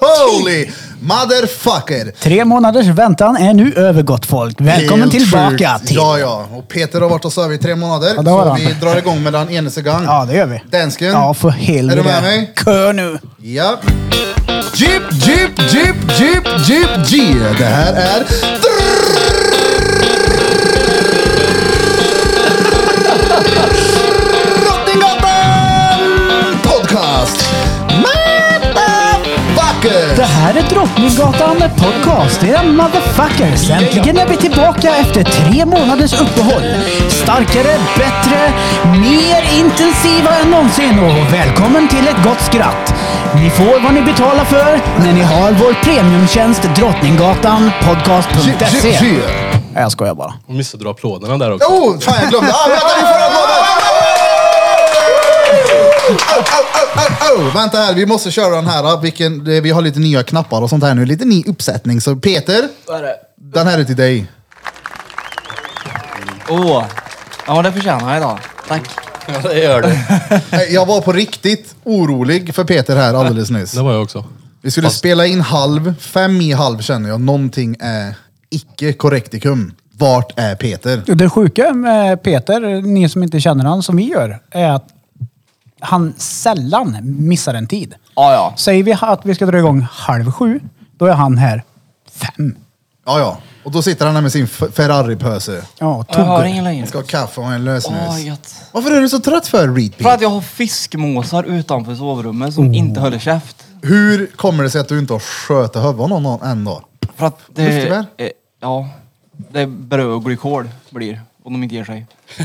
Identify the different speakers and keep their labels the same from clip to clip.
Speaker 1: Holy motherfucker!
Speaker 2: Tre månaders väntan är nu över gott folk. Välkommen
Speaker 1: Helt
Speaker 2: tillbaka
Speaker 1: sjukt.
Speaker 2: till...
Speaker 1: Ja, ja. Och Peter har varit hos över i tre månader.
Speaker 2: Ja, det har
Speaker 1: så
Speaker 2: han.
Speaker 1: vi drar igång med den enelse gång.
Speaker 2: Ja, det gör vi.
Speaker 1: Dansken.
Speaker 2: Ja, för helvete.
Speaker 1: Är du med mig?
Speaker 2: Kör nu.
Speaker 1: Ja. Jeep, jeep, jeep, jeep, jeep, jeep. Det här är... Drottninggatan Podcast! Motherfucker!
Speaker 2: Det här är Drottninggatan med podcast. Era motherfuckers. Äntligen är vi tillbaka efter tre månaders uppehåll. Starkare, bättre, mer intensiva än någonsin och välkommen till ett gott skratt. Ni får vad ni betalar för när ni har vår premiumtjänst Drottninggatan
Speaker 1: Jeep, jeep,
Speaker 2: podcast.se.
Speaker 1: jeep.
Speaker 2: Nej, Jag skojar bara.
Speaker 3: Hon missade att dra applåderna där också.
Speaker 1: Oh, fan jag glömde! Ah, vänta, vi får applåder! Au, au, au, au. Vänta här, vi måste köra den här. ah, Vilken, det- vi har lite nya knappar och sånt här nu. Lite ny uppsättning. Så Peter, den här är till dig.
Speaker 4: Åh! Ja, det förtjänar jag idag. Tack.
Speaker 3: Ja, det gör det.
Speaker 1: Nej, Eh, Jag var på riktigt orolig för Peter här alldeles nyss.
Speaker 3: Det var jag också.
Speaker 1: Vi skulle spela in halv, fem i halv känner jag. Någonting är icke korrektikum. Vart är Peter?
Speaker 2: Det sjuka med Peter, ni som inte känner han som vi gör, är att han sällan missar en tid.
Speaker 4: Ja, ja.
Speaker 2: Säger vi att vi ska dra igång halv sju, då är han här fem.
Speaker 1: Ja, ja. Och då sitter han här med sin F- Ferrari-pöse.
Speaker 2: Ja,
Speaker 4: Jag hör
Speaker 2: tuggar.
Speaker 4: ingen längre.
Speaker 1: Han ska ha kaffe och en lösnus.
Speaker 4: Åh, gött.
Speaker 1: Varför är du så trött för, Reed
Speaker 4: För att jag har fiskmåsar utanför sovrummet som inte håller käft.
Speaker 1: Hur kommer det sig att du inte har sköt i huvudet någon någon än då?
Speaker 4: För att
Speaker 1: Luftgevär?
Speaker 4: det... eh, Ja. Det är bröd och glykol blir om de inte ger sig.
Speaker 1: Ja,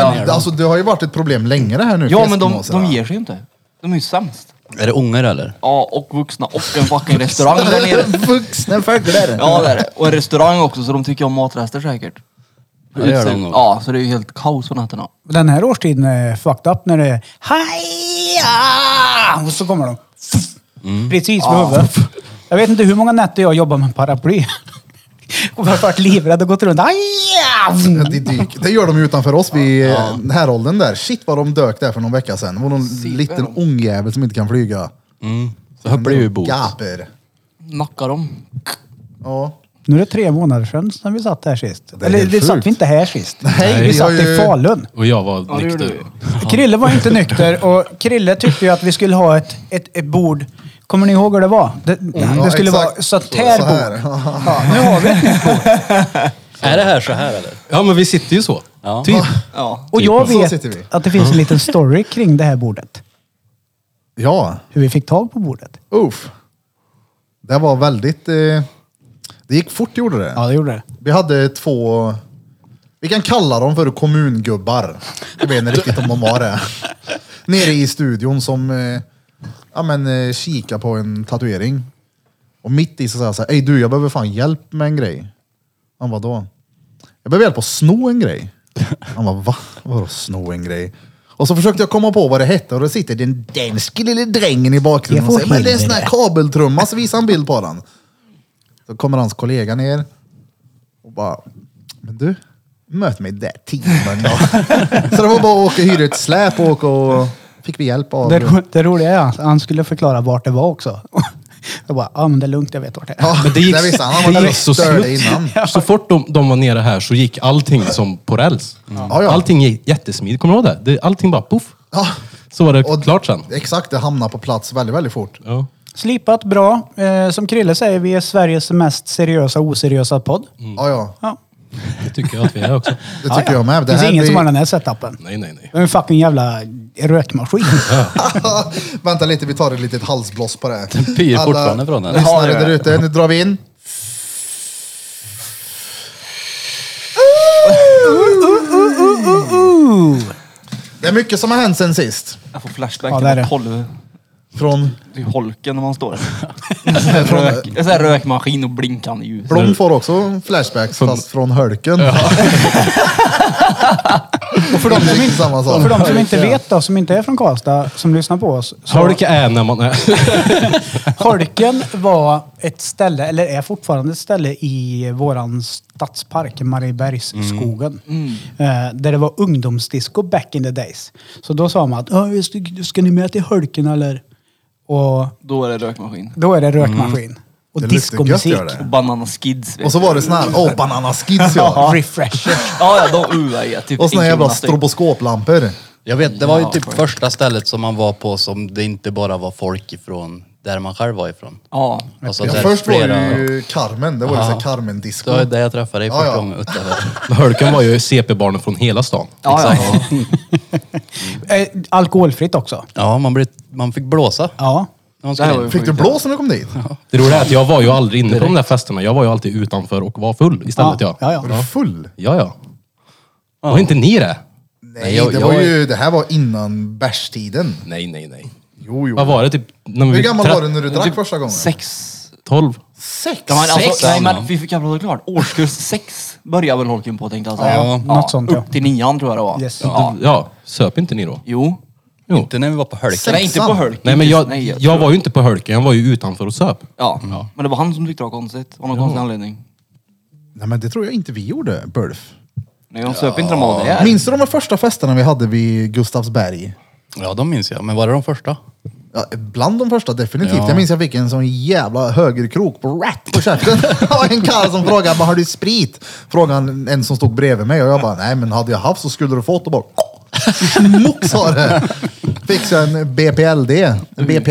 Speaker 4: Ja,
Speaker 1: men,
Speaker 4: ja.
Speaker 1: Alltså, det har ju varit ett problem länge det här nu.
Speaker 4: Ja, men de,
Speaker 1: fiskmåsarna.
Speaker 4: de ger sig ju inte. De är ju sämst.
Speaker 5: Är det ungar eller?
Speaker 4: Ja, och vuxna och en fucking restaurang där nere.
Speaker 1: Vuxna fåglar.
Speaker 4: Ja, det är det. Och en restaurang också, så de tycker om matrester säkert.
Speaker 5: Ja, det gör de nog.
Speaker 4: Ja, så det är ju helt kaos på nätterna.
Speaker 2: Den här årstiden är fucked up när det är Haja! Och så kommer de.
Speaker 4: Mm.
Speaker 2: Precis vid huvudet. Jag vet inte hur många nätter jag jobbar med paraply. Och jag har varit livrädd och gått runt. Haja!
Speaker 1: Det, dyk. det gör de ju utanför oss vid ja. häråldern där. Shit vad de dök där för någon vecka sedan. Det var någon
Speaker 4: Sipen.
Speaker 1: liten ungjävel som inte kan flyga.
Speaker 5: Mm.
Speaker 3: Så här blir ju bot.
Speaker 1: Gaper.
Speaker 4: Nackar dem.
Speaker 1: Ja.
Speaker 2: Nu är det tre månader sedan som vi satt här sist.
Speaker 1: Det är
Speaker 2: Eller
Speaker 1: helt
Speaker 2: det satt
Speaker 1: sjukt.
Speaker 2: vi inte här sist.
Speaker 1: Nej,
Speaker 2: vi
Speaker 1: vi har
Speaker 2: satt i
Speaker 1: ju-
Speaker 2: Falun.
Speaker 3: Och jag var
Speaker 4: Ja, det gjorde
Speaker 3: nykter.
Speaker 4: du.
Speaker 2: Krille var inte nykter och Krille tyckte ju att vi skulle ha ett, ett, ett bord. Kommer ni ihåg hur det var? Det,
Speaker 4: Mm,
Speaker 2: det skulle vara
Speaker 1: exakt.
Speaker 2: sånt här
Speaker 1: Så här.
Speaker 2: bord. Ja, nu har vi ett nytt bord.
Speaker 5: Är det här så här eller?
Speaker 3: Ja, men vi sitter ju så.
Speaker 5: Ja.
Speaker 3: Typ.
Speaker 4: Ja.
Speaker 2: Och jag
Speaker 1: Typ. Så
Speaker 2: vet
Speaker 1: sitter vi.
Speaker 2: att det finns en liten story kring det här bordet.
Speaker 1: Ja,
Speaker 2: Hur vi fick tag på bordet.
Speaker 1: uff. Det var väldigt... Eh... Det gick fort gjorde det.
Speaker 2: Ja, det gjorde det.
Speaker 1: Vi hade två... Vi kan kalla dem för kommungubbar. Jag vet inte riktigt om de var det. Nere i studion som eh, ja, men, eh, kika på en tatuering. Och mitt i så sa jag så här, Ey du jag behöver fan hjälp med en grej. Han bara då? Jag behöver hjälp att sno en grej. Han bara va? Vadå sno en grej? Och så försökte jag komma på vad det hette och då sitter den danske lille drängen i bakgrunden och
Speaker 2: Jag får
Speaker 1: säger men det är en sån här
Speaker 2: helvete."
Speaker 1: kabeltrumma så visar han bild på den. Så kommer hans kollega ner och bara, men du, möt mig där timmen då. så det var bara att åka och hyra ett släp och åka och fick vi hjälp av...
Speaker 2: Det, ro, det roliga är att han skulle förklara vart det var också. Jag bara, ja men det är lugnt, jag vet vart det är.
Speaker 1: Ja,
Speaker 3: Men det gick,
Speaker 1: där visste han.
Speaker 3: det
Speaker 1: Han var
Speaker 3: gick så
Speaker 1: väldigt störd
Speaker 3: snabbt.
Speaker 1: innan.
Speaker 3: Så fort de, de var nere här så gick allting som på räls.
Speaker 1: Mm.
Speaker 3: Mm.
Speaker 1: Ja, ja.
Speaker 3: Allting gick jättesmidigt. Kommer du ihåg det? det? Allting bara poff.
Speaker 1: Ja,
Speaker 3: Så var det
Speaker 1: och
Speaker 3: klart sen.
Speaker 1: Exakt, det hamnade på plats väldigt, väldigt fort.
Speaker 3: Ja.
Speaker 2: Slipat bra. Eh, som Krille säger, vi är Sveriges mest seriösa och oseriösa podd.
Speaker 1: Ja, ja.
Speaker 2: Ja.
Speaker 3: Det tycker jag att vi är också.
Speaker 1: Det tycker jag med.
Speaker 2: Det finns ingen
Speaker 1: blir-
Speaker 2: som har den här setupen.
Speaker 3: Nej, nej, nej.
Speaker 2: Det är en fucking jävla rökmaskin.
Speaker 1: Vänta lite, vi tar ett litet halsblås på det.
Speaker 5: Den pyr fortfarande från den.
Speaker 1: lyssnare
Speaker 4: Ja, det
Speaker 1: där
Speaker 4: gör det.
Speaker 1: ute, nu drar vi in. Det är mycket som har hänt sen sist.
Speaker 4: Jag får flashback
Speaker 2: Ja,
Speaker 4: till
Speaker 2: det är det.
Speaker 4: när tolv
Speaker 1: Från
Speaker 4: till holken när man står.
Speaker 1: Från-
Speaker 4: Rök, en sån här rökmaskin och blinkande ljus.
Speaker 1: Blom får också flashbacks, fast från Hölken. och för dem är det inte samma sak.
Speaker 2: För de som inte vet då, som inte är från Karlstad, som lyssnar på oss. Så
Speaker 3: Holk är Äh, när man är...
Speaker 2: Holken var ett ställe, eller är fortfarande ett ställe i våran stadspark, Mariebergsskogen. Eh, där det var ungdomsdisco back in the days. Så då sa man att "Ja, ska, ska ni med till Holken eller? Och
Speaker 4: Då är det rökmaskin.
Speaker 2: då är det rökmaskin. Och
Speaker 1: Mm. Det luktar gött,
Speaker 2: diskomusik.
Speaker 1: gör det.
Speaker 4: Och Banana Skids. vet
Speaker 1: Och så
Speaker 4: du.
Speaker 1: var det sån här, åh, oh, banana skids ja.
Speaker 2: Refresher.
Speaker 4: Ja, ja, de UA är typ
Speaker 1: Och såna
Speaker 4: en
Speaker 1: jävla
Speaker 4: krona styck.
Speaker 1: stroboskoplampor.
Speaker 5: Jag vet, det var ju typ
Speaker 4: Ja.
Speaker 5: första stället som man var på som det inte bara var folk ifrån där man själv var ifrån.
Speaker 4: Ja.
Speaker 5: Alltså,
Speaker 1: Ja,
Speaker 5: där
Speaker 1: först var
Speaker 5: flera-
Speaker 1: det ju Carmen, det var ju
Speaker 5: Ja.
Speaker 1: sån Carmen-disco.
Speaker 5: Det var där jag träffade dig
Speaker 1: Ja,
Speaker 5: första
Speaker 1: ja.
Speaker 5: gången. Utöver.
Speaker 3: Hölken var ju CP-barnen från hela stan.
Speaker 4: Ja, ja.
Speaker 2: Eh, alkoholfritt också.
Speaker 5: Ja, man, blev, man fick blåsa.
Speaker 2: Ja.
Speaker 5: när man
Speaker 4: Det här
Speaker 5: skulle
Speaker 4: var ju
Speaker 5: in.
Speaker 1: Fick du
Speaker 4: sjukt.
Speaker 1: blås när du kom dit?
Speaker 3: Det roliga är att jag var ju aldrig inne på de där festerna. Jag var ju alltid utanför och var full istället. Ja,
Speaker 2: Ja,
Speaker 1: Var
Speaker 2: ja.
Speaker 1: du full?
Speaker 3: ja. ja. Var inte ni det?
Speaker 1: Nej,
Speaker 5: Nej,
Speaker 1: det,
Speaker 5: jag- jag
Speaker 1: var
Speaker 5: var-
Speaker 1: ju, det här var innan bärstiden.
Speaker 3: Nej, nej, nej.
Speaker 1: Jo, jo.
Speaker 3: Vad var det? Typ, när vi
Speaker 1: Hur gammal
Speaker 3: tre-
Speaker 1: var du när du drack första gången?
Speaker 4: Sex.
Speaker 3: 12?
Speaker 1: Sex?
Speaker 4: Ja, men alltså, nej,
Speaker 5: ja.
Speaker 4: men vi fick jävla klart. Årskurs sex börjar väl Holken på tänkte jag säga.
Speaker 2: Ja, något sånt, ja.
Speaker 4: Upp till nian tror jag det var.
Speaker 2: Yes.
Speaker 4: Ja.
Speaker 3: Ja, söp inte ni då?
Speaker 4: Jo.
Speaker 3: Jo.
Speaker 5: Inte när vi var på Hölken.
Speaker 1: Sex.
Speaker 4: Nej, inte på Hulken.
Speaker 3: Nej, men jag,
Speaker 4: Nej,
Speaker 3: jag var ju inte på Hölken. Jag var ju utanför och söp.
Speaker 4: Ja. men det var han som tyckte det var konstigt. Av någon konstig anledning.
Speaker 1: Nej, men det tror jag inte vi gjorde, Bulf.
Speaker 4: Nej, de söp inte de av det här.
Speaker 1: Minns du de här första festerna vi hade vid Gustavsberg?
Speaker 5: Ja, de minns jag. Men var det de första?
Speaker 1: Ja, bland de första definitivt.
Speaker 5: Ja.
Speaker 1: Jag minns jag fick en sån jävla högerkrok på rätt på käften. Det var en karl som frågade, bara, har du sprit? Frågade han en som stod bredvid mig och jag bara, nej men hade jag haft så skulle du fått och bara, smock sa det. Fick så en BPLD, en BPL,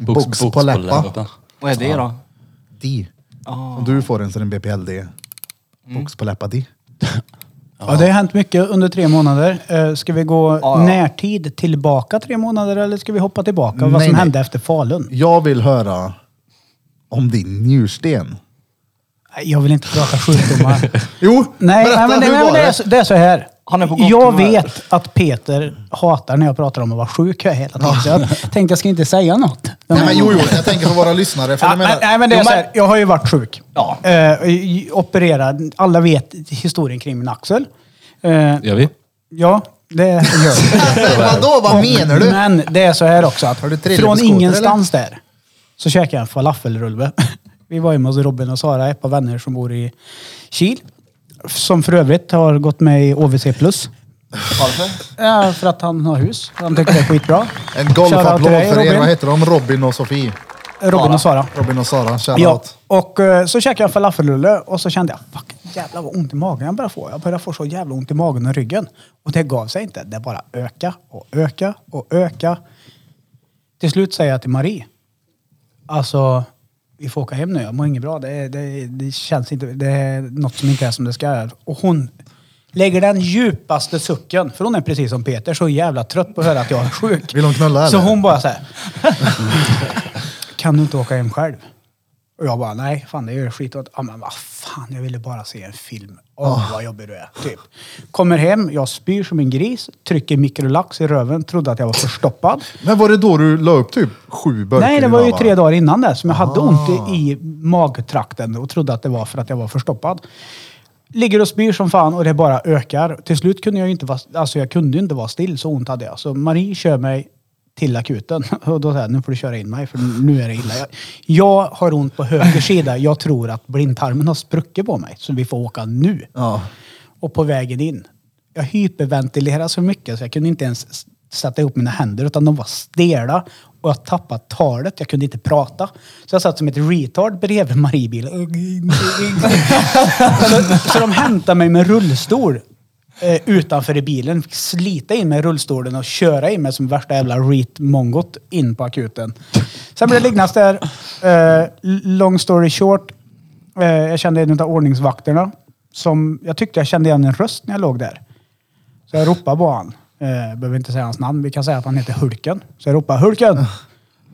Speaker 1: Mm. box, på läppa.
Speaker 4: Vad är det då?
Speaker 1: D.
Speaker 2: Ah.
Speaker 1: Om du får en så är det en BPLD.
Speaker 2: Mm.
Speaker 1: Box på läppa D.
Speaker 2: ja, det har hänt mycket under tre månader. Eh, Ska vi gå
Speaker 4: ja.
Speaker 2: närtid tillbaka tre månader eller ska vi hoppa tillbaka? Vad
Speaker 1: Nej,
Speaker 2: som
Speaker 1: nej.
Speaker 2: hände efter Falun?
Speaker 1: Jag vill höra om din njursten.
Speaker 2: Nej, Jag vill inte prata sjukdomar.
Speaker 1: Jo,
Speaker 2: Nej,
Speaker 1: berätta,
Speaker 2: nej, men,
Speaker 1: hur
Speaker 2: nej,
Speaker 1: var
Speaker 2: men det, är
Speaker 1: det?
Speaker 2: så, det är så här.
Speaker 4: Han är på gott
Speaker 2: jag
Speaker 4: humör.
Speaker 2: vet att Peter hatar när jag pratar om att vara sjuk hela tiden. Så jag tänkte jag ska inte säga något.
Speaker 1: Nej, men jo, jo, jag tänker på våra lyssnare. För
Speaker 2: Ja,
Speaker 1: jag menar,
Speaker 2: men, nej, men det är
Speaker 4: Jo,
Speaker 2: så
Speaker 4: men-
Speaker 2: här, jag har ju varit sjuk.
Speaker 4: Ja.
Speaker 2: Eh, i- opererad. Alla vet historien kring min axel. Eh,
Speaker 3: Gör vi?
Speaker 2: ja, det gör jag.
Speaker 1: Vadå, vad menar du?
Speaker 2: Men det är så här också att
Speaker 1: Har du trillat på
Speaker 2: från
Speaker 1: skoter,
Speaker 2: ingenstans där så käkade jag en falafelrulle. Vi var hemma hos Robin och Sara, ett par vänner som bor i Kil. Som för övrigt har gått med i OVC+. Plus.
Speaker 4: Varför?
Speaker 2: Ja, för att han har hus. Han tycker det är skitbra.
Speaker 1: En
Speaker 2: Shoutout
Speaker 1: golfapplåd
Speaker 2: till dig,
Speaker 1: för er.
Speaker 2: Robin.
Speaker 1: Vad heter de? Robin och Sofie.
Speaker 2: Robin och Sara.
Speaker 1: Robin och Sara. Shoutout.
Speaker 2: Ja, och eh, så käkade jag en falafelrulle och så kände jag, fuck jävlar vad ont i magen jag började få. Jag började få så jävla ont i magen och ryggen. Och det gav sig inte. Det bara öka och öka och öka. Till slut säger jag till Marie, alltså vi får åka hem nu, jag mår inget bra. Det, det, det känns inte, det är något som inte är som det ska. Och hon lägger den djupaste sucken, för hon är precis som Peter, så jävla trött på att höra att jag är sjuk.
Speaker 1: Vill hon knulla,
Speaker 2: Så
Speaker 1: eller?
Speaker 2: hon bara så här, kan du inte åka hem själv? Och jag bara, nej, fan det gör skitont. Ja men vad fan, jag ville bara se en film. Åh,
Speaker 1: Ah.
Speaker 2: vad jobbig du är. Typ. Kommer hem, jag spyr som en gris, trycker mikrolax i röven, trodde att jag var förstoppad.
Speaker 1: Men var det då du la upp typ sju burkar
Speaker 2: Nej, det
Speaker 1: i
Speaker 2: var ju
Speaker 1: lava?
Speaker 2: tre dagar innan det som jag hade ont
Speaker 1: Ah.
Speaker 2: i- i magtrakten och trodde att det var för att jag var förstoppad. Ligger och spyr som fan och det bara ökar. Till slut kunde jag ju inte vara, alltså jag kunde ju inte vara still, så ont hade jag. Så Marie kör mig till akuten och då säger jag, nu får du köra in mig för nu är det illa. Jag, jag har ont på höger sida. Jag tror att blindtarmen har spruckit på mig så vi får åka nu.
Speaker 1: Ja.
Speaker 2: Och på vägen in, jag hyperventilerade så mycket så jag kunde inte ens s- sätta ihop mina händer utan de var stela och jag tappade talet. Jag kunde inte prata. Så jag satt som ett retard bredvid Mariebilen. så, så de hämtade mig med rullstol eh, utanför i bilen. Fick slita in mig i rullstolen och köra in mig som värsta jävla reet-mongot in på akuten. Sen blev det liggandes där. Eh, long story short. Eh, jag kände en av ordningsvakterna. Som jag tyckte jag kände igen en röst när jag låg där. Så jag ropade på han. Eh, behöver inte säga hans namn. Vi kan säga att han heter Hulken. Så jag ropade Hulken!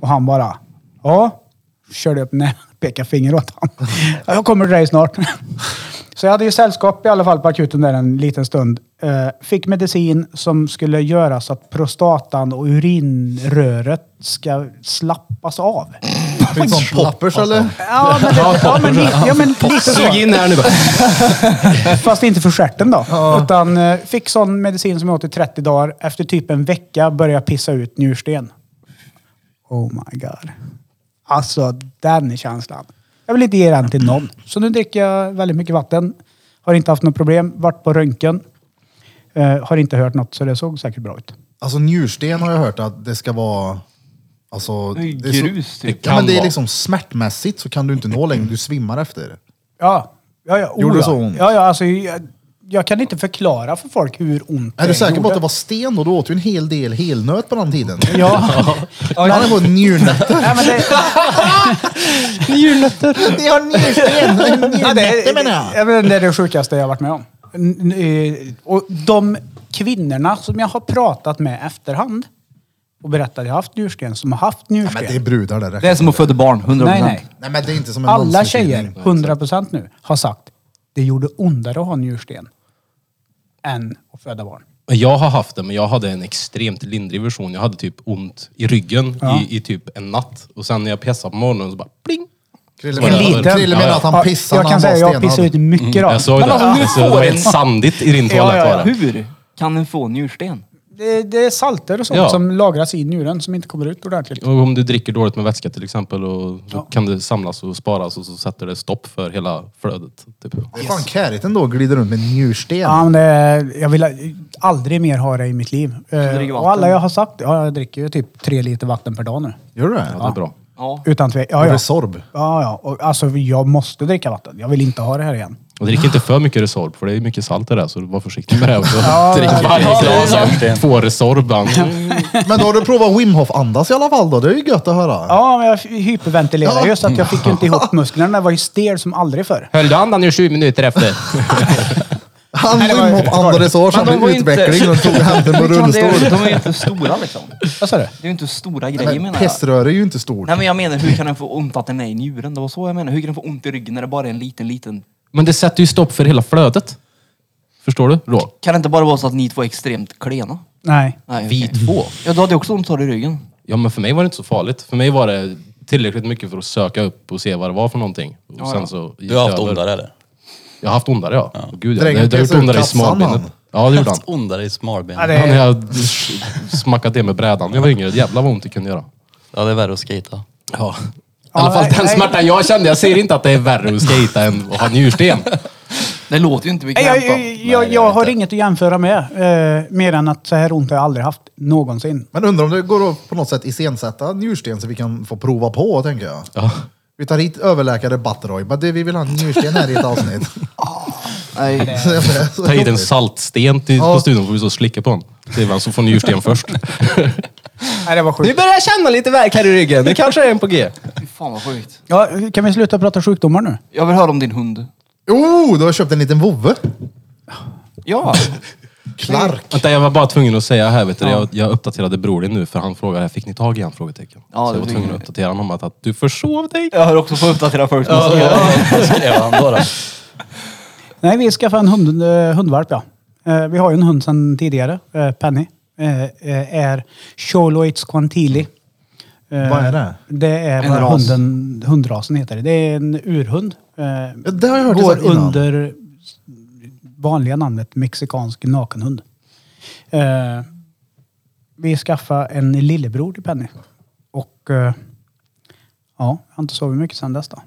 Speaker 2: Och han bara, ja. Körde upp näven, pekade finger åt honom. "Ja, Jag kommer till dig snart. Så jag hade ju sällskap i alla fall på akuten där en liten stund. Eh, fick medicin som skulle göra så att prostatan och urinröret ska slappas av.
Speaker 1: Fick sån poppers
Speaker 2: alltså.
Speaker 1: eller?
Speaker 2: Ja, men, det, ja, men, li- ja, men lite så.
Speaker 3: Sug in här nu bara.
Speaker 2: Fast inte för stjärten då. Utan eh, fick sån medicin som jag åt i 30 dagar. Efter typ en vecka började jag pissa ut njursten. Oh my god. Alltså, den är känslan. Jag vill inte ge den till någon. Så nu dricker jag väldigt mycket vatten. Har inte haft något problem. Vart på röntgen. Eh, har inte hört något, så det såg säkert bra ut.
Speaker 1: Alltså njursten har jag hört att det ska vara... Alltså,
Speaker 4: Det är ju
Speaker 1: är så-
Speaker 4: grus, typ.
Speaker 1: Ja, men det är
Speaker 3: Kan
Speaker 1: liksom smärtmässigt så kan du inte nå längre, du svimmar efter det.
Speaker 2: Ja, ja, ja.
Speaker 1: Gjorde
Speaker 2: ja.
Speaker 1: det så ont?
Speaker 2: Ja, ja, alltså, jag, jag kan inte förklara för folk hur ont
Speaker 1: Är du säker på
Speaker 2: gjorde.
Speaker 1: att det var sten då? Du åt ju en hel del helnöt på den tiden.
Speaker 2: Ja.
Speaker 1: Han hade fått njurnötter.
Speaker 2: Nej, men det,
Speaker 1: Ni har njursten!
Speaker 2: Ja,
Speaker 1: Njurnötter menar jag.
Speaker 2: det, det är det sjukaste jag har varit med om. N- eh, Och de kvinnorna som jag har pratat med efterhand och berättat att jag har haft njursten, som har haft
Speaker 1: Ja,
Speaker 2: njursten.
Speaker 1: Men det är brudar det
Speaker 4: Det är
Speaker 1: räcker.
Speaker 4: som att födda barn, 100%.
Speaker 2: nej, nej.
Speaker 1: Nej men det är inte som en
Speaker 2: Alla
Speaker 1: mansutbildning.
Speaker 2: tjejer, 100% nu, har sagt det gjorde ondare att ha njursten än att föda barn.
Speaker 3: Men Jag har haft det, men jag hade en extremt lindrig version. Jag hade typ ont i ryggen i, i typ en natt. Och sen när jag pissade på morgonen så bara pling!
Speaker 1: Krille
Speaker 3: En
Speaker 1: menar-
Speaker 2: liten.
Speaker 1: Krille menar att han
Speaker 2: Ja,
Speaker 1: pissar
Speaker 2: jag
Speaker 1: när
Speaker 2: kan
Speaker 1: han
Speaker 2: säga
Speaker 1: var
Speaker 2: jag pissar
Speaker 1: stenad.
Speaker 2: ut mycket då.
Speaker 3: Mm, Jag såg
Speaker 2: Men
Speaker 3: det.
Speaker 2: alltså, nu
Speaker 3: Alltså, det
Speaker 2: får
Speaker 3: var
Speaker 2: en-
Speaker 3: helt sandigt i din toalett
Speaker 2: ja,
Speaker 3: var det.
Speaker 4: Hur kan en få njursten?
Speaker 2: det, det är salter och sånt
Speaker 3: Ja.
Speaker 2: som lagras i njuren som inte kommer ut ordentligt.
Speaker 3: Och om du dricker dåligt med vätska till exempel och så kan det samlas och sparas och så sätter det stopp för hela flödet. Typ.
Speaker 1: Det är fan kärigt ändå, glider runt med njursten.
Speaker 2: Ja, men det, jag vill aldrig mer ha det i mitt liv.
Speaker 4: dricker
Speaker 2: Eh, och
Speaker 4: vatten.
Speaker 2: alla jag har sagt, ja, jag dricker ju typ tre liter vatten per dag nu.
Speaker 1: Gör du det?
Speaker 3: Ja, det är bra.
Speaker 4: Ja.
Speaker 2: Utan tvekan. Ja, ja.
Speaker 1: Resorb.
Speaker 2: ja, ja. Och, alltså, jag måste dricka vatten. Jag vill inte ha det här igen.
Speaker 3: Och drick inte för mycket Resorb, för det är mycket salt i det, så var försiktig med det också.
Speaker 5: Drick varje glas järnsten.
Speaker 3: Två Resorb. man.
Speaker 1: Men då har du provat Wim Hof andas i alla fall då. Det är ju gött att höra.
Speaker 2: Ja, men jag hyperventilerade ju så att jag fick ju inte ihop musklerna. Jag var ju stel som aldrig förr.
Speaker 3: Höll du andan i 20 minuter efter?
Speaker 1: Han
Speaker 2: Nej, det var-
Speaker 1: Wim Hof andades så
Speaker 4: Men
Speaker 1: han
Speaker 4: var
Speaker 1: blev
Speaker 4: ju
Speaker 1: utveckling och tog handen på
Speaker 4: Hur kan det-
Speaker 1: rullstol.
Speaker 4: De är ju inte stora liksom.
Speaker 2: Vad sa du?
Speaker 4: Det är ju inte stora grejer
Speaker 1: Men
Speaker 4: menar jag.
Speaker 1: Pessrör är ju inte stort.
Speaker 4: Nej men jag menar, hur kan den få ont att den är i njuren? Det var så jag menar. Hur kan den få ont i ryggen när det bara är en liten, liten...
Speaker 3: Men det sätter ju stopp för hela flödet. Förstår du? Då.
Speaker 4: Kan det inte bara vara så att ni två är extremt klena?
Speaker 2: Nej.
Speaker 4: Nej,
Speaker 3: Vi
Speaker 4: okej.
Speaker 3: två.
Speaker 4: Ja, du hade ju också ont sa du, i ryggen.
Speaker 3: Ja, men för mig var det inte så farligt. För mig var det tillräckligt mycket för att söka upp och se vad det var för någonting. Och sen så gick
Speaker 5: Du har
Speaker 3: det
Speaker 5: haft
Speaker 3: över.
Speaker 5: ondare eller?
Speaker 3: Jag har haft ondare, ja. Åh, Gud, ja. Det,
Speaker 1: Drängen
Speaker 3: det har gjort
Speaker 1: pissade ut
Speaker 3: ondare i
Speaker 1: kassan,
Speaker 3: smalbenet.
Speaker 1: han.
Speaker 3: Ja, det gjorde han.
Speaker 5: Haft ondare i smalben.
Speaker 2: Ja,
Speaker 5: Ja,
Speaker 2: det-
Speaker 5: det...
Speaker 3: Han jag smackat det med brädan. Jag var yngre. Jävlar vad ont det kunde göra.
Speaker 5: är värre att skejta.
Speaker 3: Ja. I alla fall
Speaker 2: nej,
Speaker 3: den
Speaker 2: nej.
Speaker 3: smärtan jag kände. Jag säger inte att det är värre att skejta än att ha njursten.
Speaker 4: Det låter ju inte
Speaker 2: Nej,
Speaker 4: bekvämt.
Speaker 2: jag,
Speaker 4: då.
Speaker 2: jag, jag, jag har inget att jämföra med. Eh, mer än att så här ont har jag aldrig haft någonsin.
Speaker 1: Men undrar om det går att på något sätt iscensätta njursten så vi kan få prova på, tänker jag.
Speaker 3: Ja.
Speaker 1: Vi tar hit överläkare Batteroy. Bara, du, vi vill ha en njursten här i ett avsnitt.
Speaker 4: Nej.
Speaker 1: Så jag bara, så
Speaker 3: Ta hit en
Speaker 1: jobbigt.
Speaker 3: saltsten till,
Speaker 1: Ja.
Speaker 3: på studion får vi så slicka på den. Det är vem som får njursten först.
Speaker 2: Nej, det var sjukt.
Speaker 3: börjar känna lite värk här i ryggen. Det kanske är en på G.
Speaker 4: Fy fan vad sjukt.
Speaker 2: Ja, kan vi sluta prata sjukdomar nu?
Speaker 4: Jag vill höra om din hund.
Speaker 1: Oh, du har köpt en liten vovve.
Speaker 4: Ja.
Speaker 1: Clark.
Speaker 3: Vänta, jag var bara tvungen att säga här, vet du, jag, jag uppdaterade bror din nu för han frågade, fick ni tag i han? Frågetecken.
Speaker 4: Ja,
Speaker 3: så
Speaker 4: det
Speaker 3: jag var
Speaker 4: fick
Speaker 3: tvungen
Speaker 4: vi.
Speaker 3: att uppdatera honom att, att du försov dig.
Speaker 4: Jag har också fått uppdatera folk.
Speaker 5: Vad skrev han då? då?
Speaker 2: Nej, vi skaffade en hund, eh, hundvalp ja. Eh, vi har ju en hund sedan tidigare, eh, Penny. Eh, eh, är Choloids Quantili. Eh,
Speaker 1: Vad är det?
Speaker 2: Det är
Speaker 4: En
Speaker 2: vad
Speaker 4: ras.
Speaker 2: hunden, hundrasen heter det. Det är en urhund. Eh,
Speaker 1: Ja, det har jag hört
Speaker 2: går
Speaker 1: sagt innan.
Speaker 2: under vanliga namnet mexikansk nakenhund. Eh, vi skaffade en lillebror till Penny. Och eh, ja, jag har inte sovit mycket sedan dess då.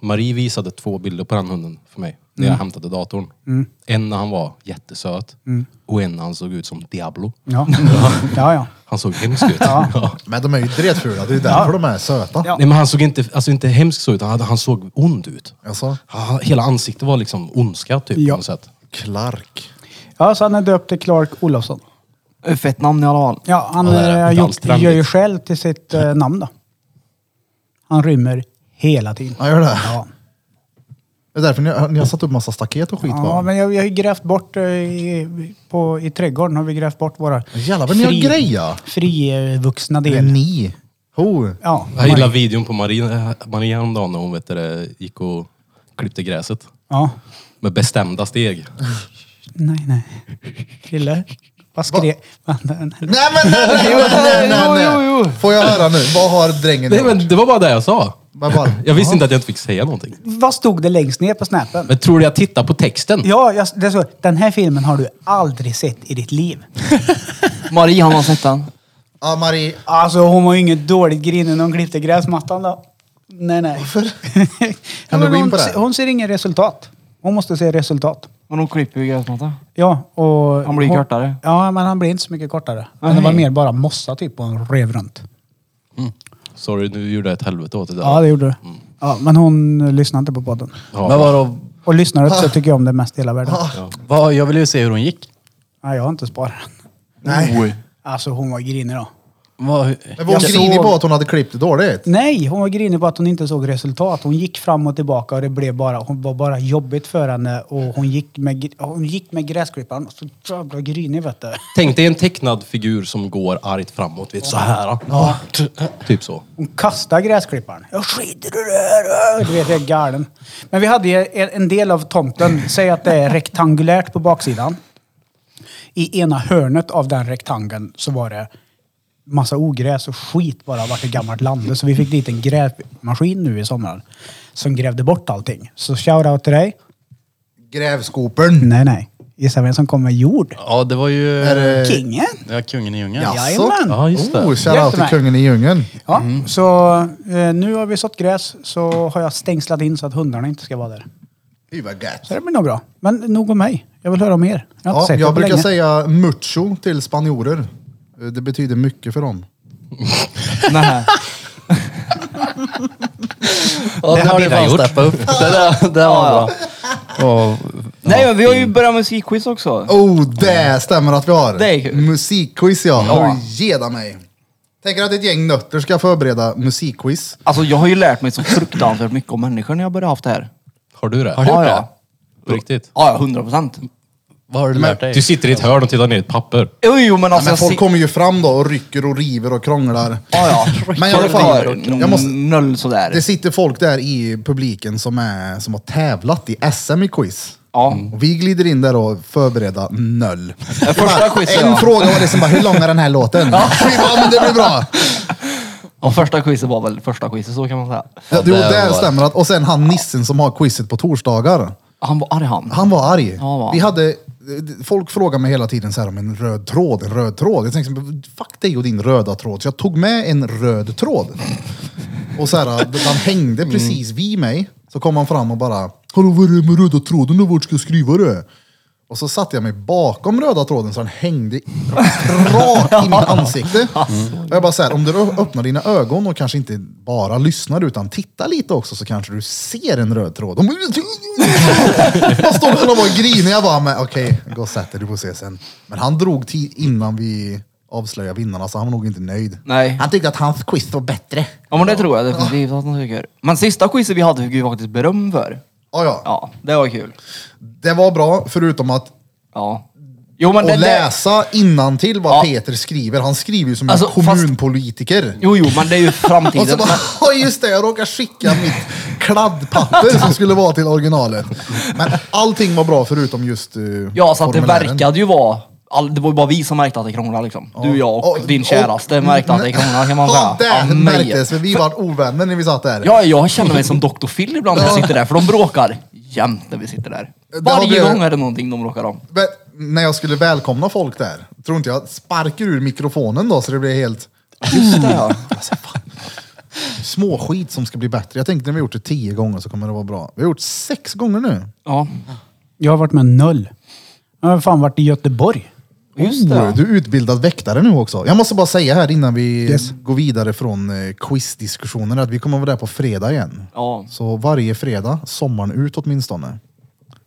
Speaker 3: Marie visade två bilder på den hunden för mig när
Speaker 2: Mm.
Speaker 3: jag hämtade datorn. En när han var jättesöt
Speaker 2: Mm.
Speaker 3: och en när han såg ut som Diablo.
Speaker 2: Ja, ja. ja.
Speaker 3: Han såg hemsk ut. Ja.
Speaker 1: Men de är ju dretfula. Det är ju därför de är söta.
Speaker 2: Ja.
Speaker 3: Nej men han såg inte, alltså inte hemsk så ut, han, hade- han såg ond ut.
Speaker 1: Alltså,
Speaker 3: Han, hela ansiktet var liksom ondska typ
Speaker 2: Ja.
Speaker 3: på något sätt.
Speaker 1: Clark.
Speaker 2: Ja, så han är döpt till Clark Olofsson.
Speaker 4: Fett namn i alla fall.
Speaker 2: Ja, han
Speaker 3: Ja, det är
Speaker 2: eh,
Speaker 3: inte
Speaker 2: har
Speaker 3: alls
Speaker 2: gjort,
Speaker 3: trendigt.
Speaker 2: gör ju själv till sitt eh, namn då. Han rymmer hela tiden.
Speaker 1: Ja, gör det?
Speaker 2: Ja,
Speaker 1: Det är därför ni, har- ni har satt upp massa staket och skit
Speaker 2: ja
Speaker 1: va?
Speaker 2: men jag, jag har ju grävt bort eh, i, på, i trädgården har vi grävt bort våra
Speaker 1: Jävlar vad ni har grejer.
Speaker 2: frivuxna
Speaker 1: Det är
Speaker 2: del.
Speaker 1: ni. Ho.
Speaker 2: Ja,
Speaker 3: Jag gillade videon på Marie, Marie häromdagen när hon vet du, det, gick och klippte gräset.
Speaker 2: ja.
Speaker 3: Med bestämda steg.
Speaker 2: Nej, nej. Krille, vad skrev...
Speaker 1: Nej men nej, nej, nej, nej, nej.
Speaker 4: Jo, jo, jo.
Speaker 1: Får jag höra nu? Vad har drängen
Speaker 3: Nej,
Speaker 1: gjort?
Speaker 3: men det var bara det jag sa.
Speaker 1: Vad var det?
Speaker 3: Jag visste inte att jag inte fick säga någonting.
Speaker 2: Vad stod det längst ner på snappen?
Speaker 3: Men tror du jag tittar på texten?
Speaker 2: Ja, jag, det är så. Den här filmen har du aldrig sett i ditt liv.
Speaker 4: Marie, han har sett den.
Speaker 1: Ja Marie.
Speaker 2: Alltså hon var ju inget dåligt grinig när hon klippte gräsmattan då. Nej, nej. Varför?
Speaker 1: Kan du gå in
Speaker 2: hon,
Speaker 1: på det här?
Speaker 2: hon ser ingen resultat. Hon måste se resultat.
Speaker 4: Men hon klipper ju gräsmattan.
Speaker 2: Ja, och...
Speaker 4: Han blir
Speaker 2: hon,
Speaker 4: kortare.
Speaker 2: Ja, men han blir inte så mycket kortare. Men det
Speaker 4: Nej.
Speaker 2: var mer bara mossa typ och han rev runt.
Speaker 3: Sorry, nu gjorde jag ett helvete åt det där.
Speaker 2: Ja, det gjorde du. Ja, men hon eh, lyssnade inte på podden.
Speaker 3: Ja.
Speaker 5: Men vadå?
Speaker 2: Och lyssnar så tycker jag om det mest i hela världen.
Speaker 5: Vad, jag vill ju se hur hon gick.
Speaker 2: Nej, jag har inte sparat den.
Speaker 4: Nej.
Speaker 2: Alltså hon var grinig då.
Speaker 5: Vad,
Speaker 1: Men var hon
Speaker 2: Jag
Speaker 1: grinig
Speaker 2: såg-
Speaker 1: på att hon hade klippt det dåligt?
Speaker 2: Nej, hon var grinig på att hon inte såg resultat. Hon gick fram och tillbaka och det blev bara, hon var bara jobbigt för henne. Och hon gick med, gr- hon gick med gräsklipparen. Så jävla grinig vet du.
Speaker 3: Tänk dig en tecknad figur som går argt framåt, vet så här. Ja. Typ så.
Speaker 2: Hon kastade gräsklipparen. Jag skiter i det här. Du vet, jag är galen. Men vi hade ju en en del av tomten, säg att det är rektangulärt på baksidan. I ena hörnet av den rektangeln så var det massa ogräs och skit bara vart det gammalt lande. Så vi fick dit en grävmaskin nu i sommar som grävde bort allting. Så shoutout till dig.
Speaker 1: Grävskopern.
Speaker 2: Nej, nej. Gissa vem som kom med jord?
Speaker 5: ja, det var ju...
Speaker 1: Är det-
Speaker 2: Kingen!
Speaker 5: Ja, kungen i djungeln.
Speaker 1: Ja. Jaså?
Speaker 2: Jajamän!
Speaker 3: Ja, just det.
Speaker 1: Oh, shoutout till
Speaker 2: Jättemärk.
Speaker 1: kungen i djungeln.
Speaker 2: Ja,
Speaker 1: Mm.
Speaker 2: så eh, nu har vi sått gräs så har jag stängslat in så att hundarna inte ska vara där.
Speaker 1: Fy vad gött.
Speaker 2: Så det blir nog bra. Men nog om mig. Jag vill höra om er. Jag har inte
Speaker 1: Ja,
Speaker 2: sett er
Speaker 1: jag
Speaker 2: på
Speaker 1: brukar
Speaker 2: länge.
Speaker 1: säga mucho till spanjorer. Eh, Det betyder mycket för dem.
Speaker 4: Nej.
Speaker 5: Ja,
Speaker 3: Det
Speaker 5: det
Speaker 3: hade
Speaker 5: har du
Speaker 3: jag
Speaker 5: fan
Speaker 3: gjort.
Speaker 5: steppat upp. Det där, det var bra. Och,
Speaker 4: Nej, men vi har ju börjat musikquiz också.
Speaker 1: Oh, det stämmer att vi har.
Speaker 4: Det är kul.
Speaker 1: Musikquiz ja.
Speaker 4: Ja.
Speaker 1: ja. Geda mig. Tänker att ett gäng nötter ska förbereda musikquiz.
Speaker 4: Alltså jag har ju lärt mig så fruktansvärt mycket om människor när jag började haft det här.
Speaker 3: Har du det?
Speaker 5: du gjort
Speaker 4: Ja,
Speaker 5: det?
Speaker 4: ja.
Speaker 3: På riktigt?
Speaker 4: Ja, ja, hundra procent.
Speaker 5: vad har du lärt dig?
Speaker 3: Du sitter i ett hörn och tittar ner i ett papper.
Speaker 4: Jo, jo, men alltså...
Speaker 1: Men folk
Speaker 4: jag
Speaker 1: kommer ju fram då och rycker och river och krånglar.
Speaker 4: Ja, ja.
Speaker 1: Men jag har fan- jag måste-
Speaker 4: Noll sådär.
Speaker 1: Det sitter folk där i publiken som, är, som har tävlat i SM i quiz.
Speaker 4: Ja.
Speaker 1: Och vi glider in där och förbereda noll.
Speaker 4: Första quizet,
Speaker 1: En
Speaker 4: ja.
Speaker 1: fråga var liksom bara, hur lång är den här låten? Vi bara, men det blir bra.
Speaker 4: Ja, första quizet var väl första quizet, så kan man säga.
Speaker 1: Ja, jo,
Speaker 5: det
Speaker 1: det
Speaker 5: var-
Speaker 1: stämmer. Att, och sen han nissen som har quizet på torsdagar.
Speaker 4: Han var arg han.
Speaker 1: Han var arg.
Speaker 4: han var.
Speaker 1: Vi hade, folk frågar mig hela tiden så här om en röd tråd, en röd tråd. Jag tänkte, så här, fuck dig och din röda tråd. Så jag tog med en röd tråd. Och så här, han hängde precis vid mig. Så kom han fram och bara, hallå vad är det med röda tråden och vart ska jag skriva det? Och så satte jag mig bakom röda tråden så den hängde rakt i mitt ansikte. Och jag bara så här, om du ö- öppnar dina ögon och kanske inte bara lyssnar utan tittar lite också så kanske du ser en röd tråd. Och Man står där och var grinig. Jag bara, men okej, gå och sätt dig, du får se sen. Men han drog tid innan vi avslöjade vinnarna så han var nog inte nöjd.
Speaker 4: Nej.
Speaker 1: Han tyckte att hans quiz var bättre.
Speaker 4: Ja, men det tror jag definitivt att han tycker. Men sista quizet vi hade fick vi faktiskt beröm för.
Speaker 1: Ja, ja.
Speaker 4: Ja, det var kul.
Speaker 1: Det var bra, förutom att
Speaker 4: Ja. Jo, men det,
Speaker 1: och
Speaker 4: det,
Speaker 1: läsa innantill vad
Speaker 4: Ja.
Speaker 1: Peter skriver. Han skriver ju som
Speaker 4: Alltså,
Speaker 1: en
Speaker 4: fast-
Speaker 1: kommunpolitiker.
Speaker 4: jo, jo, men det är ju
Speaker 1: Och så
Speaker 4: framtiden.
Speaker 1: bara,
Speaker 4: Men,
Speaker 1: "Ja, just det, jag råkade skicka mitt kladdpapper som skulle vara till originalet. Men allting var bra förutom just uh,
Speaker 4: ja, så att det verkade ju vara... All, det var ju bara vi som märkte att det krånglade liksom. Du, jag och din käraste märkte att det krånglade kan man
Speaker 1: Ja,
Speaker 4: säga.
Speaker 1: det
Speaker 4: Ja, mig.
Speaker 1: märktes, för vi var ovänner när vi satt där.
Speaker 4: Ja, jag känner mig som Dr. Phil ibland när jag sitter där, för de bråkar jämt när vi sitter där.
Speaker 1: Det har
Speaker 4: Varje
Speaker 1: blivit-
Speaker 4: gång är det någonting de bråkar om.
Speaker 1: Men när jag skulle välkomna folk där, tror inte jag sparkar ur mikrofonen då så det blir helt
Speaker 4: Just det, ja.
Speaker 1: små skit som ska bli bättre. Jag tänkte när vi gjort det tio gånger så kommer det vara bra. Vi har gjort sex gånger nu.
Speaker 4: ja.
Speaker 2: Jag har varit med noll. Jag har fan varit i Göteborg.
Speaker 4: Just det.
Speaker 1: Oh,
Speaker 4: ja.
Speaker 1: Du är utbildad väktare nu också. Jag måste bara säga här innan vi går vidare från eh, quizdiskussionen att vi kommer vara där på fredag igen.
Speaker 4: Ja.
Speaker 1: Så varje fredag, sommaren ut åtminstone. Sen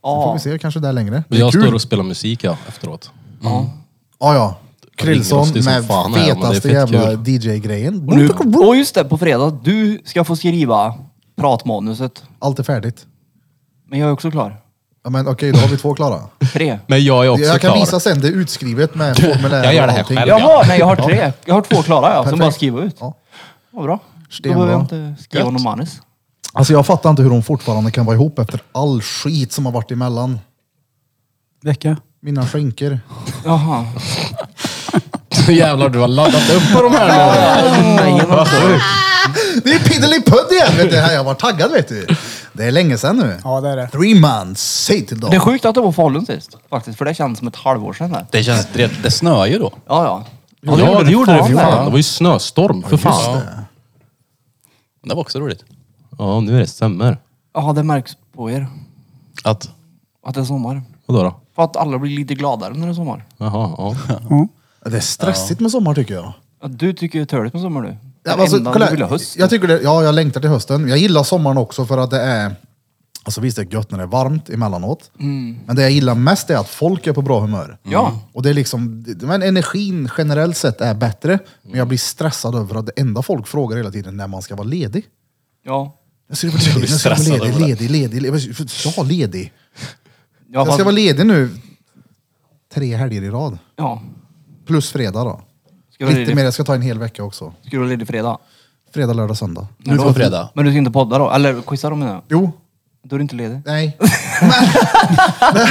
Speaker 1: får
Speaker 4: Ja.
Speaker 1: vi se kanske där längre. Det är
Speaker 3: Jag
Speaker 1: kul.
Speaker 3: står och spelar musik ja, efteråt.
Speaker 4: ja.
Speaker 1: Ja, ja. Krillson
Speaker 3: oss, det är som
Speaker 1: med
Speaker 3: fan här, men det är
Speaker 1: fetaste
Speaker 3: fett
Speaker 1: jävla
Speaker 3: kul.
Speaker 1: DJ-grejen.
Speaker 4: Och nu, och just det, på fredag. Du ska få skriva pratmanuset.
Speaker 1: Allt är färdigt.
Speaker 4: Men jag är också klar.
Speaker 1: Ja, men okej, då har vi två klara.
Speaker 4: Tre.
Speaker 3: Men jag är också
Speaker 1: Jag kan
Speaker 3: klar.
Speaker 1: visa sen, det är utskrivet med formulär
Speaker 3: Jag gör det
Speaker 1: och
Speaker 3: här
Speaker 1: allting.
Speaker 3: själv.
Speaker 4: Jaha, nej jag har tre. Jag har två klara ja, som
Speaker 1: Perfekt.
Speaker 4: bara skriva ut.
Speaker 1: Ja.
Speaker 4: Vad bra. Då
Speaker 1: Stenbra.
Speaker 4: behöver jag inte skriva någon manus.
Speaker 1: Alltså jag fattar inte hur de fortfarande kan vara ihop efter all skit som har varit emellan.
Speaker 2: Vecka.
Speaker 1: Mina skänker.
Speaker 4: Jaha.
Speaker 3: Så jävlar du har laddat upp på de här nu.
Speaker 4: Nej, men-
Speaker 1: Det är piddelipudd igen! Vet du, här jag var taggad vet du. Det är länge sedan nu.
Speaker 2: Ja, det är det.
Speaker 1: Three months, säg till dem.
Speaker 4: Det är sjukt att det var Falun sist faktiskt, för det känns som ett halvår sedan. Där.
Speaker 5: Det känns... Det, det snöar ju då.
Speaker 4: Ja, ja.
Speaker 3: Ja, det, gjorde det för
Speaker 4: fan,
Speaker 3: fan. Det var ju snöstorm för fan.
Speaker 5: Det var också roligt.
Speaker 3: Ja, nu är det sämre.
Speaker 4: Ja, det märks på er
Speaker 5: Att...
Speaker 4: att det är sommar.
Speaker 3: Vadå då?
Speaker 4: För att alla blir lite gladare när det är sommar.
Speaker 3: Jaha, ja.
Speaker 1: Det är stressigt med sommar tycker jag.
Speaker 4: Ja, Du tycker ju det är törligt med sommar nu.
Speaker 1: Ja,
Speaker 4: Den
Speaker 1: men alltså,
Speaker 4: enda
Speaker 1: kolla,
Speaker 4: du vill ha hösten.
Speaker 1: Jag tycker det, ja, jag längtar till hösten. Jag gillar sommaren också för att det är... Alltså visst, det är gött när det är varmt emellanåt. Men det jag gillar mest är att folk är på bra humör.
Speaker 4: Mm. Ja.
Speaker 1: Och det är liksom, det- men energin generellt sett är bättre. Men jag blir stressad över att det enda folk frågar hela tiden är när man ska vara ledig.
Speaker 4: Ja.
Speaker 1: Jag ska vara ledig, jag ska vara
Speaker 5: stressad
Speaker 1: ledig,
Speaker 5: över det.
Speaker 1: ledig, ledig, ledig. Jag var ledig.
Speaker 4: Ja,
Speaker 1: Jag ska
Speaker 4: fast,
Speaker 1: vara ledig nu tre helger i rad.
Speaker 4: ja.
Speaker 1: Plus fredag då.
Speaker 4: Ska du vara
Speaker 1: Lite
Speaker 4: ledig,
Speaker 1: mer, jag ska ta en hel vecka också.
Speaker 4: ska du vara ledig fredag?
Speaker 1: Fredag, lördag, söndag.
Speaker 5: Nu på fredag.
Speaker 4: Men du ska inte podda då? Eller quizza då menar jag.
Speaker 1: Jo,
Speaker 4: Då är du inte ledig.
Speaker 1: Nej. Men,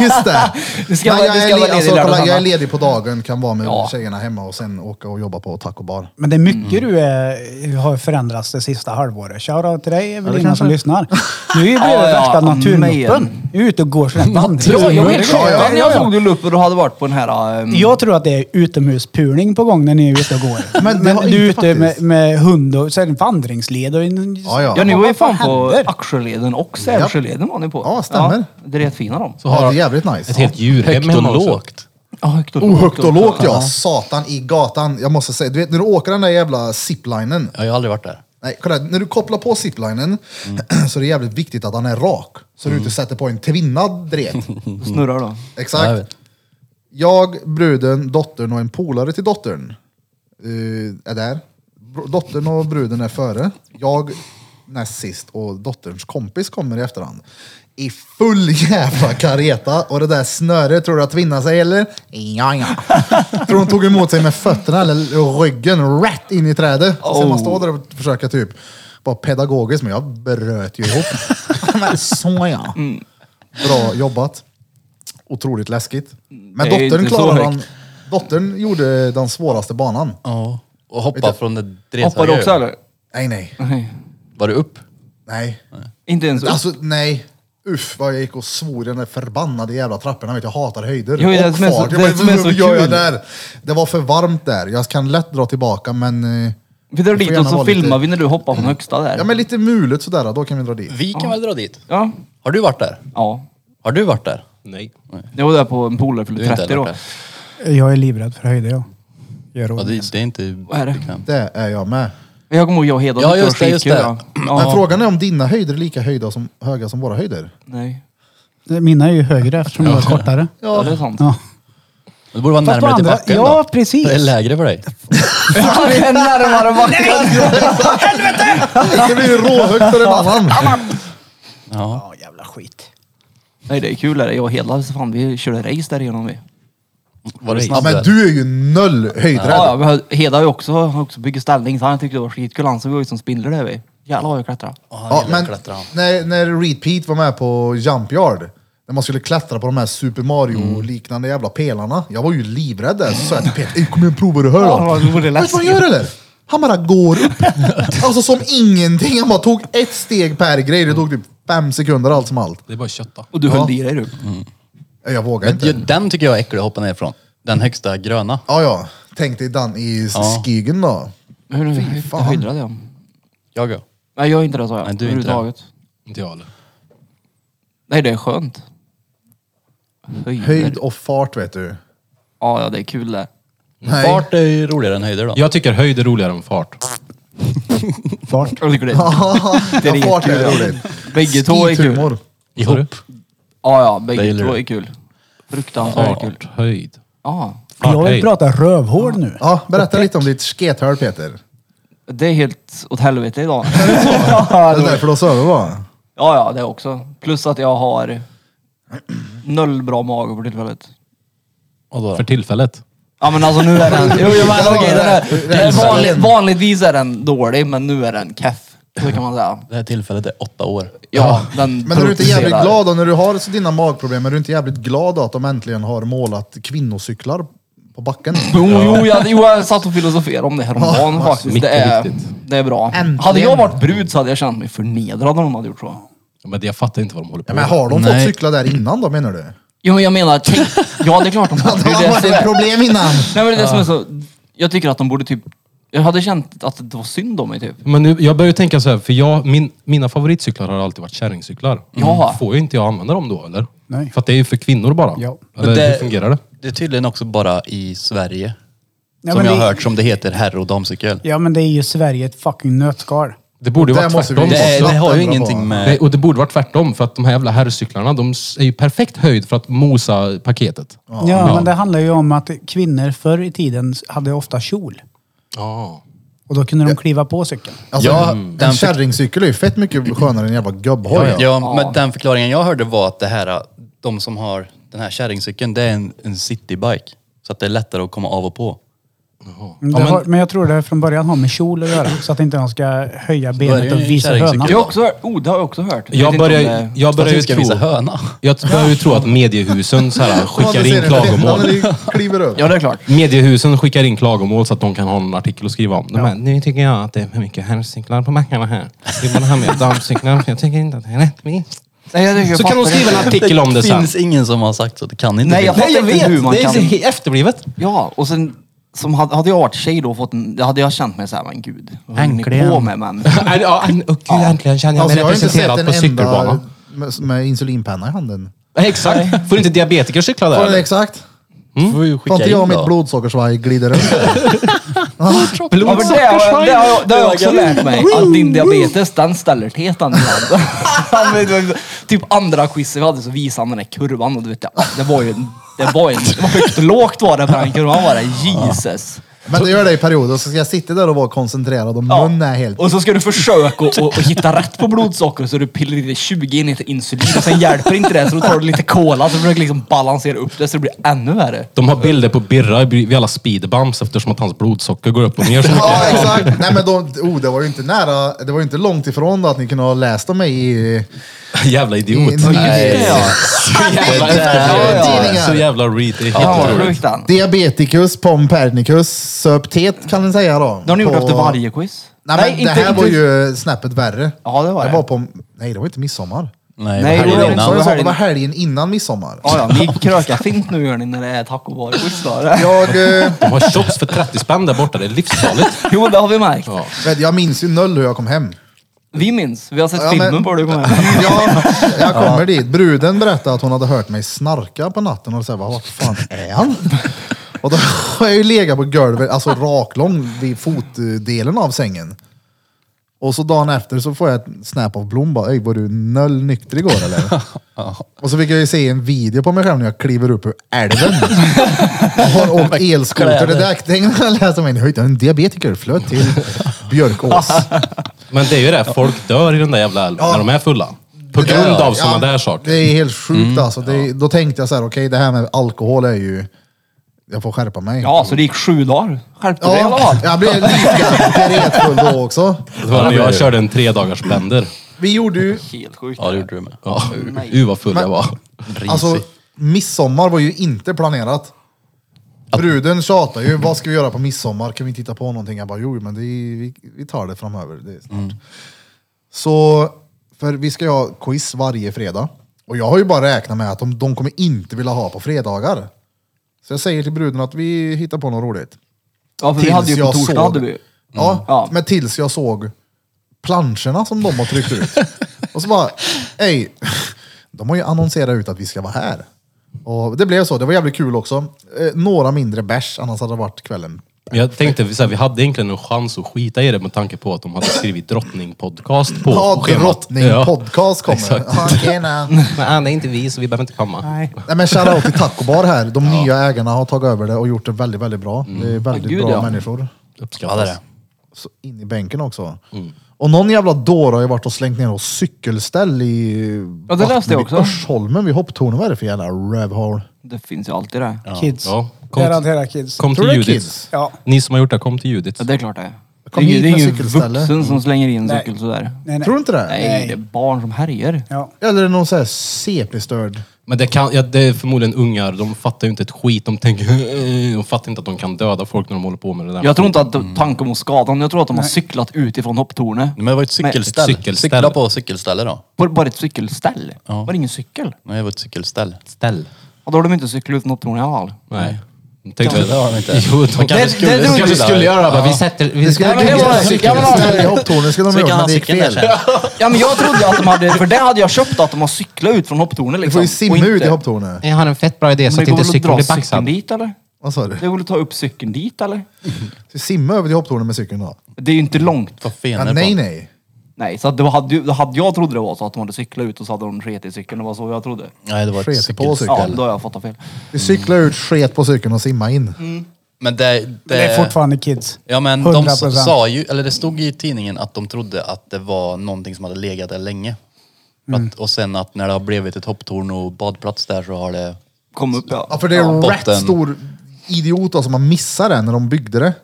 Speaker 1: just det.
Speaker 4: Du ska
Speaker 1: Nej, jag,
Speaker 4: vara-
Speaker 1: är
Speaker 4: du ska
Speaker 1: le-
Speaker 4: vara ledig
Speaker 1: alltså,
Speaker 4: lördag och
Speaker 1: kolla, jag är
Speaker 4: söndag.
Speaker 1: ledig på dagen, kan vara med
Speaker 4: Ja.
Speaker 1: tjejerna hemma och sen åka och jobba på taco bar.
Speaker 2: Men det är mycket
Speaker 4: Mm.
Speaker 2: du är, har förändrats det sista halvåret. Shoutout till dig Evelina som lyssnar. Du är ju blivit
Speaker 4: Ja, ja,
Speaker 2: värsta
Speaker 4: men-
Speaker 2: naturmuppen. Du är ute och går sådär
Speaker 4: Ja, jag
Speaker 2: vandringsrundor.
Speaker 4: vet. Jag, jag såg
Speaker 2: ja.
Speaker 4: du luppen och hade varit på den här... ehm,
Speaker 2: Jag tror att det är utomhuspulning på gång när ni är ute och går.
Speaker 1: Men-
Speaker 2: Du-
Speaker 1: men
Speaker 2: du är
Speaker 1: inte
Speaker 2: ute med,
Speaker 1: faktiskt.
Speaker 2: med hund och sen vandringsled och... en-
Speaker 1: Ja, ja.
Speaker 4: Ja, ni
Speaker 2: Vad
Speaker 4: var ju fan på
Speaker 2: händer?
Speaker 4: Axeleden och Sävsjöleden var ni på.
Speaker 1: Ja, stämmer.
Speaker 4: det är rätt fina de.
Speaker 3: Så
Speaker 1: Ja,
Speaker 3: har
Speaker 1: det är jävligt
Speaker 3: ett
Speaker 1: nice.
Speaker 3: helt djurhem
Speaker 5: Högt
Speaker 3: hemma
Speaker 5: och
Speaker 3: också.
Speaker 5: lågt.
Speaker 4: Ja, högt och
Speaker 1: Oh, högt och lågt ja. Satan i gatan. Jag måste säga, du vet när du åker den där jävla ziplinen.
Speaker 5: Ja, jag har aldrig varit där.
Speaker 1: Nej, kolla, när du kopplar på ziplinen
Speaker 3: Mm.
Speaker 1: så är det jävligt viktigt att han är rak. Så du inte sätter på en tvinnad dret.
Speaker 5: Mm.
Speaker 4: Snurrar då.
Speaker 5: Ja, jag
Speaker 1: Exakt.
Speaker 5: vet.
Speaker 1: Jag, bruden, dottern och en polare till dottern eh, är där. Bro- Dottern och bruden är före. Jag näst sist och dotterns kompis kommer i efterhand. I full jävla kareta och det där snöret, tror du att tvinna sig eller? Ja, ja. Tror hon tog emot sig med fötterna eller ryggen rätt in i trädet. Sen man står där och försöker typ vara pedagogisk, men jag bröt ju ihop. Men så ja. Bra jobbat. Otroligt läskigt. Men
Speaker 4: Det är
Speaker 1: dottern
Speaker 4: inte så
Speaker 1: klarade
Speaker 4: högt.
Speaker 1: han. Dottern gjorde den svåraste banan.
Speaker 5: Ja. Och hoppa från det drethöga.
Speaker 4: Hoppar du också eller?
Speaker 1: Nej, nej.
Speaker 4: Nej.
Speaker 5: Var det upp?
Speaker 1: Nej.
Speaker 4: Inte ens upp.
Speaker 1: Alltså, nej. Uff, vad jag gick och svor i den där förbannade jävla trapporna. Vet, du, jag hatar höjder.
Speaker 4: Jo, det är
Speaker 1: och
Speaker 4: det som är så-
Speaker 1: fart.
Speaker 4: det
Speaker 1: Jag
Speaker 4: är
Speaker 1: bara,
Speaker 4: som är så
Speaker 1: "Vad gör jag
Speaker 4: kul."
Speaker 1: där? Det var för varmt där. Jag kan lätt dra tillbaka, men... eh,
Speaker 4: Vi drar
Speaker 1: det får
Speaker 4: dit och
Speaker 1: gärna
Speaker 4: så
Speaker 1: vara
Speaker 4: filmar vi
Speaker 1: lite,
Speaker 4: när du hoppar från högsta där.
Speaker 1: Ja, men lite mulet sådär. Då kan vi dra dit.
Speaker 5: Vi kan väl dra dit?
Speaker 4: Ja.
Speaker 5: Har du varit där?
Speaker 4: Ja.
Speaker 5: Har du varit där?
Speaker 3: Nej.
Speaker 4: Jag var där på en polare
Speaker 5: Du
Speaker 4: fyllde
Speaker 5: är inte
Speaker 4: 30
Speaker 5: där
Speaker 4: då.
Speaker 5: borta.
Speaker 2: Jag är livrädd för höjder jag. Gör
Speaker 5: Ja,
Speaker 2: ont.
Speaker 5: det, det är inte
Speaker 4: Vad är det?
Speaker 5: bekvämt.
Speaker 1: Det är jag med.
Speaker 4: Men Jag kommer ihåg jag och Hedda
Speaker 5: Ja,
Speaker 4: tyckte
Speaker 5: just
Speaker 4: var
Speaker 5: det, just
Speaker 4: skitkul,
Speaker 5: det.
Speaker 4: ja.
Speaker 1: Men
Speaker 4: Ja.
Speaker 1: frågan är om dina höjder är lika höjda som, höga som våra höjder?
Speaker 4: Nej.
Speaker 2: Mina är ju högre eftersom jag är kortare.
Speaker 4: Ja, det är sant.
Speaker 2: Ja.
Speaker 5: Det borde vara
Speaker 2: Fast på
Speaker 5: närmare till
Speaker 2: andra-
Speaker 5: backen
Speaker 2: ja,
Speaker 5: då.
Speaker 2: precis.
Speaker 5: Det är lägre för dig.
Speaker 4: Det är närmare backen.
Speaker 1: Det blir ju råhögt för en annan.
Speaker 5: Ja.
Speaker 2: Ja, jävla skit.
Speaker 4: Nej, det är kul. Är det. Jag och Hedda, så fan, vi körde race där igenom vi.
Speaker 5: Var det
Speaker 1: Ja,
Speaker 5: snabbt?
Speaker 1: men du är ju noll höjdrädd.
Speaker 4: Ja, ja, men Hedda har ju också, har också byggt ställning så han tyckte det var skitkul. Han såg ut som spindlar där vi. Jävlar vad jag klättrade.
Speaker 1: Ja, men
Speaker 5: klättra. han.
Speaker 1: när, när Reed Pete var med på Jump Yard, när man skulle klättra på de här Super
Speaker 4: Mm.
Speaker 1: Mario-liknande jävla pelarna. Jag var ju livrädd där. Så sa jag till Peter, "Ey, kom igen prova det här
Speaker 4: Ja, det var-
Speaker 1: då.
Speaker 4: det var det
Speaker 1: Vet du vad han gör eller? Han bara går upp. Alltså som ingenting. Han bara tog ett steg per grej. Det tog typ fem sekunder allt som allt.
Speaker 3: Det är bara kötta.
Speaker 4: Och du
Speaker 1: Ja. Mm.
Speaker 4: höll i dig du.
Speaker 1: Jag vågar
Speaker 5: Men ju-
Speaker 1: inte.
Speaker 5: den tycker jag är äcklig att hoppa ner från. Den högsta gröna.
Speaker 1: Ja, ja. Tänk dig Dan i
Speaker 5: Ja.
Speaker 1: Skigen då.
Speaker 4: Hur
Speaker 1: fan.
Speaker 4: höjdrade jag?
Speaker 5: Jag ja.
Speaker 4: Nej, jag är inte det sa jag.
Speaker 5: Nej, du är inte det.
Speaker 4: Överhuvudtaget.
Speaker 3: Inte jag heller.
Speaker 4: Nej, det är skönt. Höjder.
Speaker 1: Höjd och fart vet du.
Speaker 4: Ja, ja, det är kul det.
Speaker 1: Nej.
Speaker 5: Fart är ju roligare än höjder då.
Speaker 3: Jag tycker höjd är roligare än fart.
Speaker 2: Fart.
Speaker 4: Jag tycker det.
Speaker 1: ja, fart är roligt.
Speaker 4: Bägge två är kul.
Speaker 1: Skitumor.
Speaker 3: Ihop.
Speaker 4: Ja, ja,
Speaker 5: Det
Speaker 4: bägge
Speaker 5: gillar
Speaker 4: två
Speaker 5: du.
Speaker 4: är kul. Fruktansvärt kul.
Speaker 3: Fart, höjd.
Speaker 4: Ja,
Speaker 3: Fart,
Speaker 2: jag vill
Speaker 3: höjd.
Speaker 2: prata rövhål nu.
Speaker 1: Ja, berätta lite om ditt skethörn Peter.
Speaker 4: det är helt åt helvete idag.
Speaker 1: Det är därför du har sovit va?
Speaker 4: Ja, ja, det också. Plus att jag har noll bra mage för tillfället.
Speaker 5: Och då?
Speaker 3: För tillfället.
Speaker 4: Ja men alltså nu är den... Jo, jo, men, okej, den
Speaker 1: Ja,
Speaker 4: är,
Speaker 1: det
Speaker 4: den
Speaker 1: är
Speaker 4: är vanlig,
Speaker 1: den.
Speaker 4: vanligtvis är den dålig, men nu är den keff. Så kan man säga.
Speaker 5: Det här tillfället är åtta år.
Speaker 4: Ja, den
Speaker 1: Men är du inte jävligt
Speaker 4: producerar.
Speaker 1: glad då, när du har så dina magproblem, är du inte jävligt glad då att de äntligen har målat kvinnocyklar på backen?
Speaker 4: Jo, jo, jag, jo, jag satt och filosoferade om det här om dagen faktiskt.
Speaker 3: mycket
Speaker 4: Det är,
Speaker 3: viktigt.
Speaker 4: det är bra.
Speaker 1: Äntligen.
Speaker 4: Hade jag varit brud så hade jag känt mig förnedrad om de hade gjort så.
Speaker 3: Ja, Men jag fattar inte vad de håller på
Speaker 1: Ja, men har de
Speaker 5: Nej.
Speaker 1: fått cykla där innan då menar du?
Speaker 4: Jo, men jag menar, tänk, ja det är klart de har. Det
Speaker 1: Det
Speaker 4: är
Speaker 1: har
Speaker 4: det som
Speaker 1: varit ett
Speaker 4: är.
Speaker 1: problem innan.
Speaker 4: Nej, men det är det som är så. Jag tycker att de borde typ... Jag hade känt att det var synd om mig typ.
Speaker 3: Men nu, jag börjar ju tänka så här, för jag, min, mina favoritcyklar har alltid varit kärringcyklar. Mm.
Speaker 4: Ja.
Speaker 3: Får ju inte jag använda dem då eller?
Speaker 2: Nej.
Speaker 3: För att det är ju för kvinnor bara.
Speaker 2: Ja.
Speaker 3: Eller hur fungerar det?
Speaker 5: Det är tydligen också bara i Sverige.
Speaker 2: Ja,
Speaker 5: som
Speaker 2: men
Speaker 5: jag har
Speaker 2: det-
Speaker 5: hört som det heter herr och damcykel.
Speaker 2: Ja, men det är ju Sverige ett fucking nötskal.
Speaker 3: Det borde ju
Speaker 1: Där
Speaker 3: vara
Speaker 1: måste vi
Speaker 3: tvärtom.
Speaker 5: Det, är, det har ju
Speaker 1: Vatten bra på.
Speaker 5: ingenting
Speaker 3: Nej,
Speaker 5: med...
Speaker 3: och det borde vara tvärtom för att de här jävla herrcyklarna, de s- är ju perfekt höjd för att mosa paketet.
Speaker 2: Ja, men det handlar ju om att kvinnor förr i tiden hade ofta kjol.
Speaker 3: Ja.
Speaker 2: Och då kunde de kliva på cykeln.
Speaker 1: Alltså,
Speaker 5: Ja,
Speaker 1: en
Speaker 5: den
Speaker 1: en
Speaker 5: fick-
Speaker 1: kärringcykel är ju fett mycket skönare än en jävla gubbhoj.
Speaker 5: Ja, men den förklaringen jag hörde var att det här, de som har den här kärringcykeln, det är en, en citybike. Så att det är lättare att komma av och på.
Speaker 2: Men,
Speaker 5: men-
Speaker 2: det har, men jag tror det från början har med kjol att göra. Så att inte de ska höja
Speaker 5: är
Speaker 2: benet
Speaker 5: det
Speaker 2: och
Speaker 5: ju
Speaker 2: visa
Speaker 5: kärringcykel.
Speaker 2: hönan.
Speaker 4: Jag har också hört, oh, det har jag också hört. vet
Speaker 3: Jag
Speaker 4: inte om
Speaker 3: börjar,
Speaker 4: det-
Speaker 3: jag
Speaker 5: För att
Speaker 3: börjar ju
Speaker 5: du ska visa
Speaker 3: tro...
Speaker 5: höna.
Speaker 3: Jag börjar ju tro att mediehusen så här, skickar in klagomål.
Speaker 1: När kliver upp.
Speaker 4: Ja, det är klart.
Speaker 3: Mediehusen skickar in klagomål så att de kan ha en artikel att skriva om. De bara, nu tycker jag att det är för mycket herrcyklar på mackarna här. Vi borde ha med damcyklar för jag tycker inte att det är rättvist.
Speaker 4: Nej, jag tycker jag
Speaker 3: Så kan de
Speaker 4: fattar
Speaker 3: skriva en
Speaker 4: inte.
Speaker 3: artikel om det sen.
Speaker 5: finns ingen som har sagt så. Det kan inte
Speaker 4: Nej, jag
Speaker 5: finnas.
Speaker 4: fattar inte hur man
Speaker 3: Det är
Speaker 4: kan...
Speaker 3: så efterblivet.
Speaker 4: Ja, och sen som hade, hade jag varit tjej då och fått en, då hade jag känt mig såhär, men gud, vad håller ni
Speaker 5: Äntligen.
Speaker 4: på med men?
Speaker 3: Ja, en- och gud, äntligen känner jag
Speaker 1: Alltså,
Speaker 3: mig
Speaker 1: jag har inte sett
Speaker 3: representerad
Speaker 1: en
Speaker 3: på cykelbanan.
Speaker 1: enda med, med insulinpenna i handen.
Speaker 3: Nej, Exakt. Får inte diabetiker cykla där?
Speaker 1: Var det
Speaker 3: eller?
Speaker 1: exakt?
Speaker 5: Får ju
Speaker 1: Får
Speaker 5: skicka
Speaker 1: inte
Speaker 5: in
Speaker 1: jag och
Speaker 5: då.
Speaker 1: mitt blodsockersvaj glider upp?
Speaker 4: Ja, men det, har jag, det, har jag, det har jag också lärt mig. Att din diabetes, den ställer till ett annat land. Han vet, vet, Typ andra quizet vi hade så visade han den där kurvan och du vet, ja, det var ju en, det var en, det var högt och lågt var det på den kurvan var det. Jesus.
Speaker 1: Men det gör det i perioder, så ska jag sitta där och vara koncentrerad och
Speaker 4: Ja.
Speaker 1: munnen är helt...
Speaker 4: Och så ska du försöka att- att att hitta rätt på blodsocker så du pillar i dig 20 enheter insulin och sen hjälper inte det så då tar du lite cola så försöker liksom balansera upp det så det blir ännu värre.
Speaker 3: De har bilder på Birra vid alla speedbumps eftersom att hans blodsocker går upp och ner så mycket.
Speaker 1: Ja, exakt. Nej men då, oh, det var ju inte nära, det var ju inte långt ifrån då att ni kunde ha läst om mig i... i
Speaker 3: Jävla idiot.
Speaker 1: någon-
Speaker 4: det, ja.
Speaker 3: Jävla-
Speaker 1: ja.
Speaker 3: Så jävla read. Det är
Speaker 4: Ja, vad
Speaker 3: jätteroligt.
Speaker 4: sjukt den.
Speaker 1: Diabeticus pompernicus söp tet kan man säga då.
Speaker 4: Det har ni gjort
Speaker 1: På-
Speaker 4: efter varje quiz?
Speaker 1: Nej, men det här var ju snäppet värre.
Speaker 4: Ja, det var det.
Speaker 1: var på, nej, det var inte midsommar.
Speaker 4: Nej,
Speaker 5: Nej, vad
Speaker 1: Det
Speaker 4: det
Speaker 5: hände
Speaker 1: var,
Speaker 4: inte
Speaker 5: innan?
Speaker 1: som jag sa, det
Speaker 4: helgen.
Speaker 1: var helgen innan midsommar.
Speaker 4: Ja, ja, ni krökar fint nu gör ni när det är tacobar-quiz då.
Speaker 1: Jag, eh,
Speaker 3: De har shots för 30 spänn där borta. Det är livsfarligt.
Speaker 4: Jo, det har vi märkt.
Speaker 1: vet, jag minns ju noll hur jag kom hem.
Speaker 4: Vi minns. Vi har sett
Speaker 1: Ja,
Speaker 4: filmen
Speaker 1: men-
Speaker 4: på det. kommer jag ihåg.
Speaker 1: Ja, jag kommer dit. Bruden berättade att hon hade hört mig snarka på natten och så här, "Vad- vart fan är han? Och då har jag ju legat på golvet, alltså raklång vid fotdelen av sängen. Och så dagen efter så får jag ett snap av Blom bara, "Ey, var du noll nykter igår eller? Och så fick jag ju se en video på mig själv när jag kliver upp ur älven. Och har åkt elskoter. Det där tänkte jag läsa mig in. Höjt, en diabetiker flöt till Björkås.
Speaker 3: Men det är ju det. Folk dör i den där jävla älven när de är fulla. På
Speaker 1: Det-
Speaker 3: grund av
Speaker 1: ja,
Speaker 3: sådana där saker. Mm.
Speaker 1: Det är helt sjukt alltså. Det, Då tänkte jag så här, okej det här med alkohol är ju... Jag får skärpa mig.
Speaker 4: Ja, så det gick sju dagar. Skärpte dig i alla
Speaker 1: ja
Speaker 4: fall.
Speaker 1: jag blev lika beredfull då också.
Speaker 3: Det var när jag körde en tre dagars blender.
Speaker 1: Vi gjorde ju...
Speaker 4: Helt sjukt.
Speaker 5: Ja, det gjorde du med.
Speaker 3: Ja, u vad full jag var.
Speaker 5: Risig.
Speaker 1: Alltså, midsommar var ju inte planerat. Bruden tjatar ju, vad ska vi göra på midsommar? Kan vi titta på någonting? Jag bara, jo men det är, vi, vi tar det framöver. Det är snart. Så, för vi ska ju ha quiz varje fredag. Och jag har ju bara räknat med att de, de kommer inte vilja ha på fredagar. Så jag säger till bruden att vi hittar på något roligt.
Speaker 4: Ja, för vi
Speaker 1: Tills
Speaker 4: hade ju på
Speaker 1: jag
Speaker 4: torsdag.
Speaker 1: såg-
Speaker 4: Hade vi. Mm.
Speaker 1: Ja,
Speaker 4: Ja.
Speaker 1: men tills jag såg planscherna som de har tryckt ut. och så bara, ej, de har ju annonserat ut att vi ska vara här. Och det blev så, det var jävligt kul också. Eh, några mindre bärs, annars hade det varit kvällen.
Speaker 3: Men Jag tänkte så här, vi hade egentligen en chans att skita i det med tanke på att de hade skrivit drottning podcast på
Speaker 1: Ja,
Speaker 3: schemat.
Speaker 1: drottning podcast kommer.
Speaker 3: exakt.
Speaker 1: Ja, tjena.
Speaker 3: Men det är inte vi, så vi behöver inte komma.
Speaker 2: Nej.
Speaker 1: Nej men shoutout till Taco Bar här. De nya ägarna har tagit över det och gjort det väldigt, väldigt bra. Det är väldigt
Speaker 4: Ja, gud,
Speaker 1: bra
Speaker 4: ja.
Speaker 1: människor.
Speaker 5: Ja, det är det.
Speaker 1: Så in i bänken också. Och någon jävla dåre har ju varit och slängt ner och cykelställ i
Speaker 4: Ja, det läste jag
Speaker 1: vattnet vid
Speaker 4: också.
Speaker 1: Örsholmen vid hopptornet. Vad är det för jävla rövhål?
Speaker 4: Det finns ju alltid det. Ja,
Speaker 2: Kids.
Speaker 3: Ja, kom,
Speaker 2: Garanterat kids.
Speaker 3: kom
Speaker 1: Tror
Speaker 3: till
Speaker 1: du det är
Speaker 3: Judith.
Speaker 1: kids?
Speaker 2: Ja.
Speaker 3: Ni som har gjort det, kom till Judith.
Speaker 4: det är klart det är.
Speaker 1: Kom
Speaker 4: det är
Speaker 1: hit
Speaker 4: ju- det är
Speaker 1: med
Speaker 4: ingen
Speaker 1: cykelställe. Mm.
Speaker 4: vuxen som slänger in en
Speaker 2: Nej.
Speaker 4: cykel sådär.
Speaker 2: Nej, nej.
Speaker 1: Tror du inte det?
Speaker 4: Nej, det är barn som härjer.
Speaker 2: Ja.
Speaker 1: Eller någon sån här CP-störd.
Speaker 3: Men det, kan, ja, det är förmodligen ungar, de fattar ju inte ett skit. De tänker, de fattar inte att de kan döda folk när de håller på med det där.
Speaker 4: Jag tror inte att tanken om att skada någon. Jag tror att de har cyklat utifrån hopptornet.
Speaker 5: Mm. Men det var ett cykelställ.
Speaker 3: Ett cykelställ.
Speaker 5: Cykla på cykelställe då.
Speaker 4: På bara ett cykelställ.
Speaker 5: Ja.
Speaker 4: Var det ingen cykel?
Speaker 5: Nej, det var ett cykelställ.
Speaker 3: Ställ.
Speaker 4: Ja, då har de inte cyklat utifrån hopptornet i alla fall.
Speaker 3: Nej. De tänkte,
Speaker 5: Ja, det har de inte.
Speaker 3: Jo, de
Speaker 5: kanske
Speaker 3: kanske
Speaker 5: skulle-
Speaker 3: skulle,
Speaker 5: de
Speaker 3: kanske
Speaker 5: skulle-
Speaker 3: skulle göra det. bara, Vi sätter... Vi
Speaker 1: Det skulle
Speaker 3: Ja, men
Speaker 1: bygga
Speaker 4: var det.
Speaker 1: ett cykelställ i hopptornet skulle de
Speaker 5: Så vi
Speaker 1: gjort,
Speaker 5: kan
Speaker 1: men
Speaker 5: ha
Speaker 1: det gick
Speaker 5: cykeln där
Speaker 1: fel.
Speaker 5: sen.
Speaker 4: Ja men jag trodde att de hade, för det hade jag köpt att de har cyklat ut från hopptornet
Speaker 1: Du
Speaker 4: liksom.
Speaker 1: får ju
Speaker 4: Och
Speaker 1: simma
Speaker 4: inte-
Speaker 1: ut i hopptornet.
Speaker 3: Jag har en fett bra idé
Speaker 4: Men
Speaker 3: så att
Speaker 4: det går
Speaker 3: inte
Speaker 4: väl att
Speaker 3: cykeln
Speaker 4: dra
Speaker 3: blir
Speaker 4: cykeln
Speaker 3: baxad.
Speaker 4: dit eller?
Speaker 1: Vad sa du?
Speaker 4: Det går att ta upp cykeln dit eller?
Speaker 1: Ska vi simma över till hopptornet med cykeln då?
Speaker 4: Det är ju inte långt.
Speaker 5: Vad
Speaker 1: Ja,
Speaker 5: fenor på.
Speaker 1: nej, nej.
Speaker 4: Nej, så att det hade, ju- då hade jag trodde det var så att de hade cyklat ut och så hade de sket i cykeln. Det var så jag trodde.
Speaker 5: Nej, det var ett
Speaker 1: Sket på
Speaker 5: cykel.
Speaker 1: cykeln.
Speaker 4: Ja, då har jag fattat fel.
Speaker 1: Vi cyklar ut, sket på cykeln och simma in.
Speaker 5: Men det, det,
Speaker 2: Det är fortfarande kids.
Speaker 5: Ja men de
Speaker 2: 100%.
Speaker 5: sa ju, eller det stod i tidningen att de trodde att det var någonting som hade legat där länge. För
Speaker 1: Mm.
Speaker 5: Att, och sen att när det har blivit ett hopptorn och badplats där så har det...
Speaker 4: Kom upp ja.
Speaker 1: Ja, för det är
Speaker 5: Ja,
Speaker 1: en rätt
Speaker 5: botten.
Speaker 1: stor idiot då, som har missat det när de byggde det.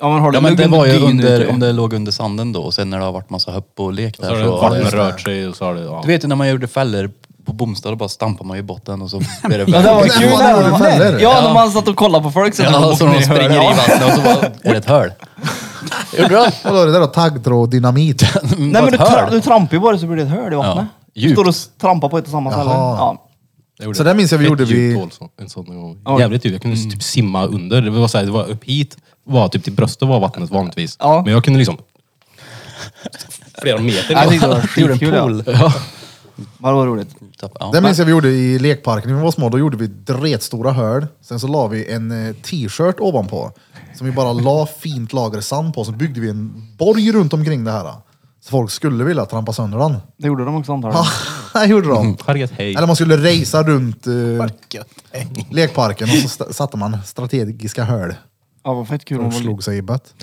Speaker 4: Ja, men har du
Speaker 5: Ja men det
Speaker 4: lugn
Speaker 5: var ju
Speaker 4: dygn
Speaker 5: under,
Speaker 4: ute?
Speaker 5: om det låg under sanden då och sen när det har varit massa hopp och lek
Speaker 3: Så har
Speaker 5: där
Speaker 3: det
Speaker 5: så har
Speaker 3: vattnet
Speaker 5: det...
Speaker 3: rört sig och så har det... Ja.
Speaker 5: Du vet ju när man gjorde fällor på Bomstad då bara stampade man i botten och så blev det
Speaker 4: Ja, det var
Speaker 1: Men
Speaker 4: kul.
Speaker 1: vad
Speaker 4: när
Speaker 1: var det
Speaker 4: man-
Speaker 1: för fällor?
Speaker 4: Ja, när man satt och kollade på folk. Så
Speaker 5: Ja, så de springer i vattnet och så bara, är det ett hål? Gjorde du det?
Speaker 1: Vadå är det där då? Taggtråd och dynamit?
Speaker 4: Nej men du,
Speaker 5: Vad Mm, ett
Speaker 4: tra-
Speaker 5: hål?
Speaker 4: du trampar ju bara så blir det ett hål i vattnet.
Speaker 5: djupt.
Speaker 4: Står och trampar på ett och samma ställe.
Speaker 1: Jaha.
Speaker 4: Ja.
Speaker 3: Jag gjorde
Speaker 1: Så där minns jag vi
Speaker 3: ett
Speaker 1: gjorde
Speaker 3: djupt
Speaker 1: vi-
Speaker 3: hål så- En sån gång. Jävligt djupt. Jag kunde typ simma under. Det var, så här, det var upp hit, var typ till bröstet var vattnet vanligtvis.
Speaker 4: Ja.
Speaker 3: Men jag kunde liksom... Flera meter.
Speaker 4: Jag tyckte det var
Speaker 5: Gjorde en
Speaker 4: skitkul, ja.
Speaker 5: pool.
Speaker 4: Vad var roligt.
Speaker 5: Ja.
Speaker 1: Det minns jag vi gjorde i lekparken när vi var små. Då gjorde vi dretstora hål. Sen så la vi en eh, t-shirt ovanpå. Som vi bara la fint lager sand på. Så byggde vi en borg runt omkring det här. Så folk skulle vilja trampa sönder den.
Speaker 4: Det gjorde de också antagligen.
Speaker 1: Ja, det gjorde de.
Speaker 3: Harriet, hej.
Speaker 1: Eller man skulle racea runt eh, lekparken och så st- satte man strategiska hål.
Speaker 4: Ja, vad fett kul. de var.
Speaker 1: Och slog sig i bött.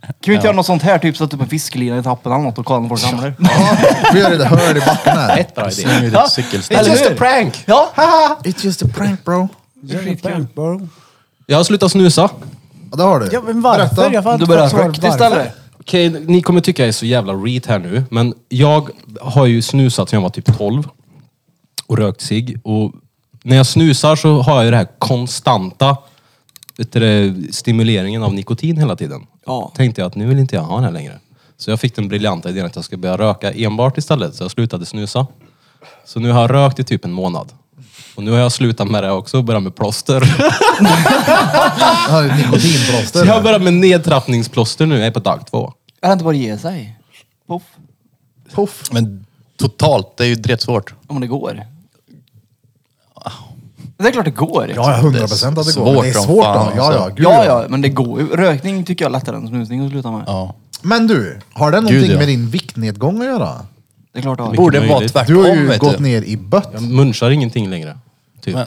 Speaker 4: Kan vi inte göra något sånt här? Typ sätta upp en fiskelina i tappen eller något och kolla om folk ramlar.
Speaker 1: Ja, vi gör ett hål i backen här.
Speaker 3: Bra idé.
Speaker 5: Slänger ut ett cykelställ.
Speaker 4: Eller hur?
Speaker 3: prank!
Speaker 4: Ja.
Speaker 1: It's just a prank bro.
Speaker 3: Jag har slutat snusa.
Speaker 1: Ja, det har du.
Speaker 2: Ja, men varför?
Speaker 1: Berätta.
Speaker 2: Jag har
Speaker 4: Du
Speaker 2: inte
Speaker 4: börjar
Speaker 2: fått svar
Speaker 4: högt
Speaker 2: varför.
Speaker 4: istället.
Speaker 3: Okej, ni kommer tycka jag är så jävla reet här nu, men jag har ju snusat sedan jag var typ 12 och rökt cigg. Och när jag snusar så har jag ju det här konstanta vet du, det, stimuleringen av nikotin hela tiden.
Speaker 4: Ja.
Speaker 3: Tänkte jag att nu vill inte jag ha den här längre. Så jag fick den briljanta idén att jag ska börja röka enbart istället, så jag slutade snusa. Så nu har jag rökt i typ en månad. Och nu har jag slutat med det också och börjat med plåster.
Speaker 1: Jag har ett
Speaker 3: Så jag har
Speaker 1: nikotinplåster.
Speaker 3: börjat med nedtrappningsplåster nu, jag är på dag två.
Speaker 4: Är det inte bara att ge sig? Poff.
Speaker 1: Puff.
Speaker 5: Men totalt, det är ju dretsvårt.
Speaker 4: Om det går. Det är klart det går.
Speaker 1: Ja, hundra procent att det går. men Det är
Speaker 5: Svårt som
Speaker 1: svårt.
Speaker 5: fan,
Speaker 1: då. Ja, ja,
Speaker 5: alltså.
Speaker 1: gud,
Speaker 4: Ja, ja, men det går ju. Rökning tycker jag är lättare än snusning att sluta med.
Speaker 5: Ja.
Speaker 1: Men du, har det någonting
Speaker 5: Gud, ja.
Speaker 1: med din viktnedgång att göra?
Speaker 4: Det är klart det har.
Speaker 5: Borde vara
Speaker 3: möjligt.
Speaker 1: Du
Speaker 5: tvärtom
Speaker 1: har ju
Speaker 5: vet
Speaker 1: gått
Speaker 5: du.
Speaker 1: ner i bött.
Speaker 3: Jag munchar ingenting längre. Typ.
Speaker 5: Men,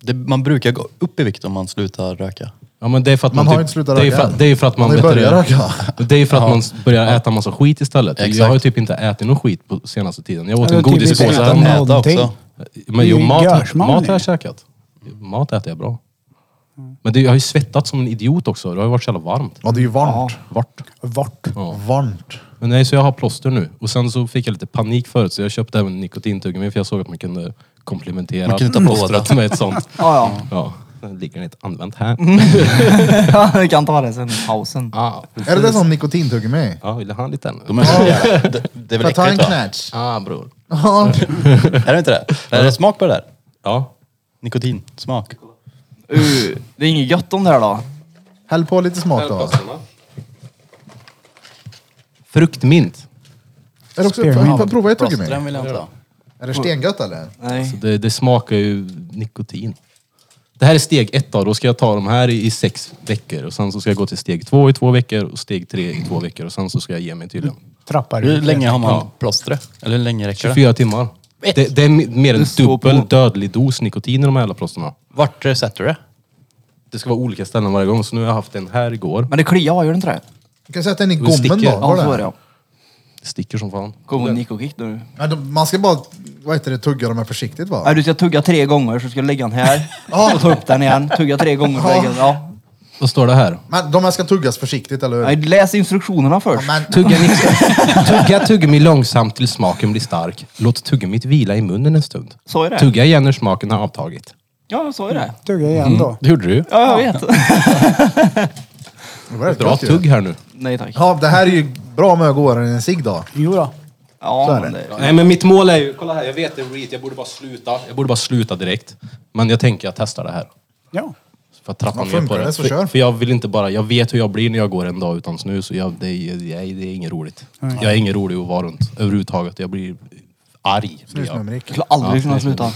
Speaker 5: det, man brukar gå upp i vikt om man slutar röka.
Speaker 3: Ja men det är för att man,
Speaker 1: Man har
Speaker 3: typ-
Speaker 1: inte slutat
Speaker 3: det är
Speaker 1: röka
Speaker 3: för,
Speaker 1: än.
Speaker 3: att- Det är för att man,
Speaker 1: Man har ju
Speaker 3: vet du
Speaker 1: börjat
Speaker 3: det.
Speaker 1: röka.
Speaker 3: Det är för att man s- börjar äta massa skit istället. Jag
Speaker 5: Exakt.
Speaker 3: har ju typ inte ätit någon skit på senaste tiden. Jag åt
Speaker 2: Ja,
Speaker 3: en
Speaker 2: det är typ
Speaker 3: godispåse
Speaker 2: utan
Speaker 5: Utan
Speaker 3: häromdagen.
Speaker 5: äta
Speaker 2: någonting.
Speaker 5: också.
Speaker 3: Men jo,
Speaker 2: Det är
Speaker 3: mat, har-
Speaker 2: görsman
Speaker 3: mat
Speaker 2: ju.
Speaker 3: har jag käkat. Mat äter jag bra. Men det, jag har ju svettats som en idiot också. Det har ju varit så jävla varmt.
Speaker 1: Ja, det är ju varmt.
Speaker 3: Vart?
Speaker 2: Vart?
Speaker 1: Varmt.
Speaker 3: Men nej, så jag har plåster nu. Och sen så fick jag lite panik förut så jag köpte även nikotintuggummi för jag såg att man kunde komplementera
Speaker 5: Man kunde ta på
Speaker 3: plåstret
Speaker 5: det.
Speaker 3: med ett sånt.
Speaker 4: Ja, ja.
Speaker 3: Ja, Mm. den ligger inte använt här.
Speaker 4: Ja, Vi kan ta det sen i pausen.
Speaker 3: Ah,
Speaker 1: Är det det som nikotintuggummit?
Speaker 3: Ja, vill du ha en liten?
Speaker 5: De är så jävla- det, det är väl
Speaker 1: Får jag ta en
Speaker 5: äckligt va?
Speaker 1: knätch?
Speaker 3: Ah, bror.
Speaker 1: Ja.
Speaker 5: Är det inte det? Är det smak på det där?
Speaker 3: Ja.
Speaker 5: Nikotinsmak.
Speaker 4: Uh, det är inget gött om det här då.
Speaker 1: Häll på lite smak då.
Speaker 3: Fruktmint.
Speaker 1: Är det också, får
Speaker 2: Spearmint.
Speaker 1: jag prova ett tuggummi?
Speaker 5: Plåstren vill jag inte ha.
Speaker 1: Är det stengött eller?
Speaker 4: Nej.
Speaker 3: Det, det smakar ju nikotin. Det här är steg ett då. Då ska jag ta de här i, i sex veckor. Och sen så ska jag gå till steg två i två veckor och steg tre i två veckor. Och sen så ska jag ge mig tydligen.
Speaker 2: Trappar
Speaker 5: Hur
Speaker 2: ut.
Speaker 5: länge har man plåstret? Eller hur länge räcker det?
Speaker 3: 24 timmar. Det, det är m- mer än
Speaker 4: står
Speaker 3: dubbel
Speaker 4: på.
Speaker 3: dödlig dos nikotin i de här jävla plåsterna.
Speaker 5: Vart sätter du det?
Speaker 3: Det ska vara olika ställen varje gång. Så nu har jag haft en här igår.
Speaker 4: Men det kliar, gör det inte det?
Speaker 1: Du kan sätta den i
Speaker 3: Och det
Speaker 1: gommen
Speaker 3: sticker.
Speaker 1: då.
Speaker 4: Ja,
Speaker 1: var
Speaker 4: så är
Speaker 1: det?
Speaker 4: det ja.
Speaker 3: Det sticker som fan.
Speaker 4: Kom och nikokick nu.
Speaker 1: Ja, de- Man ska bara, vad heter det, tugga dem här försiktigt va?
Speaker 4: Nej, du ska tugga tre gånger så ska du lägga den här. Och ta upp den igen. Tugga tre gånger så
Speaker 1: Ja.
Speaker 4: lägga den. Ja.
Speaker 3: Vad står det här?
Speaker 1: Men de här ska tuggas försiktigt eller hur?
Speaker 4: Nej, läs instruktionerna först.
Speaker 1: Men
Speaker 3: Tugga, nix- tugga tuggummi långsamt till smaken blir stark. Låt tuggummit vila i munnen en stund.
Speaker 4: Så är det.
Speaker 3: Tugga igen när smaken har avtagit.
Speaker 4: Ja, så är det.
Speaker 2: Tugga igen då.
Speaker 3: Det gjorde du.
Speaker 4: Mm. Ja, jag vet.
Speaker 1: det var rätt
Speaker 3: Bra
Speaker 1: gött ju.
Speaker 3: tugg här nu.
Speaker 4: Nej tack.
Speaker 1: Ja, det här är ju bra med att gå åren i en cigg då.
Speaker 2: Jo då.
Speaker 1: Så
Speaker 4: Ja,
Speaker 1: är
Speaker 4: men
Speaker 1: det.
Speaker 4: det.
Speaker 3: Nej men mitt mål är ju, kolla här, jag vet det är reet, jag borde bara sluta. Jag borde bara sluta direkt. Men jag tänker jag testar det här.
Speaker 2: Ja.
Speaker 3: För att trappa
Speaker 1: Ja,
Speaker 3: ner på
Speaker 1: funkar
Speaker 3: det.
Speaker 1: det så kör.
Speaker 3: För, för jag vill inte bara, jag vet hur jag blir när jag går en dag utan snus. Och jag, det, är, det, är, det är inget roligt. Jag är ingen rolig att vara runt överhuvudtaget. Jag blir arg. blir jag.
Speaker 1: Snusmumrik.
Speaker 4: Jag skulle aldrig
Speaker 3: Ja,
Speaker 4: kunna
Speaker 3: precis.
Speaker 4: sluta.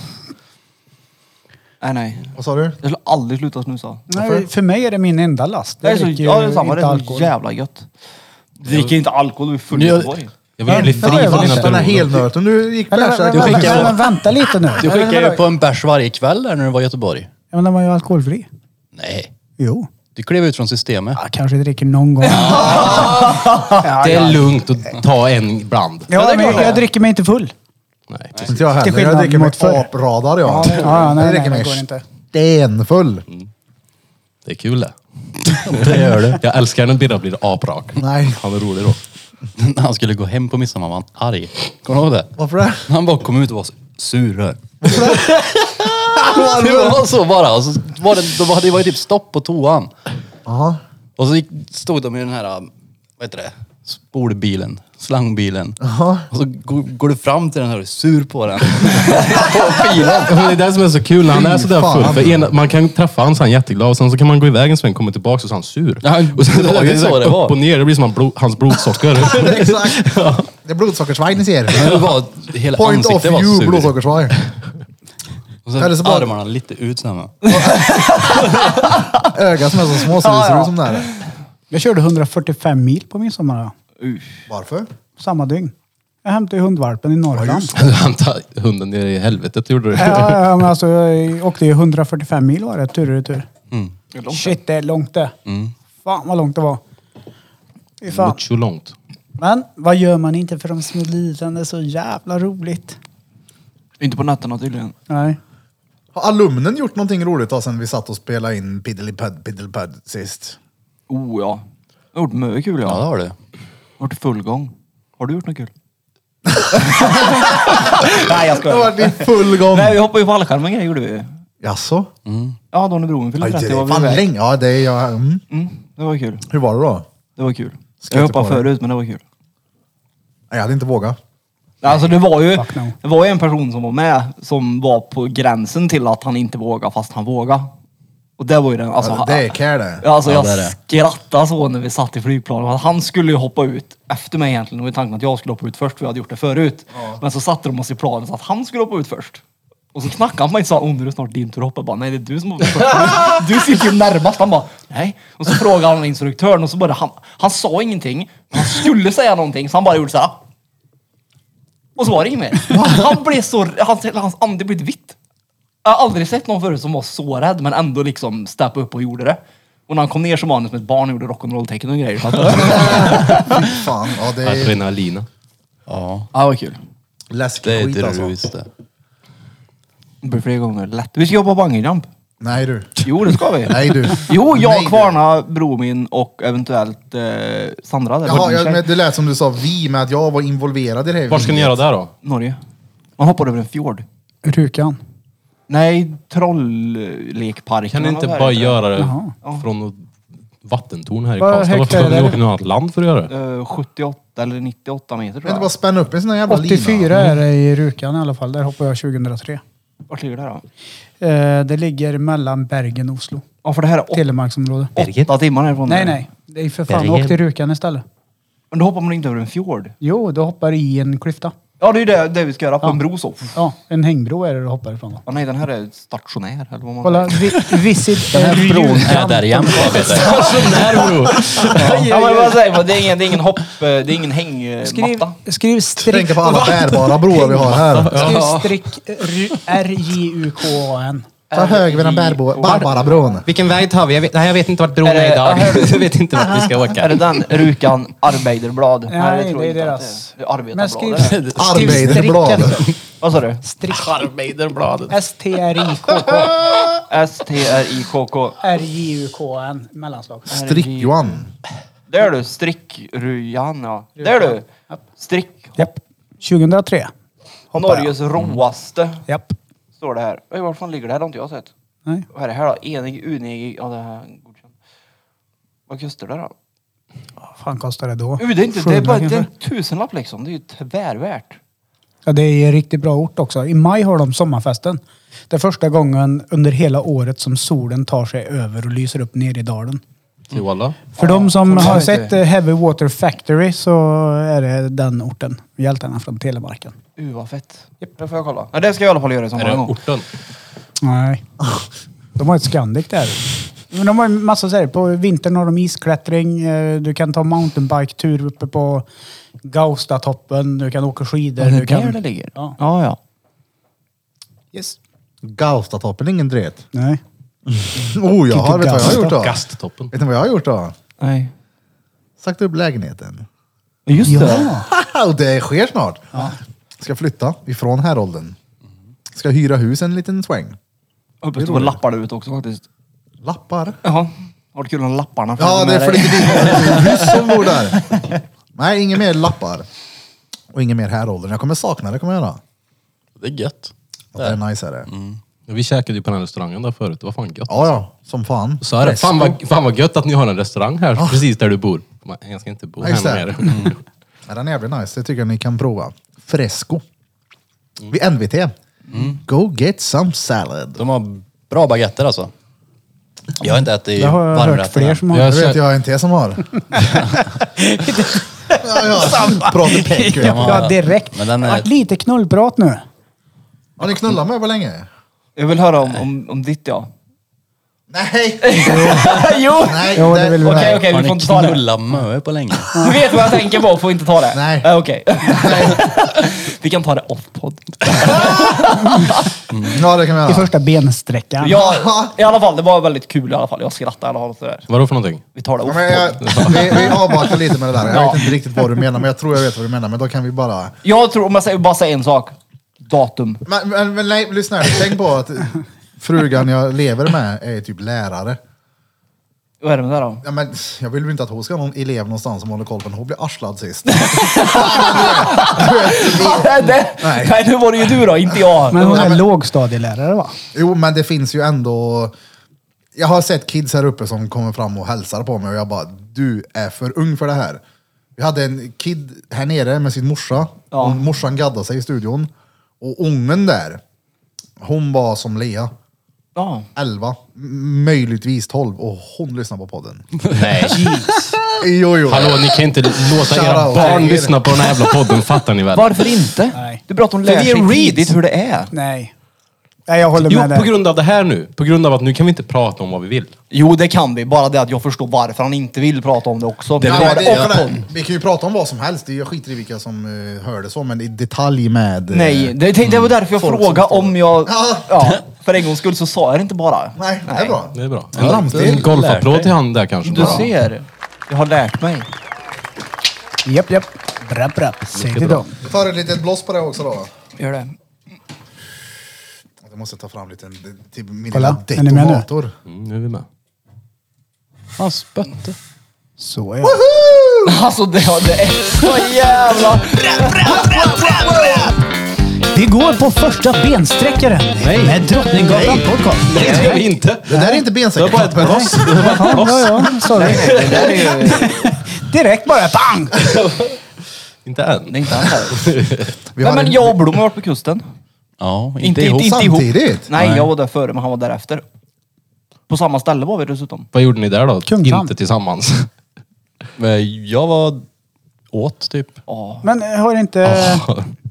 Speaker 4: Nej, nej.
Speaker 1: Vad sa du?
Speaker 4: Jag skulle aldrig sluta snusa.
Speaker 2: Nej, för mig är det min enda last.
Speaker 4: Det är
Speaker 2: Jag
Speaker 4: så,
Speaker 2: dricker
Speaker 4: ja,
Speaker 2: ju
Speaker 4: det är
Speaker 2: inte
Speaker 4: samma. Det är så
Speaker 2: alkohol.
Speaker 4: jävla gött. Dricker inte alkohol, du är full i
Speaker 5: Jag-
Speaker 4: Göteborg.
Speaker 3: Jag vill bli fri
Speaker 1: Ja, jag
Speaker 3: från dina
Speaker 1: vann den här
Speaker 3: beroenden.
Speaker 1: helnöten. Du gick
Speaker 2: Men, men,
Speaker 1: bärsa.
Speaker 2: men,
Speaker 1: Du
Speaker 2: men,
Speaker 1: skickade
Speaker 2: men,
Speaker 1: jag.
Speaker 2: men vänta lite nu.
Speaker 5: Du skickar ju
Speaker 2: men,
Speaker 5: på en bärs varje kväll där när du var i Göteborg.
Speaker 2: men den var ju alkoholfri.
Speaker 5: Nej.
Speaker 2: Jo.
Speaker 5: Du klev ut från systemet.
Speaker 2: Jag kanske dricker någon gång.
Speaker 3: Det är lugnt att ta en ibland.
Speaker 2: Ja, men jag, jag dricker mig inte full.
Speaker 3: Nej.
Speaker 1: Inte jag heller. Jag
Speaker 2: skillnad
Speaker 1: dricker
Speaker 2: mot förr.
Speaker 1: mig apradar jag.
Speaker 2: Ja, ja, nej,
Speaker 1: jag
Speaker 2: nej,
Speaker 1: dricker
Speaker 2: det
Speaker 1: mig
Speaker 2: går inte.
Speaker 1: stenfull.
Speaker 3: Det är kul det. Det gör det. Jag älskar när Birra blir aprak.
Speaker 1: Nej.
Speaker 3: Han är rolig då.
Speaker 5: När han skulle gå hem på midsommar var han arg. Kommer du ihåg det?
Speaker 1: Varför det?
Speaker 5: Han bara kom ut och var så sur. här. det var så bara. Och så var det, då var det var ju typ stopp på toan.
Speaker 1: Jaha.
Speaker 5: Och så gick, stod de i den här, vad heter det, spolbilen, slangbilen. Och så går, går du fram till den här och är sur på den. på bilen.
Speaker 3: Ja, men Alltså, Det är det som är så kul när han är
Speaker 1: Fy
Speaker 3: sådär
Speaker 1: fan.
Speaker 3: full. För ena, man kan träffa honom så är han jätteglad och sen så kan man gå iväg en sväng och komma tillbaka och så är han sur.
Speaker 5: Ja,
Speaker 3: och sen
Speaker 5: det var
Speaker 3: är
Speaker 5: ju så
Speaker 3: här
Speaker 5: det
Speaker 3: upp
Speaker 5: var.
Speaker 3: och ner, det blir som han blo, hans blodsocker.
Speaker 1: Exakt. Det är blodsockersvaj ni ser.
Speaker 5: Men det var, hela
Speaker 1: Point of
Speaker 5: ansiktet var
Speaker 1: view
Speaker 5: sur.
Speaker 1: blodsockersvaj.
Speaker 5: Och sen
Speaker 1: Eller så bara-
Speaker 5: armarna lite ut så här. med.
Speaker 1: Ögat som är så små så det ser ut som det här.
Speaker 2: Jag körde 145 mil på midsommar. ja.
Speaker 1: Varför?
Speaker 2: Samma dygn. Jag hämtade ju hundvalpen i Norrland.
Speaker 3: han tar hunden ner i helvetet gjorde det.
Speaker 2: Ja, ja, men alltså, jag åkte ju 145 mil var det, tur och retur.
Speaker 4: Mm.
Speaker 2: Shit, det är långt det.
Speaker 5: Mm.
Speaker 2: Fan vad långt det var. Fy fan.
Speaker 3: Mucho långt.
Speaker 2: Men vad gör man inte för de små lidande? Så jävla roligt.
Speaker 4: Inte på nätterna tydligen.
Speaker 2: Nej.
Speaker 1: Har alumnen gjort någonting roligt då sen vi satt och spelade in Piddelipad Piddelipad sist?
Speaker 4: Oh ja. Jag har gjort mycket kul
Speaker 5: Ja, det
Speaker 4: ja.
Speaker 5: har du.
Speaker 4: Varit i full gång. Har du gjort något kul?
Speaker 1: Nej, jag skojar. Jag har varit i full gång.
Speaker 4: Nej, vi hoppade ju fallskärmen grejer gjorde vi.
Speaker 1: Jaså?
Speaker 4: Ja, då när bron
Speaker 1: Ja,
Speaker 4: fyllde
Speaker 1: det
Speaker 4: 30 var
Speaker 1: är
Speaker 4: vi
Speaker 1: fan
Speaker 4: iväg.
Speaker 1: länge. Ja, det är jag. Mm.
Speaker 4: Mm, det var kul.
Speaker 1: Hur var det då?
Speaker 4: Det var kul.
Speaker 1: Ska
Speaker 4: Jag
Speaker 1: inte
Speaker 4: hoppade
Speaker 1: på det.
Speaker 4: förut men det var kul.
Speaker 1: Nej, jag hade inte vågat.
Speaker 4: Alltså det var ju,
Speaker 2: fuck no.
Speaker 4: det var ju en person som var med som var på gränsen till att han inte vågade fast han vågade. Och det var ju den, alltså,
Speaker 1: Ja, det är care det.
Speaker 4: Ja, Alltså
Speaker 5: Ja,
Speaker 4: jag
Speaker 5: det är det.
Speaker 4: skrattade så när vi satt i flygplanet. Han skulle ju hoppa ut efter mig egentligen. Med tanken att jag skulle hoppa ut först, för jag hade gjort det förut. Men så satte de oss i planet så att han skulle hoppa ut först. Och så knackade han mig och sa, oh, nu är det snart din tur att hoppa. Jag bara, nej det är du som hoppar först. Du sitter ju närmast. Han bara, nej. Och så frågade han instruktören och så började han, han sa ingenting. Men han skulle säga någonting så han bara gjorde så här. Och så var det inget mer. Han blev så, hans, hans ande blev vitt. Jag har aldrig sett någon förut som var så rädd men ändå liksom steppade upp och gjorde det. Och när han kom ner så var han som ett barn och gjorde rock'n'roll-tecken och grejer. Fattar du?
Speaker 1: Fan, ja, det är
Speaker 3: Adrenalina.
Speaker 5: Ja,
Speaker 4: Ja, det var kul.
Speaker 5: det
Speaker 1: läskig
Speaker 5: är
Speaker 1: skit
Speaker 5: inte du
Speaker 1: alltså.
Speaker 5: visste.
Speaker 4: Det blir fler gånger. Lätt. Vi ska jobba bungyjump.
Speaker 1: Nej du.
Speaker 4: Jo, det ska vi.
Speaker 1: Nej du.
Speaker 4: Jo,
Speaker 1: Nej,
Speaker 4: jag,
Speaker 1: du.
Speaker 4: Kvarna, Bromin och eventuellt eh, Sandra. Där,
Speaker 1: Jaha,
Speaker 4: Vår
Speaker 1: jag,
Speaker 4: tjej.
Speaker 1: men det lät som du sa vi med att jag var involverad i det här.
Speaker 3: Vad ska ni göra där då?
Speaker 4: Norge. Man hoppar över en fjord.
Speaker 2: Rukan.
Speaker 4: Nej, Trolllekparken.
Speaker 3: Kan ni
Speaker 4: eller
Speaker 3: inte
Speaker 4: vad
Speaker 3: bara
Speaker 4: heter
Speaker 3: göra det
Speaker 2: Jaha.
Speaker 3: från något vattentorn här i
Speaker 2: Vad
Speaker 3: Karlstad?
Speaker 2: högt
Speaker 3: Varför
Speaker 2: är
Speaker 3: ska
Speaker 2: det?
Speaker 3: ni åka till något annat land för att göra det?
Speaker 4: Eh, 78 eller 98
Speaker 1: Kan
Speaker 4: meter tror
Speaker 1: inte
Speaker 4: jag.
Speaker 1: bara spänna upp en sån här jävla lina?
Speaker 2: 84 är det
Speaker 5: Mm.
Speaker 2: i Rukan i alla fall. Där hoppade jag 2003.
Speaker 4: Vart ligger det här då?
Speaker 2: Eh, det ligger mellan Bergen och Oslo.
Speaker 4: Ja, för det här är åt-
Speaker 2: Telemarksområde.
Speaker 4: åtta timmar härifrån.
Speaker 2: Nej, nej. Det är för fan, åk till Rukan istället.
Speaker 4: Men då hoppar man inte över en fjord.
Speaker 2: Jo, du hoppar i en klyfta.
Speaker 4: Ja, det är ju det, det vi ska göra. På en bro så.
Speaker 2: Ja, en hängbro är det du hoppar ifrån. Då.
Speaker 4: Ja, nej, den här är stationär. Eller vad man
Speaker 2: Kolla, vi, visit
Speaker 5: Den här bron är
Speaker 2: Rjukan.
Speaker 5: där jämt. vet du.
Speaker 4: Ja, men vad säger man? Det är ingen, det är ingen hopp... eh, Det är ingen eh, hängmatta.
Speaker 2: Skriv, skriv strick...
Speaker 1: Tänka på alla bärbara broar vi har här.
Speaker 2: Skriv strick R- R-J-U-K-A-N.
Speaker 1: Ta höger vid den bärbo- bärbara bron.
Speaker 3: Vilken väg tar vi? Jag vet, nej, jag vet inte vart bron
Speaker 4: Är det-
Speaker 3: Jag vet inte vart vi ska
Speaker 4: Är det den? Rukan Arbeiderblad?
Speaker 2: Nej,
Speaker 4: tror
Speaker 2: det är
Speaker 4: jag inte att
Speaker 2: deras.
Speaker 4: det är. Arbetarblad.
Speaker 2: Men skriv,
Speaker 4: är det.
Speaker 2: skriv
Speaker 1: Arbeiderblad.
Speaker 2: strick.
Speaker 4: Vad sa du?
Speaker 2: Strick.
Speaker 5: Arbeiderbladet.
Speaker 2: S-T-R-I-K-K.
Speaker 4: S-T-R-I-K-K.
Speaker 2: R-J-U-K-N. Mellanslag.
Speaker 1: Strick-Johan.
Speaker 4: Där du. Strick-Rujan, ja. Där du. Strick.
Speaker 2: Japp. 2003. Hoppar jag. Mm.
Speaker 4: Norges roaste.
Speaker 2: Japp. står
Speaker 4: Står det här. Oj, var fan ligger det här? Det har inte jag sett.
Speaker 2: Nej.
Speaker 4: Vad är det här då? Enig, unegig... Ja, det här är godkänt. Vad kostar det då?
Speaker 2: Vad fan kostar det då?
Speaker 4: Uh, det är inte... Det
Speaker 2: 700
Speaker 4: är bara det är
Speaker 2: kanske?
Speaker 4: en tusenlapp liksom. Det är ju tvärvärt.
Speaker 2: Ja, det är riktigt bra ort också. I maj har de sommarfesten. Det är första gången under hela året som solen tar sig över och lyser upp nere i dalen.
Speaker 3: Till Walla?
Speaker 2: För de som
Speaker 4: får
Speaker 2: har
Speaker 4: man
Speaker 2: sett
Speaker 4: inte.
Speaker 2: eh, Heavy Water Factory så är det den orten. Hjältarna från Telemarken.
Speaker 4: Uh, vad fett. Det får jag kolla. Ja, det ska jag i alla fall göra i
Speaker 3: Är
Speaker 4: sommar
Speaker 3: det
Speaker 4: en gång.
Speaker 3: orten?
Speaker 2: Nej. De har ett Scandic där. Men de har ju massa så här, på vintern har de isklättring, eh, du kan ta mountainbike-tur uppe på Gaustatoppen, du kan åka skidor.
Speaker 4: Är det
Speaker 2: du kan...
Speaker 4: där det ligger?
Speaker 2: Ja.
Speaker 4: ja. ja.
Speaker 2: Yes.
Speaker 1: Gaustatoppen, ingen dret.
Speaker 2: Nej.
Speaker 1: Oh, jag har, vet du vad jag har
Speaker 2: Gausta.
Speaker 1: gjort då?
Speaker 3: Gasttoppen.
Speaker 1: Vet ni vad jag har gjort då?
Speaker 4: Nej.
Speaker 1: Sagt upp lägenheten.
Speaker 4: Just det.
Speaker 2: Ja.
Speaker 1: Och det sker snart. Ska flytta ifrån häråldern. Ska hyra hus en liten sväng.
Speaker 4: Uppe stod lappar ut också faktiskt.
Speaker 1: Lappar.
Speaker 4: Jaha. Har du kul om lapparna?
Speaker 1: Ja, det
Speaker 4: Med dig?
Speaker 1: flyger dit hus som bor där. Nej, inga mer lappar. Och inga mer häråldern. Jag kommer sakna det, kommer jag göra.
Speaker 5: Det är gött.
Speaker 1: Det är nice är det.
Speaker 3: Vi käkade ju på den här restaurangen där förut. Det var fan gött.
Speaker 1: Ja, ja. Som fan.
Speaker 3: Så är det.
Speaker 1: Resto.
Speaker 3: Fan vad, fan vad gött att ni har en restaurang här precis där du bor. Man, Jag ska inte bo
Speaker 1: Ja,
Speaker 3: här
Speaker 1: just
Speaker 3: med
Speaker 1: det.
Speaker 3: er.
Speaker 1: Ja, den är jävligt nice. Det tycker jag ni kan prova. Fresco. Vid NVT. Go get some salad.
Speaker 5: De har bra baguetter alltså. Jag har inte ätit
Speaker 2: Det har jag hört
Speaker 5: varmrätten
Speaker 2: fler
Speaker 5: än.
Speaker 2: som har.
Speaker 3: Jag
Speaker 1: Det vet
Speaker 3: känner-
Speaker 1: jag inte som har. ja, ja. Pratar peku.
Speaker 2: Ja, direkt.
Speaker 5: Men den
Speaker 2: Det
Speaker 5: är-
Speaker 2: har varit lite knullprat nu.
Speaker 1: Har ni knullat med på länge?
Speaker 4: Jag vill höra om, om, om ditt ja.
Speaker 1: Nej!
Speaker 4: jo!
Speaker 1: Nej,
Speaker 2: Jo, det vill vi
Speaker 4: Okej,
Speaker 2: ha.
Speaker 4: okej,
Speaker 5: Har
Speaker 4: vi får
Speaker 5: ni
Speaker 4: inte ta det.
Speaker 5: knullat möe på länge?
Speaker 4: Du vet vad jag tänker på, får inte ta det.
Speaker 1: Nej.
Speaker 4: Eh, Okej. vi kan ta det off-podd.
Speaker 1: Ja, det kan vi
Speaker 2: I
Speaker 1: göra.
Speaker 2: första bensträckan.
Speaker 4: Ja, i alla fall, det var väldigt kul i alla fall. Jag skrattade i alla fall. sådär.
Speaker 3: Vadå för någonting?
Speaker 4: Vi tar det
Speaker 1: Ja, men
Speaker 4: off-podd.
Speaker 1: jag, vi, vi avvaktar lite med det där. Jag
Speaker 4: Ja.
Speaker 1: vet inte riktigt vad du menar, men jag tror jag vet vad du menar. Men då kan vi bara...
Speaker 4: Jag tror, om jag säger, bara säger en sak. Datum.
Speaker 1: Men, men, men nej, lyssna här. Tänk på att frugan jag lever med är typ lärare.
Speaker 4: Vad är det med det här då?
Speaker 1: Ja, men, jag vill ju inte att hon ska ha någon elev någonstans som håller koll på henne. Hon blir arslad sist.
Speaker 4: Nej, det,
Speaker 1: Nej.
Speaker 4: nej. nu var det ju du då, inte jag.
Speaker 2: Men hon
Speaker 1: Ja,
Speaker 2: är
Speaker 1: men-
Speaker 2: lågstadielärare va?
Speaker 1: Jo, men det finns ju ändå... Jag har sett kids här uppe som kommer fram och hälsar på mig och jag bara, du är för ung för det här. Vi hade en kid här nere med sin morsa.
Speaker 4: Ja.
Speaker 1: Och morsan gaddade sig i studion. Och ungen där, hon var som Lea.
Speaker 4: Ja.
Speaker 1: 11, m- möjligtvis 12 och hon lyssnar på podden.
Speaker 3: Nej.
Speaker 1: Jo, jo.
Speaker 3: Hallå, ni kan inte låta
Speaker 1: Shout
Speaker 3: era
Speaker 1: out.
Speaker 3: barn lyssna på den här jävla podden, fattar ni väl?
Speaker 4: Varför inte?
Speaker 2: Nej.
Speaker 4: Du pratar om
Speaker 3: För
Speaker 4: lär
Speaker 3: det är
Speaker 4: sig
Speaker 3: reads.
Speaker 4: tidigt hur det är.
Speaker 2: Nej. Nej, jag håller
Speaker 3: Jo,
Speaker 2: med
Speaker 3: på
Speaker 2: där.
Speaker 3: grund av det här nu. På grund av att nu kan vi inte prata om vad vi vill.
Speaker 4: Jo, det kan vi. Bara det att jag förstår varför han inte vill prata om det också.
Speaker 1: Ja,
Speaker 4: Vi tar
Speaker 1: men det,
Speaker 4: off-podd.
Speaker 1: jag, vi kan ju prata om vad som helst, Det- jag skiter i vilka som uh, hör det så, men i detalj med... eh,
Speaker 4: Nej, det, det var därför jag
Speaker 1: Folk som
Speaker 4: frågade
Speaker 1: står-
Speaker 4: om jag...
Speaker 1: Ja.
Speaker 4: Ja. för en gångs skull så sa jag det inte bara.
Speaker 1: Nej, det är bra.
Speaker 3: Det är bra.
Speaker 1: En ramstil.
Speaker 3: En golfapplåd till han där kanske.
Speaker 4: Du
Speaker 3: bara.
Speaker 4: ser. Jag har lärt mig.
Speaker 2: Japp, japp. Brapp, brapp. Säg till
Speaker 3: bra.
Speaker 2: dem.
Speaker 1: Vi tar ett litet blås på det också då.
Speaker 4: Gör det.
Speaker 1: Jag måste ta fram lite till min
Speaker 2: Kolla,
Speaker 1: lilla
Speaker 2: är ni med nu?
Speaker 1: detonator.
Speaker 3: Mm, nu är vi med.
Speaker 5: Han spötte.
Speaker 2: Så ja.
Speaker 4: Alltså det, det är så jävla...
Speaker 2: Vi går på första bensträckaren med Drottninggatan Podcast.
Speaker 3: Nej, det gör vi inte.
Speaker 1: Det där är inte
Speaker 3: Det var bara ett
Speaker 1: bensäckar.
Speaker 3: blås.
Speaker 2: Ja, ja, ja. Sorry. Direkt bara bang!
Speaker 3: Inte än.
Speaker 4: Det är inte han här.
Speaker 1: Vi
Speaker 4: Nej,
Speaker 1: har
Speaker 4: men
Speaker 1: en-
Speaker 4: jag och Blom har varit på kusten.
Speaker 5: Ja, inte,
Speaker 4: Inte-
Speaker 5: ihop.
Speaker 4: inte-
Speaker 1: Samtidigt?
Speaker 4: Nej, jag var där före men han var där efter. På samma ställe var vi dessutom.
Speaker 3: Vad gjorde ni där då?
Speaker 2: Kungshamn.
Speaker 3: Inte tillsammans.
Speaker 5: Men Jag var åt typ.
Speaker 4: Ja.
Speaker 2: Men har inte...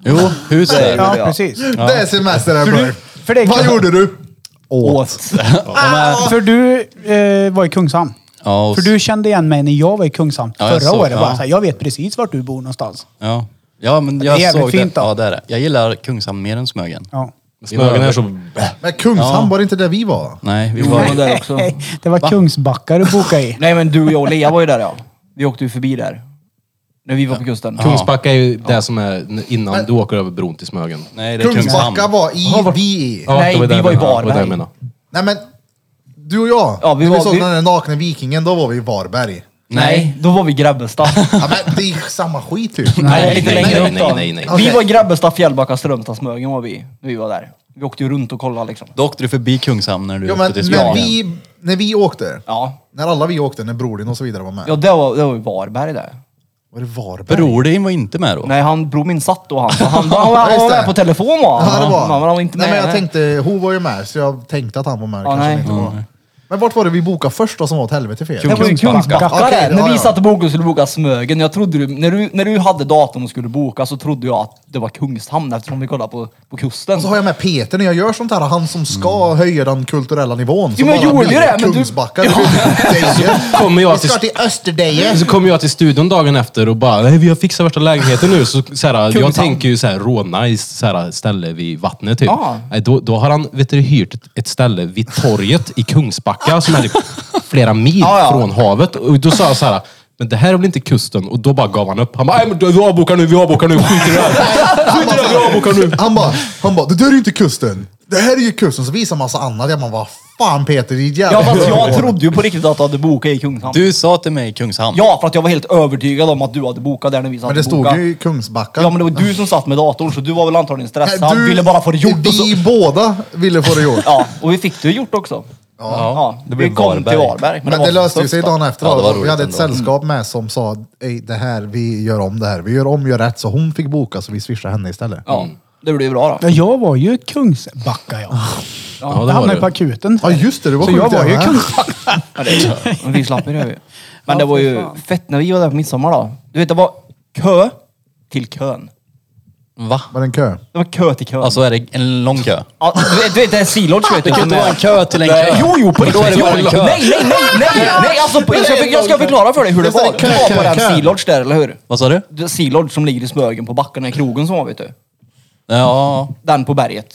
Speaker 5: Jo, huset.
Speaker 2: Ja,
Speaker 4: ja.
Speaker 2: precis.
Speaker 1: Det är semester här för.
Speaker 2: för det är
Speaker 1: Vad
Speaker 2: klart.
Speaker 1: gjorde du?
Speaker 4: Åt.
Speaker 2: Ah! För du eh, var i Kungshamn.
Speaker 5: Ja, och,
Speaker 2: För du kände igen mig när jag var i Kungshamn
Speaker 5: Ja, jag
Speaker 2: förra
Speaker 5: såg-
Speaker 2: året. Bara
Speaker 5: ja.
Speaker 2: så här, jag vet precis vart du bor någonstans.
Speaker 5: ja. ja, men
Speaker 2: Det är
Speaker 5: jag
Speaker 2: jävligt
Speaker 5: såg
Speaker 2: fint
Speaker 5: det.
Speaker 2: då.
Speaker 5: Ja, det är det. Jag gillar Kungshamn mer än Smögen.
Speaker 2: Ja.
Speaker 3: Smögen är så...
Speaker 1: Men Kungshamn
Speaker 5: Ja.
Speaker 1: var det inte där vi var?
Speaker 5: Nej, vi
Speaker 4: Jo,
Speaker 5: var...
Speaker 4: men där också.
Speaker 2: Det var Kungsbackar att boka i.
Speaker 4: Nej men du och jag och Lea var ju där ja. Vi åkte ju förbi där. När vi var på kusten.
Speaker 3: Kungsbacka är ju det som är innan du åker över bron till Smögen.
Speaker 5: Nej, det är Kungshamn.
Speaker 1: Kungsbacka var i, vi i.
Speaker 3: Ja,
Speaker 4: Nej,
Speaker 3: det
Speaker 4: vi
Speaker 3: det jag
Speaker 4: var i
Speaker 3: menade. Det det jag
Speaker 4: Varberg.
Speaker 3: menade.
Speaker 1: Nej men, du och jag.
Speaker 4: Ja, vi
Speaker 1: när vi
Speaker 4: var-
Speaker 1: såg
Speaker 4: vi-
Speaker 1: den där nakna vikingen, då var vi i Varberg.
Speaker 4: Nej,
Speaker 5: Nej.
Speaker 4: då var vi i Grabbestad.
Speaker 1: Ja, men det är ju samma skit typ.
Speaker 4: Nej, lite
Speaker 3: nej,
Speaker 4: längre
Speaker 3: nej,
Speaker 4: upp
Speaker 3: nej,
Speaker 4: då.
Speaker 3: nej, nej.
Speaker 4: Vi
Speaker 1: Okej.
Speaker 4: var i Grabbestad, Fjällbacka, Strömstad, Smögen var vi när vi var där. Vi åkte ju runt och kollade liksom.
Speaker 5: Då åkte du förbi Kungshamn när du
Speaker 1: Ja, men,
Speaker 5: åkte till
Speaker 1: när,
Speaker 5: Smögen.
Speaker 1: vi, när vi åkte,
Speaker 4: Ja,
Speaker 1: när alla vi åkte, när Brodin och så vidare var med.
Speaker 4: ja det var, det var ju Varberg där.
Speaker 1: Var det Varberg?
Speaker 5: Brodin var inte med då.
Speaker 4: Nej, han, bror min satt då han. Han, han, han,
Speaker 1: Ja, just
Speaker 4: var
Speaker 1: det.
Speaker 4: med på telefon var han.
Speaker 1: Ja, det var
Speaker 4: Men han var inte med.
Speaker 1: Nej, men jag tänkte, hon var ju med, så jag tänkte att han var med.
Speaker 4: Ja,
Speaker 1: kanske
Speaker 4: nej.
Speaker 1: han inte var. Men vart var det vi bokade först då som var åt helvete fel?
Speaker 4: det var ju
Speaker 2: Kungsbacka.
Speaker 4: Kungsbacka
Speaker 1: Okej,
Speaker 4: där.
Speaker 1: ja,
Speaker 4: När vi
Speaker 1: ja.
Speaker 4: satt och bokade och skulle boka Smögen. Jag trodde du, när, du, när du hade datorn och skulle boka så trodde jag att det var Kungshamn eftersom vi kollade på, på kusten.
Speaker 1: Så har jag med Peter när jag gör sånt här, han som ska höja den kulturella nivån.
Speaker 4: Jo, men jag
Speaker 1: bara
Speaker 4: gjorde
Speaker 1: blir
Speaker 4: det, men du-
Speaker 1: Kungsbacka, det blir Deje.
Speaker 3: Kommer jag
Speaker 1: Vi ska
Speaker 3: till-
Speaker 1: till Österdeje.
Speaker 3: Så kommer jag till studion dagen efter och bara, "Nej, vi har fixat värsta lägenheten nu. Så, så här, jag
Speaker 4: Kungshamn.
Speaker 3: tänker ju så här, rånice så här, ställe vid vattnet typ.
Speaker 4: Ja.
Speaker 3: Nej, Då, då har han vet du, hyrt ett- ett ställe vid torget i Kungsbacka som är typ flera mil
Speaker 4: Ja, ja.
Speaker 3: från havet. Och då sa jag så här, men det här är väl inte kusten? Och då bara gav han upp. Han bara, "Nej, men du- vi avbokar nu, vi avbokar nu, skit i det här. Skit i det här, vi avbokar nu.
Speaker 1: Han bara, han bara, det där är ju inte kusten. Det här är ju kusten. Så visar massa annat. Jag bara, vad fan Peter, ditt jävla
Speaker 4: Ja fast jag
Speaker 1: huvud."
Speaker 4: trodde ju på riktigt att du hade bokat i Kungshamn.
Speaker 5: Du sa till mig Kungshamn.
Speaker 4: Ja för att jag var helt övertygad om att du hade bokat där när vi satt
Speaker 1: Men det
Speaker 4: och
Speaker 1: stod
Speaker 4: bokade.
Speaker 1: ju i Kungsbacka.
Speaker 4: Ja men det var du som satt med datorn så du var väl antagligen stressad.
Speaker 1: Nej, du-
Speaker 4: ville bara få det gjort. Och så...
Speaker 1: Vi båda ville få det gjort.
Speaker 4: Ja, och vi fick det gjort också. Ja,
Speaker 5: det blev
Speaker 4: vi kom
Speaker 5: Varberg.
Speaker 4: till Varberg.
Speaker 1: Men det
Speaker 4: var
Speaker 1: löste ju sig
Speaker 4: första.
Speaker 1: dagen efter.
Speaker 5: Ja, det var
Speaker 1: då. vi
Speaker 5: roligt
Speaker 1: hade ett
Speaker 5: ändå.
Speaker 1: sällskap med som sa, "Ey, det här, vi gör om det här. Vi gör om, gör rätt. Så hon fick boka, så vi swishade henne istället.
Speaker 4: Ja,
Speaker 5: Mm.
Speaker 4: det blev bra då.
Speaker 2: Ja, jag var ju i Kungsbacka jag.
Speaker 3: Ja,
Speaker 2: jag
Speaker 3: det var
Speaker 2: hamnade på
Speaker 3: det.
Speaker 2: akuten.
Speaker 1: Ja, just det, du var
Speaker 2: Så
Speaker 1: sjuk
Speaker 2: jag
Speaker 1: där
Speaker 2: var ju i
Speaker 1: med.
Speaker 2: Kungsbacka.
Speaker 4: Ja, det- Men vi slapp ju det. Vi. Men
Speaker 2: Ja,
Speaker 4: det var
Speaker 2: fy
Speaker 4: ju
Speaker 2: fan.
Speaker 4: fett när vi var där på midsommar då. Du vet, det var kö till kön.
Speaker 5: Va?
Speaker 1: Var det en kö?
Speaker 4: Det var kö till kön.
Speaker 5: Alltså är det en lång kö?
Speaker 4: Ja, du, vet, du vet, det är Sea-Lodge vet du.
Speaker 5: Det kan inte vara en kö till en kö.
Speaker 4: Jo, jo, på riktigt.
Speaker 5: Då är det
Speaker 4: Jo,
Speaker 5: bara en kö.
Speaker 4: Nej, nej, nej, nej, nej. Alltså, på, jag, ska, jag ska förklara för dig hur det var. Du var på den Sea-Lodge där, eller hur?
Speaker 5: Vad sa du?
Speaker 4: Det är Sea-Lodge som ligger i Smögen på backen, den krogen som var vet du.
Speaker 5: Ja,
Speaker 4: Den på berget.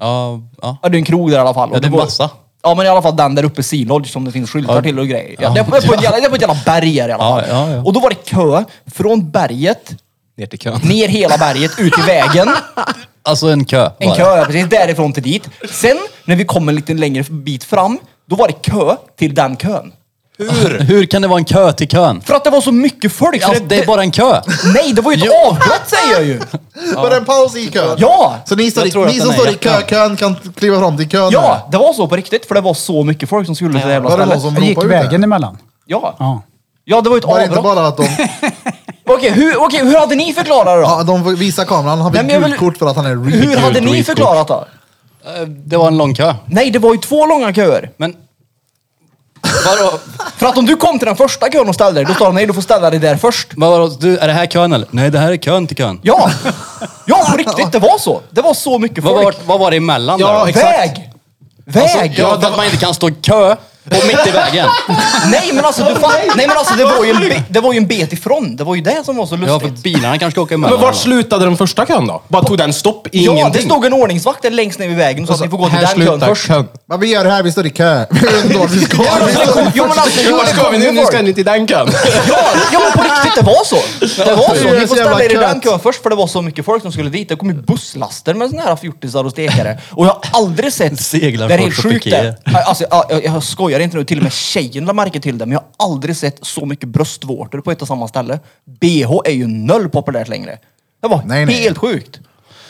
Speaker 5: ja, ja.
Speaker 4: Ja, det är en krog där i alla fall.
Speaker 5: Ja, det är
Speaker 4: Och var-
Speaker 5: massa.
Speaker 4: Ja, men i alla fall den där uppe, Sea Lodge, som det finns skyltar till och grejer. Ja,
Speaker 5: Ja.
Speaker 4: Det, är på, det är på ett jävla, det är på ett jävla berg här i alla
Speaker 5: Ja,
Speaker 4: fall.
Speaker 5: ja, ja.
Speaker 4: Och då var det kö från berget,
Speaker 3: Ner till kön.
Speaker 4: ner hela berget, ut i vägen.
Speaker 5: Alltså en kö. var
Speaker 4: En
Speaker 5: det.
Speaker 4: kö, ja, precis. Därifrån till dit. Sen, när vi kom en liten längre bit fram, då var det kö till den kön.
Speaker 5: Hur? Hur kan det vara en kö till kön?
Speaker 4: För att det var så mycket folk. så
Speaker 5: Alltså, det är bara en kö.
Speaker 4: Nej, det var ju ett avbrott säger jag ju!
Speaker 1: Var det en paus i kön?
Speaker 4: Ja!
Speaker 1: Så ni, står
Speaker 5: Jag tror
Speaker 1: i,
Speaker 5: att
Speaker 1: ni
Speaker 5: den
Speaker 1: som
Speaker 5: är
Speaker 1: står i
Speaker 5: jättebra.
Speaker 1: kö, kön kan kliva fram till kön?
Speaker 4: Ja, det var så på riktigt, för det var så mycket folk som skulle till det jävla
Speaker 1: Var det någon
Speaker 4: stället.
Speaker 1: som
Speaker 2: Jag gick
Speaker 1: ropade ut
Speaker 2: vägen
Speaker 1: det?
Speaker 2: emellan.
Speaker 4: Ja.
Speaker 2: Ja.
Speaker 4: ja, det var ju ett
Speaker 1: Var det inte
Speaker 4: avbrott.
Speaker 1: bara att de,
Speaker 4: Okej, hur, okej, hur hade ni förklarat det då?
Speaker 1: ja, de visar kameran, han
Speaker 4: Nej,
Speaker 1: fick
Speaker 4: men jag
Speaker 1: gult
Speaker 4: vill-
Speaker 1: kort för att han är real.
Speaker 4: Hur hade ni
Speaker 3: skitkort.
Speaker 4: förklarat då?
Speaker 5: Eh, Det var en lång kö.
Speaker 4: Nej, det var ju två långa köer.
Speaker 5: Men... Vadå?
Speaker 4: För att om du kom till den första kön och ställde dig, då sa de nej, du får ställa dig där först.
Speaker 5: Vadå? Du, är det här kön eller? Nej, det här är kön till kön.
Speaker 4: Ja! Ja, på riktigt, det var så. Det var så mycket
Speaker 5: Vad var,
Speaker 4: folk.
Speaker 5: vad var det emellan
Speaker 3: Ja,
Speaker 5: där då?
Speaker 3: exakt. Alltså,
Speaker 4: Väg! Väg!
Speaker 5: Ja, för att man inte kan stå i kö och mitt i vägen.
Speaker 4: Nej men alltså, du fan, nej, men alltså det, var ju en be, det var ju en bet ifrån. Det var ju det som var så
Speaker 5: Ja, för
Speaker 4: lustigt.
Speaker 5: bilarna kanske ska åka emellan.
Speaker 3: Men vart
Speaker 5: då.
Speaker 3: slutade den första kön då? Bara tog den stopp?
Speaker 4: Ja,
Speaker 3: Ingenting? Alltså,
Speaker 4: det stod en ordningsvakt där längst ner vid vägen och sa att ni får gå till
Speaker 3: Här
Speaker 4: den kön
Speaker 3: slutar
Speaker 4: först.
Speaker 3: kön.
Speaker 1: Vad vi gör det här, vi står i kö. Vi vet inte vart vi ska.
Speaker 4: Ja, men det kom- Jo men alltså, jo,
Speaker 3: Vart
Speaker 4: det
Speaker 3: ska
Speaker 4: kom
Speaker 3: vi
Speaker 4: ju
Speaker 3: nu? Nu
Speaker 4: folk.
Speaker 3: ska ni till den kön.
Speaker 4: Ja, ja men på riktigt, det var så. Det var så.
Speaker 1: Det är
Speaker 4: Ni
Speaker 1: så jävla
Speaker 4: får ställa er i den
Speaker 1: kött.
Speaker 4: kön först för det var så mycket folk som skulle dit. Det kom ju busslaster med såna här fjortisar och stekare. Och jag har aldrig sett...
Speaker 5: Seglar
Speaker 4: det är
Speaker 5: folk
Speaker 4: helt
Speaker 5: på
Speaker 4: sjukt det.
Speaker 5: pikéer.
Speaker 4: Alltså, jag, jag, jag skojar inte nu. Till och med tjejen lade märke till det. Men jag har aldrig sett så mycket bröstvårtor på ett och samma ställe. BH är ju noll populärt längre. Det var
Speaker 1: Nej, nej.
Speaker 4: helt sjukt.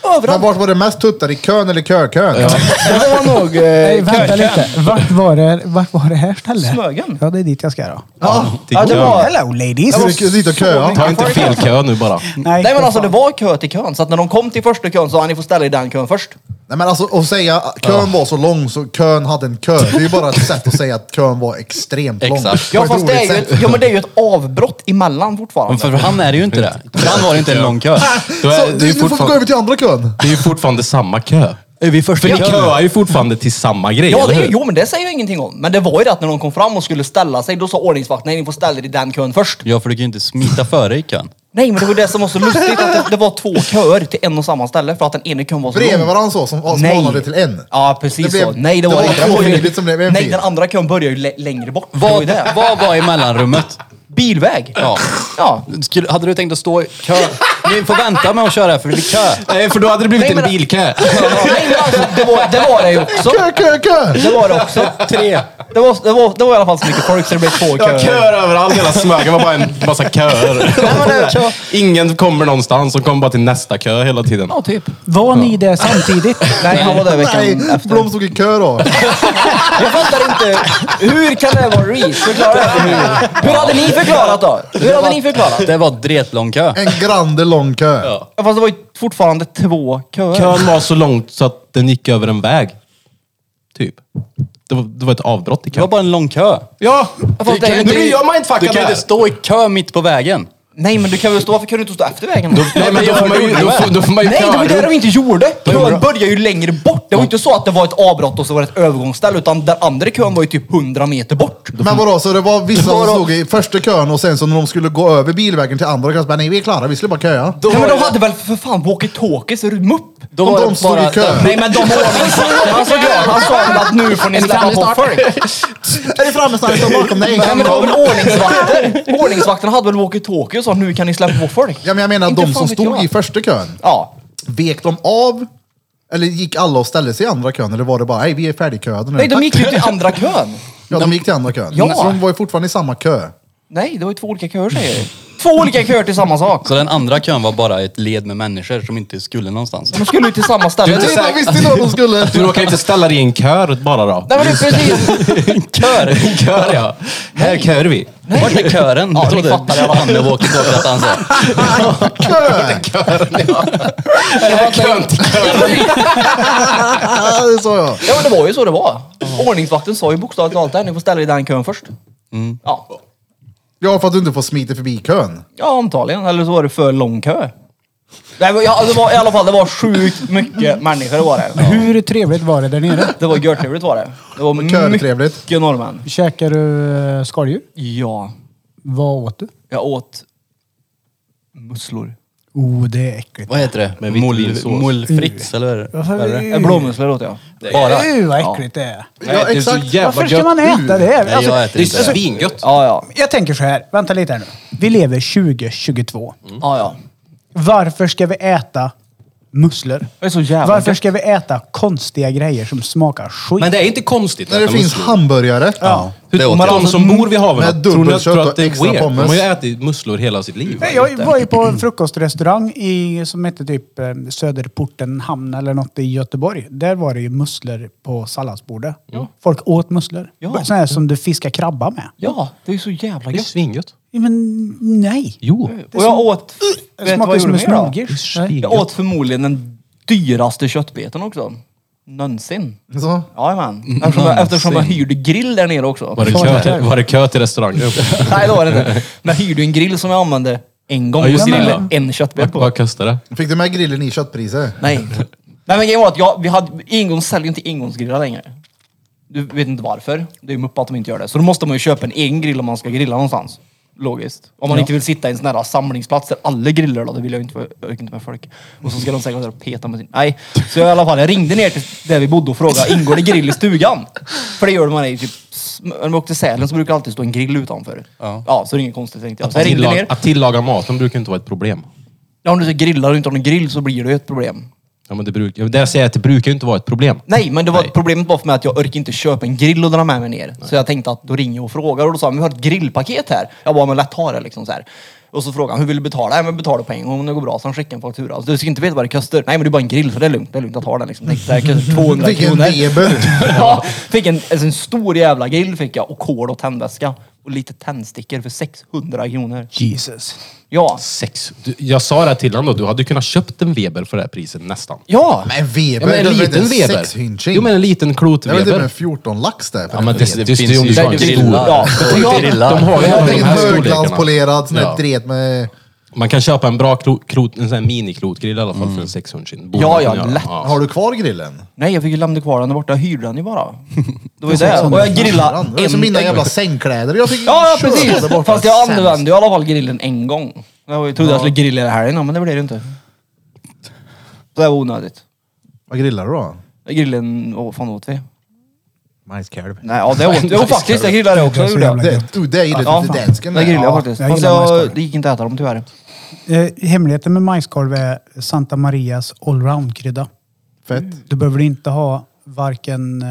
Speaker 1: Men
Speaker 4: Överallt.
Speaker 1: vart var det mest tuttar? I kön eller kökön?
Speaker 4: Det var nog... Eh,
Speaker 2: Nej, vänta
Speaker 4: kö-
Speaker 2: lite. Vart var det, vart var det här stället?
Speaker 4: Smögen.
Speaker 2: Ja, det är dit jag ska då.
Speaker 1: Ja.
Speaker 4: Ja, det var,
Speaker 2: Hello ladies!
Speaker 1: Ska du dit och köa?
Speaker 3: Ta inte fel kö nu bara.
Speaker 2: Nej,
Speaker 4: Nej men alltså det var kö till kön, så att när de kom till första kön så sa han ni får ställa er i den kön först.
Speaker 1: Nej men alltså att säga att kön var så lång så kön hade en kö. Det är ju bara ett sätt att säga att kön var extremt lång.
Speaker 5: Exakt.
Speaker 4: Ja
Speaker 1: På ett
Speaker 4: fast det är
Speaker 1: roligt
Speaker 4: ju
Speaker 1: sätt.
Speaker 4: ett, ja, men det är ju ett avbrott emellan
Speaker 5: Men
Speaker 4: fortfarande.
Speaker 5: för han är det ju inte det. För han var det inte en lång kö.
Speaker 3: Då är,
Speaker 1: Så,
Speaker 3: det, är
Speaker 1: du, nu
Speaker 3: ju
Speaker 1: får vi gå
Speaker 3: fortfarande,
Speaker 1: över till andra kön.
Speaker 3: det är ju fortfarande samma kö.
Speaker 5: Är vi först
Speaker 3: För ni
Speaker 5: i kön?
Speaker 3: köar ju fortfarande till samma grej,
Speaker 4: Ja, det,
Speaker 3: eller
Speaker 4: är-
Speaker 3: hur?
Speaker 4: jo men det säger jag ingenting om. Men det var ju det att när de kom fram och skulle ställa sig, då sa ordningsvakten nej ni får ställa er i den kön först.
Speaker 5: Ja, för du kan ju inte smita före i kön.
Speaker 4: Nej men det var det som var så lustigt, att det, det var två köer till en och samma ställe för att den ena kön var så
Speaker 1: Bredvid
Speaker 4: lång.
Speaker 1: varandra så, som smalnade till en.
Speaker 4: Ja precis
Speaker 1: Det blev-
Speaker 4: så. Nej det var,
Speaker 1: det var
Speaker 4: inte.
Speaker 1: två
Speaker 4: var ju-
Speaker 1: frivilligt som blev en
Speaker 4: Nej
Speaker 1: fil.
Speaker 4: den andra kön började ju lä- längre bort. Det var ju
Speaker 5: Vad,
Speaker 4: det.
Speaker 5: vad var i mellanrummet?
Speaker 4: Bilväg.
Speaker 5: Ja.
Speaker 4: Ja.
Speaker 5: Skulle, hade du tänkt att stå i kö? Ni får vänta med att köra för det blir kö.
Speaker 3: Nej, för då hade det blivit
Speaker 4: Nej, men-
Speaker 3: en bilkö.
Speaker 4: Nej men alltså, det var det, var det ju också.
Speaker 1: Kö, kö, kö!
Speaker 4: Det var det också.
Speaker 5: Tre.
Speaker 4: Det var, det, var, det var i alla fall så mycket folk så det blev två
Speaker 3: Jag har
Speaker 4: köer.
Speaker 3: köer överallt, hela Smögen var bara en massa köer. Ingen kommer någonstans, de kommer bara till nästa kö hela tiden.
Speaker 4: Ja, typ.
Speaker 2: Var ni där samtidigt?
Speaker 4: Nej, han var där veckan
Speaker 1: Nej,
Speaker 4: efter.
Speaker 1: Blom stod i kö då.
Speaker 4: Jag fattar inte. Hur kan det vara reach? Förklara det här för mig. Hur hade ni förklarat då? Hur hade ni förklarat?
Speaker 5: Det var dretlång kö.
Speaker 1: En grande lång kö.
Speaker 4: Ja, Fast det var ju fortfarande två köer.
Speaker 3: Kön var så långt så att den gick över en väg. Typ. Det var, det var ett avbrott i
Speaker 5: Det var
Speaker 3: kön.
Speaker 5: bara en lång kö.
Speaker 3: Ja!
Speaker 4: Fast det är
Speaker 3: Nu
Speaker 4: inte-
Speaker 3: blir jag
Speaker 5: Du
Speaker 3: mindfuckad
Speaker 5: kan ju inte
Speaker 3: här.
Speaker 5: stå i kö mitt på vägen.
Speaker 4: Nej men du kan väl stå, varför kan du inte stå efter vägen?
Speaker 5: Nej men då får man ju, då får, då får man ju
Speaker 4: Nej, det var ju det
Speaker 5: klara
Speaker 4: de inte gjorde.
Speaker 5: gjorde
Speaker 4: Kön
Speaker 5: de.
Speaker 4: började ju längre bort. Det var ju inte så att det var ett avbrott och så var det ett övergångsställe, utan den andra kön var ju typ 100 meter bort.
Speaker 1: Men vadå, så det var vissa
Speaker 4: Vadå?
Speaker 1: som stod i första kön och sen så när de skulle gå över bilvägen till andra kön så bara, nej vi är klara, vi skulle bara köa.
Speaker 5: Då
Speaker 4: Nej, men
Speaker 5: var
Speaker 4: de
Speaker 5: det-
Speaker 4: hade väl för fan walkie-talkies, är du mupp?
Speaker 5: Då
Speaker 1: Om
Speaker 5: var
Speaker 1: de
Speaker 5: det
Speaker 1: stod
Speaker 5: bara-
Speaker 1: i kö.
Speaker 4: Nej men de var Han såg glad, han sa väl att nu får ni släppa på folk.
Speaker 1: Är det framme snart? Står bakom dig?
Speaker 4: Nej men det var väl ordningsvakter? Ordningsvakterna hade väl walkie-talkie och sa nu kan ni släppa på folk.
Speaker 1: Ja men jag menar
Speaker 4: Inte
Speaker 1: de
Speaker 4: fan
Speaker 1: som
Speaker 4: vet
Speaker 1: stod
Speaker 4: jag.
Speaker 1: i Mm. första kön,
Speaker 4: Ja.
Speaker 1: vek de av? Eller gick alla och ställde sig i andra kön? Eller var det bara, nej vi är färdigköade nu?
Speaker 4: Nej de gick ju till andra kön.
Speaker 1: Ja, de gick till andra kön.
Speaker 4: Ja.
Speaker 1: Så de var ju fortfarande i samma kö.
Speaker 4: Nej, det var ju två olika köer säger jag. Två olika köer till samma sak.
Speaker 5: Så den andra kön var bara ett led med människor som inte skulle någonstans.
Speaker 4: De skulle ju till samma ställe.
Speaker 1: Nej, de visste inte vad de skulle.
Speaker 3: Du råkar inte ställa dig i en kör bara då?
Speaker 4: Nej men det är precis.
Speaker 3: Kör? En kör ja. Här kör vi.
Speaker 5: Vart är kören?
Speaker 4: Ja,
Speaker 5: Jag
Speaker 4: ni
Speaker 5: trodde
Speaker 4: fattar i alla fall.
Speaker 5: Danne walkie-talkie att han sa.
Speaker 1: Kö! Ja, det sa jag.
Speaker 4: Ja men det var ju så det var. Ordningsvakten sa ju bokstavligt talat där, ni får ställa er i den kön först.
Speaker 1: Mm.
Speaker 4: Ja.
Speaker 1: Ja, för att du inte får smita förbi kön.
Speaker 4: ja, antagligen. Eller så var det för lång kö. Nej, men, ja, det var, I alla fall, det var sjukt mycket människor var det.
Speaker 2: Hur trevligt var det där nere?
Speaker 4: Det var görtrevligt var det. Det var
Speaker 1: Körtrevligt.
Speaker 4: mycket norrmän.
Speaker 2: Käkar du eh, skaldjur?
Speaker 4: Ja,
Speaker 2: Vad åt du?
Speaker 4: jag åt musslor.
Speaker 2: Oh, det är äckligt.
Speaker 5: Vad heter det? Mull- Mullfritz eller? vad är det?
Speaker 4: Eh,
Speaker 2: Mm.
Speaker 4: Blåmusslor åt jag.
Speaker 5: Bara?
Speaker 2: Uh, vad äckligt det är.
Speaker 1: Ja,
Speaker 3: Nej, det är så
Speaker 1: exakt.
Speaker 3: jävla
Speaker 2: Varför ska
Speaker 3: gött.
Speaker 2: man äta det?
Speaker 5: Nej,
Speaker 2: Alltså,
Speaker 5: jag äter
Speaker 3: Det är
Speaker 5: inte.
Speaker 3: svingött.
Speaker 4: Ja, ja.
Speaker 2: jag tänker så här, vänta lite här nu. Vi lever 2022.
Speaker 4: ja, ja.
Speaker 2: Varför ska vi äta musslor?
Speaker 4: Det är så jävla
Speaker 2: Varför
Speaker 4: gött.
Speaker 2: ska vi äta konstiga grejer som smakar skit?
Speaker 3: Men det är inte konstigt.
Speaker 1: När det
Speaker 3: att
Speaker 1: finns
Speaker 3: musslor-
Speaker 1: hamburgare.
Speaker 2: Ja.
Speaker 5: Det åt jag.
Speaker 3: De
Speaker 2: Mm.
Speaker 3: som bor vid haven,
Speaker 1: Med
Speaker 3: tror ni
Speaker 1: dubbelkött
Speaker 3: att, tror att
Speaker 1: och
Speaker 3: det är
Speaker 1: extra
Speaker 3: weird? De
Speaker 1: pommes.
Speaker 3: har ju ätit musslor hela sitt liv.
Speaker 2: Nej, jag var ju på en frukostrestaurang i, som hette typ eh, Söderporten hamn eller något i Göteborg. Där var det ju musslor på salladsbordet. Folk åt musslor.
Speaker 4: Ja.
Speaker 2: Sådana här som du fiskar krabba med.
Speaker 4: Ja, det är ju så jävla
Speaker 3: Det är
Speaker 4: gött.
Speaker 3: svingött.
Speaker 2: Ja, Men nej.
Speaker 3: Jo.
Speaker 4: Och jag åt...
Speaker 2: Det
Speaker 4: vet du
Speaker 2: Mm. smakar
Speaker 4: vad
Speaker 2: ju
Speaker 4: jag
Speaker 2: som en
Speaker 4: gjorde mer då?
Speaker 2: smörgås.
Speaker 3: Nej.
Speaker 2: Nej.
Speaker 4: Jag åt förmodligen den dyraste köttbeten också. Någonsin.
Speaker 1: Så.
Speaker 4: Jajamän. Eftersom jag, eftersom jag hyrde grill där nere också.
Speaker 3: Mm. Var det, kö, var det kö till restaurangen?
Speaker 4: Nej, det var det inte. Men jag hyrde en grill som jag använde en gång.
Speaker 3: Ja, just det,
Speaker 4: jag grillade
Speaker 3: ja.
Speaker 4: en köttbit
Speaker 3: Vad-
Speaker 4: på.
Speaker 3: Vad kostar det?
Speaker 1: Fick du med grillen i köttpriset?
Speaker 4: Nej. Nej, men grejen var att jag, vi hade, engångs säljer inte engångsgrillar längre. Du vet inte varför. Det är ju muppat att de inte gör det. Så då måste man ju köpa en egen grill om man ska grilla någonstans. Logiskt. Om man inte vill sitta i en sån här samlingsplats där alla grillar då, det vill jag ju inte, jag orkar inte med folk. Och så ska de säkert där och peta med sin... Nej. Så jag i alla fall, jag ringde ner till där vi bodde och frågade, ingår det grill i stugan? För det gör man i typ... När vi åkte till Sälen så brukar det alltid stå en grill utanför. Ja. så det är inget konstigt tänkte jag. Så jag ringde
Speaker 3: Tillag-
Speaker 4: ner.
Speaker 3: Att tillaga maten brukar inte vara ett problem.
Speaker 4: Ja, om du ska grilla och inte har någon grill så blir det ju ett problem.
Speaker 3: Ja, men det, bruk, ja, det jag säger är att det brukar ju inte vara ett problem.
Speaker 4: Nej, men det var, problemet var för mig att jag orkar inte köpa en grill och dra med mig ner. Så jag tänkte att då ringer jag och frågar och då sa han, vi har ett grillpaket här. Jag bara, men lätt ta det liksom så här. Och så frågade han, hur vill du betala? Nej, men betala på en gång om det går bra. Så han skickade en faktura. Alltså, du ska inte veta vad det kostar. Nej, men det är bara en grill så det är lugnt. Det är lugnt, jag tar den liksom. Tänkte, så här, kanske 200
Speaker 1: Vilken
Speaker 4: kronor.
Speaker 1: Weber!
Speaker 4: ja, fick en, alltså, en stor jävla grill fick jag och kol och tändväska. Och lite tändstickor för 600 kronor.
Speaker 2: Jesus.
Speaker 4: Ja.
Speaker 3: Sex. Du, jag sa det här till honom då, du hade ju kunnat köpt en Weber för det här priset nästan.
Speaker 4: Ja!
Speaker 1: Men
Speaker 3: Ja,
Speaker 1: Weber,
Speaker 3: men
Speaker 1: det
Speaker 3: en
Speaker 1: var
Speaker 3: liten
Speaker 1: inte
Speaker 3: Weber.
Speaker 1: sex hynching.
Speaker 3: Jo men en liten klot
Speaker 1: Det var inte
Speaker 3: Weber.
Speaker 1: med 14 lax där. för
Speaker 3: Ja
Speaker 1: det.
Speaker 3: men det, det, det, det,
Speaker 5: finns ju
Speaker 3: det, det, det, det,
Speaker 5: grillar.
Speaker 4: Ja,
Speaker 5: Och
Speaker 4: ja.
Speaker 5: grillar.
Speaker 3: De har ju alla de
Speaker 1: Tänk en
Speaker 3: här storlekarna.
Speaker 1: höglanspolerad sån
Speaker 3: Ja.
Speaker 1: där dret med...
Speaker 3: Man kan köpa en bra klo- klot, en sån här miniklotgrill i alla fall för en 600 kilo. Borde
Speaker 4: Ja, ja,
Speaker 3: man kunna göra.
Speaker 4: lätt.
Speaker 1: Har du kvar grillen?
Speaker 4: Nej, jag fick ju lämna kvar den där borta. Jag hyrde den ju bara. Det var ju det. Och jag grillade
Speaker 1: Det är som mina jävla sängkläder jag fick
Speaker 4: Ja,
Speaker 1: köra
Speaker 4: ja
Speaker 1: där
Speaker 4: precis.
Speaker 1: borta.
Speaker 4: Fast jag
Speaker 1: Sämst.
Speaker 4: använde ju i alla fall grillen en gång. Jag var ju- trodde jag skulle grilla hela helgen, men det blev det ju inte. Så det var onödigt.
Speaker 1: Vad grillar du då?
Speaker 4: Grillen, vad fan åt vi?
Speaker 1: Majskalv.
Speaker 4: Nej, ja det åt Jo faktiskt, jag grillade också.
Speaker 2: Det är så
Speaker 4: gjorde jag.
Speaker 2: jävla
Speaker 1: Det, oh, det gillar
Speaker 4: Ja,
Speaker 1: inte
Speaker 4: fan.
Speaker 1: dansken.
Speaker 4: Jag grillade
Speaker 2: Ja,
Speaker 4: faktiskt.
Speaker 2: jag
Speaker 4: Fast
Speaker 2: gillar
Speaker 4: jag,
Speaker 2: majskolv.
Speaker 4: det gick inte att äta dem tyvärr.
Speaker 2: Eh, hemligheten med majskorv är Santa Marias allround-krydda.
Speaker 1: Fett.
Speaker 3: Mm.
Speaker 2: Du behöver inte ha varken eh,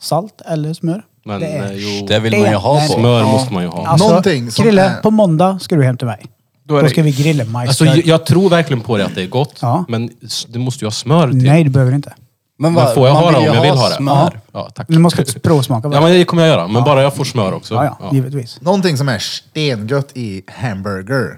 Speaker 2: salt eller smör.
Speaker 3: Men
Speaker 2: det
Speaker 3: eh,
Speaker 2: är
Speaker 3: jo,
Speaker 5: Det vill man ju ha på.
Speaker 3: smör måste man ju ha.
Speaker 2: Alltså,
Speaker 1: Någonting som
Speaker 2: Krille,
Speaker 1: är-
Speaker 2: på måndag ska du hem till mig. Då,
Speaker 4: är det-
Speaker 2: ska vi grilla majs.
Speaker 3: Alltså, jag, jag tror verkligen på det att det är gott.
Speaker 2: Ja.
Speaker 3: Men s- du måste ju ha smör till.
Speaker 2: Nej, du behöver inte.
Speaker 5: Men,
Speaker 3: Men
Speaker 5: vad-
Speaker 3: får jag
Speaker 5: man
Speaker 3: ha det om
Speaker 5: ju
Speaker 3: jag vill ha det?
Speaker 5: Smör.
Speaker 3: Ja, tack.
Speaker 2: Du måste provsmaka.
Speaker 3: Ja,
Speaker 2: bara.
Speaker 3: men det kommer jag göra. Men bara jag får smör också.
Speaker 2: ja, ja, givetvis.
Speaker 1: Någonting som är stengött i hamburger.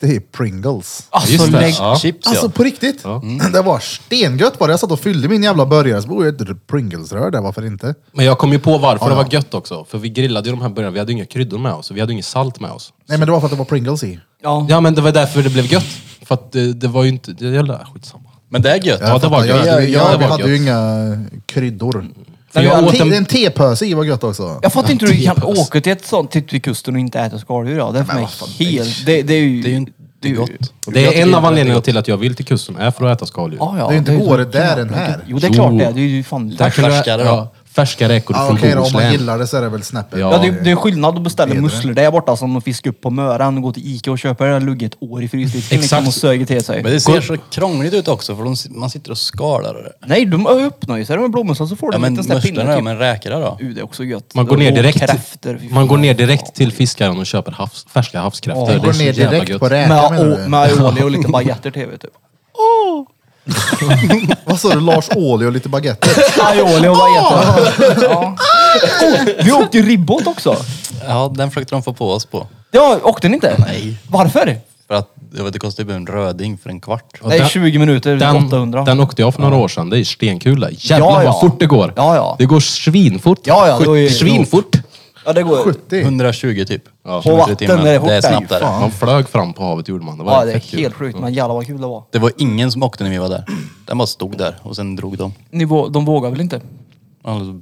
Speaker 1: det är Pringles.
Speaker 4: Alltså
Speaker 3: Just det,
Speaker 4: lägg...
Speaker 3: ja.
Speaker 5: Chips
Speaker 1: Alltså
Speaker 5: ja.
Speaker 1: på riktigt.
Speaker 4: Mm.
Speaker 1: Det var stengött bara. Jag satt och fyllde min jävla burgare. Så borde jag ett Pringles-rör där, varför inte?
Speaker 3: Men jag kom ju på varför det var gött också. För vi grillade ju de här burgarna, vi hade ju inga kryddor med oss. Vi hade ju inget salt med oss.
Speaker 1: Nej men det var för att det var Pringles i.
Speaker 4: Ja.
Speaker 3: Ja men det var därför det blev gött. För att eh, det, det var ju inte... Det jävla skitsamma.
Speaker 5: Men det är gött.
Speaker 3: Ja, det var
Speaker 1: fattar. jag,
Speaker 3: gött.
Speaker 1: jag,
Speaker 3: Ja, det
Speaker 1: jag
Speaker 3: var
Speaker 1: hade
Speaker 3: gött.
Speaker 1: ju inga kryddor.
Speaker 3: För jag åt
Speaker 1: Te, en
Speaker 3: en...
Speaker 1: tepöse i var gött också.
Speaker 4: Jag fattar inte hur du kan
Speaker 3: Antipus.
Speaker 4: åka till ett sånt, typ till kusten och inte äta skaldjur. Ja. Det är för mig helt... Det, det är ju...
Speaker 5: Det är ju inte
Speaker 4: det är ju-
Speaker 5: gott.
Speaker 3: Det är en av anledningarna till att jag vill till kusten, är för att äta skaldjur.
Speaker 4: Ja, ja,
Speaker 1: Det är ju inte
Speaker 4: ju-
Speaker 1: godare där än här.
Speaker 4: Jo, det är klart
Speaker 3: Jo.
Speaker 4: det är. Det är ju fan...
Speaker 3: Där kunde jag-
Speaker 5: Färskare då.
Speaker 3: ja, Färskare ekorre
Speaker 1: Ja,
Speaker 3: från
Speaker 1: Okej då, om man
Speaker 3: Bohuslän.
Speaker 1: gillar det så är det väl snäppet.
Speaker 3: Ja.
Speaker 4: Ja, det, är- det är skillnad att beställa
Speaker 1: Det är det.
Speaker 4: musslor där borta som de fiskar upp på Möra än att gå till Ica och köpa det där lugget ett år i frysdisken liksom
Speaker 3: Exakt.
Speaker 4: och söger till sig.
Speaker 5: Men det ser så krångligt ut också för de, si- man sitter och skalar och det.
Speaker 4: Nej, de öppnar ju sig med blåmusslan så får de
Speaker 5: Ja
Speaker 4: en
Speaker 5: men
Speaker 4: liten sån här pinne
Speaker 5: musslorna ja,
Speaker 4: typ.
Speaker 5: men räkorna då?
Speaker 4: Uh, det är också gött.
Speaker 3: Man går, ner direkt,
Speaker 4: Kräfter, fy
Speaker 3: man går
Speaker 4: fan.
Speaker 3: ner direkt till fiskaren och köper havs, färska havskräftor.
Speaker 1: Man
Speaker 3: det är
Speaker 1: går
Speaker 3: så
Speaker 1: ner
Speaker 3: jävla
Speaker 1: direkt
Speaker 3: gött.
Speaker 1: på räka
Speaker 4: Med,
Speaker 1: menar du?
Speaker 4: å- med aioli och lite baguetter tv typ.
Speaker 1: Vad sa du? Lars Ohly och lite baguetter?
Speaker 4: Aioli och baguetter. Ja. Oh, vi åkte ju ribbåt också.
Speaker 5: Ja, den försökte de få på oss på.
Speaker 4: Ja, åkte ni inte? Nej. Varför?
Speaker 5: För att, jag vet, det kostar ju en röding för en kvart.
Speaker 3: Och
Speaker 4: Nej,
Speaker 3: den-
Speaker 4: 20 minuter, 800.
Speaker 3: Den, den åkte jag för några år sedan. Det är stenkul där. Jävlar
Speaker 4: Ja, ja.
Speaker 3: vad fort det går.
Speaker 4: Ja, ja.
Speaker 3: Det går svinfort.
Speaker 4: Ja, ja, det var ju-
Speaker 3: svinfort.
Speaker 4: ja, det går.
Speaker 1: 70?
Speaker 5: 120 typ.
Speaker 3: Ja.
Speaker 4: På
Speaker 5: Kilometer i
Speaker 4: vatten
Speaker 5: timmen.
Speaker 4: är det fort
Speaker 5: Det är
Speaker 4: där.
Speaker 5: snabbt
Speaker 4: Fy
Speaker 5: där.
Speaker 3: Man flög fram på havet gjorde man. Det var
Speaker 4: Ja, det är
Speaker 3: fett kul.
Speaker 4: helt sjukt. Men jävlar vad kul det var.
Speaker 5: Det var ingen som åkte när vi var där. Den bara stod där och sen drog de.
Speaker 4: Ni vå- de vågar väl inte?
Speaker 5: Alltså,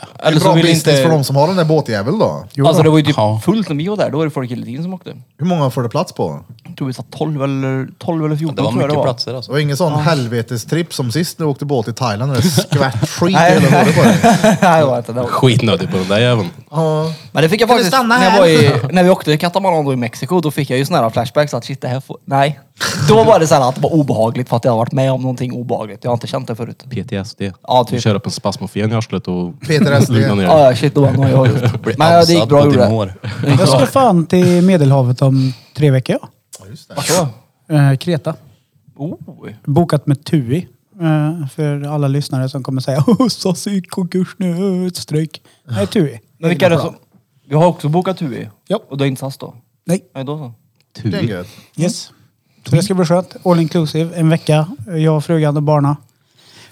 Speaker 1: Det är
Speaker 4: Eller så
Speaker 1: bra
Speaker 4: vill
Speaker 1: business
Speaker 4: inte...
Speaker 1: för de som har den där båtjäveln då. Jo,
Speaker 4: Alltså det
Speaker 1: då.
Speaker 4: var ju typ
Speaker 5: Ja.
Speaker 4: fullt när vi var där. Då var det folk hela tiden som åkte.
Speaker 1: Hur många får det plats på?
Speaker 4: Jag tror vi satt 12 eller, 12 eller 14
Speaker 5: det var
Speaker 4: tror jag
Speaker 5: mycket
Speaker 4: det var.
Speaker 5: platser
Speaker 1: Det
Speaker 5: alltså.
Speaker 1: var ingen sån helvetestripp som sist när du åkte båt i Thailand och det skvätt skit i
Speaker 4: Nej.
Speaker 1: hela båten på dig.
Speaker 4: Nej, det var inte det.
Speaker 3: Skitnödig på den där jäveln.
Speaker 1: Ja.
Speaker 4: Men det fick jag
Speaker 1: Kan du
Speaker 4: faktiskt
Speaker 1: stanna
Speaker 4: när, jag
Speaker 1: här?
Speaker 4: var i, när vi åkte katamaran då i Mexiko. Då fick jag ju såna här flashbacks att shit det här får... Nej. Då var det så här att det var obehagligt för att jag har varit med om någonting obehagligt. Jag har inte känt det förut.
Speaker 3: PTSD.
Speaker 4: Ja, typ.
Speaker 3: Du kör upp en spasmofen i arslet och
Speaker 1: PTSD.
Speaker 3: lugnar ner
Speaker 4: Ja,
Speaker 3: dig.
Speaker 4: ja, shit då var det något jag har gjort.
Speaker 5: Blir
Speaker 4: Men ja, det gick
Speaker 5: absad
Speaker 4: bra
Speaker 5: på
Speaker 4: gjorde det.
Speaker 5: Timor.
Speaker 4: Det gick
Speaker 2: Jag
Speaker 4: bra.
Speaker 2: ska fan till Medelhavet om tre veckor. Ja.
Speaker 4: Alltså.
Speaker 2: Eh, Kreta.
Speaker 4: Oh.
Speaker 2: Bokat med TUI. Eh, för alla lyssnare som kommer säga "Åh, SAS är i konkurs nu, eh, ett stryk. Nej, TUI.
Speaker 4: Men vilka är det som... Vi har också bokat Tui.
Speaker 2: Ja.
Speaker 4: Och du har inte SAS då?
Speaker 2: Nej.
Speaker 4: Nej, då så.
Speaker 1: Det är
Speaker 3: Tur.
Speaker 1: gött.
Speaker 2: Yes.
Speaker 3: Mm.
Speaker 2: Så det ska bli skönt. All inclusive. En vecka. Jag, frugan och barna.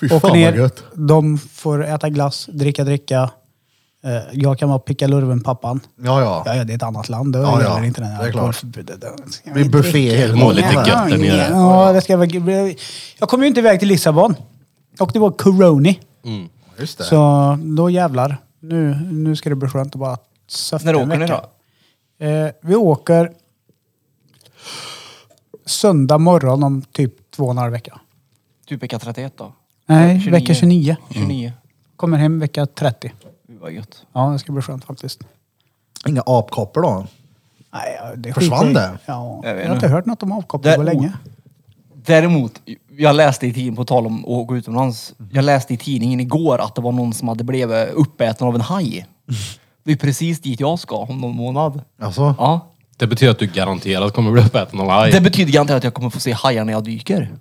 Speaker 1: Fy fan
Speaker 2: Åker
Speaker 1: vad
Speaker 2: ner.
Speaker 1: gött.
Speaker 2: De får äta glass, dricka, dricka. Eh, Jag kan vara picka lurven pappan.
Speaker 1: Ja, ja.
Speaker 2: Ja, ja, det är ett annat land. Då
Speaker 1: Ja,
Speaker 2: ja,
Speaker 1: ja.
Speaker 2: gäller inte den här
Speaker 1: Det är klart.
Speaker 2: alkoholförbudet. Det ska
Speaker 1: Det blir
Speaker 2: vi
Speaker 1: buffé helt
Speaker 3: Må lite gött där nere.
Speaker 2: Ja, det ska vara... Jag kom ju inte iväg till Lissabon. Och det var coroni.
Speaker 1: Just det.
Speaker 2: Så då jävlar. Nu, nu ska det bli skönt att bara söfta
Speaker 4: När
Speaker 2: en
Speaker 4: åker ni
Speaker 2: vecka. Eh, vi åker söndag morgon om typ två och en halv vecka.
Speaker 4: Typ vecka 31 då?
Speaker 2: Nej, vecka 29.
Speaker 4: 29.
Speaker 2: Kommer hem vecka 30.
Speaker 4: Mm. Vad gött.
Speaker 2: Ja, det ska bli skönt faktiskt.
Speaker 1: Inga apkoppor då?
Speaker 2: Nej, ja, det
Speaker 1: Försvann
Speaker 2: skiter jag i.
Speaker 1: det?
Speaker 2: Ja,
Speaker 4: Jag vet
Speaker 2: jag har
Speaker 4: inte.
Speaker 2: inte hört något om avkoppling på
Speaker 4: Där-
Speaker 2: länge.
Speaker 4: Däremot, jag läste i tidningen, på tal om att åka utomlands. Jag läste i tidningen igår att det var någon som hade blivit uppäten av en haj. Det är precis dit jag ska om någon månad.
Speaker 1: Alltså?
Speaker 4: Ja.
Speaker 3: Det betyder att du garanterat kommer bli uppäten av
Speaker 4: Det
Speaker 3: haj.
Speaker 4: betyder garanterat att jag kommer få se hajar när jag dyker.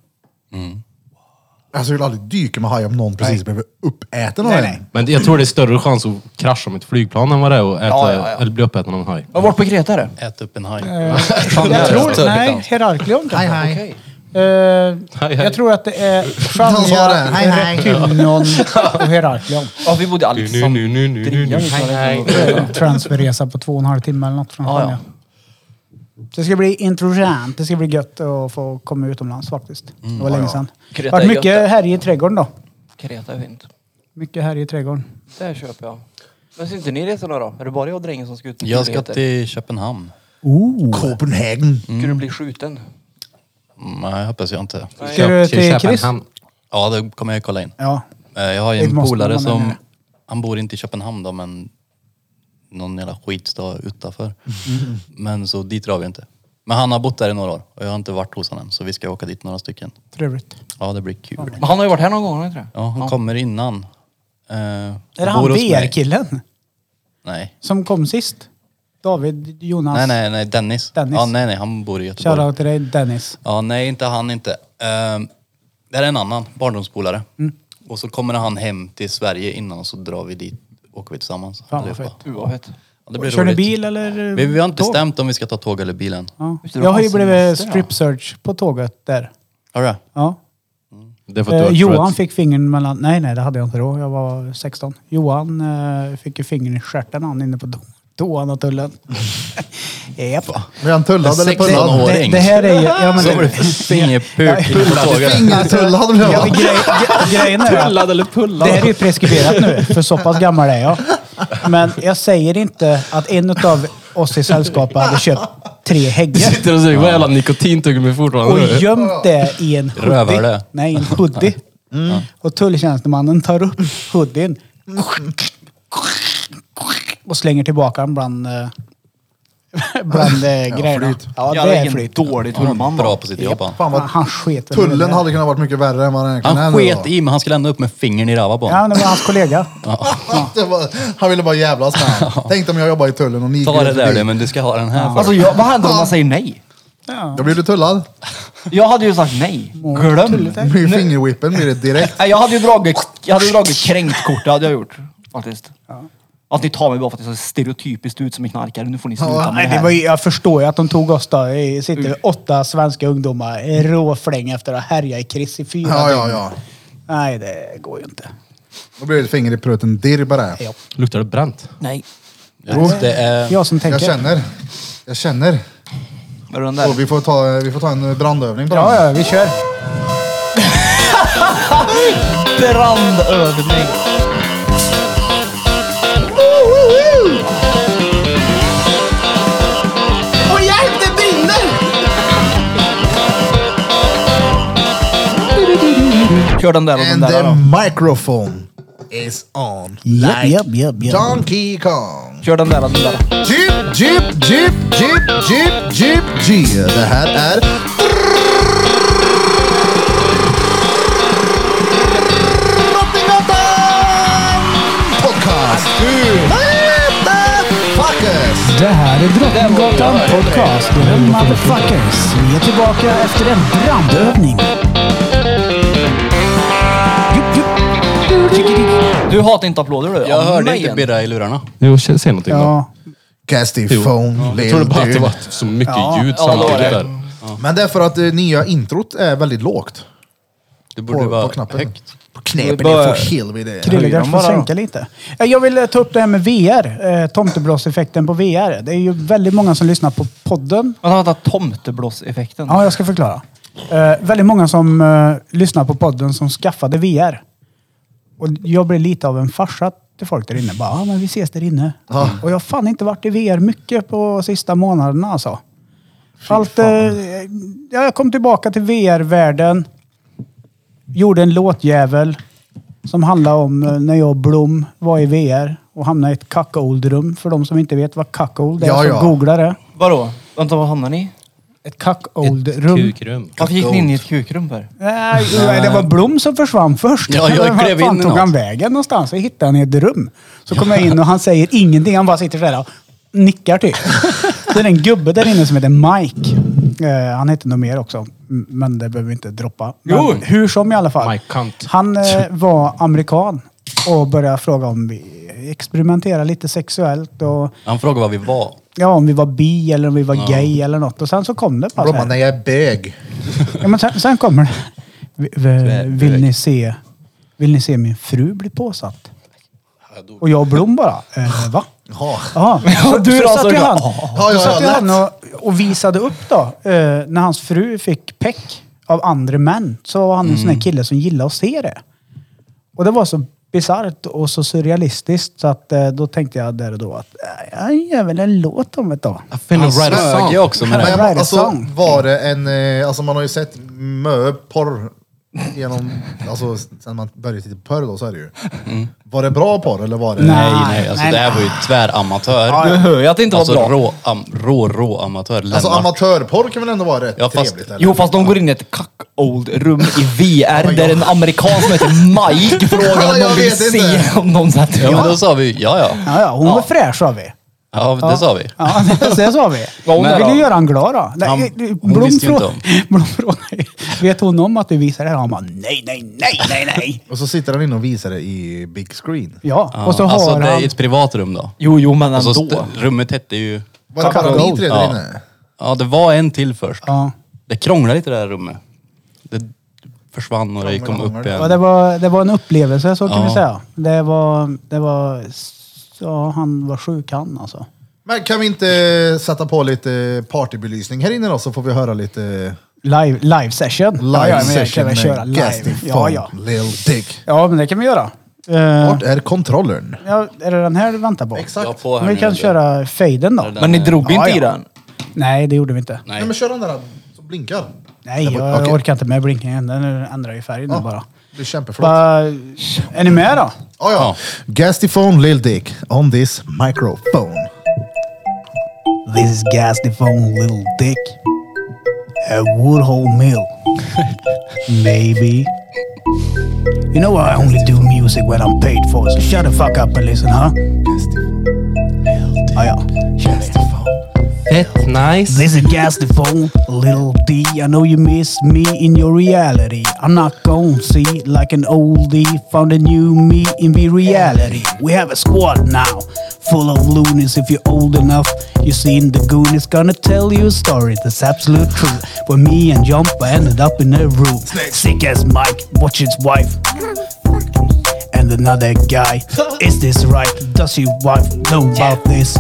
Speaker 1: Alltså jag vill aldrig dyka med haj om någon precis blev uppäten av
Speaker 2: Nej,
Speaker 1: en.
Speaker 2: nej.
Speaker 3: Men jag tror det är större chans att krascha med ett flygplan än vad det är att äta,
Speaker 4: Ja, ja, ja.
Speaker 3: Eller bli uppäten av en haj.
Speaker 4: Jag har varit på Kreta är det.
Speaker 5: Ät upp en haj.
Speaker 2: Jag tror,
Speaker 5: Större
Speaker 2: nej,
Speaker 5: chans.
Speaker 2: Heraklion kanske.
Speaker 1: Hej hej.
Speaker 2: Eh,
Speaker 3: Hej, hej.
Speaker 2: Jag tror att det är
Speaker 1: Han sa det.
Speaker 2: Chania,
Speaker 1: Hej, hej.
Speaker 2: Reptilion och Heraklion.
Speaker 4: Ja, vi bodde i
Speaker 3: Nu, nu, nu,
Speaker 4: Alexandria.
Speaker 3: nu, nu, nu, nu.
Speaker 2: Transferresa på två och en halv timme eller något från
Speaker 4: Ja, ja.
Speaker 2: Chania. Det ska bli intressant. Det ska bli gött att få komma utomlands faktiskt. Det var länge sedan. Det
Speaker 4: Mm. Kreta
Speaker 2: har
Speaker 4: är
Speaker 2: varit
Speaker 4: gött det.
Speaker 2: mycket här i trädgården då.
Speaker 4: Kreta är fint.
Speaker 2: Mycket här i trädgården.
Speaker 4: Där köper jag. Men syns inte ni resa då, då? Är det bara jag och drängen som ska ut? på
Speaker 5: Jag ska
Speaker 4: Kreta?
Speaker 5: till Köpenhamn.
Speaker 1: Copenhagen.
Speaker 4: Ska du bli skjuten?
Speaker 5: Mm, Nej, hoppas jag inte.
Speaker 2: Ska du till
Speaker 3: köpa en
Speaker 2: Chris?
Speaker 3: hamn.
Speaker 5: Ja, det kommer jag kolla in.
Speaker 2: Ja.
Speaker 5: Eh, Jag har ju
Speaker 2: Det
Speaker 5: en
Speaker 2: måste
Speaker 5: polare
Speaker 2: man
Speaker 5: som,
Speaker 2: med.
Speaker 5: han bor inte i Köpenhamn då men någon jävla skitstad utanför. Men så dit drar vi inte. Men han har bott där i några år och jag har inte varit hos honom så vi ska åka dit några stycken.
Speaker 2: Trevligt.
Speaker 5: Ja det blir kul.
Speaker 4: Men han har ju varit här någon gång, har han inte det?
Speaker 5: Ja, han kommer innan. Eh,
Speaker 2: Är
Speaker 5: och
Speaker 2: det
Speaker 5: bor
Speaker 2: han
Speaker 5: hos mig.
Speaker 2: VR-killen
Speaker 5: Nej.
Speaker 2: som kom sist? David, Jonas.
Speaker 5: nej, nej, nej, Dennis.
Speaker 2: Dennis.
Speaker 5: Ja, nej, nej, han bor i Göteborg.
Speaker 2: Shoutout till dig Dennis.
Speaker 5: Ja, nej, inte han inte. Ehm, det är en annan barndomspolare.
Speaker 2: Mm.
Speaker 5: Och så kommer han hem till Sverige innan och så drar vi dit, åker vi tillsammans.
Speaker 2: Fan vad
Speaker 5: allihopa.
Speaker 2: fett.
Speaker 4: Du, vad fett.
Speaker 5: Ja, det blir
Speaker 2: Kör ni
Speaker 5: roligt.
Speaker 2: bil eller eh,
Speaker 5: Vi, vi har inte
Speaker 2: tåg?
Speaker 5: bestämt om vi ska ta tåg eller bilen.
Speaker 2: Ja.
Speaker 4: Just det,
Speaker 2: Jag har ju
Speaker 4: det var
Speaker 2: blivit
Speaker 4: semester,
Speaker 2: strip search på tåget där.
Speaker 5: Har du det?
Speaker 2: Ja.
Speaker 3: Det är för att du
Speaker 2: Eh,
Speaker 3: har ett
Speaker 2: Johan
Speaker 3: Tourettes.
Speaker 2: fick fingern mellan... Nej, nej, det hade jag inte då. Jag var 16. Johan eh, fick ju fingern i stjärten han inne på do- toan och tullen. Japp.
Speaker 1: Blir han tullad eller pullad?
Speaker 5: år.
Speaker 2: Det, det här är ju... Ja, men
Speaker 5: Så var det
Speaker 2: det,
Speaker 5: fingerpuk inne på tåget.
Speaker 1: Fingertullad blev
Speaker 2: ja, men
Speaker 1: han.
Speaker 2: grej, gre- grejen är att
Speaker 3: Pullad eller pullad?
Speaker 2: det här är ju preskriberat nu, för så pass gammal är jag. Men jag säger inte att en av oss i sällskapet hade köpt tre
Speaker 3: Du
Speaker 2: häggar.
Speaker 3: sitter och säger, vad jävla nikotintuggummi fortfarande.
Speaker 2: Och gömt det Mm. i en hoodie.
Speaker 5: Rövare.
Speaker 2: Nej, en hoodie. Och tulltjänstemannen tar upp hoodien. Och slänger tillbaka den bland, eh, bland eh, grejerna.
Speaker 1: flyt.
Speaker 2: Ja,
Speaker 4: Ja,
Speaker 2: det är
Speaker 4: vilken
Speaker 2: flyt.
Speaker 4: dålig tullman
Speaker 5: Bra
Speaker 4: då.
Speaker 5: på sitt jobb han.
Speaker 1: Fan vad
Speaker 2: Han sket väl i det
Speaker 1: Tullen
Speaker 2: där.
Speaker 1: hade kunnat varit mycket värre än vad den egentligen är
Speaker 5: Han
Speaker 1: nu
Speaker 5: sket
Speaker 1: då.
Speaker 5: i men han skulle ändå upp med fingern i rava på
Speaker 2: Ja,
Speaker 5: honom.
Speaker 2: det var hans kollega.
Speaker 1: Det var, han ville bara jävlas med honom. Tänk om jag jobbar i tullen och ni
Speaker 5: Ta
Speaker 1: går
Speaker 5: det där
Speaker 1: förbi.
Speaker 5: du, men du ska ha den här
Speaker 4: Alltså
Speaker 5: först.
Speaker 4: jag, vad händer om man säger nej?
Speaker 1: Då blir du tullad.
Speaker 4: Jag hade ju sagt nej. Glöm.
Speaker 1: Med fingerwhippen blir det direkt.
Speaker 4: Nej, jag hade ju dragit, jag hade dragit kränktkortet hade jag gjort. Faktiskt. Att ni tar mig bara för att jag ser stereotypiskt ut som en knarkare. Nu får ni sluta med
Speaker 2: Nej,
Speaker 4: det
Speaker 2: det var,
Speaker 4: här.
Speaker 2: ju- jag förstår ju att de tog oss då. Det sitter åtta svenska ungdomar i råfläng efter att ha härjat i Chris i fyra
Speaker 1: Ja, ja,
Speaker 2: dygn.
Speaker 1: ja.
Speaker 2: Nej, det går ju inte.
Speaker 1: Då blir det ett finger i pruten dirr bara.
Speaker 2: Ja.
Speaker 3: Luktar det bränt?
Speaker 4: Nej.
Speaker 5: Ja, Det är...
Speaker 2: Jag som tänker.
Speaker 1: Jag känner. Jag känner.
Speaker 4: Är det den
Speaker 1: Och
Speaker 4: där?
Speaker 1: vi får ta, vi får ta en brandövning på
Speaker 2: Ja,
Speaker 1: den.
Speaker 2: ja, vi kör.
Speaker 4: Brandövning.
Speaker 6: Och hjälp, det brinner!
Speaker 4: Kör den där och den
Speaker 1: And
Speaker 4: där
Speaker 1: the
Speaker 4: då.
Speaker 1: microphone is on. Like
Speaker 2: japp, japp, japp.
Speaker 1: Donkey Kong.
Speaker 4: Kör den där och den där.
Speaker 1: Jeep, jeep, jeep, jeep, jeep, jeep, jeep. Det här är... Drottninggatan Podcast. Motherfuckers.
Speaker 2: Det här är Drottninggatan Podcast. The Motherfuckers. Vi är tillbaka efter en brandövning. Jupp, jupp. Tjickidi.
Speaker 4: Du hatar inte applåder du?
Speaker 5: Jag
Speaker 4: Av
Speaker 5: hörde
Speaker 4: mig
Speaker 5: inte
Speaker 4: än.
Speaker 5: Birra i lurarna.
Speaker 3: Jo, k- säg någonting då.
Speaker 2: Ja,
Speaker 1: Cast your
Speaker 3: Jo.
Speaker 1: phone,
Speaker 3: Jag trodde bara att det
Speaker 1: dude.
Speaker 3: var så mycket ljud
Speaker 4: ja, det var
Speaker 3: samtidigt
Speaker 4: det.
Speaker 3: där.
Speaker 1: Men det är för att det nya introt är väldigt lågt.
Speaker 5: Du borde
Speaker 1: På, på
Speaker 5: vara
Speaker 1: knappen.
Speaker 5: högt.
Speaker 1: På knepen, det
Speaker 4: Bör-
Speaker 1: är för helvete.
Speaker 4: Höjer
Speaker 2: Krillegarn
Speaker 4: de
Speaker 2: får
Speaker 4: bara då?
Speaker 2: sänka lite. Eh, Jag vill eh, ta upp det här med VR. eh, Tomteblåseffekten på VR. Det är ju väldigt många som lyssnar på podden.
Speaker 4: Vänta, vänta. Tomteblåseffekten.
Speaker 2: Ja, jag ska förklara. Eh, väldigt många som eh, lyssnar på podden som skaffade VR. Och jag blev lite av en farsa till folk där inne. Bara, ah, men vi ses där inne. Och jag har fan inte varit i VR mycket på sista månaderna alltså. Allt, eh, jag kom tillbaka till VR-världen. Gjorde en låtjävel som handlar om eh, när jag och Blom var i VR och hamnade i ett cuckold-rum. För de som inte vet vad cuckold är
Speaker 1: Ja,
Speaker 2: så
Speaker 1: ja.
Speaker 2: googla det.
Speaker 4: Vadå? Vänta, var hamnar ni?
Speaker 2: Ett cuckold-rum.
Speaker 3: Kukrum.
Speaker 4: Varför gick ni in i ett kukrum för?
Speaker 2: Nej, det var Blom som försvann först.
Speaker 5: Ja, jag
Speaker 2: Vart
Speaker 5: klev
Speaker 2: fan
Speaker 5: in i
Speaker 2: tog
Speaker 5: något.
Speaker 2: han vägen någonstans? Jag hittade han i ett rum. Så kom jag in och han säger ingenting. Han bara sitter sådär och nickar typ. Det är en gubbe där inne som heter Mike. Eh, han heter nog mer också. m- Men det behöver vi inte droppa. Men
Speaker 4: Jo.
Speaker 2: Hur som i alla fall.
Speaker 3: Mike Kant.
Speaker 2: Han eh, var amerikan och började fråga om vi experimenterade lite sexuellt och
Speaker 5: Han frågade vad vi var.
Speaker 2: ja, om vi var bi eller om vi var gay eller något. Och sen så kom det bara så
Speaker 1: Bromma,
Speaker 2: här.
Speaker 1: när jag är bög.
Speaker 2: Ja, men sen, sen kommer det. Vi- vi- Vill ni, se, vill ni se min fru bli påsatt? Och jag och Blom bara, eh, va?
Speaker 1: Jaha.
Speaker 2: Ja, så,
Speaker 4: du
Speaker 2: du
Speaker 4: då,
Speaker 2: så
Speaker 4: sa
Speaker 2: satt
Speaker 4: du
Speaker 2: ju
Speaker 4: då?
Speaker 2: han,
Speaker 1: Ja,
Speaker 2: då
Speaker 1: ja,
Speaker 2: satt ju
Speaker 1: ja,
Speaker 2: han och, och visade upp då, eh, när hans fru fick peck av andra män, så var han en sån här kille som gillade att se det. Och det var så bisarrt och så surrealistiskt så att eh, då tänkte jag där och då att eh, jag gör väl en låt om ett tag.
Speaker 3: Finna
Speaker 5: Han
Speaker 3: right
Speaker 5: smög ju också med
Speaker 1: Men
Speaker 5: det.
Speaker 1: jag,
Speaker 2: Write a
Speaker 1: alltså,
Speaker 2: song.
Speaker 1: var det en, eh, alltså man har ju sett mö porr genom, alltså sen man började titta på porr då så är det ju. Var det bra porr eller var det?
Speaker 2: Nej.
Speaker 5: Nej, nej. Alltså
Speaker 2: Nej,
Speaker 5: det här var ju tväramatör.
Speaker 4: Du hör ju att det inte var
Speaker 5: Alltså
Speaker 4: bra.
Speaker 5: rå, am, rå, rå amatör.
Speaker 1: Alltså
Speaker 5: Lennart.
Speaker 1: amatörporr kan väl ändå vara rätt
Speaker 5: Ja, fast-
Speaker 1: trevligt? Eller?
Speaker 4: Jo, fast de går in i ett cuckold-rum i VR där en amerikan som heter Mike frågar
Speaker 1: Ja,
Speaker 4: om
Speaker 1: jag
Speaker 4: de vill
Speaker 1: vet
Speaker 4: se
Speaker 1: inte.
Speaker 4: om någon sätter
Speaker 5: Ja, men då sa vi ja, ja.
Speaker 2: Ja, ja, hon var fräsch sa vi.
Speaker 5: Ja, det sa vi.
Speaker 2: Ja, det sa vi.
Speaker 4: Var hon
Speaker 2: Men
Speaker 4: där
Speaker 2: vill
Speaker 4: då?
Speaker 2: du göra en glad då? Nej,
Speaker 5: Han-
Speaker 2: eh,
Speaker 5: hon visste ju
Speaker 2: frå-
Speaker 5: inte om.
Speaker 2: Blom frågade, vet hon om att du visar det här? Han bara, nej, nej, nej, nej, nej.
Speaker 1: Och så sitter han inne och visar det i big screen.
Speaker 2: Ja,
Speaker 5: Ja,
Speaker 2: och så har
Speaker 5: alltså, det är
Speaker 2: han...
Speaker 5: ett privat rum då.
Speaker 4: Jo, jo, men
Speaker 5: Och så
Speaker 4: ändå.
Speaker 5: Alltså, st- rummet hette ju...
Speaker 1: Var det bara ni tre där inne?
Speaker 5: Ja, det var en till först.
Speaker 2: Ja.
Speaker 5: Det krånglade lite det där rummet. Det försvann och det kom upp
Speaker 2: Ja, det,
Speaker 5: igen.
Speaker 2: var, det var en upplevelse så kan
Speaker 5: Ja.
Speaker 2: vi säga. Det var, det var, ja, han var sjuk han alltså.
Speaker 1: Men kan vi inte sätta på lite partybelysning här inne då så får vi höra lite
Speaker 2: Live, live session.
Speaker 1: live
Speaker 2: ja, ja, men jag
Speaker 1: session
Speaker 2: kan väl köra
Speaker 1: med
Speaker 2: live.
Speaker 1: Gasty
Speaker 2: Ja, ja.
Speaker 1: Lil Dick.
Speaker 2: ja, men det kan vi göra. Eh,
Speaker 1: Vart är kontrollern?
Speaker 2: ja, är det den här du väntar på?
Speaker 1: Exakt.
Speaker 5: Jag på här
Speaker 2: Men vi
Speaker 5: nu,
Speaker 2: kan
Speaker 5: du.
Speaker 2: köra faden då.
Speaker 5: Är det
Speaker 4: Men ni drog
Speaker 2: Ja,
Speaker 4: inte i
Speaker 2: ja.
Speaker 4: den?
Speaker 2: Nej, det gjorde vi inte.
Speaker 1: Nej men kör den där som blinkar.
Speaker 2: Nej,
Speaker 1: Det var-
Speaker 2: jag
Speaker 1: okej.
Speaker 2: orkar inte med blinkningen. Den ändrar ju färg nu bara.
Speaker 1: Det kämpar förlåt.
Speaker 2: Bara, är ni med då?
Speaker 1: Ja, ja. Gastiphone Lil Dick on this microphone.
Speaker 2: This is Gasly phone Little Dick at Woodhole Mill. Maybe. You know I only do music when I'm paid for, so shut the fuck up and listen, huh? Oh, yeah.
Speaker 3: Fett nice.
Speaker 2: This is Gasly phone Little D. I know you miss me in your reality. I'm not gon' see like an oldie found a new me in the reality. We have a squad now, full of loonies. If you're old enough, you seen the goon is gonna tell you a story that's absolute true. When me and Jumper ended up in a room, sick as Mike, watch his wife and another guy. Is this right? Does your wife know about this?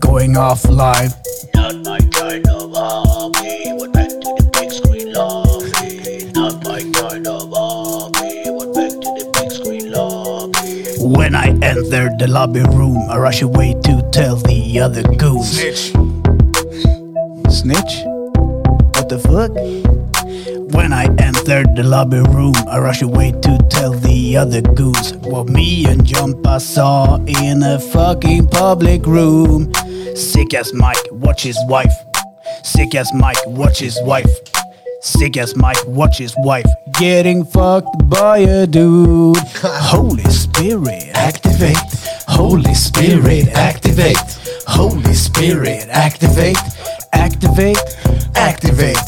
Speaker 2: Going off live.
Speaker 7: Not my kind of hobby. Would back to the big screen lobby. Not my kind of hobby. Would back to the big screen lobby.
Speaker 2: When I enter the lobby room, I rush away to tell the other goons. Snitch. Snitch? What the fuck? When I enter the lobby room, I rush away to tell the other goons what me and Jumpa saw in a fucking public room. Sick as Mike, watch his wife. Sick as Mike, watch his wife. Sick as Mike, watch his wife. Getting fucked by a dude. Holy Spirit, activate. Holy Spirit, activate. Holy Spirit, activate. Activate, activate.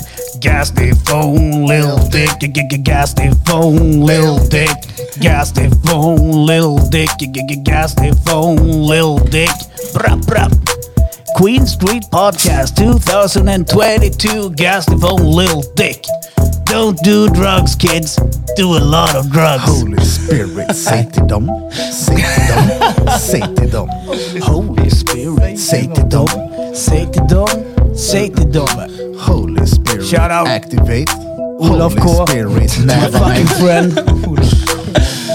Speaker 2: Gas the phone, lil dick. G- g- g- Gas the phone, lil dick. Gas the phone, lil dick. G- g- g- Gas the phone, lil dick. Brap, brap. Queen Street Podcast 2022 Gastrophone Lil Dick. Don't do drugs, kids. Do a lot of drugs.
Speaker 1: Holy spirit, säg till dem. Säg till dem. Säg till dem.
Speaker 2: Holy Spirit.
Speaker 1: Säg till dem.
Speaker 2: Säg till dem. Säg till dem.
Speaker 1: Holy spirit,
Speaker 2: Shout out.
Speaker 1: activate.
Speaker 2: Olof
Speaker 1: Holy
Speaker 2: K.
Speaker 1: spirit,
Speaker 2: My
Speaker 1: never
Speaker 2: fucking friend.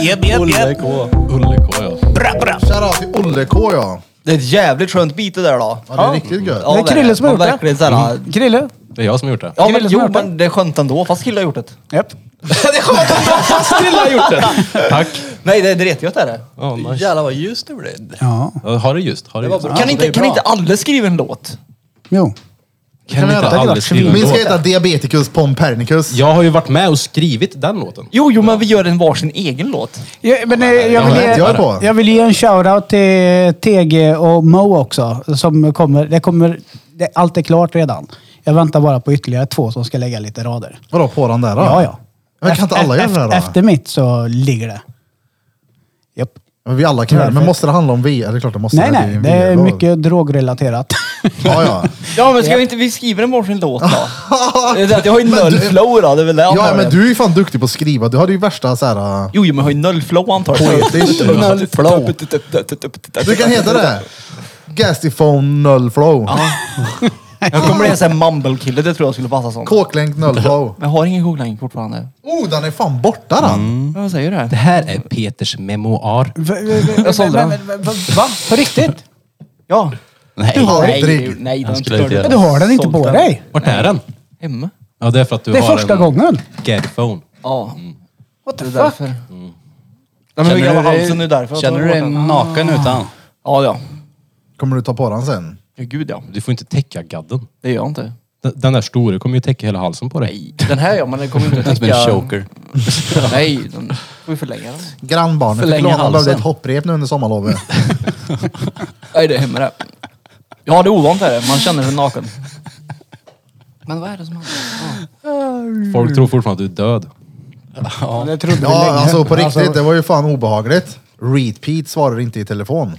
Speaker 2: Japp, japp, japp.
Speaker 3: Olle K ja.
Speaker 2: Bra, bra.
Speaker 1: Shoutout till Olle K ja.
Speaker 4: Det är ett jävligt skönt byte där då.
Speaker 1: Ja, det är riktigt gött.
Speaker 4: Ja,
Speaker 2: Det är Krille som har gjort
Speaker 4: Man
Speaker 2: det.
Speaker 4: verkligen så här,
Speaker 2: Krille.
Speaker 3: Det är jag som har gjort det.
Speaker 4: Ja men
Speaker 2: Krille som har
Speaker 4: jo
Speaker 2: gjort det.
Speaker 4: men det är skönt ändå, fast Krille har gjort det.
Speaker 2: Japp.
Speaker 4: det är skönt ändå, fast Krille har gjort det!
Speaker 3: Tack.
Speaker 4: Nej det är retgött är det.
Speaker 3: Ja, nice.
Speaker 5: Jävlar vad ljust det blev.
Speaker 2: Ja.
Speaker 3: Ja, ha det just. Ha det, just.
Speaker 4: Kan,
Speaker 5: det
Speaker 4: inte,
Speaker 5: är
Speaker 4: kan
Speaker 5: bra.
Speaker 4: inte alla skriva en låt?
Speaker 2: Jo.
Speaker 3: Kan
Speaker 1: vi
Speaker 3: inte
Speaker 1: göra?
Speaker 3: aldrig skriva en
Speaker 1: Min ska
Speaker 3: låt.
Speaker 1: heta Diabeticus Pompernicus.
Speaker 3: Jag har ju varit med och skrivit den låten.
Speaker 4: Jo, jo men vi gör en varsin egen låt.
Speaker 2: Ja, men, eh, jag,
Speaker 3: men
Speaker 2: vill ge,
Speaker 1: jag är på.
Speaker 2: jag vill ge en shoutout till TG och Mo också. Som kommer, det kommer, det, allt är klart redan. Jag väntar bara på ytterligare två som ska lägga lite rader.
Speaker 1: Vadå på den där då?
Speaker 2: Ja, ja.
Speaker 1: Men kan inte alla göra det här,
Speaker 2: efter,
Speaker 1: då?
Speaker 2: efter mitt så ligger det. Japp.
Speaker 1: Men vi alla kan göra det. Men måste det handla om VR? Det är klart det måste.
Speaker 2: Nej,
Speaker 1: det.
Speaker 2: nej.
Speaker 1: en
Speaker 2: Det är
Speaker 1: VR-dag.
Speaker 2: mycket drogrelaterat.
Speaker 1: Ja, ja.
Speaker 4: Ja men ska vi inte, vi skriver en varsin låt då? Det är det att jag har ju
Speaker 1: Men
Speaker 4: noll
Speaker 1: du-
Speaker 4: flow då, det är väl det jag
Speaker 1: Ja,
Speaker 4: antar
Speaker 1: men
Speaker 4: det.
Speaker 1: du är ju fan duktig på att skriva. Du hade ju värsta så här... äh,
Speaker 4: Jo, jo men jag har ju noll flow antar jag.
Speaker 1: Poetiskt.
Speaker 4: Noll flow.
Speaker 1: Du kan heta det. Gastiphone null flow.
Speaker 4: Jag kommer bli en sån här mumble-kille, det tror jag skulle passa som.
Speaker 1: Kåklänk null flow.
Speaker 4: Men jag har ingen koklänk fortfarande.
Speaker 1: Oh, den är fan borta den.
Speaker 4: Men Vad säger du?
Speaker 3: Det
Speaker 4: här?
Speaker 3: här är Peters memoar.
Speaker 4: Jag sålde den.
Speaker 2: Va? På riktigt?
Speaker 4: Ja.
Speaker 5: Nej.
Speaker 1: Du har
Speaker 4: Nej,
Speaker 1: inte
Speaker 4: nej,
Speaker 1: riktigt.
Speaker 4: nej.
Speaker 5: Han skulle inte göra
Speaker 2: Men du har den inte
Speaker 4: Sålt
Speaker 2: på
Speaker 4: den.
Speaker 2: dig.
Speaker 3: Vart är den?
Speaker 4: Hemma.
Speaker 3: Ja, det är för att du
Speaker 2: Det är
Speaker 3: har
Speaker 2: första
Speaker 3: en
Speaker 2: gången.
Speaker 3: Gadphone.
Speaker 4: Ja.
Speaker 2: What the
Speaker 4: Det är
Speaker 2: fuck?
Speaker 4: därför. Nej, Mm. men vi grabbar halsen nu därför. jag
Speaker 5: Känner
Speaker 4: tar
Speaker 5: du dig
Speaker 4: bort den.
Speaker 5: naken utan?
Speaker 4: Ja, ja.
Speaker 1: Kommer du ta på den sen?
Speaker 4: Ja, gud ja.
Speaker 3: Du får inte täcka gadden.
Speaker 4: Det gör jag inte.
Speaker 3: Den- Den där stora kommer ju täcka hela halsen på dig.
Speaker 4: Den här ja, men den kommer inte
Speaker 5: Som en choker.
Speaker 4: Nej, den får vi förlänga den.
Speaker 1: Grannbarnet
Speaker 5: Förlänga
Speaker 1: Förlänga halsen.
Speaker 5: halsen.
Speaker 1: behövde ett hopprep nu under sommarlovet.
Speaker 4: Nej, det är hemma det. Ja, det är ovant är det. Man känner sig naken. Men vad är det som händer?
Speaker 3: Folk tror fortfarande att du är död.
Speaker 2: Det trodde vi
Speaker 1: Ja,
Speaker 2: länge.
Speaker 1: alltså på riktigt, det var ju fan obehagligt. Repeat svarar inte i telefon.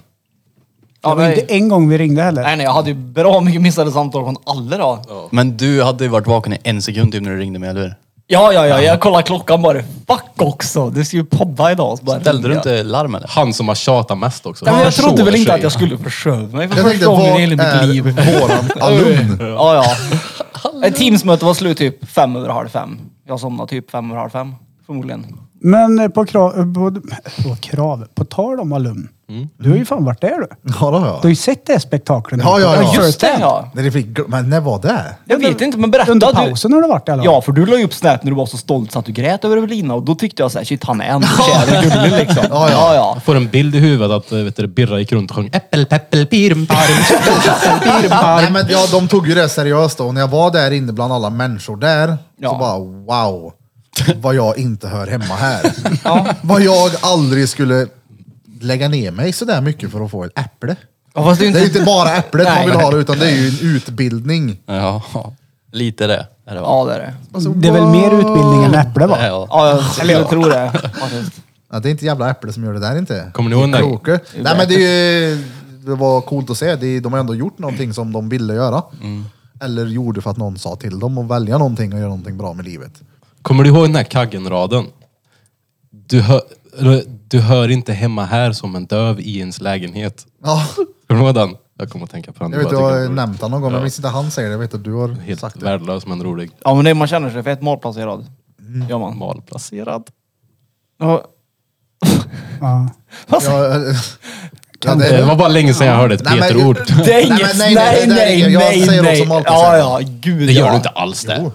Speaker 4: Ja,
Speaker 2: det var inte
Speaker 4: nej.
Speaker 2: en gång vi ringde heller.
Speaker 4: nej, nej, jag hade ju bra mycket missade samtal från alla då.
Speaker 5: Men du hade ju varit vaken i en sekund typ när du ringde mig, eller hur?
Speaker 4: Ja, ja, ja, jag kollade klockan bara. Fuck också! Du ska ju podda idag. Så bara
Speaker 5: Ställde du
Speaker 4: ringde jag.
Speaker 5: inte larm eller?
Speaker 3: Han som har tjatat mest också.
Speaker 4: Nej, men jag
Speaker 3: Försover
Speaker 4: trodde väl inte
Speaker 3: sig.
Speaker 4: att jag skulle försöva mig för
Speaker 1: Jag
Speaker 4: första
Speaker 1: tänkte, Äh,
Speaker 4: gången
Speaker 1: vad
Speaker 4: i hela mitt liv.
Speaker 1: är våran alumn?
Speaker 4: Ja, ja. Ett Teamsmöte var slut typ fem över halv fem. Jag somnade typ fem över halv fem, förmodligen.
Speaker 2: Men eh, på krav, på, på krav, på tal om alumn.
Speaker 4: Mm.
Speaker 2: Du har ju fan varit där du.
Speaker 1: Ja, det har
Speaker 2: Du har
Speaker 1: jag.
Speaker 2: ju sett det här spektaklet.
Speaker 1: Ja, ja, ja.
Speaker 2: Har du
Speaker 4: Just
Speaker 2: följt
Speaker 4: det ja!
Speaker 1: När det fick, gl- men när var det?
Speaker 4: Jag vet inte, men berätta.
Speaker 2: Under
Speaker 4: du-
Speaker 2: pausen har du varit i alla fall.
Speaker 4: Ja, för du la ju upp Snap när du var så stolt så att du grät över Evelina och då tyckte jag såhär, shit han är ändå kär och gullig liksom.
Speaker 1: Ja, ja.
Speaker 3: Jag får en bild i huvudet att eh, vet du, Birra gick runt och sjöng äppel, peppel, pirum, parum.
Speaker 1: Nej, men, ja, de tog ju det seriöst då. Och när jag var där inne bland alla människor där,
Speaker 4: Ja.
Speaker 1: så bara wow, vad jag inte hör hemma här.
Speaker 4: Ja.
Speaker 1: Vad jag aldrig skulle lägga ner mig sådär mycket för att få ett äpple.
Speaker 4: Ja, fast det är
Speaker 1: Det är
Speaker 4: ju
Speaker 1: ju
Speaker 4: inte...
Speaker 1: inte bara äpplet man
Speaker 4: Nej.
Speaker 1: vill ha det, utan det är ju en utbildning.
Speaker 5: Ja, lite det. Är det va?
Speaker 4: Ja det är det.
Speaker 1: Alltså,
Speaker 2: Det är väl mer utbildning än äpple va?
Speaker 5: Det är, ja.
Speaker 4: Ja, jag, eller jag tror det. faktiskt.
Speaker 1: Ja, det är inte jävla äpple som gör det där inte.
Speaker 3: Kommer ni ihåg den där-
Speaker 1: Kroke. Nej men det är ju, det var coolt att se. Det är- De har ändå gjort någonting som de ville göra.
Speaker 3: Mm.
Speaker 1: Eller gjorde för att någon sa till dem att välja någonting och göra någonting bra med livet.
Speaker 3: Kommer du ihåg den här kaggenraden? Du hör, eller, du hör inte hemma här som en döv i ens lägenhet.
Speaker 1: Ja,
Speaker 3: Kommer du ihåg den? Jag kommer att tänka på den.
Speaker 1: jag vet
Speaker 3: Bara
Speaker 1: du har
Speaker 3: tycker att
Speaker 1: nämnt han någon gång, men jag minns inte han säger det. Jag vet att du har
Speaker 3: det är Helt
Speaker 1: sagt det.
Speaker 3: värdelös men rolig.
Speaker 4: Ja men det, man känner sig fett malplacerad. Gör man.
Speaker 3: Malplacerad.
Speaker 4: Ja,
Speaker 2: Ja.
Speaker 1: Ja, eh, ja, det,
Speaker 3: Det var bara länge sedan jag hörde ett
Speaker 1: Nej, men-
Speaker 3: Peter-ord.
Speaker 4: Det
Speaker 1: Nej,
Speaker 4: är
Speaker 1: men
Speaker 4: inget,
Speaker 1: nej, nej,
Speaker 4: nej, nej,
Speaker 1: det där är
Speaker 4: nej,
Speaker 1: inget.
Speaker 4: nej,
Speaker 1: Jag säger också
Speaker 4: Ja,
Speaker 1: malplacerad.
Speaker 4: ja, gud
Speaker 3: Det
Speaker 4: ja.
Speaker 3: gör du inte alls det.
Speaker 1: jo.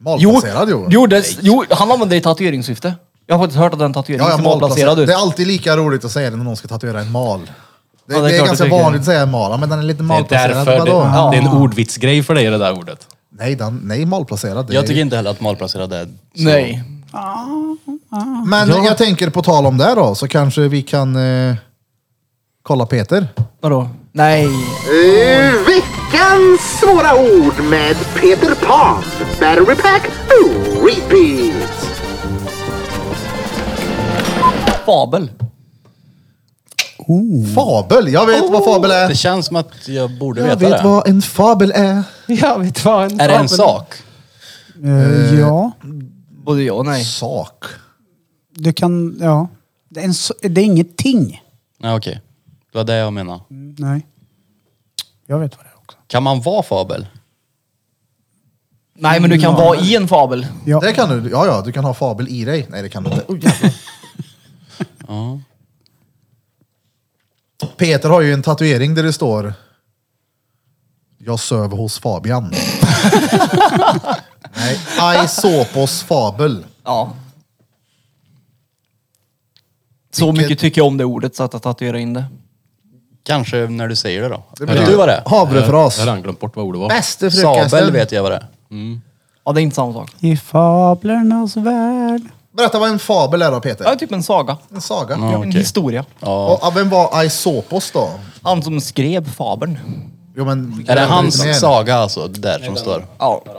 Speaker 1: Malplacerad jo.
Speaker 4: Jo, det, jo, han använder det i tatueringssyfte. Jag har faktiskt hört att den tatueringen
Speaker 1: Ja, ja,
Speaker 4: ser malplacerad
Speaker 1: malplacerad.
Speaker 4: ut.
Speaker 1: Det är alltid lika roligt att säga det när någon ska tatuera en mal. Det,
Speaker 4: Ja, det är
Speaker 1: det är,
Speaker 4: klart
Speaker 1: ganska
Speaker 4: du tycker.
Speaker 1: vanligt att säga mal, ja, men den är lite
Speaker 3: Det är
Speaker 1: malplacerad.
Speaker 3: därför. Det,
Speaker 1: Vadå?
Speaker 3: det är en ordvitsgrej för dig det där ordet.
Speaker 1: Nej, den, nej, malplacerad. det är
Speaker 5: Jag
Speaker 1: ju-
Speaker 5: tycker inte heller att malplacerad är... så-
Speaker 4: Nej.
Speaker 1: Men jag tänker på tal om det då, så kanske vi kan eh, kolla Peter.
Speaker 4: Vadå? Nej.
Speaker 6: Veckans svåra ord med Peter Pan. Battery pack, oh, repeat.
Speaker 4: Fabel.
Speaker 1: Fabel! Jag vet vad fabel är.
Speaker 5: Det känns som att jag borde
Speaker 1: Jag
Speaker 5: veta
Speaker 1: vet
Speaker 5: det.
Speaker 1: vad en fabel är.
Speaker 2: Jag vet vad
Speaker 5: Är det en sak?
Speaker 2: Eh, ja,
Speaker 4: Både ja och nej.
Speaker 1: Sak.
Speaker 2: du kan... Ja. Det är, en, s- det är ingenting.
Speaker 5: Nej okej. Det var det jag menade.
Speaker 2: Nej. Jag vet vad det är också.
Speaker 5: Kan man vara fabel?
Speaker 4: Nej, men du kan
Speaker 5: Mm.
Speaker 4: vara i en fabel.
Speaker 2: Ja.
Speaker 1: Det kan du. Ja, ja, du kan ha fabel i dig. Nej, det kan du inte. Oh, jävlar. Peter har ju en tatuering där det står Jag söv hos Fabian. Nej, I såpos fabel.
Speaker 4: Ja. Så mycket tycker jag om det ordet så att jag tatuerar in det.
Speaker 5: Kanske när du säger det då.
Speaker 1: Det
Speaker 5: Vet
Speaker 1: betyder-
Speaker 5: du vad det är?
Speaker 1: Havrefras.
Speaker 3: Jag hade glömt bort vad ordet var.
Speaker 1: Bäste
Speaker 5: Sabel
Speaker 1: frukosten.
Speaker 5: vet jag vad det är.
Speaker 4: Ja, det är inte samma sak.
Speaker 2: I fablernas värld.
Speaker 1: Berätta vad en fabel är då
Speaker 4: Ja,
Speaker 1: Peter.
Speaker 4: typ en saga.
Speaker 1: En saga.
Speaker 5: Ja,
Speaker 4: En
Speaker 5: okej.
Speaker 4: historia.
Speaker 5: Ja.
Speaker 1: Och ja, vem var Aesopos då?
Speaker 4: Han som skrev fabeln.
Speaker 1: Jo, men,
Speaker 5: Är det
Speaker 1: lite mer.
Speaker 5: hans saga alltså, det där som står?
Speaker 4: Ja. Men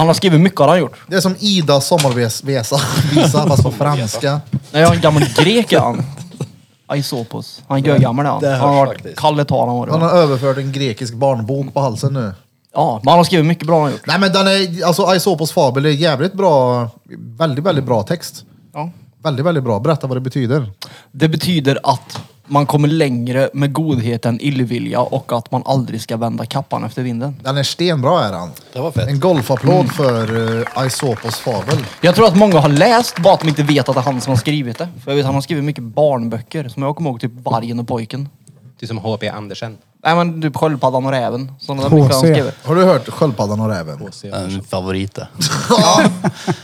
Speaker 4: Han har skrivit mycket har han gjort.
Speaker 1: Det är som Idas sommarvisa, visa, fast på franska.
Speaker 4: Nej, jag är en gammal grek är han. Aisopos. Han är gammal är han.
Speaker 5: Det hörs
Speaker 4: Han har varit
Speaker 5: faktiskt.
Speaker 4: Kalle Tal han var
Speaker 1: Han
Speaker 4: det.
Speaker 1: har överfört en grekisk barnbok på halsen nu.
Speaker 4: Ja, men han har skrivit mycket bra han har gjort.
Speaker 1: Nej men den är, alltså Aesopos fabel är jävligt bra, väldigt, väldigt bra text.
Speaker 4: Ja.
Speaker 1: Väldigt, väldigt bra. Berätta vad det betyder.
Speaker 4: Det betyder att man kommer längre med godhet än illvilja och att man aldrig ska vända kappan efter vinden.
Speaker 1: Den är stenbra är han.
Speaker 5: Det var fett.
Speaker 1: En golfapplåd för uh, Aesopos fabel.
Speaker 4: Jag tror att många har läst, bara att de inte vet att det är han som har skrivit det. För jag vet, han har skrivit mycket barnböcker, som jag kommer ihåg, typ Vargen och pojken.
Speaker 3: Du som H.P. Andersen.
Speaker 4: Nej men typ Sköldpaddan och räven. Sådana där mycket har han
Speaker 2: HC.
Speaker 4: skrivit.
Speaker 1: Har du hört sköldpaddan och räven?
Speaker 5: En favorit det.
Speaker 4: Nej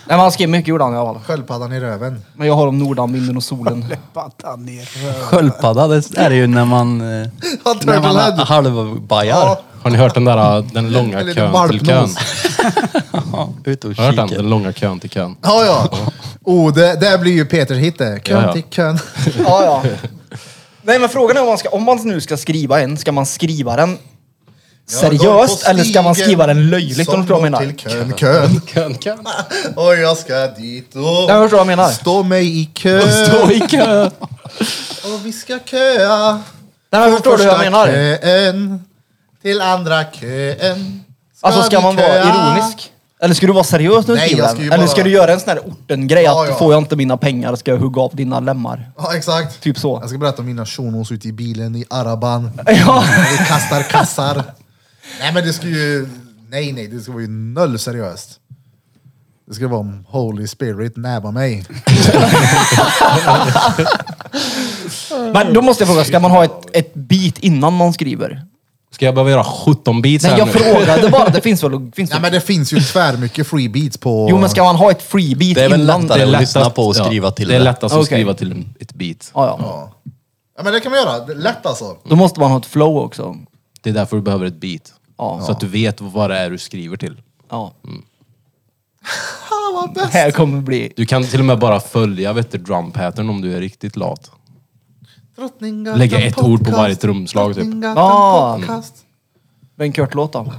Speaker 4: men han skrev mycket gjorde han i alla fall.
Speaker 1: Sköldpaddan i röven.
Speaker 4: Men jag har om nordan, vinden och solen.
Speaker 2: Pattan ner.
Speaker 5: Sköldpadda, det är ju när man... eh,
Speaker 1: Han
Speaker 5: När man
Speaker 1: turtlehead.
Speaker 5: halvbajar.
Speaker 3: Har ni hört den där eh, den långa
Speaker 1: En liten
Speaker 3: kön till kön?
Speaker 1: valpnos.
Speaker 5: Ut och
Speaker 3: Har ni hört den?
Speaker 5: kika.
Speaker 3: Den långa kön till kön.
Speaker 1: Ja, ja. Oh, det, det blir ju Peters hit det. Kön
Speaker 3: Ja, ja.
Speaker 1: till kön.
Speaker 4: Ja, ja. Nej men frågan är om man, ska, om man nu ska skriva en, ska man skriva den seriöst eller ska man skriva den löjligt om du förstår vad jag menar?
Speaker 1: Till kön, kön.
Speaker 3: Kön, kön.
Speaker 1: Oj, jag ska dit och...
Speaker 4: Jag förstår vad jag menar.
Speaker 1: Stå mig i kö
Speaker 3: Stå i kö.
Speaker 1: och vi ska köa.
Speaker 4: Nej, men
Speaker 1: Från
Speaker 4: förstår du vad jag
Speaker 1: första
Speaker 4: menar?
Speaker 1: Kön till andra kön.
Speaker 4: Alltså ska
Speaker 1: vi
Speaker 4: man vara
Speaker 1: köa?
Speaker 4: ironisk? Eller ska du vara seriös när du
Speaker 1: Nej, jag
Speaker 4: skriver
Speaker 1: ska ju
Speaker 4: den? Eller
Speaker 1: bara-
Speaker 4: ska du göra en sån här orten-grej att
Speaker 1: Ja, ja.
Speaker 4: får jag inte mina pengar ska jag hugga av dina lemmar?
Speaker 1: Ja, exakt.
Speaker 4: Typ så.
Speaker 1: Jag ska berätta om mina shunos ute i bilen i Araban.
Speaker 4: Ja.
Speaker 1: När Vi kastar kassar. Nej men det ska ju... Nej nej, det ska vara ju noll seriöst. Det ska vara om Holy Spirit näbba mig.
Speaker 4: Men då måste jag fråga, ska man ha ett, ett beat innan man skriver?
Speaker 3: Ska jag behöva göra 17 beats
Speaker 4: Nej
Speaker 3: här
Speaker 4: jag
Speaker 3: nu?
Speaker 4: frågade bara, det finns väl... Finns
Speaker 1: Nej
Speaker 4: det?
Speaker 1: men det finns ju tvär mycket free beats på...
Speaker 4: Jo men ska man ha ett free beat
Speaker 5: Det är väl
Speaker 4: innan?
Speaker 5: lättare.
Speaker 3: Det är
Speaker 5: Och
Speaker 3: lättast-
Speaker 5: lyssna på och skriva till
Speaker 3: det. är
Speaker 5: det.
Speaker 3: lättast att
Speaker 4: Okej.
Speaker 3: skriva till en- ett beat.
Speaker 4: Ja, ja.
Speaker 1: Ja men det kan man göra. Det är Lätt alltså.
Speaker 4: Då måste man ha ett flow också.
Speaker 3: Det är därför du behöver ett beat.
Speaker 4: Ja.
Speaker 3: Så att du vet vad det är du skriver till.
Speaker 4: Ja. det här kommer bli...
Speaker 3: Du kan till och med bara följa vet du, drum pattern om du är riktigt lat.
Speaker 1: Drottninggatan
Speaker 3: Lägga ett ord på
Speaker 1: podcast.
Speaker 3: varje trumslag, typ.
Speaker 1: Drottninggatan
Speaker 4: Ah.
Speaker 1: podcast.
Speaker 4: Ben Kurt-låt då.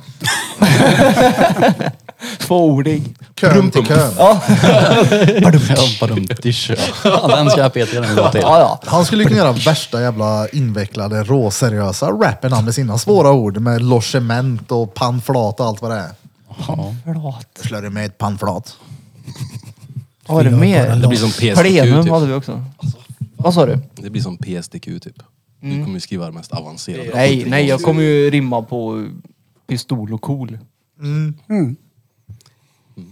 Speaker 4: Tvåordig.
Speaker 1: Kön till kön.
Speaker 4: Ja.
Speaker 5: Ja, Den ska jag peta den gång till.
Speaker 4: ja, ja.
Speaker 1: Han skulle kunna göra värsta jävla invecklade råseriösa rappen han med sina svåra ord med logement och panflat och allt vad det är.
Speaker 4: Förlåt.
Speaker 1: Slår du med ett panflat?
Speaker 4: Vad var det mer?
Speaker 3: Det blir som PSDQ
Speaker 4: Plenum
Speaker 3: typ.
Speaker 4: hade vi också. Vad sa du?
Speaker 3: Det blir som PSDQ typ. Du kommer ju skriva det mest avancerade.
Speaker 4: Nej, nej, jag kommer ju rimma på pistol och cool. Mm.
Speaker 1: Mm.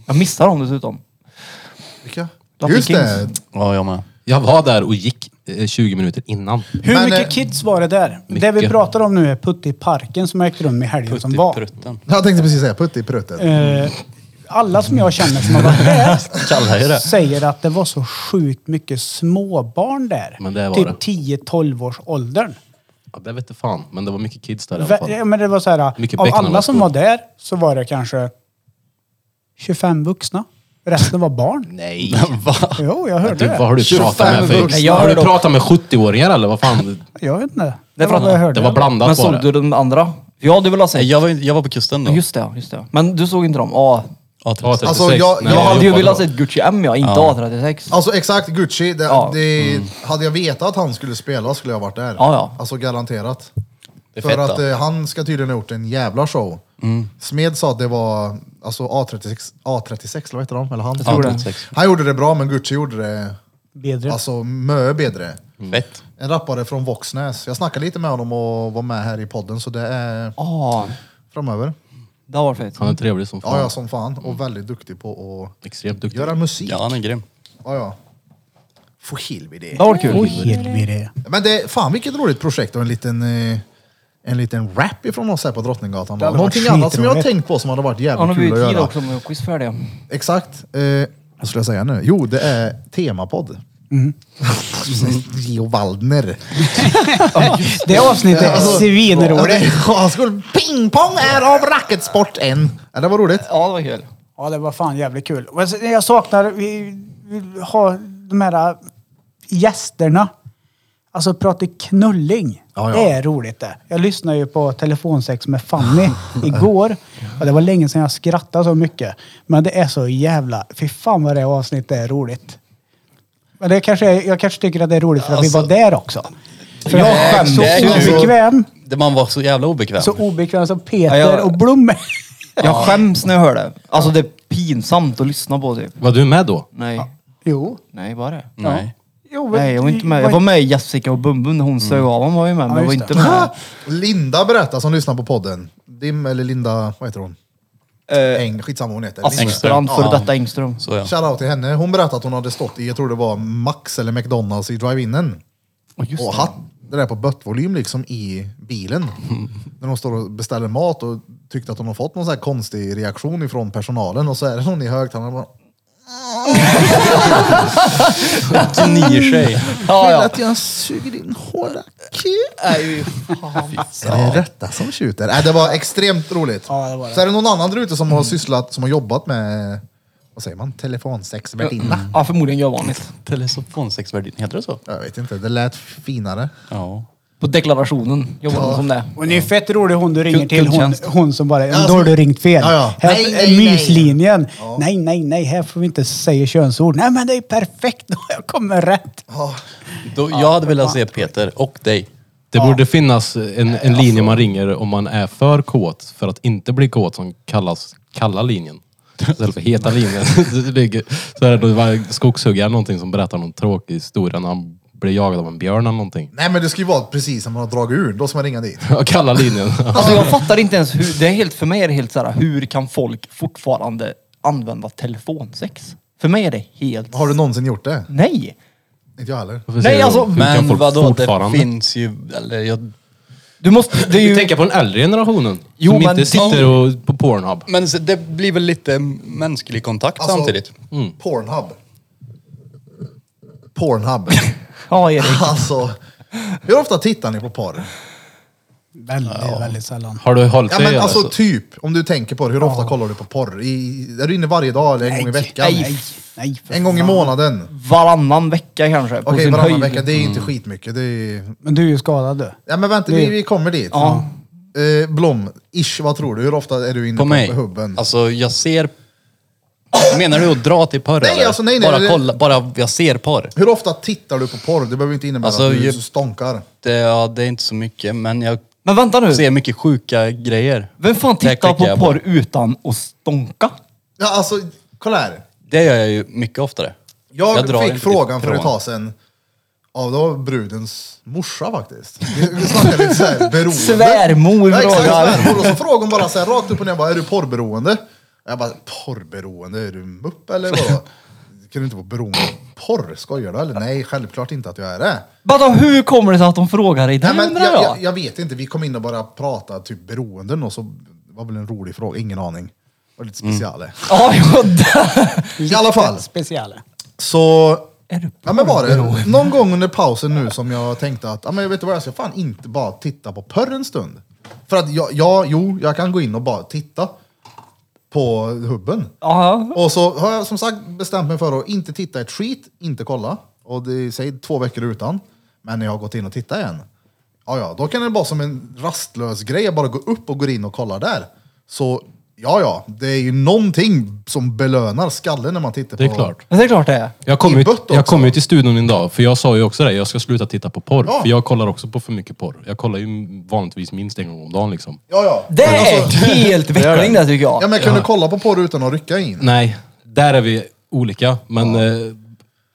Speaker 4: Jag missar dem dessutom.
Speaker 1: Vilka?
Speaker 4: Latin
Speaker 1: Just det!
Speaker 5: Ja, jag med.
Speaker 3: Jag var där och gick eh, 20 minuter innan.
Speaker 2: Hur
Speaker 1: Men,
Speaker 2: mycket
Speaker 1: eh,
Speaker 2: kids var det där? Det
Speaker 3: mycket.
Speaker 2: vi pratar om nu är Putte i parken som ägde rum i helgen som
Speaker 5: Putt i
Speaker 2: var.
Speaker 5: prutten.
Speaker 1: Jag tänkte precis säga putt i pruttet.
Speaker 2: Eh, alla som jag känner som har varit där
Speaker 5: Kallar ju det.
Speaker 2: säger att det var så sjukt mycket småbarn där.
Speaker 3: Men det var det.
Speaker 2: typ 10-12 års åldern.
Speaker 3: Ja, det vet du fan. Men det var mycket kids där i alla
Speaker 2: Vä- ja,
Speaker 3: fall.
Speaker 2: Men det var så här,
Speaker 3: Mycket
Speaker 2: av
Speaker 3: bäcknar
Speaker 2: alla
Speaker 3: var
Speaker 2: som
Speaker 3: stor.
Speaker 2: var där så var det kanske 25 vuxna. Resten var barn.
Speaker 3: Nej.
Speaker 2: Jo, jag hörde
Speaker 3: Typ, vad
Speaker 2: det.
Speaker 3: har du
Speaker 1: 25
Speaker 3: pratat med
Speaker 1: vuxna.
Speaker 3: för...
Speaker 4: Jag
Speaker 3: Har du
Speaker 4: hörde-
Speaker 3: pratat med 70-åringar eller vad fan?
Speaker 2: Jag vet inte.
Speaker 4: Det
Speaker 2: Det var
Speaker 4: pratar-
Speaker 2: vad jag hörde.
Speaker 3: Det var blandat
Speaker 4: Men
Speaker 3: var
Speaker 4: såg
Speaker 3: det.
Speaker 4: du den andra? Ja, du vill ha
Speaker 5: Nej,
Speaker 4: sett?
Speaker 5: Jag var, ju- jag var på kusten då.
Speaker 4: Just det, just det. Men du såg inte dem? Ja.
Speaker 5: A36.
Speaker 3: A36.
Speaker 1: Alltså, jag-
Speaker 3: Nej,
Speaker 1: jag
Speaker 4: Jag hade ju
Speaker 3: jobbade
Speaker 4: velat
Speaker 3: då.
Speaker 4: sett Gucci M ja, inte A36.
Speaker 1: Alltså exakt, Gucci. Det,
Speaker 4: Ja.
Speaker 1: det,
Speaker 5: Mm.
Speaker 1: Hade jag vetat att han skulle spela skulle jag varit där.
Speaker 4: Ja, ja.
Speaker 1: Alltså garanterat.
Speaker 5: Det är
Speaker 1: För
Speaker 5: fett,
Speaker 1: att
Speaker 5: då. Mm.
Speaker 1: eh, han ska tydligen ha gjort en jävla show. Smed sa att det var alltså A36, A36 eller vad heter de? Eller han?
Speaker 5: A36.
Speaker 1: Han gjorde det bra, men Gucci gjorde det
Speaker 2: Bedre.
Speaker 1: alltså mycket bättre.
Speaker 5: Fett.
Speaker 1: En rappare från Våxnäs. Jag snackade lite med honom och var med här i podden, så det är
Speaker 4: Ja,
Speaker 1: framöver.
Speaker 4: det var fett.
Speaker 3: Han är trevlig som
Speaker 1: Ja,
Speaker 3: fan.
Speaker 1: ja, som fan. Och väldigt duktig på
Speaker 3: Extremt
Speaker 1: att
Speaker 3: duktig.
Speaker 1: göra musik.
Speaker 5: Ja,
Speaker 1: Ja,
Speaker 5: han är grym.
Speaker 1: ja. Få helvete.
Speaker 4: Det var kul.
Speaker 2: Oj, helvete.
Speaker 1: Men det, fan vilket roligt projekt och en liten, eh, en liten rap ifrån oss här på Drottninggatan.
Speaker 2: hade varit
Speaker 1: Någonting annat som jag har
Speaker 2: skitroligt.
Speaker 1: tänkt på som hade varit
Speaker 4: Han har
Speaker 1: jävligt
Speaker 4: blivit
Speaker 1: kul att
Speaker 4: tid
Speaker 1: göra.
Speaker 4: också med quiz färdiga.
Speaker 1: Exakt. Eh, vad skulle jag säga nu? Jo, det är temapodd.
Speaker 2: Mm.
Speaker 1: Geo Waldner.
Speaker 2: Det avsnittet är
Speaker 1: Alltså,
Speaker 2: svinroligt.
Speaker 1: Han skulle pingpong är av racketsport en. Ja, det var roligt.
Speaker 4: Ja, det var kul.
Speaker 2: Ja, det var fan jävligt kul. Och alltså, Jag saknar, vi vill ha de här äh, gästerna. Alltså prata knulling.
Speaker 1: Ja, ja.
Speaker 2: Det är roligt det. Jag lyssnade ju på telefonsex med Fanny igår. Och det var länge sedan jag skrattade så mycket. Men det är så jävla... Fy fan vad det avsnittet är roligt. Men det kanske är, jag kanske tycker att det är roligt för att vi var där också. För jag
Speaker 5: Nej,
Speaker 2: var så
Speaker 5: det är kul.
Speaker 2: obekväm.
Speaker 5: Det- Man var så jävla obekväm.
Speaker 2: Så obekväm som Peter
Speaker 4: Ja, jag-
Speaker 2: och Blom.
Speaker 4: Jag skäms när jag hör det. Alltså det är pinsamt att lyssna på typ.
Speaker 3: Var du med då?
Speaker 4: Nej.
Speaker 2: jo.
Speaker 4: Nej, var det?
Speaker 5: Nej.
Speaker 2: jo men-
Speaker 4: Nej, jag var inte med. Jag var med i Jessica och Bumbun när hon sög
Speaker 5: Mm.
Speaker 4: av. Hon var ju med, men jag var
Speaker 2: just
Speaker 4: inte
Speaker 2: det.
Speaker 4: med.
Speaker 1: Linda berättar som lyssnar på podden. Dim eller Linda, vad heter hon?
Speaker 4: Eh,
Speaker 1: Eng, skitsamma vad hon heter. Linda.
Speaker 4: Aspstrand,
Speaker 5: Engström.
Speaker 4: före
Speaker 5: Ja.
Speaker 4: detta Engström.
Speaker 5: Så ja.
Speaker 1: Shoutout till henne. Hon berättade att hon hade stått i, jag tror det var Max eller McDonalds i drive-inen. och haft det där på böttvolym liksom i bilen. När de står och beställer mat och tyckte att de har fått någon så här konstig reaktion ifrån personalen och så är det någon i högtalarna bara
Speaker 5: Gnier sig.
Speaker 4: Ja,
Speaker 1: "Vill
Speaker 4: ja.
Speaker 1: att jag suger din hårda kuk.
Speaker 4: Nej,
Speaker 1: Är det rätta som tjuter? Äh, det var extremt roligt.
Speaker 2: Ja, det var det.
Speaker 1: Så är det någon annan där ute som har sysslat, som har jobbat med, vad säger man, telefonsex
Speaker 4: Mm.
Speaker 1: värdinna?
Speaker 4: Ja, förmodligen gör vanligt.
Speaker 5: Telesofonsex-värdinna, heter det så?
Speaker 1: Jag vet inte, det lät finare.
Speaker 5: Ja.
Speaker 4: På deklarationen jobbar hon som det.
Speaker 2: Hon är fett rolig hon du ringer till. Hon,
Speaker 4: kundtjänst.
Speaker 2: hon som bara,
Speaker 1: Ja,
Speaker 2: då har
Speaker 1: som-
Speaker 2: du ringt fel.
Speaker 1: Ja, ja.
Speaker 2: Här
Speaker 1: Nej,
Speaker 2: är
Speaker 1: nej, nej.
Speaker 2: myslinjen. Nej, nej, nej, här får vi inte säga könsord. Nej, men det är perfekt. Jag kommer rätt.
Speaker 5: Då, jag hade velat se Peter och dig.
Speaker 3: Det borde finnas en, en linje man ringer om man är för kåt för att inte bli kåt som kallas kalla linjen. Istället för heta linjen. Det ligger- så är det någon skogshuggare eller någonting som berättar någon tråkig historia när han blir jagad av en björn eller någonting.
Speaker 1: Nej men det ska ju vara precis när man har dragit ur, då ska man ringa dit.
Speaker 3: Ja, Kalla linjen.
Speaker 4: Alltså jag fattar inte ens hur, det är helt, för mig är det helt såhär, hur kan folk fortfarande använda telefonsex? För mig är det helt,
Speaker 1: Har du någonsin gjort det?
Speaker 4: nej!
Speaker 1: Inte jag heller.
Speaker 3: Varför säger du-
Speaker 4: alltså,
Speaker 3: hur kan
Speaker 5: Men
Speaker 3: folk
Speaker 5: vadå, det
Speaker 3: fortfarande-
Speaker 5: finns ju... Eller jag,
Speaker 4: Du måste, det är
Speaker 3: Du
Speaker 4: ju...
Speaker 3: tänker på den äldre generationen.
Speaker 4: Jo,
Speaker 3: som
Speaker 4: men-
Speaker 3: inte sitter och, på Pornhub.
Speaker 5: men så- det blir väl lite mänsklig kontakt
Speaker 1: Alltså-
Speaker 5: samtidigt. Mm.
Speaker 1: Pornhub. Pornhub.
Speaker 4: Ja Erik.
Speaker 1: alltså, hur ofta tittar ni på porr?
Speaker 2: Väldigt, väldigt sällan.
Speaker 3: Har du hållit
Speaker 1: Ja
Speaker 3: dig i
Speaker 1: men
Speaker 3: det,
Speaker 1: alltså
Speaker 3: alltså?
Speaker 1: typ, om du tänker på det, hur ofta kollar du på porr? I, är du inne varje dag eller en gång i veckan?
Speaker 2: Nej, nej. för
Speaker 1: En gång i
Speaker 2: fan.
Speaker 1: månaden?
Speaker 4: Varannan vecka kanske. på
Speaker 1: Okej,
Speaker 4: sin
Speaker 1: varannan
Speaker 4: höjd.
Speaker 1: vecka. Det är ju inte
Speaker 5: Mm.
Speaker 1: skitmycket. Det är...
Speaker 2: Men du är ju skadad du.
Speaker 1: Ja men vänta, vi, vi kommer dit.
Speaker 4: Ja.
Speaker 1: Eh, Blom, ish, vad tror du? Hur ofta är du inne
Speaker 5: På
Speaker 1: på,
Speaker 5: mig.
Speaker 1: hubben?
Speaker 5: Alltså jag ser... Menar du att dra till porr
Speaker 1: Nej,
Speaker 5: eller?
Speaker 1: alltså, nej, nej,
Speaker 5: bara
Speaker 1: det-
Speaker 5: kolla, bara jag ser porr.
Speaker 1: Hur ofta tittar du på porr? Det behöver inte innebära
Speaker 5: Alltså,
Speaker 1: att du
Speaker 5: ju-
Speaker 1: stånkar.
Speaker 5: Det, ja, det är inte så mycket, men jag
Speaker 4: Men vänta nu.
Speaker 5: ser mycket sjuka grejer.
Speaker 4: Vem fan
Speaker 5: Det
Speaker 4: tittar
Speaker 5: klickar jag
Speaker 4: på porr utan att stånka?
Speaker 1: Ja, alltså, kolla här.
Speaker 5: Det gör jag ju mycket oftare.
Speaker 1: Jag,
Speaker 5: drar
Speaker 1: fick
Speaker 5: inte
Speaker 1: frågan för ett
Speaker 5: ifrån.
Speaker 1: tag sedan av då brudens morsa faktiskt. Vi, vi snackade lite såhär beroende.
Speaker 4: Svärmor
Speaker 1: ja, exakt,
Speaker 4: frågar.
Speaker 1: svärmor. Och så frågade hon bara såhär rakt upp och ner, bara, är du porrberoende? Och Jag bara, porrberoende? Är du mupp eller vadå? Kan du inte vara beroende av porr? Skojar du eller? Nej, självklart inte att jag är det.
Speaker 4: Vadå, hur kommer det sig att de frågar dig? Det
Speaker 1: Nej, men
Speaker 4: undrar
Speaker 1: jag,
Speaker 4: jag.
Speaker 1: jag, jag vet inte, vi kom in och bara pratade typ beroenden och så var väl en rolig fråga, ingen aning. Det var lite speciellt.
Speaker 4: Ja, jo, där.
Speaker 2: Mm.
Speaker 1: I alla fall,
Speaker 2: Speciella.
Speaker 1: så...
Speaker 4: Är du
Speaker 1: Ja men var det någon gång under pausen nu som jag tänkte att, ja men jag vet du vad, jag ska fan inte bara titta på porr en stund. För att jag, ja, jo, jag kan gå in och bara titta på hubben.
Speaker 4: Ja.
Speaker 1: Och så har jag som sagt bestämt mig för att inte titta ett skit, inte kolla. Och det säger två veckor utan. Men när jag har gått in och tittat igen, ja ja, då kan det vara som en rastlös grej. Jag bara går upp och går in och kollar där. Så ja ja, det är ju någonting som belönar skallen när man tittar
Speaker 3: Det är
Speaker 1: på...
Speaker 3: klart.
Speaker 4: Men det är klart det är.
Speaker 3: Jag kom,
Speaker 1: I
Speaker 3: ut,
Speaker 1: bött också.
Speaker 3: jag kom ut i studion en dag, för jag sa ju också det, jag ska sluta titta på porr.
Speaker 1: Ja.
Speaker 3: För jag kollar också på för mycket porr. Jag kollar ju vanligtvis minst en gång om dagen liksom.
Speaker 1: Ja ja.
Speaker 4: Det
Speaker 1: Men
Speaker 4: är
Speaker 1: alltså-
Speaker 4: helt veckling det tycker jag.
Speaker 1: Ja, men jag kunde kolla på porr utan att rycka in.
Speaker 3: Nej, där är vi olika. Men eh,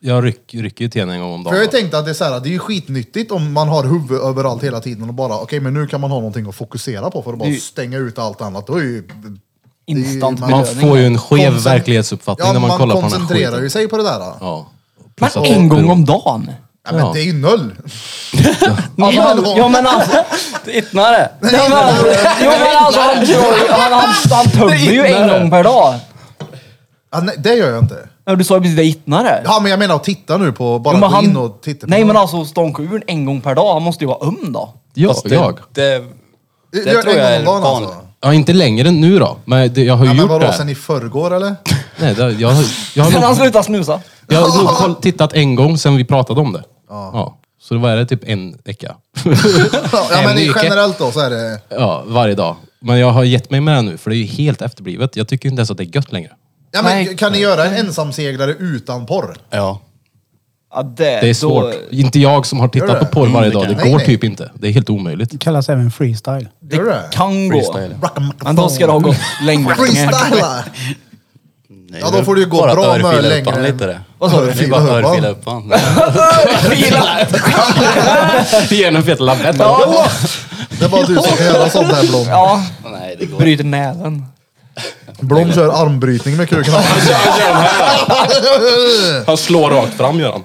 Speaker 3: jag ryck, rycker ju till henne en gång om
Speaker 1: För jag
Speaker 3: dagen.
Speaker 1: har ju tänkt att det är, så här, det är ju skitnyttigt om man har huvud överallt hela tiden och bara, okej men nu kan man ha någonting att fokusera på för att bara
Speaker 4: Det-
Speaker 1: stänga ut allt annat. Då är ju,
Speaker 4: Instant
Speaker 1: man-
Speaker 3: Man
Speaker 4: belöning.
Speaker 3: får ju en skev
Speaker 1: Koncent-
Speaker 3: verklighetsuppfattning
Speaker 1: ja,
Speaker 3: när man,
Speaker 1: man
Speaker 3: kollar på den här
Speaker 1: koncentrerar
Speaker 3: skiten.
Speaker 1: ju sig på det där. Då. Ja.
Speaker 3: Ja.
Speaker 4: Men
Speaker 3: Plus att-
Speaker 4: en gång om dagen.
Speaker 1: men
Speaker 3: Ja.
Speaker 1: det är ju noll.
Speaker 4: Ja men, ja, men alltså.
Speaker 5: Ittnar det?
Speaker 4: Nej, men, alltså, jo, men alltså han, kör- han, han, han tömmer ju en gång per dag.
Speaker 1: Ja, nej, det gör jag inte.
Speaker 4: Ja, du sa ju precis det, ittnare.
Speaker 1: Ja men jag menar att titta nu på, bara
Speaker 4: Jo, men
Speaker 1: gå in och titta på
Speaker 4: nej
Speaker 1: det.
Speaker 4: men alltså stånka ur en gång per dag, han måste ju vara öm då.
Speaker 3: Ja,
Speaker 5: Fast det,
Speaker 3: jag.
Speaker 5: Det,
Speaker 1: det,
Speaker 5: det
Speaker 1: gör
Speaker 5: tror
Speaker 1: en
Speaker 5: jag
Speaker 1: gång
Speaker 5: är
Speaker 1: om dagen
Speaker 5: vanligt.
Speaker 1: alltså.
Speaker 3: Ja, inte längre än nu då. Men det, jag har ju
Speaker 1: Ja, men
Speaker 3: gjort
Speaker 1: vadå,
Speaker 3: det.
Speaker 1: sen i förrgår eller?
Speaker 3: Nej, det, jag, har- jag,
Speaker 4: Sen
Speaker 3: har
Speaker 4: han
Speaker 3: nog,
Speaker 4: slutar snusa.
Speaker 3: jag har nog koll- tittat en gång sen vi pratade om det. Ja. Så det var det typ en vecka.
Speaker 1: ja
Speaker 3: Nej,
Speaker 1: men
Speaker 3: det
Speaker 1: i-
Speaker 3: gick-
Speaker 1: generellt då så är det,
Speaker 3: Ja, varje dag. Men jag har gett mig med det nu, för det är ju helt efterblivet. Jag tycker inte ens att det är gött längre.
Speaker 1: ja, men,
Speaker 4: Nej.
Speaker 1: kan ni göra en ensamseglare utan porr?
Speaker 5: Ja.
Speaker 4: Ja, det,
Speaker 3: Det är
Speaker 4: då-
Speaker 3: svårt. Inte jag som har
Speaker 1: Gör
Speaker 3: tittat
Speaker 1: det?
Speaker 3: på porr varje
Speaker 5: Mm, det
Speaker 3: dag. Det
Speaker 5: kan-
Speaker 1: Nej,
Speaker 3: går
Speaker 1: nej.
Speaker 3: typ inte. Det är helt omöjligt.
Speaker 2: Det kallas även freestyle.
Speaker 1: Gör du det?
Speaker 4: Kan gå.
Speaker 5: Freestyle.
Speaker 4: Men då ska det ha gått längre.
Speaker 1: Freestyla! Ja, då får det ju gå
Speaker 5: bara
Speaker 1: bra
Speaker 5: att örfila
Speaker 1: med
Speaker 5: upp han
Speaker 1: längre.
Speaker 5: lite det.
Speaker 4: Vad sa du?
Speaker 5: Det är bara att örfila upp han.
Speaker 3: Ge en fet lavett.
Speaker 4: Ja,
Speaker 1: Det är bara du som kan göra sånt här Blom.
Speaker 4: ja.
Speaker 5: Nej, det går
Speaker 4: Bryter näven.
Speaker 1: Blom kör armbrytning med kuken.
Speaker 3: Han slår rakt fram, gör han.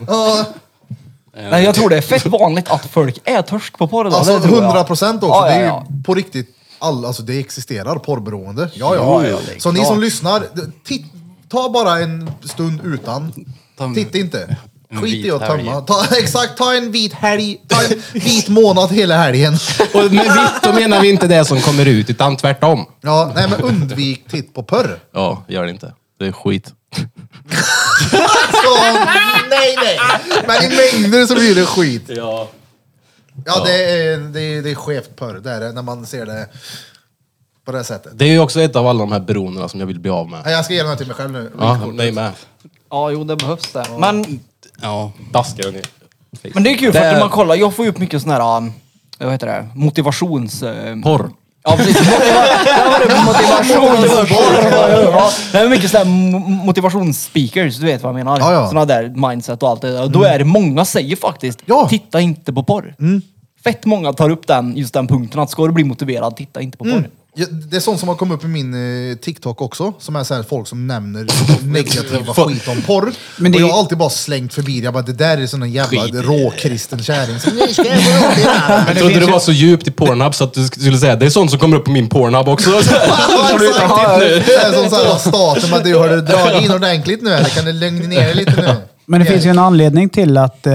Speaker 4: Nej, jag tror det är fett vanligt att folk är törsk på porr idag.
Speaker 1: Alltså
Speaker 4: det tror jag.
Speaker 1: 100 procent också.
Speaker 4: Ja,
Speaker 1: Det
Speaker 4: ja,
Speaker 1: är ju
Speaker 4: ja.
Speaker 1: på riktigt, all, alltså det existerar porrberoende. Ja, ja.
Speaker 5: Ja, ja, det är
Speaker 1: Så ni
Speaker 5: klart.
Speaker 1: som lyssnar, titt, ta bara en stund utan.
Speaker 5: Ta-
Speaker 1: Titta inte.
Speaker 5: En
Speaker 1: Skit i
Speaker 5: vit
Speaker 1: att
Speaker 5: helg.
Speaker 1: tömma. Ta, exakt, ta en vit helg. Ta en vit månad hela helgen.
Speaker 3: Och med vitt, då menar vi inte det som kommer ut, utan tvärtom.
Speaker 1: Ja, nej men undvik titt på porr.
Speaker 3: Ja, gör det inte. Det är skit.
Speaker 1: Så, nej, nej. Men i mängder så blir det skit. Ja, det är, det är, det är skevt porr, det är det, när man ser det på det sättet.
Speaker 3: Det är ju också ett av alla de här beroendena som jag vill bli av med.
Speaker 1: Nej, Jag ska ge den här till mig själv nu.
Speaker 3: Ja, nej med.
Speaker 4: Ja, jo det behövs det. Men,
Speaker 5: Ja,
Speaker 3: Daskar den i.
Speaker 4: men det är kul för
Speaker 5: Det-
Speaker 4: att när man kollar, jag får ju upp mycket sån här, um, vad heter det, motivations... eh,
Speaker 3: Porr.
Speaker 4: Ja precis, Motiva- där var det motivations... Ja, det är mycket sådär motivationsspeakers, du vet vad jag menar.
Speaker 1: Ja, ja.
Speaker 4: Såna där mindset och allt det där. Och Då är det många säger faktiskt,
Speaker 1: Ja.
Speaker 4: titta inte på porr. Fett många tar upp den, just den punkten att ska du bli motiverad, titta inte på porr.
Speaker 1: Ja, Det är sånt som har kommit upp i min eh, TikTok också, som är så här folk som nämner negativa skit om porr.
Speaker 2: Men det
Speaker 1: och
Speaker 2: är-
Speaker 1: jag har alltid bara slängt förbi det. Jag bara, det där är sån en jävla
Speaker 5: Skit i det.
Speaker 1: råkristen kärring. som, "Nu ska jag gå upp i det här."
Speaker 3: Jag trodde det var så djupt i Pornhub så att du skulle säga det är sånt som kommer upp på min Pornhub också. Har du tagit dit nu?
Speaker 1: Det är som så här, staten, bara, du har du dragit in ordentligt nu eller kan du lugna ner dig lite nu?
Speaker 2: Men det finns ju en anledning till att eh,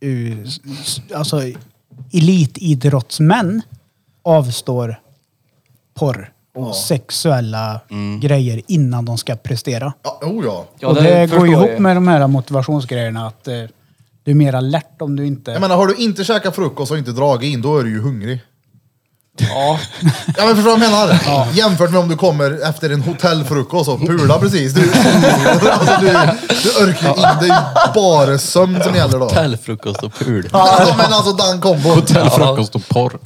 Speaker 2: u- s- s- alltså, elitidrottsmän avstår porr och sexuella grejer innan de ska prestera.
Speaker 1: Ja, oh ja.
Speaker 4: Mm. Ja,
Speaker 2: och det, går
Speaker 4: förstår
Speaker 2: ju
Speaker 4: jag
Speaker 2: ihop med de här motivationsgrejerna att eh, du är mer alert om du inte...
Speaker 1: Jag menar, har du inte käkat frukost och inte dragit in, då är du ju hungrig.
Speaker 4: Ja.
Speaker 1: Ja men förstår du vad jag menar? Jämfört med om du kommer efter en hotellfrukost och pular precis. Du, alltså, du, du örkar in, det är ju bara sömn som gäller då.
Speaker 5: hotellfrukost och pul.
Speaker 1: Alltså, men alltså den kombon.
Speaker 3: Frukost och porr.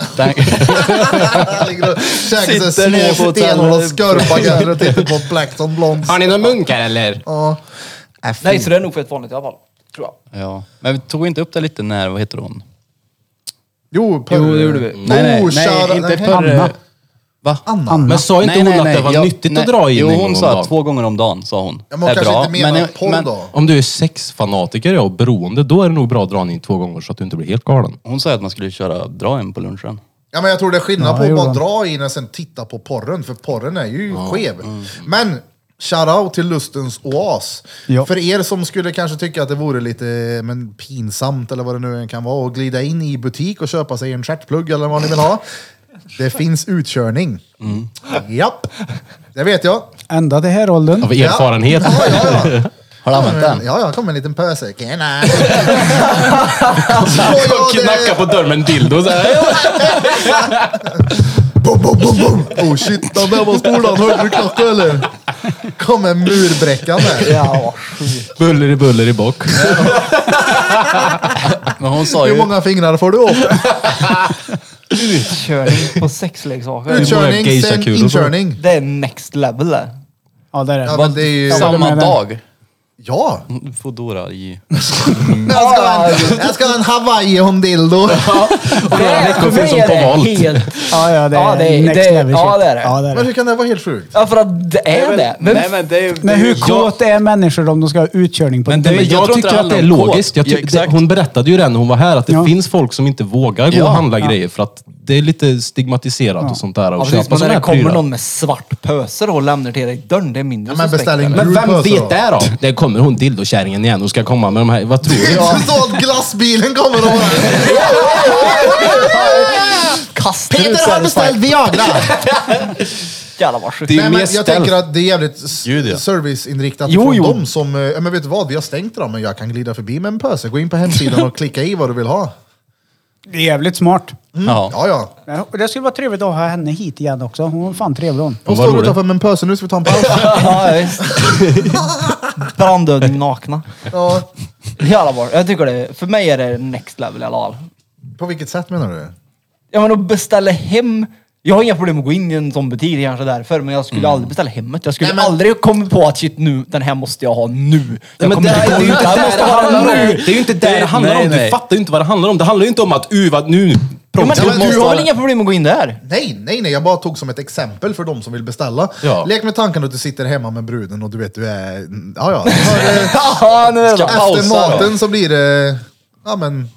Speaker 1: Ligger och Käkar sig
Speaker 5: Sitter nere på
Speaker 1: små
Speaker 5: hotellet.
Speaker 1: stenhål och skorpa grejer och tittar på Blackton Blondes.
Speaker 3: Har ni några munkar eller?
Speaker 1: Ja. Äh, fy.
Speaker 4: Nej, så det är nog fett vanligt i alla fall. Tror jag.
Speaker 5: Ja. Men vi tog inte upp det lite när, vad heter hon?
Speaker 1: Jo, per...
Speaker 4: Jo, det gjorde vi.
Speaker 5: Nej, nej,
Speaker 1: Oh, kära-
Speaker 5: nej, inte
Speaker 1: nej.
Speaker 5: för...
Speaker 2: Anna.
Speaker 5: Va?
Speaker 1: Anna.
Speaker 3: Men sa inte hon
Speaker 5: Nej, nej,
Speaker 3: att
Speaker 5: nej.
Speaker 3: det var
Speaker 5: Jag-
Speaker 3: nyttigt
Speaker 5: nej.
Speaker 3: att dra in
Speaker 5: Jo,
Speaker 3: en
Speaker 5: hon
Speaker 3: gång om
Speaker 5: sa
Speaker 3: dagen?
Speaker 5: två gånger om dagen, sa hon.
Speaker 1: Ja, men hon kanske inte menar porr då.
Speaker 3: Om du är sexfanatiker ja, och beroende, då är det nog bra att dra in två gånger så att du inte blir helt galen.
Speaker 5: Hon sa att man skulle köra, dra en på lunchen.
Speaker 1: Ja, men jag tror det är skillnad
Speaker 2: Ja,
Speaker 1: på
Speaker 2: det
Speaker 1: att bara
Speaker 2: gjorde
Speaker 1: dra in och sen titta på porren, för porren är ju skev.
Speaker 2: Mm.
Speaker 1: Men shoutout till Lustens Oas.
Speaker 2: Ja.
Speaker 1: För er som skulle kanske tycka att det vore lite men, pinsamt eller vad det nu än kan vara, att glida in i butik och köpa sig en stjärtplugg eller vad ni vill ha. Det finns utkörning.
Speaker 2: Mm.
Speaker 1: Japp, det vet jag.
Speaker 2: Ända till här åldern.
Speaker 3: Av erfarenhet.
Speaker 1: Ja, ja, ja.
Speaker 5: Har du använt den?
Speaker 1: Ja, jag kom en liten pöse. Tjena! Så, ja, det-
Speaker 3: Knacka på dörren med en dildo så här.
Speaker 1: Bum, bum, bum, bum. Oh shit, den där var stor den. Hörde du knacka eller? Kom en murbräcka med.
Speaker 4: Ja.
Speaker 3: Buller i buller i bock.
Speaker 5: Men hon sa
Speaker 1: Hur
Speaker 5: ju...
Speaker 1: många fingrar får du upp?
Speaker 4: Utkörning på sexleksaker.
Speaker 1: Utkörning, sen
Speaker 3: geisha-kulor på?
Speaker 1: inkörning.
Speaker 4: Det är next level det.
Speaker 2: Ja, det är
Speaker 1: Ja,
Speaker 2: det.
Speaker 1: men det är ju...
Speaker 5: Samma
Speaker 2: men-
Speaker 5: dag.
Speaker 1: Ja!
Speaker 5: Foodora i...
Speaker 1: Jag ska ha en, jag ska ha en hawaii hondildo.
Speaker 3: veckor finns de på Volt.
Speaker 4: Helt,
Speaker 2: Ja, ja, det är
Speaker 4: Ja, det är-
Speaker 2: next
Speaker 4: det är-
Speaker 2: level shit.
Speaker 4: ja, det är det.
Speaker 2: Ja, det är
Speaker 1: Men
Speaker 2: det.
Speaker 1: hur kan det vara helt sjukt?
Speaker 4: ja, för att det är det. Vem
Speaker 5: Nej, men det är ju...
Speaker 2: Men hur
Speaker 5: Jag-
Speaker 2: kåt är människor om de ska ha utkörning på
Speaker 5: Men det-
Speaker 2: dejt?
Speaker 3: Men jag,
Speaker 5: jag tror inte
Speaker 3: tycker
Speaker 5: det
Speaker 3: att det är
Speaker 5: handlar om
Speaker 3: logiskt. Jag
Speaker 5: kod. Ja,
Speaker 3: tyck-
Speaker 5: exakt.
Speaker 3: hon berättade ju det när hon var här, att det
Speaker 2: Ja.
Speaker 3: finns folk som inte vågar gå
Speaker 5: Ja.
Speaker 3: och handla grejer för att det är lite stigmatiserat och sånt där. Och
Speaker 4: Ja, precis,
Speaker 3: köpa
Speaker 4: men
Speaker 3: såna
Speaker 4: när
Speaker 3: här
Speaker 4: det kommer
Speaker 3: prylar.
Speaker 4: någon med svart pöse då och lämnar till dig i dörren, det är mindre
Speaker 1: Ja, men
Speaker 4: suspekt,
Speaker 1: beställ en
Speaker 4: eller?
Speaker 3: Men vem
Speaker 1: Gruppöser då?
Speaker 3: vet det då? Det kommer hon dildokärringen igen och ska komma med de här, vad tror du?
Speaker 1: Så att glassbilen kommer och bara...
Speaker 4: Kastar ut
Speaker 1: Peter har beställt Viagra!
Speaker 4: Jävlar vad sjukt.
Speaker 3: Det är
Speaker 1: Nej,
Speaker 3: ju mer
Speaker 1: men jag
Speaker 3: ställt.
Speaker 1: tänker att det är jävligt s-
Speaker 5: Gud, ja.
Speaker 1: serviceinriktat
Speaker 4: Jo,
Speaker 1: från
Speaker 4: jo.
Speaker 1: dem som... eh, ja, Men vet du vad? Vi har stängt dem, men jag kan glida förbi med en pöse. Gå in på hemsidan och klicka i vad du vill ha.
Speaker 2: Det är jävligt smart.
Speaker 5: Ja.
Speaker 1: Ja, ja.
Speaker 2: Ja, och Det skulle vara trevligt att ha henne hit igen också. Hon är fan trevlig hon.
Speaker 1: Hon
Speaker 3: vad
Speaker 1: står
Speaker 3: roligt.
Speaker 1: utanför med en pöse, nu ska vi ta en paus.
Speaker 4: Ja, visst. Brandödning nakna.
Speaker 1: Ja.
Speaker 4: Jävlar vad, jag tycker det, för mig är det next level i alla fall.
Speaker 1: På vilket sätt menar du?
Speaker 4: Ja men att beställa hem, jag har inga problem att gå in i en sån butik, det är kanske därför, men jag skulle
Speaker 3: Mm.
Speaker 4: aldrig beställa hemmet. Jag skulle
Speaker 1: Nej, men-
Speaker 4: aldrig komma på att shit nu, den här måste jag ha nu. Jag
Speaker 3: Nej, men
Speaker 4: kommer
Speaker 3: det,
Speaker 4: inte
Speaker 3: det, är
Speaker 4: på
Speaker 3: ju
Speaker 4: den,
Speaker 3: inte
Speaker 4: jag
Speaker 3: där
Speaker 4: måste
Speaker 3: det
Speaker 4: ha
Speaker 3: handlar
Speaker 4: den
Speaker 3: om.
Speaker 4: nu.
Speaker 3: Det är ju inte där
Speaker 5: Nej,
Speaker 3: det handlar om. Du
Speaker 5: nej.
Speaker 3: fattar ju inte vad det handlar om. Det handlar ju inte om att uh, vad, nu...
Speaker 4: Jo, men
Speaker 3: prompt, måste
Speaker 4: du har
Speaker 3: ha
Speaker 4: väl
Speaker 3: det.
Speaker 4: inga problem att gå in där?
Speaker 1: Nej, nej, nej. Jag bara tog som ett exempel för de som vill beställa.
Speaker 3: Ja.
Speaker 1: Lek med tanken att du sitter hemma med bruden och du vet, du är... Ja, ja. För, eh,
Speaker 4: Ja, nu är det
Speaker 1: Efter
Speaker 5: pausa
Speaker 1: maten så blir det... Ja, men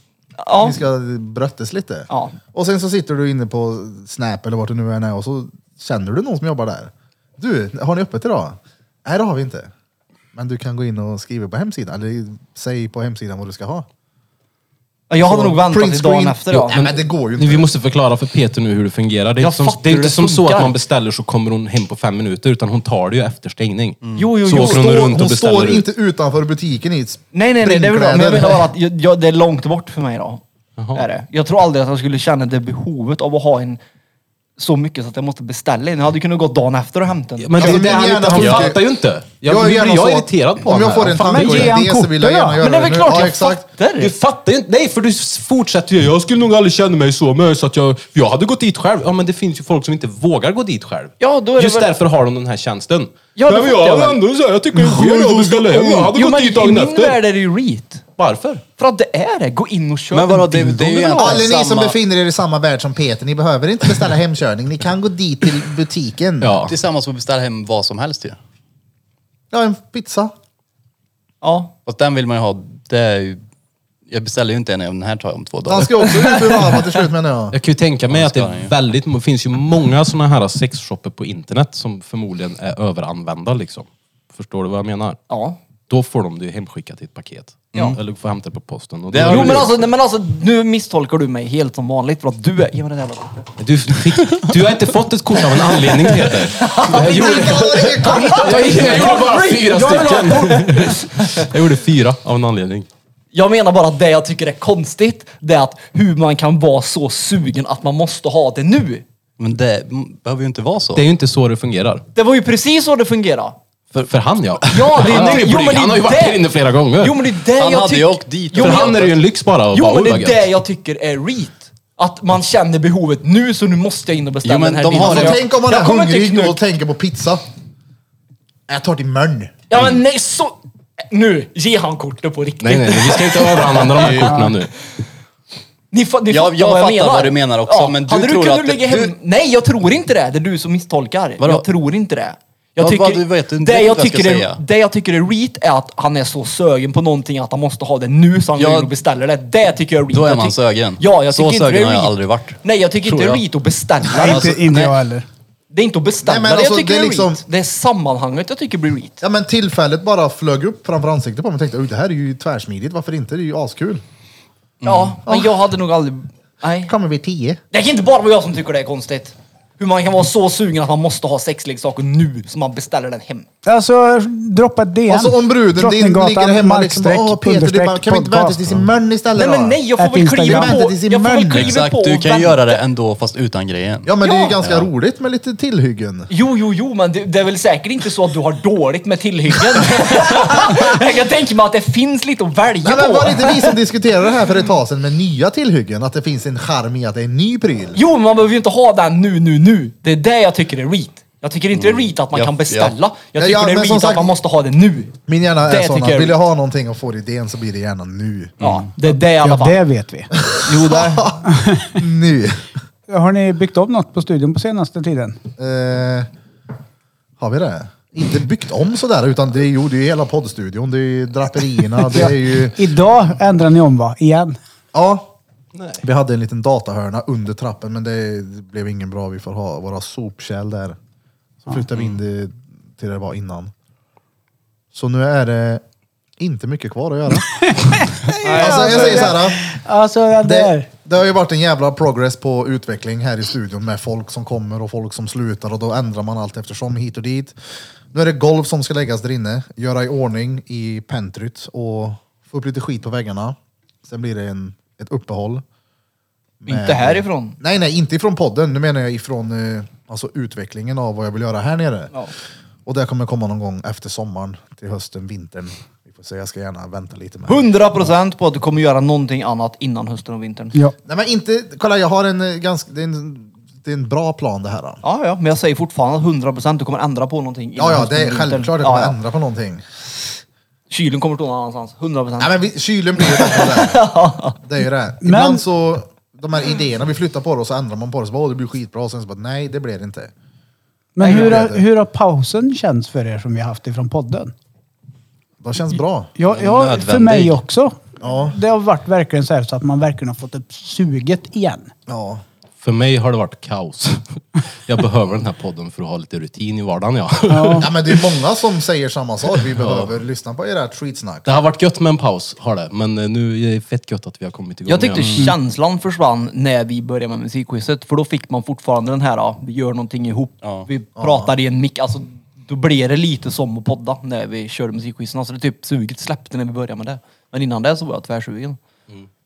Speaker 4: Ja.
Speaker 1: vi ska bröttes lite.
Speaker 4: Ja.
Speaker 1: Och sen så sitter du inne på Snap eller vart du nu än är och så känner du någon som jobbar där. Du, har ni öppet idag? Nej, det har vi inte. Men du kan gå in och skriva på hemsidan, eller säg på hemsidan vad du ska ha.
Speaker 4: Jag hade
Speaker 1: Så,
Speaker 4: nog väntat
Speaker 1: print
Speaker 4: till dagen
Speaker 1: screen.
Speaker 4: efter
Speaker 1: Jo,
Speaker 4: då.
Speaker 1: nej, men det går ju inte.
Speaker 3: Vi måste förklara för Peter nu hur det fungerar. Det är
Speaker 4: Jag
Speaker 3: inte, som,
Speaker 4: fattar
Speaker 3: det är
Speaker 4: hur
Speaker 3: inte
Speaker 4: det
Speaker 3: som så att
Speaker 4: funkar.
Speaker 3: man beställer så kommer hon hem på fem minuter, utan hon tar det ju efter stängning.
Speaker 4: Jo, jo,
Speaker 3: så
Speaker 4: jo.
Speaker 3: åker hon
Speaker 1: Står-
Speaker 3: runt och
Speaker 1: hon
Speaker 3: beställer
Speaker 1: står
Speaker 3: ut.
Speaker 1: inte utanför butiken i
Speaker 4: Nej, nej, nej, det är väl bra. Men jag menar bara att jag, jag, det är långt bort för mig då.
Speaker 3: Jaha.
Speaker 4: Är det. Jag tror aldrig att jag skulle känna det behovet av att ha en så mycket så att jag måste beställa en. Jag hade kunnat gå dagen efter och hämta en.
Speaker 3: Men det
Speaker 1: Alltså,
Speaker 3: är det
Speaker 1: min
Speaker 3: han inte,
Speaker 1: hjärna
Speaker 3: han
Speaker 1: funkar-
Speaker 3: fattar ju inte. Jag,
Speaker 1: är
Speaker 3: jag,
Speaker 1: gärna
Speaker 3: jag,
Speaker 1: så
Speaker 3: är
Speaker 1: att
Speaker 3: irriterad på
Speaker 1: Om
Speaker 3: honom.
Speaker 1: jag får en
Speaker 3: Fan,
Speaker 1: tanke
Speaker 2: men
Speaker 1: och en
Speaker 2: ge han
Speaker 1: idé så vill jag
Speaker 2: kortet
Speaker 1: gärna
Speaker 2: då.
Speaker 1: göra
Speaker 4: Men det är väl klart
Speaker 1: ja,
Speaker 4: jag
Speaker 1: exakt.
Speaker 4: fattar!
Speaker 3: Du fattar ju inte. Nej, för du s- fortsätter ju. Jag skulle nog aldrig känna mig så med så att jag, jag hade gått dit själv. Ja, men det finns ju folk som inte vågar gå dit själv.
Speaker 4: Ja, då är det
Speaker 3: Just
Speaker 4: väl-
Speaker 3: därför har de den här tjänsten.
Speaker 4: Ja, det
Speaker 3: Nej, men
Speaker 4: fattar jag
Speaker 3: jag,
Speaker 4: väl.
Speaker 3: ändå så här, jag tycker det är fel att beställa hem. Jag hade
Speaker 4: Jo,
Speaker 3: gått
Speaker 4: men
Speaker 3: dit
Speaker 4: i
Speaker 3: dagen
Speaker 4: min
Speaker 3: efter.
Speaker 4: värld är det ju reet.
Speaker 3: Varför?
Speaker 4: För att det är det. Gå in och kör.
Speaker 5: Men vadå,
Speaker 4: en
Speaker 5: det-
Speaker 4: dildo
Speaker 5: det är ju
Speaker 4: du vill ha.
Speaker 5: egentligen-
Speaker 1: Alla ni som
Speaker 5: Samma-
Speaker 1: befinner er i samma värld som Peter, ni behöver inte beställa hemkörning. Ni kan gå dit till butiken.
Speaker 3: Ja.
Speaker 5: Det är samma som att beställa hem vad som helst ju.
Speaker 1: Ja, en pizza.
Speaker 4: Ja.
Speaker 5: Fast den vill man ju ha. Det är ju, jag beställer ju inte en, den här tar jag om två dagar.
Speaker 1: Han ska också ut ur Rama till slut menar jag.
Speaker 3: Jag kan ju tänka mig att det
Speaker 5: ska han ju.
Speaker 3: är väldigt, det finns ju många såna här sexshopper på internet som förmodligen är överanvända liksom. Förstår du vad jag menar?
Speaker 4: ja.
Speaker 3: Då får de det ju hemskickat i ett paket.
Speaker 4: Ja.
Speaker 3: Eller får hämta det på posten. Och
Speaker 5: Det
Speaker 3: då-
Speaker 5: har
Speaker 4: Jo
Speaker 5: du
Speaker 4: men
Speaker 5: gjort.
Speaker 4: alltså, nej, men alltså nu misstolkar du mig helt som vanligt för att du är... Ge mig det där då.
Speaker 3: Du, fick, du har inte fått ett kort av en anledning Peter. Jag gjorde, jag, gjorde bara fyra stycken. Jag gjorde fyra av en anledning.
Speaker 4: Jag menar bara att det jag tycker är konstigt, det är att hur man kan vara så sugen att man måste ha det nu.
Speaker 5: Men det m- behöver ju inte vara så.
Speaker 3: Det är ju inte så det fungerar.
Speaker 4: Det var ju precis så det fungerade.
Speaker 3: För, för han ja.
Speaker 4: Ja, det är
Speaker 3: han, är
Speaker 4: det-
Speaker 3: ju
Speaker 4: jo,
Speaker 3: blyg.
Speaker 4: men det
Speaker 3: han
Speaker 4: är
Speaker 3: har ju varit
Speaker 4: det-
Speaker 3: här inne flera gånger.
Speaker 4: Jo men det är det
Speaker 5: Han
Speaker 4: jag
Speaker 5: hade ju
Speaker 4: tyck-
Speaker 5: åkt dit.
Speaker 4: Jo,
Speaker 3: för
Speaker 4: men
Speaker 3: han
Speaker 4: jag-
Speaker 3: är det ju en lyx bara. att bara,
Speaker 4: Jo
Speaker 3: "Oj,
Speaker 4: men det
Speaker 3: vad
Speaker 4: är
Speaker 3: gött."
Speaker 4: det jag tycker är reet. Att man känner behovet nu så nu måste jag in och beställa
Speaker 5: Jo, men
Speaker 4: den här
Speaker 5: de har
Speaker 4: bilen.
Speaker 5: det.
Speaker 1: Alltså, tänk om man är
Speaker 4: jag kommer inte
Speaker 1: hungrig
Speaker 4: knu-
Speaker 1: och tänker på pizza. Jag tar till mörn.
Speaker 4: Ja men nej så... Nu, ge han kortet på riktigt.
Speaker 3: Nej, nej, nej, vi ska inte överanvända de här korten nu.
Speaker 4: Ni, fa- ni
Speaker 5: Jag-
Speaker 4: fattar
Speaker 5: jag
Speaker 4: vad jag
Speaker 5: fattar
Speaker 4: menar.
Speaker 5: vad du menar också, men du
Speaker 4: Hade
Speaker 5: tror
Speaker 4: kunnat
Speaker 5: att
Speaker 4: lägga
Speaker 5: det-
Speaker 4: hem... Nej, jag tror inte det. Det är du som misstolkar.
Speaker 5: Vadå?
Speaker 4: Jag tror inte det. Jag
Speaker 5: Vad-
Speaker 4: tycker,
Speaker 5: vad du vet, du vet
Speaker 4: det, jag
Speaker 5: vad jag ska
Speaker 4: tycker är,
Speaker 5: säga.
Speaker 4: det jag tycker är reet är att han är så sögen på någonting att han måste ha det nu så han
Speaker 5: Ja,
Speaker 4: går in och beställer det. Det tycker jag är reet.
Speaker 5: då är
Speaker 4: Jag
Speaker 5: man
Speaker 4: tyck-
Speaker 5: sögen.
Speaker 4: Ja, jag
Speaker 5: Så
Speaker 4: tycker inte det
Speaker 5: sögen
Speaker 4: är
Speaker 5: har jag
Speaker 4: reet.
Speaker 5: aldrig varit.
Speaker 4: Nej, jag tycker
Speaker 5: Tror
Speaker 4: inte det är
Speaker 5: jag.
Speaker 4: reet att beställa.
Speaker 5: Nej,
Speaker 4: Alltså,
Speaker 5: inte-
Speaker 4: nej,
Speaker 2: jag heller.
Speaker 4: det är inte att beställa.
Speaker 1: Nej, men alltså,
Speaker 4: det jag tycker
Speaker 1: det
Speaker 4: det
Speaker 1: är
Speaker 4: är,
Speaker 1: liksom-
Speaker 4: reet. Det är sammanhanget jag tycker blir reet.
Speaker 1: Ja men tillfället bara flög upp framför ansiktet på mig och tänkte "Oj, det här är ju tvärsmidigt, varför inte? Det är ju askul.
Speaker 5: Mm.
Speaker 4: Ja,
Speaker 1: Ah.
Speaker 4: men jag hade nog aldrig... Nej.
Speaker 1: Kommer vi tio?
Speaker 4: Det kan inte bara vara jag som tycker det är konstigt. Hur man kan vara så sugen att man måste ha sexleksaker nu som man beställer den hem.
Speaker 2: Alltså, droppa ett DM.
Speaker 1: Alltså om bruden din
Speaker 2: Drottninggatan,
Speaker 1: ligger hemma liksom,
Speaker 2: markstreck,
Speaker 1: åh Peter, du
Speaker 2: understreck,
Speaker 1: bara, kan vi inte vänta
Speaker 2: podcast."
Speaker 1: tills i mörn istället
Speaker 4: Nej
Speaker 1: då?"
Speaker 4: men nej, jag får
Speaker 2: Att
Speaker 4: väl kliva
Speaker 2: Instagram-
Speaker 4: på.
Speaker 1: Det är
Speaker 4: Jag får väl
Speaker 1: munnen.
Speaker 4: kliva
Speaker 5: Exakt,
Speaker 4: på
Speaker 5: du
Speaker 4: och
Speaker 5: kan ju
Speaker 4: vänta.
Speaker 5: göra det ändå fast utan grejen.
Speaker 1: Ja men det är ju
Speaker 4: Ja.
Speaker 1: ganska roligt med lite tillhyggen.
Speaker 4: Jo, jo, jo, men det, det är väl säkert inte så att du har dåligt med tillhyggen. jag kan tänka mig att det finns lite att välja
Speaker 1: Nej, men
Speaker 4: på.
Speaker 1: var det inte vi som diskuterade det här för ett tag sedan med nya tillhyggen? Att det finns en charm i att det är en ny pryl.
Speaker 4: Jo, men man behöver ju inte ha den nu, nu, nu. Det är det jag tycker är reet. Jag tycker inte det är reet att man
Speaker 5: Mm. Ja,
Speaker 4: kan beställa.
Speaker 5: ja.
Speaker 4: Jag
Speaker 1: Ja,
Speaker 4: tycker
Speaker 1: ja,
Speaker 4: det är
Speaker 1: men som
Speaker 4: reet att
Speaker 1: sagt-
Speaker 4: man måste ha det nu.
Speaker 1: Min hjärna
Speaker 4: Det
Speaker 1: är sån
Speaker 4: tycker
Speaker 1: att
Speaker 4: jag är
Speaker 1: vill jag
Speaker 4: roligt.
Speaker 1: ha någonting och får idén så blir det gärna nu.
Speaker 4: Ja, det är det i alla
Speaker 2: Ja,
Speaker 4: fall.
Speaker 2: det vet vi.
Speaker 4: Jo, det...
Speaker 1: Nu.
Speaker 2: Har ni byggt upp något på studion på senaste tiden?
Speaker 1: Eh, har vi det? Inte byggt om sådär utan det är ju det är ju hela poddstudion, det är ju draperierna, det är ju...
Speaker 2: Idag ändrar ni om va? Igen?
Speaker 1: Ja. Vi hade en liten datahörna under trappen men det blev ingen bra. Vi får ha våra sopkärl där. Så flyttar vi in det till där det var innan. Så nu är det inte mycket kvar att göra. alltså, jag säger så här.
Speaker 2: Alltså, ja, det
Speaker 1: Det,
Speaker 2: är...
Speaker 1: det har ju varit en jävla progress på utveckling här i studion med folk som kommer och folk som slutar och då ändrar man allt eftersom hit och dit. Nu är det golv som ska läggas där inne, göra i ordning i pentryt och få upp lite skit på väggarna. Sen blir det en, ett uppehåll.
Speaker 4: Inte härifrån.
Speaker 1: Nej, nej, inte ifrån podden. Nu menar jag ifrån eh, alltså, utvecklingen av vad jag vill göra här nere.
Speaker 4: Ja.
Speaker 1: Och det kommer komma någon gång efter sommaren, till hösten, vintern. Vi får se, jag ska gärna vänta lite med det.
Speaker 4: 100% på att du kommer göra någonting annat innan hösten och vintern.
Speaker 2: Ja.
Speaker 1: Nej men inte, kolla jag har en eh, ganska, det är en, det är en bra plan det här. Då.
Speaker 4: Ja, ja, men jag säger fortfarande att 100% du kommer ändra på någonting. innan
Speaker 1: Ja, ja,
Speaker 4: hösten
Speaker 1: det är
Speaker 4: och vintern.
Speaker 1: självklart jag kommer
Speaker 4: Ja, ja.
Speaker 1: ändra på någonting.
Speaker 4: Kylen kommer stå någon annanstans. 100%.
Speaker 1: Nej men vi, kylen blir ju bättre där. Det är ju det. Ibland
Speaker 2: Men-
Speaker 1: så, de här idéerna, vi flyttar på det och så ändrar man på det, så bara, "Åh, det blir skitbra, och sen så bara, nej det blir det inte.
Speaker 2: Men hur,
Speaker 1: det
Speaker 2: har,
Speaker 1: är det.
Speaker 2: hur har pausen känts för er som vi har haft ifrån podden?
Speaker 1: Det känns bra.
Speaker 2: Ja, ja
Speaker 5: Nödvändig.
Speaker 2: för mig också.
Speaker 1: Ja.
Speaker 2: Det har varit verkligen så här så att man verkligen har fått upp suget igen.
Speaker 1: Ja.
Speaker 3: För mig har det varit kaos. Jag behöver den här podden för att ha lite rutin i vardagen ja.
Speaker 1: Ja, men det är många som säger samma sak. Vi behöver lyssna på era skitsnack.
Speaker 3: Det har varit gött med en paus, har det. Men eh, nu är det fett gött att vi har kommit igång
Speaker 4: Jag tyckte
Speaker 3: igen.
Speaker 4: känslan försvann när vi började med musikquizet. För då fick man fortfarande den här, ja, vi gör någonting ihop.
Speaker 5: Ja.
Speaker 4: Vi pratar i en mick. Alltså, då blev det lite som att podda när vi körde musikquizen. Alltså det typ suget släppte när vi började med det. Men innan det så var jag tvärsugen.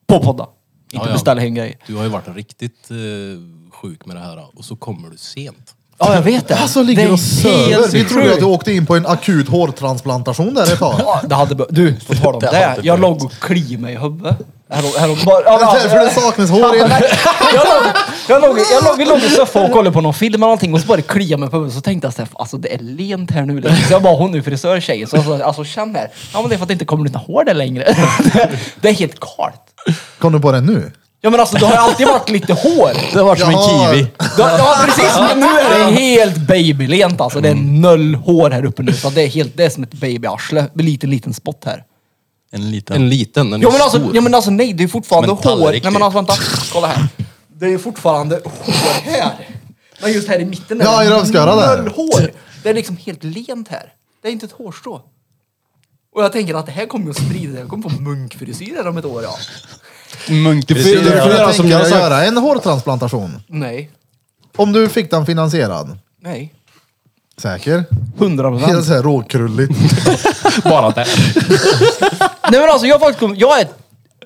Speaker 4: På att podda. Inte beställa hem grejer.
Speaker 3: Du har ju varit riktigt eh, sjuk med det här och så kommer du sent.
Speaker 4: Ja, jag vet det.
Speaker 1: Alltså ligger och söver. Vi trodde att
Speaker 4: sjukt.
Speaker 1: du åkte in på en akut hårtransplantation där ett tag.
Speaker 4: Ja, det hade be- Du, på tal om
Speaker 5: Det
Speaker 4: det.
Speaker 5: hade
Speaker 4: Jag
Speaker 5: behövt.
Speaker 4: låg och kliade mig i huvudet. Härom, härom, bara, ja,
Speaker 1: Det är därför det
Speaker 4: ja,
Speaker 1: saknas hår i den här
Speaker 4: jag, låg, jag, låg, jag, låg, jag låg i soffan och kollade på någon film eller någonting och så bara kliade mig på huvudet. Så tänkte jag såhär, alltså det är lent här nu. liksom. Så jag bara, hon är ju frisör tjejen. Så jag sa, alltså känn här. Ja men det är för att det inte kommer ut några hår där längre. Det, det är helt kalt.
Speaker 1: Kom du på det nu?
Speaker 4: Ja men alltså det har ju alltid varit lite hår.
Speaker 5: Det har varit som en
Speaker 1: Jaha.
Speaker 5: kiwi.
Speaker 4: Ja, ja precis, men nu är det helt babylent alltså. Det är noll hår här uppe nu. Så det är, helt, det är som ett babyarsle. Med liten, liten spott här.
Speaker 5: En liten.
Speaker 3: En liten, den är
Speaker 4: Ja men,
Speaker 3: stor.
Speaker 4: alltså, ja men alltså nej, det är fortfarande
Speaker 5: Som en
Speaker 4: hår.
Speaker 5: tallrik,
Speaker 4: Nej men
Speaker 5: typ.
Speaker 4: alltså vänta, kolla här. Det är ju fortfarande hår här. Men just här i mitten är
Speaker 1: Ja,
Speaker 4: det
Speaker 1: i rövsköran där.
Speaker 4: noll hår. Det är liksom helt lent här. Det är inte ett hårstrå. Och jag tänker att det här kommer ju att sprida sig. Jag kommer få munkfrisyr här om ett år ja.
Speaker 5: Munk.
Speaker 3: Du får- du får
Speaker 1: Jag
Speaker 3: göra som jag
Speaker 1: tänker
Speaker 3: har sagt.
Speaker 1: göra en hårtransplantation.
Speaker 4: Nej,
Speaker 1: Om du fick den finansierad.
Speaker 4: nej.
Speaker 1: Säker?
Speaker 4: Hundra
Speaker 1: Helt såhär råkrulligt.
Speaker 3: Bara det.
Speaker 4: Nej men alltså jag har faktiskt kom, jag är,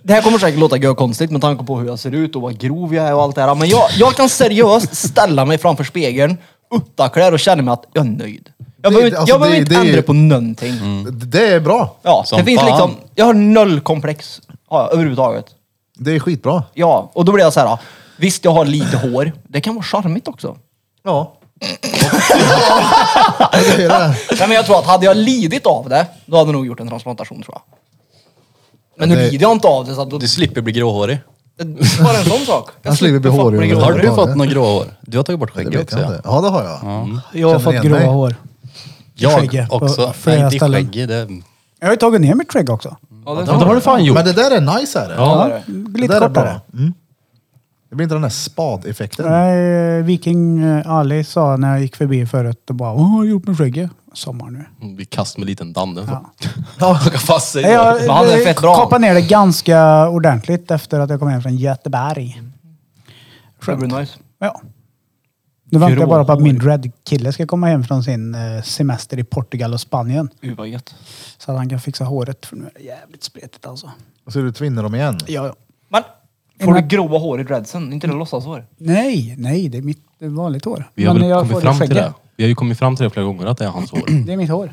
Speaker 4: det här kommer säkert låta görkonstigt med tanke på hur jag ser ut och vad grov jag är och allt det här. Men jag, jag kan seriöst ställa mig framför spegeln, uppdacklar och känna mig att jag är nöjd. Jag
Speaker 1: Det-
Speaker 4: behöver inte-
Speaker 1: alltså,
Speaker 4: jag behöver
Speaker 1: det-
Speaker 4: inte
Speaker 1: det är ju-
Speaker 4: ändra på någonting.
Speaker 1: Det är bra.
Speaker 4: Ja,
Speaker 5: Mm. Som
Speaker 4: det finns
Speaker 5: fan.
Speaker 4: liksom, jag har noll komplex har jag, överhuvudtaget.
Speaker 1: Det är skitbra.
Speaker 4: Ja, och då blir jag så här. ja, Visst, jag har lite hår. Det kan vara charmigt också.
Speaker 1: Ja. Ja, det är det.
Speaker 4: Nej, men jag tror att hade jag lidit av det, då hade jag nog gjort en transplantation tror jag. Men nu
Speaker 1: det-
Speaker 4: lider jag inte av det så att då...
Speaker 5: Du slipper bli gråhårig.
Speaker 4: Bara en sån sak.
Speaker 1: Jag slipper bli
Speaker 4: fuck
Speaker 1: hårig
Speaker 4: bli
Speaker 1: över-
Speaker 5: Har
Speaker 4: gråhårig.
Speaker 5: du fått några grå hår? Du har tagit bort
Speaker 1: Det
Speaker 5: skägget
Speaker 1: vet
Speaker 5: också
Speaker 1: jag Mm. inte.
Speaker 5: ja.
Speaker 1: Ja, det har jag.
Speaker 2: Jag har
Speaker 1: Känner
Speaker 2: fått
Speaker 1: igen
Speaker 2: gråa
Speaker 1: mig.
Speaker 2: hår. Skägget
Speaker 5: Jag
Speaker 2: på
Speaker 5: också.
Speaker 2: flera
Speaker 5: Nej, inte i
Speaker 2: ställen.
Speaker 5: skägget. Det...
Speaker 2: Jag har ju tagit ner mitt skägg också.
Speaker 4: Ja, det är
Speaker 3: Ja, det har du fan gjort.
Speaker 1: Men det där är nice är det.
Speaker 2: Ja,
Speaker 1: Det
Speaker 2: lite
Speaker 1: där är
Speaker 2: kortare.
Speaker 1: bra. Mm. Det blir inte den där spadeffekten.
Speaker 2: Nej, Viking eh, Ali sa när jag gick förbi förut och bara Vad har du gjort med skägget? Sommar nu.
Speaker 3: Vi kastar med liten danne.
Speaker 2: Ja.
Speaker 3: Plocka fast sig.
Speaker 2: Nej, Jag
Speaker 4: Men han är fett bra.
Speaker 2: kapade ner det ganska ordentligt efter att jag kom hem från Göteborg.
Speaker 4: Det blir nice.
Speaker 2: Ja. Nu väntar jag bara på att
Speaker 4: Gråhårig.
Speaker 2: min dread-kille ska komma hem från sin eh, semester i Portugal och Spanien.
Speaker 4: Uh, vad gött.
Speaker 2: Så att han kan fixa håret, för nu är det jävligt spretigt alltså.
Speaker 1: Och så är du tvinner dem igen.
Speaker 2: Ja, ja.
Speaker 4: Men, får du
Speaker 2: Men-
Speaker 4: gråa hår i dreadsen? Inte det låtsashår?
Speaker 2: Nej, nej, det är mitt det är vanligt hår.
Speaker 3: Vi har
Speaker 2: Men
Speaker 3: väl
Speaker 2: jag får
Speaker 3: kommit fram till
Speaker 2: skägget.
Speaker 3: det. Vi har ju kommit fram till det flera gånger att det är hans hår.
Speaker 2: Det är mitt hår.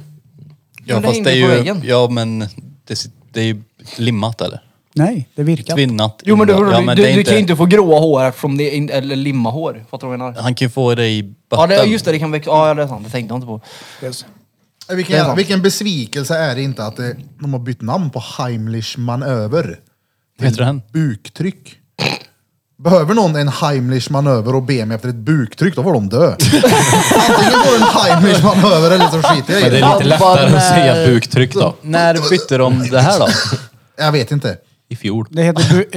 Speaker 5: Ja,
Speaker 4: Men det
Speaker 5: fast det är
Speaker 4: hänger på
Speaker 5: ju...
Speaker 4: väggen.
Speaker 5: Ja, men det, sit- det är ju limmat eller?
Speaker 2: Nej, det virkar.
Speaker 5: Tvinnat.
Speaker 4: Jo men du,
Speaker 5: innan.
Speaker 4: du,
Speaker 5: Ja, men
Speaker 4: du,
Speaker 5: det är
Speaker 4: du kan ju inte få gråa hår eftersom det är, in- eller limma hår. Fattar du vad jag menar?
Speaker 5: Han kan ju få det i botten.
Speaker 4: Ja det, just det, det kan växa. Ja det är sant, det tänkte jag inte på.
Speaker 1: Vilken, vilken besvikelse är det inte att det, de har bytt namn på Heimlich manöver.
Speaker 5: Vad heter den?
Speaker 1: Buktryck. Behöver någon en Heimlich manöver och be mig efter ett buktryck, då får de dö. Antingen får du en Heimlich manöver eller så skiter jag i
Speaker 3: Men det
Speaker 1: det.
Speaker 3: är lite lättare att säga buktryck då.
Speaker 5: När bytte de det här då?
Speaker 1: Jag vet inte.
Speaker 3: I fjol.
Speaker 2: Det heter bu-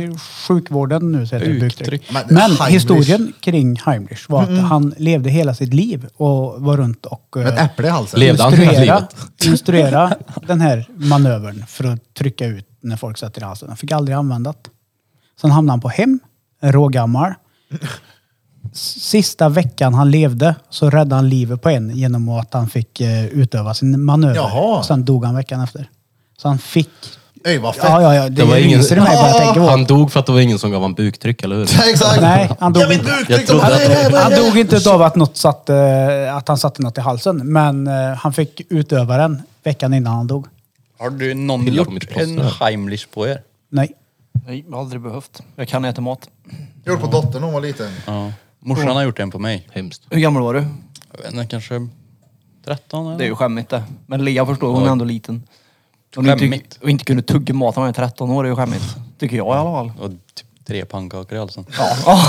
Speaker 2: i, eh, sjukvården nu så heter det buktryck.
Speaker 1: Men
Speaker 2: Men
Speaker 1: Heimlich-
Speaker 2: historien kring Heimlich var att han levde hela sitt liv och var runt och eh,
Speaker 1: Med ett äpple i halsen.
Speaker 3: Lev- Levde han hela
Speaker 2: instruera,
Speaker 3: livet?
Speaker 2: instruera den här manövern för att trycka ut när folk sätter i halsen. Han fick aldrig använda det. Sen hamnade han på hem, rågammal. S- Sista veckan han levde så räddade han livet på en genom att han fick eh, utöva sin manöver.
Speaker 1: Jaha.
Speaker 2: Sen dog han veckan efter. Så han fick...
Speaker 1: Öj, vad fett.
Speaker 2: Ja, ja, ja. Det,
Speaker 3: var ingen-
Speaker 2: ryser i mig bara jag tänker på
Speaker 3: Han
Speaker 2: det.
Speaker 3: dog för att det var ingen som gav honom buktryck, eller hur?
Speaker 1: Exakt.
Speaker 2: Nej, han dog
Speaker 1: Jag vill
Speaker 2: inte.
Speaker 1: buktryck.
Speaker 5: Jag trodde
Speaker 1: Vad är det här?
Speaker 5: att-
Speaker 1: Vad är
Speaker 2: Han
Speaker 1: det här?
Speaker 2: dog inte utav att, något satt, eh, att han satte något i halsen, men eh, han fick utöva den veckan innan han dog.
Speaker 5: Har du någon
Speaker 3: Pilla på
Speaker 5: gjort
Speaker 3: mitt
Speaker 5: en
Speaker 3: plåster.
Speaker 5: Heimlich på er?
Speaker 2: Nej.
Speaker 4: Nej, jag har aldrig behövt. Jag kan äta mat.
Speaker 1: Jag gjorde på dottern när hon var liten.
Speaker 5: Ja. Morsan har gjort en på mig.
Speaker 3: Hemskt.
Speaker 4: Hur gammal var du?
Speaker 5: Jag vet inte, kanske 13 eller?
Speaker 4: Det är ju skämmigt det. Men Lea förstår, hon är ändå liten. Och inte,
Speaker 5: Skämmigt.
Speaker 4: och inte kunde tugga mat när man är 13 år, det är ju skämmigt. Tycker jag i alla fall.
Speaker 5: Och typ tre pannkakor i halsen. Ja.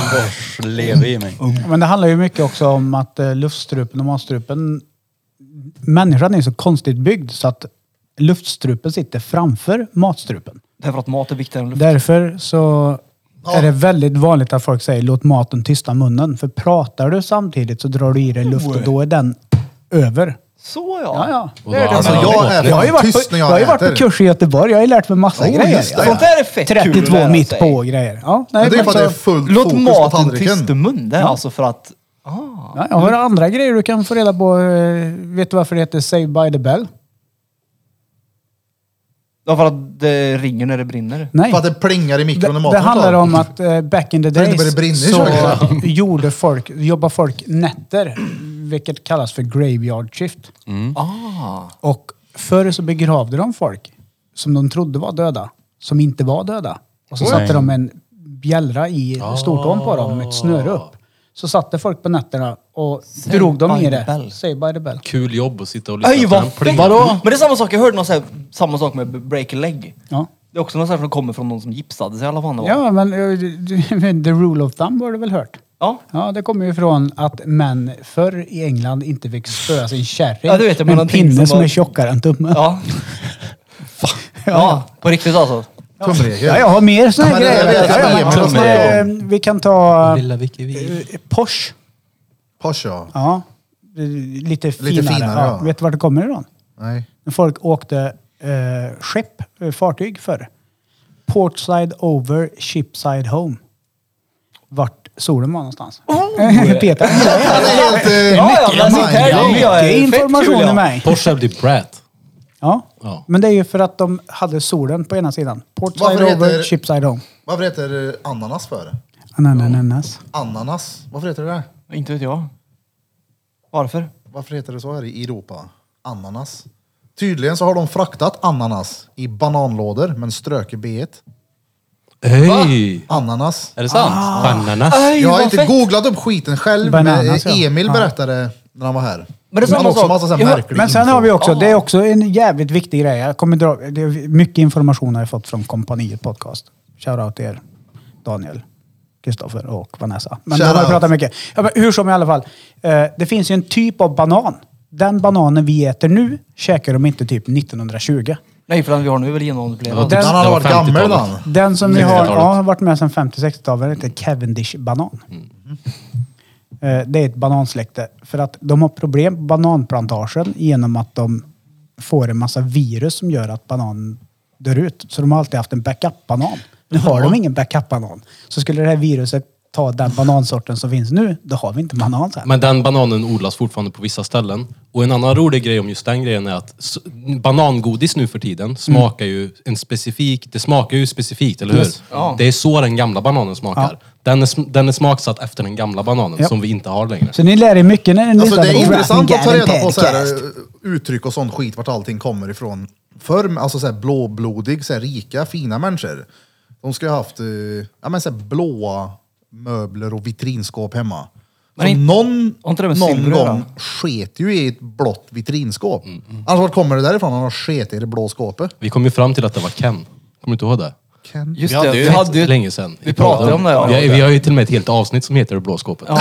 Speaker 5: Lever i mig.
Speaker 2: Men det handlar ju mycket också om att eh, luftstrupen och matstrupen... Människan är så konstigt byggd så att luftstrupen sitter framför matstrupen.
Speaker 4: Därför att mat är viktigare än luft.
Speaker 2: Därför så är det väldigt vanligt att folk säger låt maten tysta munnen. För pratar du samtidigt så drar du i dig luft och då är den över.
Speaker 4: Så
Speaker 2: Ja, ja.
Speaker 3: Och då har
Speaker 1: Alltså,
Speaker 3: han-
Speaker 1: jag är
Speaker 2: Jag har ju
Speaker 1: fan
Speaker 2: varit på,
Speaker 1: tyst när
Speaker 2: jag har
Speaker 1: jag
Speaker 2: ju varit
Speaker 1: äter.
Speaker 2: på kurs i Göteborg. Jag har ju lärt mig massa
Speaker 1: Oh,
Speaker 2: grejer.
Speaker 1: just det.
Speaker 2: Ja.
Speaker 4: Sånt där är fett kul att
Speaker 2: 32
Speaker 4: lära
Speaker 2: mitt
Speaker 4: sig.
Speaker 2: på och grejer. Ja, nej,
Speaker 1: Men det är ju för att det är
Speaker 2: så-
Speaker 1: fullt
Speaker 4: Låt
Speaker 1: fokus på
Speaker 4: maten
Speaker 1: tallriken.
Speaker 4: tyst i mun. Det är alltså för att... Ah.
Speaker 1: Mm.
Speaker 2: Ja, jag har andra grejer du kan få reda på. Eh, Vet du varför det heter Save by the Bell?
Speaker 4: Ja, för att det ringer när det brinner.
Speaker 2: Nej.
Speaker 1: För att det plingar i mikron när
Speaker 2: Det, det
Speaker 1: maten är
Speaker 2: handlar
Speaker 1: klar.
Speaker 2: om att eh, back in the
Speaker 1: det inte
Speaker 2: days
Speaker 1: börjar brinna i
Speaker 2: så
Speaker 1: köket.
Speaker 2: gjorde folk, jobbade folk nätter, vilket kallas för graveyard shift.
Speaker 4: Ah.
Speaker 2: Och förr så begravde de folk som de trodde var döda, som inte var döda. Och så satte de en bjällra i
Speaker 4: Ah.
Speaker 2: stortån på dem med ett snöre upp. Så satte folk på nätterna och
Speaker 4: Saved
Speaker 2: drog dem
Speaker 4: by
Speaker 2: i
Speaker 4: the
Speaker 2: det.
Speaker 4: bell.
Speaker 2: Say by the bell.
Speaker 3: Kul jobb att sitta och lyssna
Speaker 4: Öj,
Speaker 3: på
Speaker 4: vad
Speaker 3: den plinga.
Speaker 4: fett! Vadå? Men det är samma sak, jag hörde någon så här, samma sak med break a leg.
Speaker 2: Ja.
Speaker 4: Det är också något sånt som kommer från någon som gipsade sig eller vad fan det var.
Speaker 2: ja, men eh, the rule of thumb har du väl hört?
Speaker 4: Ja.
Speaker 2: Ja, det kommer ju från att män förr i England inte fick spöa sin kärring
Speaker 4: Ja, du vet, men
Speaker 2: med en
Speaker 4: någonting
Speaker 2: pinne som,
Speaker 4: som var-
Speaker 2: är tjockare än tummen.
Speaker 4: Ja. ja, på riktigt alltså.
Speaker 1: Tumregel.
Speaker 2: Ja, jag har mer såna
Speaker 1: Ja,
Speaker 2: här
Speaker 1: men det-
Speaker 2: grejer.
Speaker 1: det- det-
Speaker 2: Ja,
Speaker 1: det-
Speaker 2: ja,
Speaker 1: det-
Speaker 2: men-
Speaker 1: det-
Speaker 2: eh, vi kan ta
Speaker 3: Lilla Vicky Vicky.
Speaker 2: eh, Porsche.
Speaker 1: Porsche ja.
Speaker 2: Ja, eh, lite finare.
Speaker 1: finare,
Speaker 2: ja.
Speaker 1: ja.
Speaker 2: Vet du vart det kommer ifrån?
Speaker 1: Nej.
Speaker 2: När folk åkte eh, skepp, eh, fartyg förr. Portside over, shipside home. Vart solen var någonstans.
Speaker 4: Oh!
Speaker 2: Peter,
Speaker 1: Han är helt... eh,
Speaker 4: Ja, ja, men
Speaker 1: mycket
Speaker 4: sitt här,
Speaker 1: mind.
Speaker 4: det blir jag
Speaker 2: mycket
Speaker 4: fett kul,
Speaker 2: information
Speaker 4: ja.
Speaker 2: i mig.
Speaker 3: Porsche är the brat.
Speaker 2: Ja.
Speaker 3: Ja.
Speaker 2: Men det är ju för att de hade solen på ena sidan. Portside
Speaker 1: Varför
Speaker 2: over,
Speaker 1: heter-
Speaker 2: shipside home.
Speaker 1: Varför heter det ananas för?
Speaker 2: Ananas.
Speaker 1: Ananas? Varför heter det det?
Speaker 4: Inte vet jag. Varför?
Speaker 1: Varför heter det så här i Europa? Ananas. Tydligen så har de fraktat ananas i bananlådor, men ströker B1.
Speaker 3: Hej!
Speaker 1: Ananas.
Speaker 5: Är det sant?
Speaker 3: Bananas.
Speaker 4: Aj,
Speaker 1: Jag har
Speaker 4: vad
Speaker 1: inte
Speaker 4: fett.
Speaker 1: googlat upp skiten själv,
Speaker 2: Bananas,
Speaker 1: men
Speaker 2: ja.
Speaker 1: eh, Emil
Speaker 2: Ja.
Speaker 1: berättade när han var här.
Speaker 4: Men det är samma
Speaker 1: också
Speaker 4: sak.
Speaker 1: massa så här
Speaker 4: Jag har-
Speaker 1: märklig
Speaker 2: Men sen
Speaker 1: info.
Speaker 2: har vi också, det är också en jävligt viktig grej. Jag kommer dra, det är mycket information har jag fått från kompaniet podcast. Shoutout till er, Daniel, Kristoffer och Vanessa. Men de har jag
Speaker 1: Shoutout.
Speaker 2: pratat mycket. Ja, men hur som i alla fall. Eh, det finns ju en typ av banan. Den bananen vi äter nu käkar de inte typ 1920.
Speaker 4: Nej, för den vi har nu är väl genomupplevd.
Speaker 2: Den-
Speaker 1: Han hade
Speaker 3: Det var
Speaker 1: varit gammal
Speaker 3: 50-talet.
Speaker 1: han.
Speaker 2: Den som vi har,
Speaker 5: 60-talet.
Speaker 2: ja, har varit med sedan 50-60-talet heter Cavendish-banan.
Speaker 1: Mm.
Speaker 2: Eh, Det är ett banansläkte. För att de har problem på bananplantagen genom att de får en massa virus som gör att bananen dör ut. Så de har alltid haft en backup-banan. Nu har de ingen backup-banan. Så skulle det här viruset ta den banansorten som finns nu, då har vi inte banan sen.
Speaker 3: Men den bananen odlas fortfarande på vissa ställen. Och en annan rolig grej om just den grejen är att s- banangodis nu för tiden smakar ju en specifik, det smakar ju specifikt, eller hur?
Speaker 4: Ja.
Speaker 3: Det är så den gamla bananen smakar. Den, är, sm- den är smaksatt efter den gamla bananen
Speaker 2: Ja.
Speaker 3: som vi inte har längre.
Speaker 2: Så ni lär er mycket när ni
Speaker 1: Alltså, det är
Speaker 2: på
Speaker 1: intressant
Speaker 2: Rapping
Speaker 1: att ta reda
Speaker 2: Garden
Speaker 1: på så här, eh,
Speaker 2: Podcast.
Speaker 1: uttryck och sån skit, vart allting kommer ifrån. Förr, alltså så här, blåblodig, så här, rika, fina människor. De ska ju ha haft eh, ja, men, så här, blåa möbler och vitrinskåp hemma.
Speaker 4: Men
Speaker 1: Så
Speaker 4: inte-
Speaker 1: någon
Speaker 4: har inte det med
Speaker 1: någon
Speaker 4: silver att göra? Mm,
Speaker 1: gång sket ju i ett blått vitrinskåp. Annars vart kommer det därifrån? Han har sket i det blå skåpet.
Speaker 3: Vi kom ju fram till att det var Ken. Kommer du inte ihåg det?
Speaker 1: Ken.
Speaker 4: Just det,
Speaker 5: Vi hade ju
Speaker 4: vi
Speaker 5: ett
Speaker 4: hade ju...
Speaker 3: Länge sedan.
Speaker 4: vi pratade om det, ja.
Speaker 3: Vi, vi har ju till och med ett helt avsnitt som heter Det blå skåpet.
Speaker 4: Men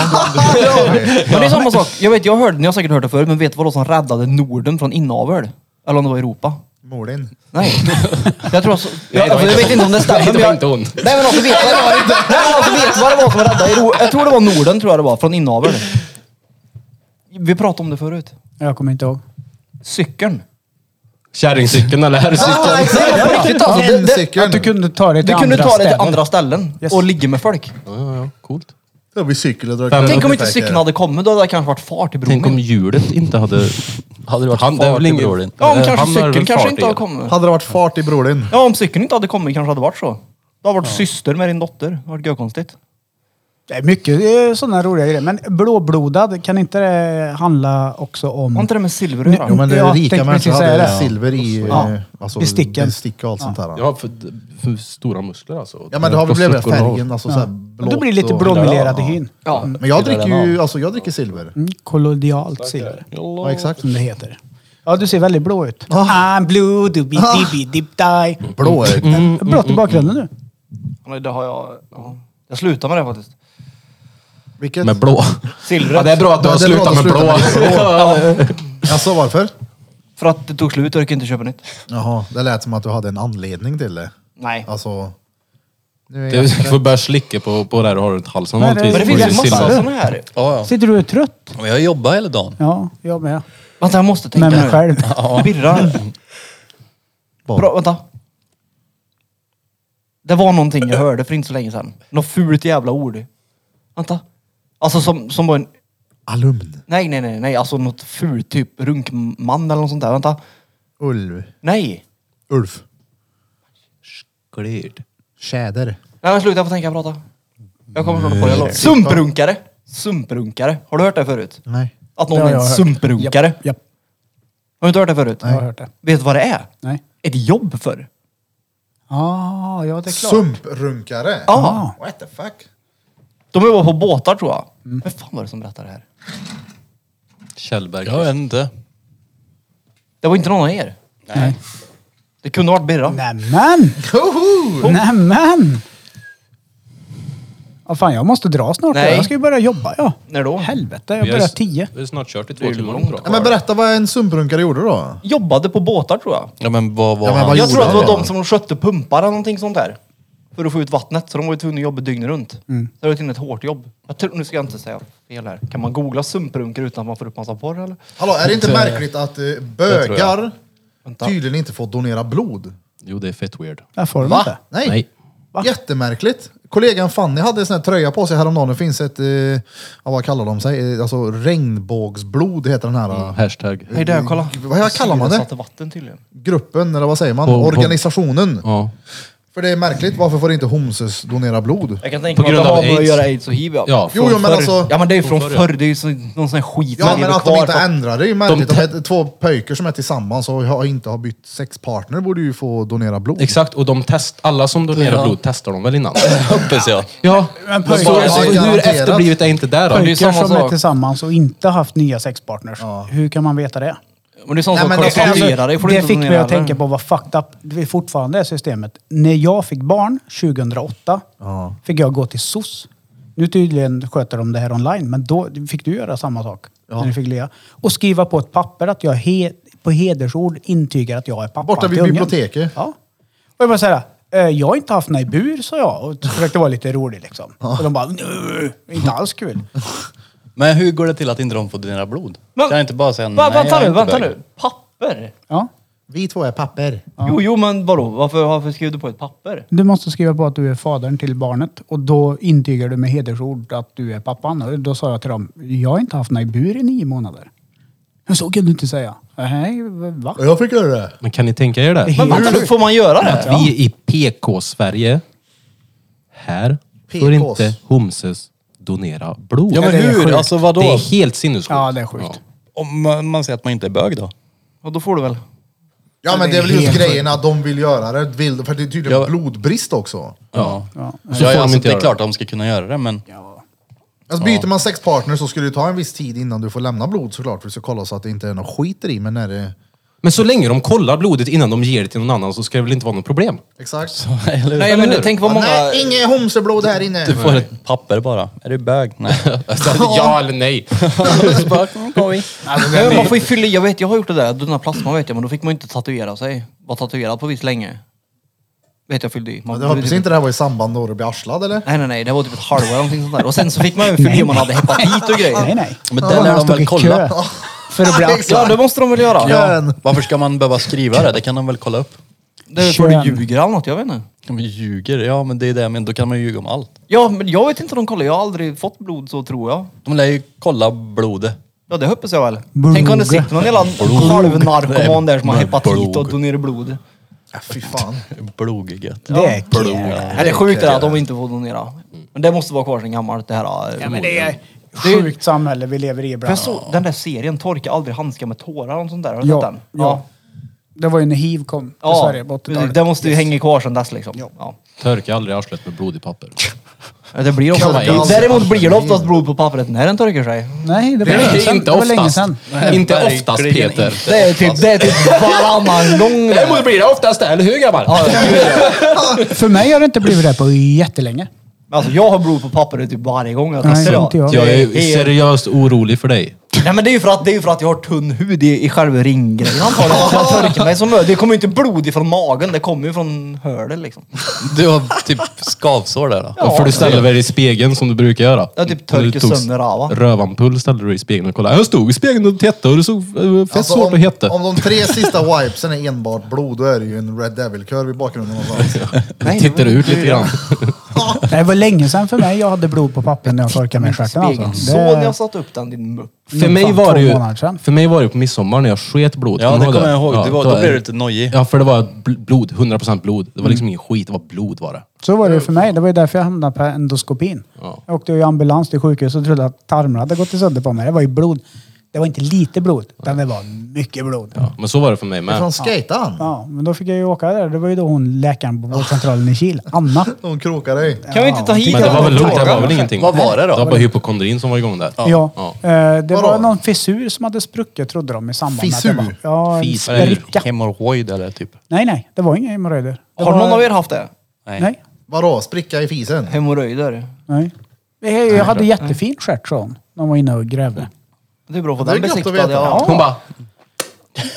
Speaker 4: det är samma sak. Jag vet, jag hörde, ni har säkert hört det förr, men vet du vad det som räddade Norden från inavel? Eller om det var Europa?
Speaker 1: Molin.
Speaker 4: Nej. Jag tror alltså, jag,
Speaker 3: det var
Speaker 4: alltså, jag
Speaker 3: inte hon.
Speaker 4: vet inte om det stämmer.
Speaker 3: Nej, det
Speaker 4: men
Speaker 3: var
Speaker 4: jag-
Speaker 3: inte hon.
Speaker 4: Nej men alltså vet vad det var. Nej men alltså vet vad det var som räddade Europa. Jag tror det var Norden tror jag det var, från inavel. Vi pratade om det förut.
Speaker 2: Jag kommer inte ihåg.
Speaker 4: Cykeln.
Speaker 3: Kärringcykeln eller herrcykeln?
Speaker 4: Nej, men på riktigt alltså. Det, det,
Speaker 1: Encykeln.
Speaker 2: Att du kunde ta det till
Speaker 4: du kunde
Speaker 2: andra
Speaker 4: ta det till
Speaker 2: ställen.
Speaker 4: andra ställen
Speaker 2: Yes.
Speaker 4: och ligga med folk.
Speaker 3: Ja, ja, ja. Coolt.
Speaker 1: Då blir cykel och drar
Speaker 3: Tänk
Speaker 4: Tänk om
Speaker 1: upp
Speaker 4: inte
Speaker 1: i
Speaker 4: cykeln
Speaker 1: säkert.
Speaker 4: hade kommit, då hade jag kanske varit far till
Speaker 3: Tänk om
Speaker 4: bron.
Speaker 3: hjulet inte hade...
Speaker 5: Hade det varit
Speaker 3: Han- det är
Speaker 5: fart
Speaker 3: väl
Speaker 5: i
Speaker 3: ingen-
Speaker 5: bror din?
Speaker 4: Ja, om
Speaker 3: Eh,
Speaker 4: kanske
Speaker 3: han är väl
Speaker 4: cykeln
Speaker 3: far
Speaker 4: kanske inte
Speaker 3: till
Speaker 4: hade
Speaker 3: det.
Speaker 4: kommit.
Speaker 1: Hade det varit fart i Brolin?
Speaker 4: Ja, om cykeln inte hade kommit kanske det hade varit så. Det hade varit syster med din dotter. Det hade varit görkonstigt.
Speaker 2: Det är mycket eh, sådana roliga grejer. Men blåblodad, kan inte det handla också om...
Speaker 4: Har inte det med silver att göra?
Speaker 1: Jo men det
Speaker 2: Ja,
Speaker 1: är rika
Speaker 2: tänkte
Speaker 1: människor
Speaker 2: precis säga
Speaker 1: hade
Speaker 2: det.
Speaker 1: silver i eh,
Speaker 2: Ja.
Speaker 1: alltså,
Speaker 2: Besticken.
Speaker 1: bestick och allt sånt där.
Speaker 3: Ja, för, för stora muskler alltså.
Speaker 1: Ja men det har väl blivit
Speaker 3: Plötsligt går av.
Speaker 1: färgen, alltså så här blått.
Speaker 2: Då blir det lite
Speaker 1: och-
Speaker 2: bromelerad i
Speaker 1: Ja.
Speaker 2: hyn.
Speaker 4: Ja.
Speaker 1: Men jag dricker ju, alltså jag dricker silver.
Speaker 2: Mm, kollodialt silver,
Speaker 1: Ja exakt.
Speaker 2: som det heter. Ja, du ser väldigt blå ut. I'm blue, dooby dibby dip die.
Speaker 1: Blå är det.
Speaker 4: Mm.
Speaker 2: Blått i bakgrunden nu.
Speaker 4: Nej, det har jag... Ja. Jag slutar med det faktiskt.
Speaker 1: Vilket?
Speaker 3: Med blå.
Speaker 4: Silvret.
Speaker 3: Ja, det är bra att du
Speaker 1: Ja,
Speaker 3: har
Speaker 1: det är bra
Speaker 3: slutat
Speaker 1: att
Speaker 3: med
Speaker 1: du
Speaker 3: blå.
Speaker 1: slutar med blå. Alltså varför?
Speaker 4: För att det tog slut och jag kunde inte köpa nytt.
Speaker 1: Jaha, det lät som att du hade en anledning till det.
Speaker 4: Nej.
Speaker 1: Alltså... Nu är
Speaker 3: Du
Speaker 1: jag...
Speaker 3: får börja slicka på, på det här du har runt halsen.
Speaker 2: Nej, det-
Speaker 4: Men det
Speaker 3: vanligtvis.
Speaker 4: finns
Speaker 2: Det
Speaker 4: ju
Speaker 2: är
Speaker 4: massa
Speaker 3: Silver.
Speaker 4: sådana här.
Speaker 5: Ja, ja.
Speaker 2: Sitter du och är trött?
Speaker 5: Men jag jobbar hela dagen.
Speaker 2: Ja, jag med.
Speaker 4: Vänta, jag måste tänka
Speaker 2: Med mig
Speaker 4: nu.
Speaker 2: själv.
Speaker 4: Birra. Bra, vänta. Det var någonting jag hörde för inte så länge sedan. Något fult jävla ord. Vänta. Alltså som, som var en...
Speaker 1: Alumn.
Speaker 4: Nej, nej, nej, nej. Alltså något fult, typ runkman eller något sånt där. Vänta.
Speaker 1: Ulv.
Speaker 4: Nej.
Speaker 1: Ulf.
Speaker 5: Cleared.
Speaker 1: Tjäder.
Speaker 4: Nej men sluta, jag får tänka och prata. Jag kommer snart på det. jag lovar. Sumprunkare. Sumprunkare. Har du hört det förut?
Speaker 1: Nej.
Speaker 4: Att
Speaker 2: Det
Speaker 4: någon
Speaker 2: har
Speaker 4: är
Speaker 2: jag
Speaker 4: en
Speaker 2: hört.
Speaker 4: sumprunkare.
Speaker 2: Japp, japp.
Speaker 4: Har du inte hört det förut?
Speaker 2: Jag har hört det.
Speaker 4: Vet du vad det är?
Speaker 2: Nej.
Speaker 4: Ett jobb för.
Speaker 2: Ah, ja, det är klart.
Speaker 1: Sumprunkare?
Speaker 4: Ja.
Speaker 2: Ah.
Speaker 1: What the fuck?
Speaker 4: De jobbar på båtar tror jag. Vem fan var det som berättade det här?
Speaker 3: Kjellberg.
Speaker 5: Jag vet inte.
Speaker 4: Det var inte någon av er.
Speaker 2: Nej.
Speaker 4: Det kunde ha varit Birra.
Speaker 2: Nämen!
Speaker 1: Hoho!
Speaker 2: Nämen! Ja, fan, jag måste dra snart.
Speaker 4: Nej.
Speaker 2: Jag ska ju börja jobba, ja.
Speaker 4: När då?
Speaker 2: Helvete, jag börjar tio.
Speaker 3: Vi har snart kört i
Speaker 4: Det
Speaker 3: två
Speaker 4: är ju
Speaker 3: timmar.
Speaker 4: långt
Speaker 3: tror jag.
Speaker 1: Ja, men berätta vad en sumprunkare gjorde då.
Speaker 4: Jobbade på båtar tror jag.
Speaker 5: Ja men vad var
Speaker 1: Ja, men
Speaker 5: han?
Speaker 1: vad
Speaker 4: Jag
Speaker 1: gjorde
Speaker 4: tror att det var
Speaker 1: han?
Speaker 4: de som skötte pumpar eller någonting sånt där. För att få ut vattnet. Så de var ju tvungna att jobba dygnet runt. Så det var till och med ett hårt jobb. Jag tror, nu ska jag inte säga fel här. Kan man googla sumprunkar utan att man får upp massa porr eller?
Speaker 1: Hallå, är det inte märkligt att eh,
Speaker 5: tror jag.
Speaker 1: bögar
Speaker 4: Vänta.
Speaker 1: tydligen inte får donera blod?
Speaker 3: Jo, det är fett weird.
Speaker 2: Där får de
Speaker 1: Va?
Speaker 2: inte.
Speaker 1: Nej.
Speaker 3: Nej.
Speaker 1: Jättemärkligt. Kollegan Fanny hade en sån här tröja på sig häromdagen. Det finns ett, eh, ja, vad kallar de sig? Eh, Alltså regnbågsblod heter den här
Speaker 3: Mm.
Speaker 1: eh,
Speaker 3: Hashtag.
Speaker 4: Hej där, kolla.
Speaker 1: Vad- vad kallar man det?
Speaker 4: Syresatte vatten tydligen.
Speaker 1: gruppen, eller vad säger man?
Speaker 3: På- på-
Speaker 1: Organisationen.
Speaker 3: Ja.
Speaker 1: För det är märkligt, varför får inte homses donera blod?
Speaker 4: Jag kan tänka
Speaker 3: På
Speaker 4: mig att
Speaker 3: grund
Speaker 4: det
Speaker 3: av
Speaker 4: har med att
Speaker 3: aids.
Speaker 4: göra aids och hiv ja.
Speaker 3: Ja,
Speaker 1: Jo,
Speaker 4: Från
Speaker 1: jo, men
Speaker 4: förr.
Speaker 1: alltså-
Speaker 4: Ja men det är ju från
Speaker 3: Från förr, ja.
Speaker 4: förr. Det är ju så, någon sån här skit
Speaker 1: Ja,
Speaker 4: man
Speaker 1: men
Speaker 4: lever
Speaker 1: att de
Speaker 4: kvar
Speaker 1: inte
Speaker 4: på.
Speaker 1: ändrar det är ju märkligt.
Speaker 3: De
Speaker 1: De
Speaker 3: te-
Speaker 1: är två pöjker som är tillsammans och har inte har bytt sexpartner borde ju få donera blod.
Speaker 3: Exakt, och de test, alla som donerar blod testar de väl innan?
Speaker 5: Hoppas jag.
Speaker 3: Ja,
Speaker 2: Men
Speaker 3: men
Speaker 2: pojkar-
Speaker 3: så,
Speaker 1: Ja,
Speaker 3: så hur
Speaker 1: garanterat.
Speaker 3: efterblivet är inte där då?
Speaker 4: det är ju
Speaker 2: Pojkar
Speaker 4: samma
Speaker 2: som är
Speaker 4: sak.
Speaker 2: tillsammans och inte haft nya sexpartners. Hur kan man veta det?
Speaker 4: Men det är sånt
Speaker 1: Nej,
Speaker 4: som
Speaker 1: men alltså,
Speaker 4: konstaterar dig. får du
Speaker 2: det
Speaker 4: inte
Speaker 2: fick mig
Speaker 4: donera
Speaker 2: att
Speaker 4: det.
Speaker 2: tänka på vad fucked up det fortfarande är systemet. När jag fick barn 2008 fick jag gå till SOS. Nu tydligen sköter de det här online, men då fick du göra samma sak. När du fick lea. Och skriva på ett papper att jag he, på hedersord intygar att jag är pappan
Speaker 1: Borta vid
Speaker 2: till ungen.
Speaker 1: biblioteket.
Speaker 2: Ja. Och jag bara såhär, "Eh, jag har inte haft några i bur, sa jag. Och försökte vara lite rolig liksom. Och de bara, "Nu, inte alls kul.
Speaker 5: Men hur går det till att inte de får donera blod?
Speaker 4: Men-
Speaker 5: kan jag inte bara säga
Speaker 4: Va,
Speaker 5: nej,
Speaker 4: vänta
Speaker 5: jag är
Speaker 4: nu,
Speaker 5: inte
Speaker 4: vänta
Speaker 5: bög?
Speaker 4: nu. Papper?
Speaker 2: Ja.
Speaker 1: Vi två är papper.
Speaker 4: Jo, jo men vadå? Varför, varför skrev du på ett papper?
Speaker 2: Du måste skriva på att du är fadern till barnet och då intygar du med hedersord att du är pappan. Och Då sa jag till dem, jag har inte haft några i bur i nio månader. Men så kan du inte säga. Nej, va?
Speaker 1: Jag fick göra det.
Speaker 3: Men kan ni tänka er det?
Speaker 4: Men varför får man göra det?
Speaker 3: Att vi i PK-Sverige, här, får
Speaker 1: PKs.
Speaker 3: inte homses donera blod.
Speaker 5: Ja men
Speaker 2: Ja, det är
Speaker 5: hur?
Speaker 2: sjukt.
Speaker 5: Alltså vadå?
Speaker 3: Det är helt sinnessjukt.
Speaker 2: Ja, det är sjukt.
Speaker 5: Om man, man säger att man inte är bög då?
Speaker 4: Och då får du väl?
Speaker 1: Ja men det är väl just grejen att de vill göra det. Vill, för det är tydligen
Speaker 5: Ja.
Speaker 1: blodbrist också.
Speaker 5: Ja. alltså,
Speaker 2: Ja.
Speaker 3: Så får de inte
Speaker 5: det är
Speaker 3: göra
Speaker 5: klart de ska kunna göra det men
Speaker 1: Alltså byter man sexpartner så skulle det ta en viss tid innan du får lämna blod såklart. För du ska kolla så att det inte är något skit i. Men när det...
Speaker 3: Men så länge de kollar blodet innan de ger det till någon annan så ska det väl inte vara något problem?
Speaker 1: Exakt.
Speaker 5: eller hur?
Speaker 4: Nej men tänk vad många...
Speaker 1: Nej, inget homseblod här inne.
Speaker 5: Du får ett papper bara. Är du bög? Nej.
Speaker 3: Alltså, ja eller nej?
Speaker 4: Nej, men man får ju fylla i. Jag vet, jag har gjort det där. Dona plasma vet jag, men då fick man ju inte tatuera sig. Var tatuerad på visst länge. Vet jag fyllde i. typ Man,
Speaker 1: Jag hoppas inte det här var i samband med att du blev arslad eller?
Speaker 4: Nej nej nej, det var typ ett halvår eller någonting sånt där. Och sen så fick man ju fylla i om man hade hepatit och grejer.
Speaker 2: Nej, nej.
Speaker 5: Men
Speaker 2: Ja,
Speaker 5: den
Speaker 2: han
Speaker 5: lär de
Speaker 2: stod
Speaker 5: väl
Speaker 2: i
Speaker 5: kolla.
Speaker 2: kö För att bli
Speaker 4: Ja
Speaker 2: axlad.
Speaker 4: det måste de väl göra?
Speaker 1: Kön.
Speaker 5: Varför ska man behöva skriva det? Det kan de väl kolla upp?
Speaker 4: Det är för du
Speaker 2: Kön.
Speaker 4: ljuger eller något, jag vet inte.
Speaker 5: De ljuger. Ja men det är det men då kan man ju ljuga om allt.
Speaker 4: Ja men jag vet inte om de kollar. Jag har aldrig fått blod så tror jag.
Speaker 5: De lär ju kolla blodet.
Speaker 4: Ja det hoppas jag väl. Tänk om det sitter någon jävla halvnarkoman där som har hepatit och donerar blod.
Speaker 1: Ja, fy fan.
Speaker 5: Blodgött.
Speaker 2: Det är kul.
Speaker 4: Nej, det är sjukt det där att de inte får donera. Men det måste vara kvar sen gammalt det här.
Speaker 2: Ja, men
Speaker 4: förmodligen.
Speaker 2: det är
Speaker 4: Det är-
Speaker 2: sjukt samhälle vi lever i
Speaker 4: För jag
Speaker 2: ibland.
Speaker 4: såg den där serien Torka aldrig handskar med tårar och sånt där. Har du sett
Speaker 2: Ja,
Speaker 4: den?
Speaker 2: ja. Det var ju när hiv kom till
Speaker 4: Ja,
Speaker 2: Sverige på
Speaker 4: ja.
Speaker 2: 80-talet.
Speaker 4: det måste ju hänga kvar sedan dess liksom. Ja.
Speaker 3: Törka aldrig arslet med blodigt papper.
Speaker 4: Ja, Det blir ofta,
Speaker 1: Kan man-
Speaker 4: däremot blir det oftast blod på pappret när den torkar sig.
Speaker 2: Nej, det var, länge sedan. det var länge sedan.
Speaker 3: Inte oftast
Speaker 5: Verkligen
Speaker 3: Peter.
Speaker 4: Det är typ, det är typ varannan gång.
Speaker 3: Däremot blir det oftast det, eller hur grabbar? Ja,
Speaker 2: För mig har det inte blivit det på jättelänge.
Speaker 4: Men Alltså jag har blod på pappret typ varje gång jag
Speaker 2: Nej,
Speaker 4: testar.
Speaker 2: inte jag.
Speaker 3: Jag är
Speaker 4: Det är-
Speaker 3: seriöst orolig för dig.
Speaker 4: Nej men det är ju för att, det är ju för att jag har tunn hud i, i själva ringgrejen antagligen. Att jag torkar mig som mö- Det kommer ju inte blod ifrån magen, det kommer ju från hörden liksom.
Speaker 5: Du har typ skavsår där då?
Speaker 3: För du ställer dig i spegeln som du brukar göra.
Speaker 4: Ja, typ
Speaker 3: När du
Speaker 4: torkar
Speaker 3: tog
Speaker 4: sönder rava.
Speaker 3: Rövanpull ställde du dig i spegeln och kollade. Jag stod i spegeln och tittade och det såg eh, fett
Speaker 1: Alltså,
Speaker 3: svårt att
Speaker 1: om,
Speaker 3: heta.
Speaker 1: om de tre sista wipesen är enbart blod, då är det ju en Red Devil-kör i bakgrunden någonstans.
Speaker 4: Nej,
Speaker 3: Tittar
Speaker 4: det var-
Speaker 3: ut lite grann.
Speaker 2: Det var länge sedan för mig jag hade blod på papper när jag torkade mig i stjärten
Speaker 4: Spegeln.
Speaker 2: alltså.
Speaker 4: Så när jag
Speaker 2: Det,
Speaker 4: satte upp den, din mupp.
Speaker 3: För mig,
Speaker 2: Fan,
Speaker 3: var
Speaker 2: två
Speaker 3: det ju,
Speaker 2: månader sedan.
Speaker 3: för mig var det ju på midsommar när jag sket blod.
Speaker 5: Ja, det
Speaker 3: du
Speaker 5: kommer jag ihåg. Det var- då blev du lite Mm. nojig.
Speaker 3: Ja, för det var bl- blod. 100% blod. Det var liksom ingen skit. Det var blod var det.
Speaker 2: så var det ju för mig. Det var ju därför jag hamnade på endoskopin.
Speaker 3: Ja.
Speaker 2: Jag åkte ju i ambulans till sjukhus och trodde att tarmarna hade gått sönder på mig. Det var ju blod. Det var inte lite blod, utan det var mycket blod. Ja.
Speaker 3: Men så var det för mig med.
Speaker 1: Från skejtan.
Speaker 2: men då fick jag ju åka där. Det var ju då hon läkaren på vårdcentralen i Kil, Anna.
Speaker 1: De krokar dig.
Speaker 4: Kan vi inte ta hit
Speaker 3: Men det var väl
Speaker 4: den?
Speaker 3: lugnt. Det var väl ingenting.
Speaker 5: Vad var det då?
Speaker 3: Det var bara hypokondrin som var igång där.
Speaker 2: Ja. Eh, Det
Speaker 1: Vadå?
Speaker 2: var någon fissur som hade spruckit trodde de i samband
Speaker 1: Fissur?
Speaker 2: med att det var... Ja, en
Speaker 3: Fissur. Eller
Speaker 2: spricka.
Speaker 5: Hemorrojd eller typ.
Speaker 2: Nej, nej. Det var inga hemorrojder. Det
Speaker 4: Har
Speaker 2: var-
Speaker 4: någon av er haft det?
Speaker 2: Nej.
Speaker 1: Vadå, spricka i fisen?
Speaker 4: Hemorrojder?
Speaker 2: nej. Jag, jag hade jättefin stjärt sa hon. När hon var inne och grävde.
Speaker 4: Det är bra att få
Speaker 1: Det är
Speaker 4: den
Speaker 1: gött att
Speaker 4: besiktad.
Speaker 1: veta.
Speaker 4: Ja.
Speaker 3: Hon bara,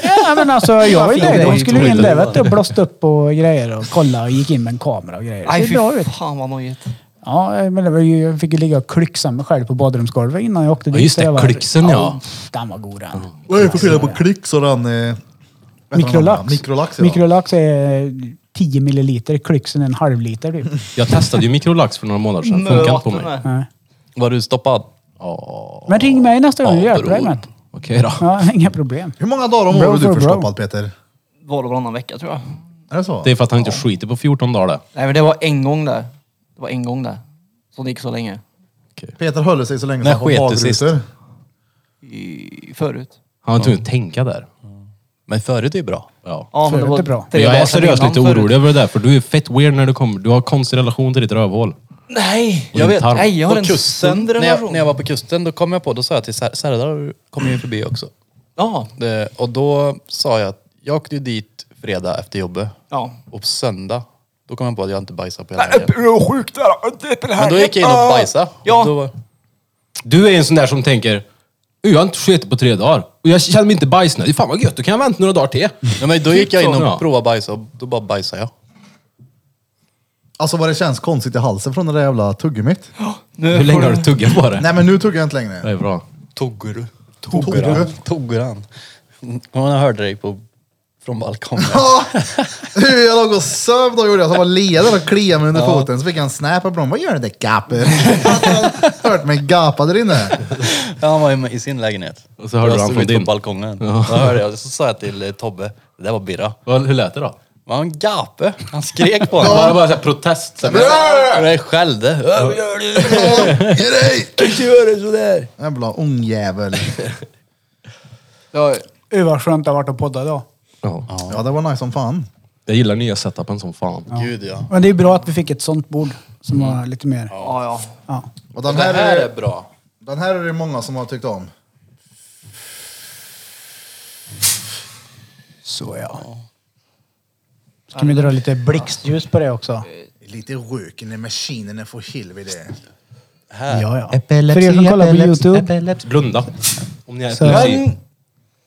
Speaker 2: Ja, men alltså jag var ju
Speaker 4: Vad fint.
Speaker 2: nöjd. Hon skulle ju in där vet du, och blåst upp och grejer och kolla och gick in med en kamera och grejer.
Speaker 4: Nej
Speaker 2: Det bra
Speaker 4: fy
Speaker 2: ut.
Speaker 4: fan vad nojigt.
Speaker 2: Ja, men det var ju, jag fick ju ligga och klyxa mig själv på badrumsgolvet innan jag åkte dit.
Speaker 3: just
Speaker 2: så
Speaker 3: det,
Speaker 2: jag var-
Speaker 3: klyxen, ja.
Speaker 2: Den var god den.
Speaker 1: Vad är det för skillnad på klick och den... Eh, vad heter den andra?
Speaker 2: Mikrolax.
Speaker 1: Mikrolax, ja.
Speaker 2: Mikrolax är 10 milliliter, klyxen är en halv liter typ.
Speaker 3: jag testade ju mikrolax för några månader sedan. Funkar inte på
Speaker 4: Nöten
Speaker 3: mig.
Speaker 4: där.
Speaker 2: Nej.
Speaker 5: Var du stoppad?
Speaker 2: Men ring mig nästa gång, jag
Speaker 3: Ja,
Speaker 2: hjälper dig
Speaker 3: bror.
Speaker 2: med det.
Speaker 3: Okej då.
Speaker 2: Ja, inga problem.
Speaker 1: Hur många dagar om
Speaker 2: Bro
Speaker 1: året är
Speaker 2: for
Speaker 1: du
Speaker 2: bro.
Speaker 1: förstoppad Peter?
Speaker 4: Var och varannan vecka tror jag.
Speaker 1: Är det så?
Speaker 3: Det är för att han inte skiter på 14 dagar det.
Speaker 4: Nej men det var en gång där. Det var en gång där. Så det gick så länge.
Speaker 1: Peter höll sig så länge
Speaker 5: När
Speaker 1: som
Speaker 5: sket
Speaker 1: han
Speaker 5: du
Speaker 1: var
Speaker 5: sist?
Speaker 1: badrutor.
Speaker 4: I, förut.
Speaker 3: Han var tvungen att tänka där.
Speaker 5: Men förut är ju bra.
Speaker 3: Ja.
Speaker 4: Ja,
Speaker 2: Förut är bra.
Speaker 4: tre
Speaker 3: jag är
Speaker 4: dagar sedan
Speaker 3: seriöst
Speaker 4: innan
Speaker 3: lite
Speaker 4: förut.
Speaker 3: orolig över det där, för du är fett weird när du kommer. Du har konstig relation till ditt rövhål.
Speaker 4: Nej!
Speaker 3: Och
Speaker 4: Jag
Speaker 3: din
Speaker 4: vet.
Speaker 3: tarm.
Speaker 4: Nej, jag har
Speaker 5: På
Speaker 4: en
Speaker 5: kusten,
Speaker 4: sönder
Speaker 5: när jag,
Speaker 4: relation.
Speaker 5: när jag var på kusten, då kom jag på, då sa jag till Ser- Serdar, kom ju förbi också.
Speaker 4: Ja.
Speaker 5: Det, och då sa jag att jag åkte ju dit fredag efter jobbet.
Speaker 4: Ja.
Speaker 5: Och på söndag, då kom jag på att jag inte bajsade på hela
Speaker 4: Nej,
Speaker 5: helgen.
Speaker 4: du är sjuk där.
Speaker 5: Men då gick jag in och bajsade.
Speaker 4: Ja.
Speaker 5: Och då,
Speaker 3: Du är en sån där som tänker, "Ö, jag har inte skitit på tre dagar. Och jag känner mig inte bajsnödig. Fan vad gött, då kan jag vänta några dagar till.
Speaker 5: ja, men då gick jag in och
Speaker 3: Ja.
Speaker 5: provade bajsa och då bara bajsade jag.
Speaker 1: Alltså vad det känns konstigt i halsen från det där jävla tuggummit.
Speaker 4: Nu
Speaker 3: Hur länge har
Speaker 4: får
Speaker 3: du tuggat på det?
Speaker 1: Nej men nu tuggar jag inte längre.
Speaker 3: Det är bra.
Speaker 5: Toggur.
Speaker 1: Toggur.
Speaker 5: Togguran. Man hörde dig på, från balkongen.
Speaker 1: Ja, jag låg och söv då gjorde jag. Så jag var leder och kliade mig under foten. Så fick jag en snap och bara, vad gör det där gapet? Hört mig gapa där inne.
Speaker 5: Ja, han var ju med- i sin lägenhet.
Speaker 3: Och så hörde
Speaker 5: jag
Speaker 3: du han
Speaker 5: stod
Speaker 3: från
Speaker 5: ute
Speaker 3: din.
Speaker 5: på balkongen.
Speaker 3: Ja.
Speaker 5: Då hörde jag, så sa jag till eh, Tobbe, det där var Birra.
Speaker 3: Vad- Hur lät det då?
Speaker 5: Men han gapade. Han skrek på honom.
Speaker 3: Var det bara såhär protest? Så här,
Speaker 5: Och det skällde. "Äh, vad gör du?
Speaker 1: Ge dig!
Speaker 5: Inte göra sådär!
Speaker 1: Jävla ungjävel.
Speaker 4: jag...
Speaker 2: Uy vad skönt det har varit att podda idag.
Speaker 3: ja.
Speaker 1: Ja, det var nice som fan.
Speaker 3: Jag gillar nya setupen som fan.
Speaker 5: Gud ja.
Speaker 2: Men det är bra att vi fick ett sånt bord som
Speaker 3: Mm.
Speaker 2: var lite mer...
Speaker 4: Ja, ja.
Speaker 2: Ja.
Speaker 1: Och den
Speaker 5: Det
Speaker 1: här,
Speaker 5: här
Speaker 1: är,
Speaker 5: är bra.
Speaker 1: den här är det många som har tyckt om.
Speaker 2: Så ja. Ska vi dra lite blixtljus på det också?
Speaker 1: Lite röken i maskinen för helvete.
Speaker 2: Ja, ja. För er som kollar på YouTube.
Speaker 3: Blunda. Om ni har
Speaker 2: Så-
Speaker 3: epilepsi.
Speaker 4: Men,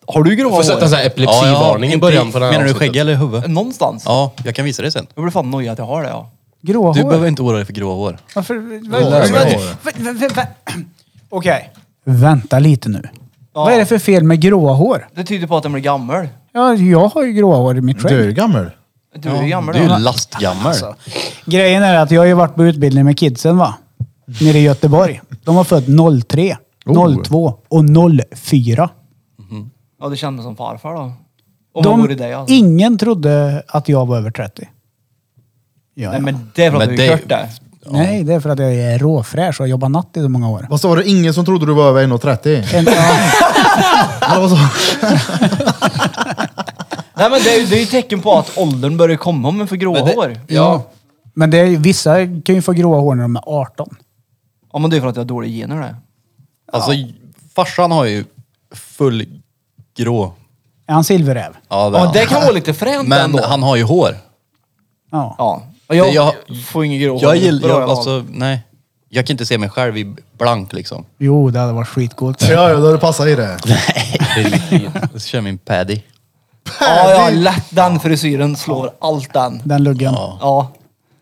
Speaker 4: har du grova
Speaker 3: Får sätta
Speaker 4: hår?
Speaker 3: såhär epilepsivarning i början på den här
Speaker 5: Menar du
Speaker 3: avsnittet.
Speaker 5: skägg eller huvud?
Speaker 4: Någonstans?
Speaker 5: Ja, jag kan visa dig sen.
Speaker 4: Jag blir fan nojig att jag har det ja.
Speaker 2: Gråhår.
Speaker 5: Du behöver inte oroa dig för grå hår.
Speaker 2: Varför?
Speaker 1: det var
Speaker 2: Vä- vä- vä- vä- Okej. Vänta lite nu. Vad är det för fel med gråa hår?
Speaker 4: Det tyder på att den blir gammal.
Speaker 2: Ja, jag har ju gråa hår i mitt
Speaker 1: Du är
Speaker 2: skägg.
Speaker 1: ju gammal.
Speaker 4: Du är ju gammal.
Speaker 5: Du är
Speaker 4: ja. Alltså,
Speaker 5: ju lastgammal.
Speaker 2: Grejen är att jag har ju varit på utbildning med kidsen va? Nere i Göteborg. De var född 03,
Speaker 1: Oh.
Speaker 2: 02 och 04.
Speaker 4: ja, du känner mig som farfar då. Om man
Speaker 2: De,
Speaker 4: vore dig alltså.
Speaker 2: ingen trodde att jag var över 30. Ja,
Speaker 4: Nej
Speaker 2: ja.
Speaker 4: men det är för att
Speaker 5: Men
Speaker 4: du är
Speaker 5: det-
Speaker 4: kört där.
Speaker 2: Nej, det är för att jag är råfräsch och har jobbat natt i så många år.
Speaker 1: Vad sa du? Ingen som trodde du var över 1,30?
Speaker 2: En, ja,
Speaker 1: Eller vad sa du?
Speaker 4: Nej men det är ju det är ju tecken på att åldern börjar komma men för gråa
Speaker 5: Men det-
Speaker 4: hår.
Speaker 2: ja. Men det är, ju- vissa kan ju få gråa hår när de är 18.
Speaker 4: Ja men det är för att jag har dåliga gener det.
Speaker 5: Alltså, farsan har ju full grå.
Speaker 2: Är han silverräv?
Speaker 5: Ja,
Speaker 4: Ja
Speaker 5: han.
Speaker 4: det kan vara lite fränt
Speaker 5: Men
Speaker 4: ändå.
Speaker 5: han har ju hår.
Speaker 2: Ja.
Speaker 4: Ja. Och Jag,
Speaker 5: Det- jag-
Speaker 4: får ingen grå
Speaker 5: Jag
Speaker 4: hår.
Speaker 5: gillar,
Speaker 4: Bra
Speaker 5: jag,
Speaker 4: val.
Speaker 5: alltså, nej. Jag kan inte se mig själv i blank liksom.
Speaker 2: Jo, det hade varit skitcoolt.
Speaker 1: Ja, ja, då det passar i det.
Speaker 5: Jag kör min paddy.
Speaker 4: Ja ja, lätt den frisyren slår allt den.
Speaker 2: Den luggen.
Speaker 4: Ja.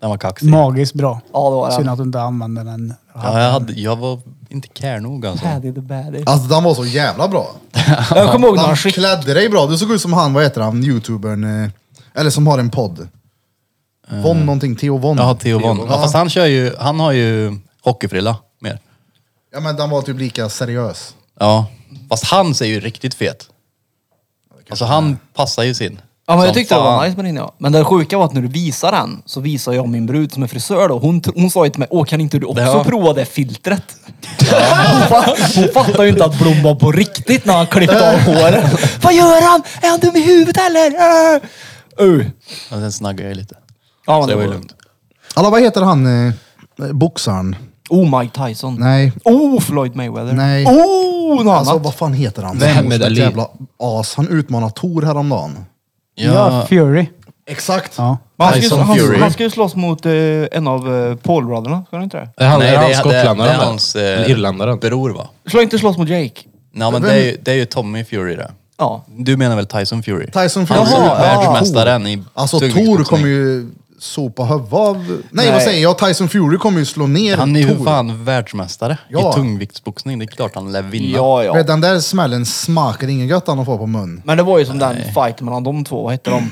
Speaker 5: Den var kaxig.
Speaker 2: Magiskt bra.
Speaker 4: Ja, det var den.
Speaker 2: Synd att du inte använde den.
Speaker 5: Ja, jag, hade, jag var inte care nog alltså.
Speaker 4: Paddy the baddy.
Speaker 1: Alltså den var så jävla bra.
Speaker 4: Jag kommer ihåg när
Speaker 1: Han
Speaker 4: han skickade...
Speaker 1: klädde dig bra. Du såg ut som han, vad heter han, youtubern? eh, Eller som har en podd. Von någonting, Theo Von.
Speaker 5: Jaha, Theo Von. Ja, fast han kör ju, han har ju hockeyfrilla mer.
Speaker 1: Ja men den var typ lika seriös.
Speaker 5: Ja, fast han ser ju riktigt fet. Alltså han passar ju sin.
Speaker 4: Ja, men
Speaker 5: Som
Speaker 4: jag tyckte det var
Speaker 5: fan.
Speaker 4: nice med din ja. Men det sjuka var att när du visar den så visar jag min brud som är frisör då. Hon, hon sa ju till mig, åh kan inte du också
Speaker 5: Ja.
Speaker 4: prova det filtret? Hon, fatt, hon fattar ju inte att Blom var på riktigt när han klippte av håret. Vad gör han? Är han dum i huvudet eller? Äh. Uh.
Speaker 5: Ja, sen snaggade jag lite.
Speaker 4: Ja,
Speaker 5: Så
Speaker 4: men
Speaker 5: det var ju lugnt.
Speaker 1: Alla vad heter han, eh, boxaren?
Speaker 4: Oh, Mike Tyson.
Speaker 1: Nej.
Speaker 4: Oh, Floyd Mayweather.
Speaker 1: Nej.
Speaker 4: Oh, något
Speaker 1: Alltså
Speaker 4: annat.
Speaker 1: vad fan heter han?
Speaker 8: Vem är
Speaker 1: Ett
Speaker 8: Ali?
Speaker 1: jävla as. Han utmanar Tor häromdagen.
Speaker 5: Ja,
Speaker 2: Ja, Ah, Fury.
Speaker 1: Exakt.
Speaker 2: Ja.
Speaker 4: Men han, ska,
Speaker 5: Tyson
Speaker 4: ju-
Speaker 5: Fury.
Speaker 4: han, han ska ju slåss mot eh, en av uh, Paul-bröderna, ska han inte det?
Speaker 3: Är han,
Speaker 5: Nej,
Speaker 3: är han
Speaker 5: det är-
Speaker 3: skotländaren?
Speaker 5: det är
Speaker 3: där?
Speaker 5: hans, eh,
Speaker 3: Eller Irländaren?
Speaker 5: Bror va?
Speaker 4: Slå inte slåss mot Jake.
Speaker 5: Nej men det är, ju, det är ju Tommy Fury det.
Speaker 4: Ja.
Speaker 5: Du menar väl Tyson Fury?
Speaker 1: Tyson Fury.
Speaker 5: Han som
Speaker 4: Jaha,
Speaker 5: är
Speaker 4: ja.
Speaker 5: världsmästaren i
Speaker 1: Alltså Tor
Speaker 5: tungviktsboxning.
Speaker 1: kommer ju sopa huvudet av... Nej,
Speaker 4: Nej.
Speaker 1: vad säger jag? Tyson Fury kommer ju slå ner
Speaker 5: Han är ju
Speaker 1: Tor.
Speaker 5: fan världsmästare
Speaker 1: Ja.
Speaker 5: i tungviktsboxning. Det är klart han lär vinna.
Speaker 4: Ja, ja.
Speaker 1: Den där smällen smakar ingen gött han får på mun.
Speaker 4: Men det var ju som den fighten mellan de två, vad hette de?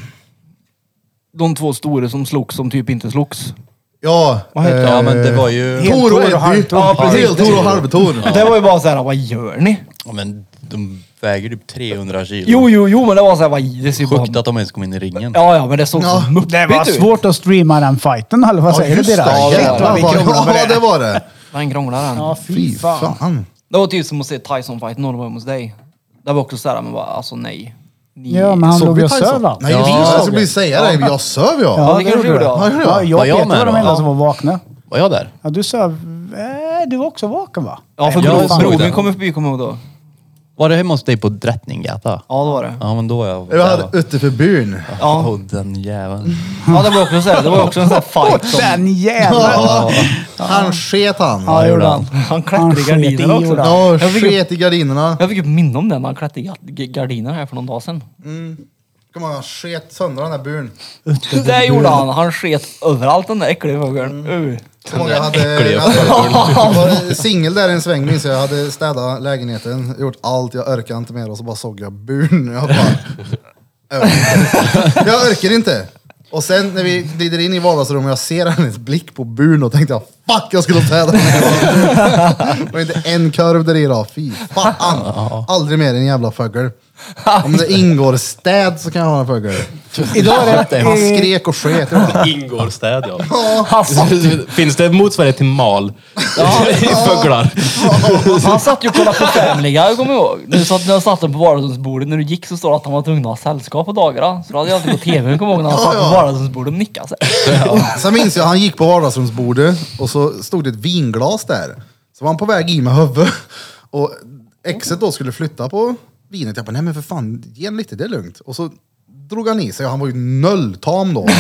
Speaker 4: De två stora som slogs som typ inte slogs.
Speaker 1: Ja.
Speaker 4: Vad heter
Speaker 5: Ja, men det var
Speaker 4: Eh,
Speaker 5: ju...
Speaker 1: Tor och
Speaker 4: Tor och
Speaker 1: Eddie.
Speaker 4: halvtor. Ja, precis.
Speaker 1: Tor och halvtor.
Speaker 4: Det var ju bara såhär, vad gör ni?
Speaker 5: Ja, men de väger typ 300 kilo.
Speaker 4: Jo, jo, jo, men det var såhär, vad det ser ju
Speaker 5: Sjukt
Speaker 4: bara...
Speaker 5: att de ens kom in i ringen.
Speaker 4: Ja, ja, men det såg
Speaker 1: Ja.
Speaker 4: så muppigt
Speaker 2: Det var
Speaker 4: ut.
Speaker 2: svårt att streama den fighten, eller vad
Speaker 1: Ja,
Speaker 2: säger du?
Speaker 1: just det.
Speaker 2: Birra? Jävlar,
Speaker 1: Jävlar
Speaker 2: vi
Speaker 1: vad-
Speaker 2: krånglar med
Speaker 1: Ja, det
Speaker 2: det.
Speaker 1: var det.
Speaker 4: Den krånglar den.
Speaker 2: Ja,
Speaker 1: Fy fan.
Speaker 4: Det var typ som att se Tyson-fighten någon gång hos dig. Det var också såhär, men bara, alltså nej. Ni...
Speaker 2: Ja, men han
Speaker 1: Såg
Speaker 2: låg
Speaker 1: vi
Speaker 2: ju och
Speaker 1: Tyson?
Speaker 2: söv va?
Speaker 1: Nej, just det. Jag skulle precis säga det. Jag söv jag.
Speaker 4: det kanske gjorde jag.
Speaker 1: gjorde
Speaker 2: Ja,
Speaker 1: jag.
Speaker 2: jag
Speaker 5: Var
Speaker 2: och
Speaker 5: jag
Speaker 2: Peter
Speaker 5: med
Speaker 2: var de
Speaker 5: då?
Speaker 2: enda
Speaker 5: Ja.
Speaker 2: som var vakna.
Speaker 5: Var jag där?
Speaker 2: Ja, du sa... Eh, du var också vaken va?
Speaker 4: Ja, för
Speaker 5: Jag
Speaker 4: bro-
Speaker 5: såg
Speaker 4: brodern
Speaker 5: den.
Speaker 4: kom förbi, kommer jag ihåg då.
Speaker 5: Var det hemma hos dig på Drottninggatan?
Speaker 4: Ja, det var det.
Speaker 5: Ja, men då var jag
Speaker 1: Jag
Speaker 5: där. va?
Speaker 1: hade ute för byn.
Speaker 5: Ja. Åh, den jäveln.
Speaker 4: Ja, det var också såhär, det var också en sån här fight som...
Speaker 2: Den jäveln!
Speaker 1: Ja. Han sket han.
Speaker 2: Ja, det gjorde han.
Speaker 4: Han klättrade i
Speaker 2: sket i
Speaker 4: gardinerna också.
Speaker 2: gjorde han.
Speaker 1: Ja,
Speaker 4: Jag fick upp-
Speaker 1: sket i gardinerna.
Speaker 4: Jag fick ett minne om den när han klättrade i gard- gardinerna här för någon dag sedan.
Speaker 1: Kom han sket sönder den där buren.
Speaker 4: Det gjorde han. Han sket överallt den där äckliga
Speaker 2: Mm.
Speaker 4: fågeln. Uh.
Speaker 1: Så många hade... Jag var singel där en sväng minns jag. Jag hade städat lägenheten, gjort allt, jag orkade inte mer och så bara såg jag buren. Jag bara... "Orkar." jag orkar inte. Och sen när vi glider in i vardagsrummet och jag ser hennes blick på buren och tänkte jag fuck jag skulle städa den här jävla buren." Det var inte en kurv där i idag. Fy fan. Aldrig mer en jävla fågel. Om det ingår städ så kan jag ha en fågel.
Speaker 2: Idag är det...
Speaker 1: Han skrek och sket. Jag bara,
Speaker 3: Ingår städ ja. Finns det en motsvarighet till mal? I Fåglar.
Speaker 4: Han satt ju och kollade på Family Guy, jag kommer ihåg. Nu satt, när jag satt på vardagsrumsbordet, när du gick så stod det att han var tvungen att ha sällskap på dagarna. Så då hade jag alltid på tvn, kommer jag ihåg, när han satt på vardagsrumsbordet och nickade. Så. här.
Speaker 1: Sen minns jag, han gick på vardagsrumsbordet och så stod det ett vinglas där. Så var han på väg i med huvudet. Och exet då skulle flytta på vinet. Jag bara, nej men för fan, ge en lite, det är lugnt. Och så drog han i sig och han var ju nolltam då. Noll.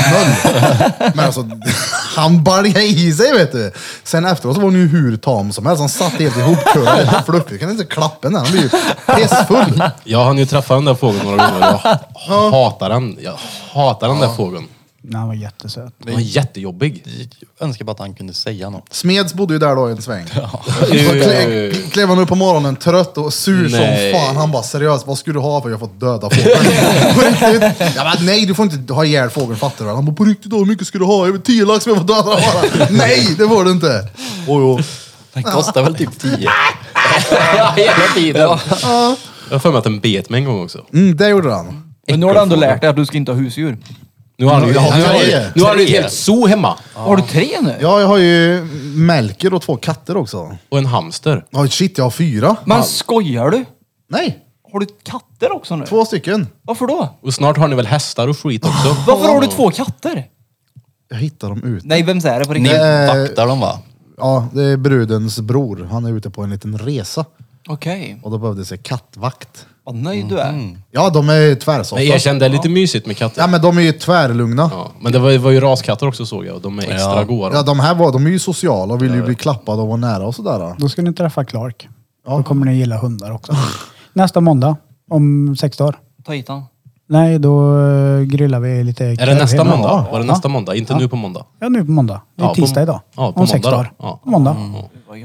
Speaker 1: Men alltså, han baljade i sig vet du. Sen efteråt så var han ju hur tam som helst. Han satt helt ihopkurad, helt fluffig. Jag kan inte klappa den, han blev ju pissfull.
Speaker 3: Jag hann ju träffa den där fågeln några gånger. Jag ha- hatar den. Jag hatar den där fågeln.
Speaker 2: Nej, han var jättesöt.
Speaker 3: Den var jättejobbig.
Speaker 5: Jag önskar bara att han kunde säga något.
Speaker 1: Smeds bodde ju där då en sväng. Ja.
Speaker 3: Oj, oj, oj.
Speaker 1: Klev han upp på morgonen trött och sur
Speaker 3: Nej.
Speaker 1: som fan. Han bara seriöst, vad skulle du ha för jag har fått döda fåglar? På riktigt. Jag bara, nej du får inte ha ihjäl fågeln fattar du väl? Han bara, på riktigt då, hur mycket ska du ha? Jag vill tio lax men jag får döda bara. Nej, det får du inte.
Speaker 5: Oh, Den kostar väl typ 10.
Speaker 3: Jag har för mig att den bet mig en gång också.
Speaker 1: Mm, det gjorde han.
Speaker 4: Men nu har du ändå lärt dig att du ska inte ha husdjur.
Speaker 3: Nu har han ju-
Speaker 1: Ja,
Speaker 3: han har
Speaker 1: tre.
Speaker 3: ju- nu har han ju ett
Speaker 5: Tre.
Speaker 3: helt zoo hemma.
Speaker 4: Har du tre nu?
Speaker 1: Ja, jag har ju Melker och två katter också.
Speaker 3: Och en hamster.
Speaker 1: Oh, shit, jag har fyra.
Speaker 4: Men skojar du?
Speaker 1: Nej,
Speaker 4: Har du katter också nu?
Speaker 1: två stycken.
Speaker 4: Varför då?
Speaker 3: Och snart har ni väl hästar och skit också?
Speaker 4: Varför har du två katter?
Speaker 1: Jag hittar dem ut.
Speaker 4: Nej, vem säger det på
Speaker 5: Ni
Speaker 4: riktigt?
Speaker 1: Eh.
Speaker 5: vaktar dem va?
Speaker 1: Ja, det är brudens bror. Han är ute på en liten resa.
Speaker 4: Okej,
Speaker 1: Och då behövdes en kattvakt.
Speaker 4: vad nöjd du är.
Speaker 1: Ja, de är tvärsorta.
Speaker 3: Men erkänn, det är lite mysigt med katter.
Speaker 1: Ja men de är ju tvärlugna. Ja.
Speaker 3: Ja, men det var, det var ju raskatter också såg jag och de är extra
Speaker 5: Ja.
Speaker 3: goa. då.
Speaker 1: de här var, de är ju sociala och vill ju bli klappade och vara nära och sådär.
Speaker 2: Då ska ni träffa Clark. Då kommer ni gilla hundar också. Nästa måndag, om sex dagar.
Speaker 4: Ta hit han.
Speaker 2: Nej, då eh, grillar vi lite
Speaker 3: Är det nästa måndag? Var det nästa måndag? Inte nu på måndag?
Speaker 2: Ja, nu på måndag. Det är
Speaker 3: Ja, på-
Speaker 2: tisdag idag.
Speaker 3: ja, på
Speaker 2: om sex
Speaker 3: måndag då.
Speaker 2: dagar.
Speaker 3: Ja. Mm.
Speaker 2: På måndag.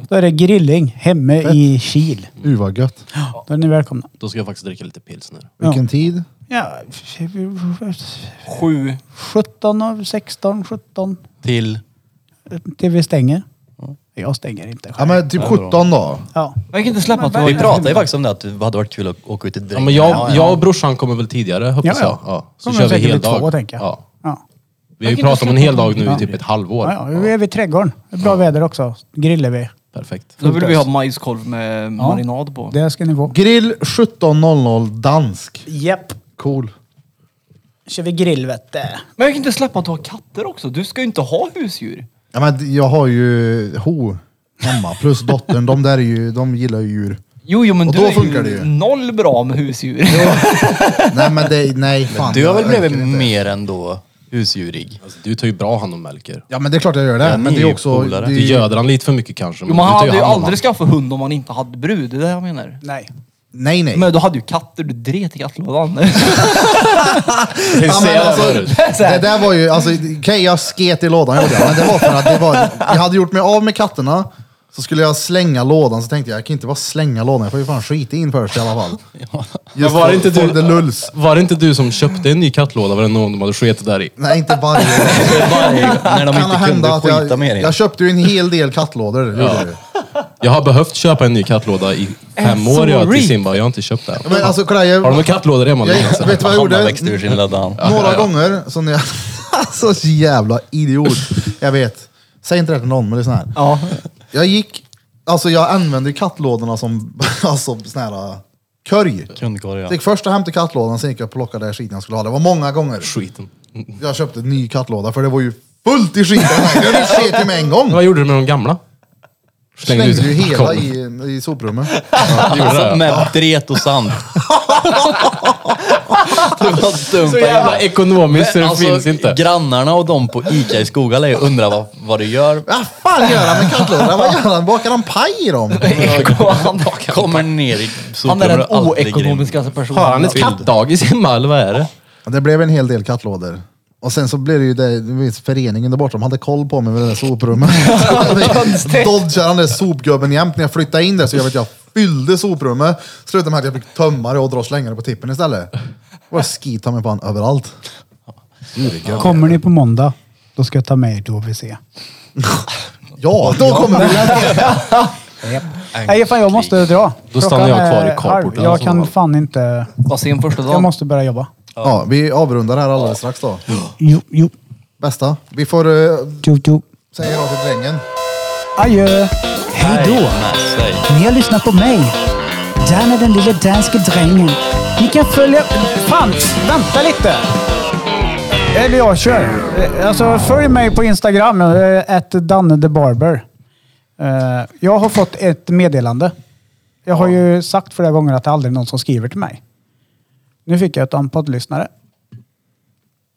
Speaker 2: Då är det grilling hemme i Kil.
Speaker 1: Mm. vad gött.
Speaker 2: Då är ni välkomna.
Speaker 3: Då ska jag faktiskt dricka lite pilsner.
Speaker 1: Vilken tid?
Speaker 2: Ja,
Speaker 4: Sju.
Speaker 2: 17, av 16, 17
Speaker 5: Till...
Speaker 2: till vi stänger. Jag stänger inte
Speaker 1: Ja
Speaker 2: själv.
Speaker 1: men typ 17 då.
Speaker 2: Ja.
Speaker 4: Jag kan inte släppa att det
Speaker 5: Vi
Speaker 4: var...
Speaker 5: pratade ju faktiskt om det, att det hade varit kul att åka ut i
Speaker 3: Ja,
Speaker 5: dräng.
Speaker 3: men jag, jag och brorsan kommer väl tidigare hoppas
Speaker 2: Ja, ja.
Speaker 3: jag. Ja. Så
Speaker 2: Kommer
Speaker 3: kör vi
Speaker 2: säkert bli
Speaker 3: hel dag.
Speaker 2: två, tänker jag.
Speaker 3: Ja.
Speaker 2: Ja.
Speaker 3: Vi har ju
Speaker 4: Jag kan
Speaker 3: pratat om en
Speaker 4: inte
Speaker 3: hel dag nu
Speaker 2: Ja.
Speaker 3: i typ ett halvår.
Speaker 2: Ja, ja, vi är vid trädgården. Det är Bra väder också. Grillar vi.
Speaker 3: Perfekt.
Speaker 4: Då vill vi ha majskolv med marinad på.
Speaker 2: Det ska ni få.
Speaker 1: Grill 17.00 dansk.
Speaker 2: Japp.
Speaker 1: Cool.
Speaker 2: kör vi grill vet du.
Speaker 4: Men jag kan inte släppa att du har katter också. Du ska ju inte ha husdjur.
Speaker 1: Ja, men jag har ju ho hemma plus dottern. De där är ju, de gillar ju djur.
Speaker 4: Jo, jo men
Speaker 1: Och
Speaker 4: du
Speaker 1: då
Speaker 4: är
Speaker 1: funkar det ju.
Speaker 4: noll bra med husdjur.
Speaker 1: Nej men det, nej fan.
Speaker 5: Du har väl
Speaker 1: jag
Speaker 5: blivit
Speaker 1: orkar inte.
Speaker 5: mer än då husdjurig?
Speaker 3: Alltså, du tar ju bra hand om Melker.
Speaker 1: Ja men det är klart jag gör det.
Speaker 5: Ja, ni
Speaker 1: men det
Speaker 5: är
Speaker 1: är
Speaker 5: ju
Speaker 1: också...
Speaker 5: polare.
Speaker 1: Det
Speaker 3: Du
Speaker 1: är,
Speaker 3: göder han lite för mycket kanske.
Speaker 4: Jo,
Speaker 3: Men
Speaker 4: man
Speaker 3: du tar ju
Speaker 4: hade ju
Speaker 3: hand om han.
Speaker 4: aldrig skaffat hund om man inte hade brud. Det är det jag menar.
Speaker 2: Nej.
Speaker 1: nej nej.
Speaker 4: Men du hade ju katter. Du dret i kattlådan.
Speaker 1: ja,
Speaker 3: Säg
Speaker 1: men
Speaker 3: det
Speaker 1: alltså,
Speaker 3: förut.
Speaker 1: det där var ju, alltså, okej jag sket i lådan gjorde jag, men det var för att det var, jag hade gjort mig av med katterna, så skulle jag slänga lådan, så tänkte jag, jag kan inte bara slänga lådan, jag får ju fan skita in först i alla fall. Just
Speaker 3: Men var det
Speaker 1: för-
Speaker 3: inte
Speaker 1: för
Speaker 3: du-
Speaker 1: the lulls.
Speaker 3: Var det inte du som köpte en ny kattlåda? Var det någon de hade sketit där i?
Speaker 1: Nej, inte varje.
Speaker 5: När de
Speaker 1: Det kan
Speaker 5: inte
Speaker 1: hända
Speaker 5: kunde
Speaker 1: att
Speaker 5: skita
Speaker 1: jag,
Speaker 5: mer i
Speaker 1: jag köpte ju en hel del kattlådor. gjorde jag ju.
Speaker 3: Jag har behövt köpa en ny kattlåda i fem
Speaker 4: Eh,
Speaker 3: år jag
Speaker 4: sorry.
Speaker 3: till Simba. Jag har inte köpt den.
Speaker 1: Men alltså kolla, jag,
Speaker 3: Har de en kattlåda hemma?
Speaker 1: jag, vet du vad jag
Speaker 5: Hanna
Speaker 1: gjorde?
Speaker 5: växte ur sin ladda han.
Speaker 1: Några gånger, så när jag... så jävla idiot. Jag vet. Säg inte det till någon, men det är sån här.
Speaker 4: ja.
Speaker 1: Jag gick, alltså jag använde ju kattlådorna som, alltså sån här äh, korg.
Speaker 5: Kundkorg
Speaker 1: Jag
Speaker 5: ja.
Speaker 1: gick först och hämtade kattlådan, sen gick jag och plockade den skiten jag skulle ha. Det var många gånger
Speaker 3: Skiten.
Speaker 1: jag köpte en ny kattlåda, för det var ju fullt i skiten. Jag sket ju med en gång.
Speaker 3: Vad gjorde du med de gamla?
Speaker 1: Slängde
Speaker 3: ut
Speaker 1: ju
Speaker 3: i
Speaker 1: hela
Speaker 3: balkongen.
Speaker 1: i, i soprummet.
Speaker 3: Du gjorde det?
Speaker 5: Med dret och sand. Det var dumt.
Speaker 3: Så jävla ekonomiskt så det
Speaker 5: Alltså,
Speaker 3: finns inte.
Speaker 5: Grannarna och de på Ica i Skogala jag undrar vad, vad du gör.
Speaker 1: Vad fan gör han med kattlådan? Vad gör han? Bakar han paj i dem?
Speaker 4: Han,
Speaker 5: Kommer ner i
Speaker 4: han är
Speaker 5: soprummet
Speaker 4: den
Speaker 5: och allt ligger i-
Speaker 4: oekonomiskaste personen.
Speaker 3: Har han ett kattdagis hemma eller vad är det?
Speaker 1: Ja, Det blev en hel del kattlådor. Och sen så blev det ju det, du vet, föreningen där borta, de hade koll på mig med det där soprummet. Dodgade han den där sopgubben jämt när jag flyttade in där så jag vet jag fyllde soprummet. Slutade med att jag fick tömma det och dra och slänga det på tippen istället. Det var skit ta mig fan överallt.
Speaker 2: Kommer ni på måndag, då ska jag ta med er till HVC.
Speaker 1: Ja, då kommer vi!
Speaker 2: Nej, fan jag måste dra.
Speaker 3: Då stannar
Speaker 2: Klockan
Speaker 3: jag kvar i
Speaker 2: är
Speaker 3: carporten
Speaker 2: halv. Jag
Speaker 3: i så
Speaker 2: kan
Speaker 3: fall.
Speaker 2: fan inte...
Speaker 4: Var sen första
Speaker 2: Jag
Speaker 4: dagen.
Speaker 2: måste börja jobba.
Speaker 1: Ja, vi avrundar här alldeles strax då.
Speaker 2: Jo, jo,
Speaker 1: Bästa, vi får eh,
Speaker 2: jo, jo.
Speaker 1: säga hej då till drängen.
Speaker 2: Adjö! Hej då!
Speaker 5: Nej,
Speaker 2: Ni har lyssnat på mig. Dan är den lille danske drängen. Ni kan följa... Fan, vänta lite! Eller jag kör. Eh, Alltså, följ mig på Instagram, att Danne the Barber. Eh, Jag har fått ett meddelande. Jag har ju sagt flera gånger att det aldrig är någon som skriver till mig. Nu fick jag ett av en poddlyssnare.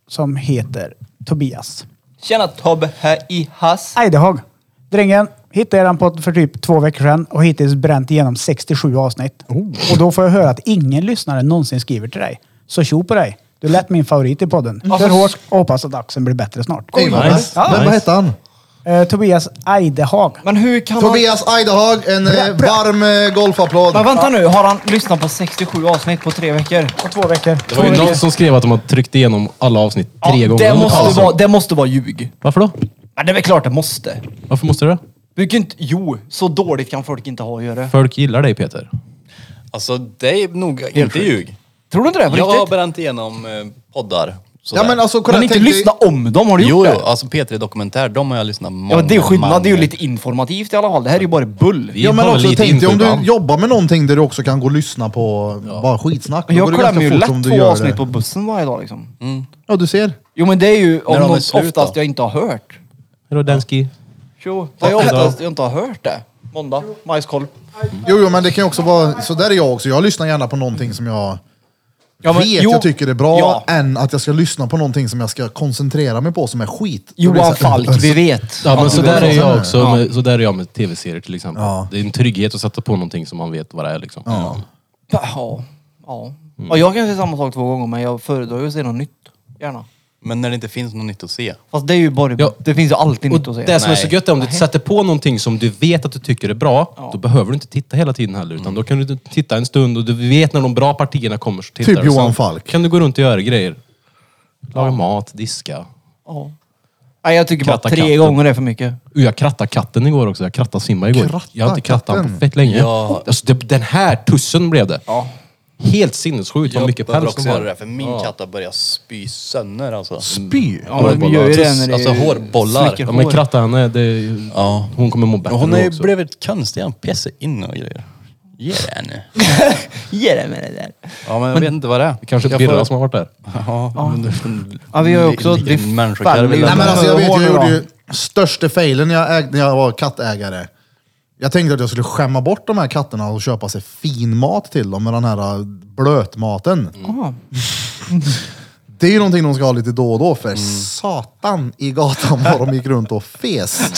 Speaker 2: Som heter Tobias.
Speaker 4: Tjena Tobbe här i Hass.
Speaker 2: Eidehag. Drängen, hittade eran podd för typ två veckor sedan och hittills bränt igenom 67 avsnitt. Och då får jag höra att ingen lyssnare någonsin skriver till dig. Så tjo på dig. Du lät min favorit i podden.
Speaker 3: Mm.
Speaker 2: Kör hårt och hoppas att axeln blir bättre snart.
Speaker 1: Oj, vad
Speaker 3: nice.
Speaker 1: bäst. Men vad
Speaker 3: Nice.
Speaker 1: hette han?
Speaker 2: Eh, Tobias Eidehag.
Speaker 4: Men hur kan
Speaker 1: Tobias Eidehag, en eh, varm eh, golfapplåd.
Speaker 4: han... Men vänta nu, har han lyssnat på 67 avsnitt på tre veckor?
Speaker 2: På två veckor.
Speaker 3: Det var ju någon som skrev att de har tryckt igenom alla avsnitt tre gånger.
Speaker 4: det,
Speaker 3: under
Speaker 5: Alltså.
Speaker 4: måste
Speaker 3: pausen.
Speaker 4: vara, det måste vara ljug.
Speaker 3: Varför då?
Speaker 4: Men det är väl klart det måste.
Speaker 3: Varför måste du det?
Speaker 4: Du kan inte, jo, så dåligt kan folk inte ha att göra.
Speaker 3: Folk gillar dig Peter.
Speaker 5: Alltså det är nog inte ljug.
Speaker 4: Tror du inte det? På
Speaker 5: Jag har
Speaker 4: riktigt?
Speaker 5: bränt igenom eh, poddar. sådär.
Speaker 1: Ja men alltså kolla,
Speaker 4: Men inte
Speaker 1: tänk dig-
Speaker 4: lyssna om dem, har du
Speaker 5: Jo,
Speaker 4: gjort
Speaker 5: jo,
Speaker 4: det?
Speaker 5: alltså P3 Dokumentär, de har jag lyssnat många
Speaker 4: Ja, men det är ju skillnad. Det är ju
Speaker 5: många-
Speaker 4: lite informativt i alla fall. Det här är ju bara bull.
Speaker 3: Vi
Speaker 1: Ja men
Speaker 3: har
Speaker 1: också
Speaker 3: lite
Speaker 1: tänk dig om
Speaker 3: info
Speaker 1: du
Speaker 3: ibland.
Speaker 1: jobbar med någonting där du också kan gå och lyssna på bara skitsnack. Då
Speaker 4: Jag
Speaker 1: går det ganska
Speaker 4: glömmer ju
Speaker 1: fort om
Speaker 4: lätt
Speaker 1: du
Speaker 4: två
Speaker 1: gör
Speaker 4: avsnitt
Speaker 1: det.
Speaker 4: på bussen varje dag liksom.
Speaker 1: Ja du ser.
Speaker 4: Jo men det är ju om
Speaker 5: de är
Speaker 4: något
Speaker 5: slut,
Speaker 4: oftast
Speaker 5: då?
Speaker 4: jag inte har hört.
Speaker 3: Hej då Danski.
Speaker 4: Jo, det är ju oftast jag inte har hört det. Måndag, majskolv.
Speaker 1: Jo jo men det kan ju också vara, så där är jag också. Jag lyssnar gärna på någonting som jag
Speaker 4: Ja, men-
Speaker 1: vet
Speaker 4: jo.
Speaker 1: jag tycker är bra.
Speaker 4: Ja.
Speaker 1: Än att jag ska lyssna på någonting som jag ska koncentrera mig på som är skit. Då blir det
Speaker 4: Johan
Speaker 1: så här-
Speaker 4: Falk, vi vet.
Speaker 3: Ja men så där är jag också.
Speaker 4: Ja.
Speaker 3: Med, så där är jag med tv-serier till exempel. Det är en trygghet att sätta på någonting som man vet vad det är liksom.
Speaker 4: Ja. ja. ja jag kan se samma sak två gånger men jag föredrar ju att se något nytt. Gärna.
Speaker 5: Men när det inte finns något nytt att se.
Speaker 4: Fast det är ju bara...
Speaker 3: Ja.
Speaker 4: Det finns ju alltid nytt
Speaker 3: Och
Speaker 4: att se.
Speaker 3: det som är så
Speaker 5: Nej.
Speaker 3: gött är om du sätter på någonting som du vet att du tycker är bra, då behöver du inte titta hela tiden heller. Utan då kan du titta en stund och du vet när de bra partierna kommer så tittar
Speaker 1: Typ
Speaker 3: du. Sen
Speaker 1: Johan Falk.
Speaker 3: kan du gå runt och göra grejer. Laga mat, diska.
Speaker 4: Nej, jag tycker bara
Speaker 3: Kratta
Speaker 4: tre
Speaker 3: katten.
Speaker 4: gånger är för mycket.
Speaker 3: Uh, jag krattade katten igår också. Jag krattade Simba igår.
Speaker 1: Kratta
Speaker 3: jag har inte krattat honom
Speaker 1: katten.
Speaker 3: på fett länge.
Speaker 5: Ja.
Speaker 3: Alltså, det, den här tussen blev det.
Speaker 4: Ja.
Speaker 3: Helt sinnessjukt vad
Speaker 5: Jag
Speaker 3: mycket
Speaker 5: behöver
Speaker 3: päls
Speaker 5: också
Speaker 3: det var.
Speaker 5: göra det, för min katt har börjat spy sönder alltså.
Speaker 1: Spy.
Speaker 4: Ja, men vi gör ju det när det
Speaker 5: Alltså, hårbollar.
Speaker 4: slicker
Speaker 3: Ja, men
Speaker 4: hår.
Speaker 3: kratta henne. Det,
Speaker 5: Ja.
Speaker 3: Hon kommer må bättre
Speaker 5: Men hon har
Speaker 3: nu
Speaker 5: ju
Speaker 3: också.
Speaker 5: blivit konstig, han pissar in och grejer. Ge det henne.
Speaker 4: Ge det med det där.
Speaker 5: Ja men jag vet inte vad det är.
Speaker 3: Det kanske är Birra som har varit där.
Speaker 5: Ja,
Speaker 4: Ja, vi har ju också- vi
Speaker 5: Vilken människokarv
Speaker 4: faller
Speaker 5: vill
Speaker 4: ju-
Speaker 1: Nej men alltså jag vet, jag
Speaker 4: Hård
Speaker 1: gjorde
Speaker 4: nu
Speaker 1: ju största failen när jag, ägde, när jag var kattägare. Jag tänkte att jag skulle skämma bort de här katterna och köpa sig fin mat till dem med den här äh, blötmaten.
Speaker 4: Ah.
Speaker 1: Det är ju någonting de ska ha lite då och då för satan i gatan vad de gick runt och fes.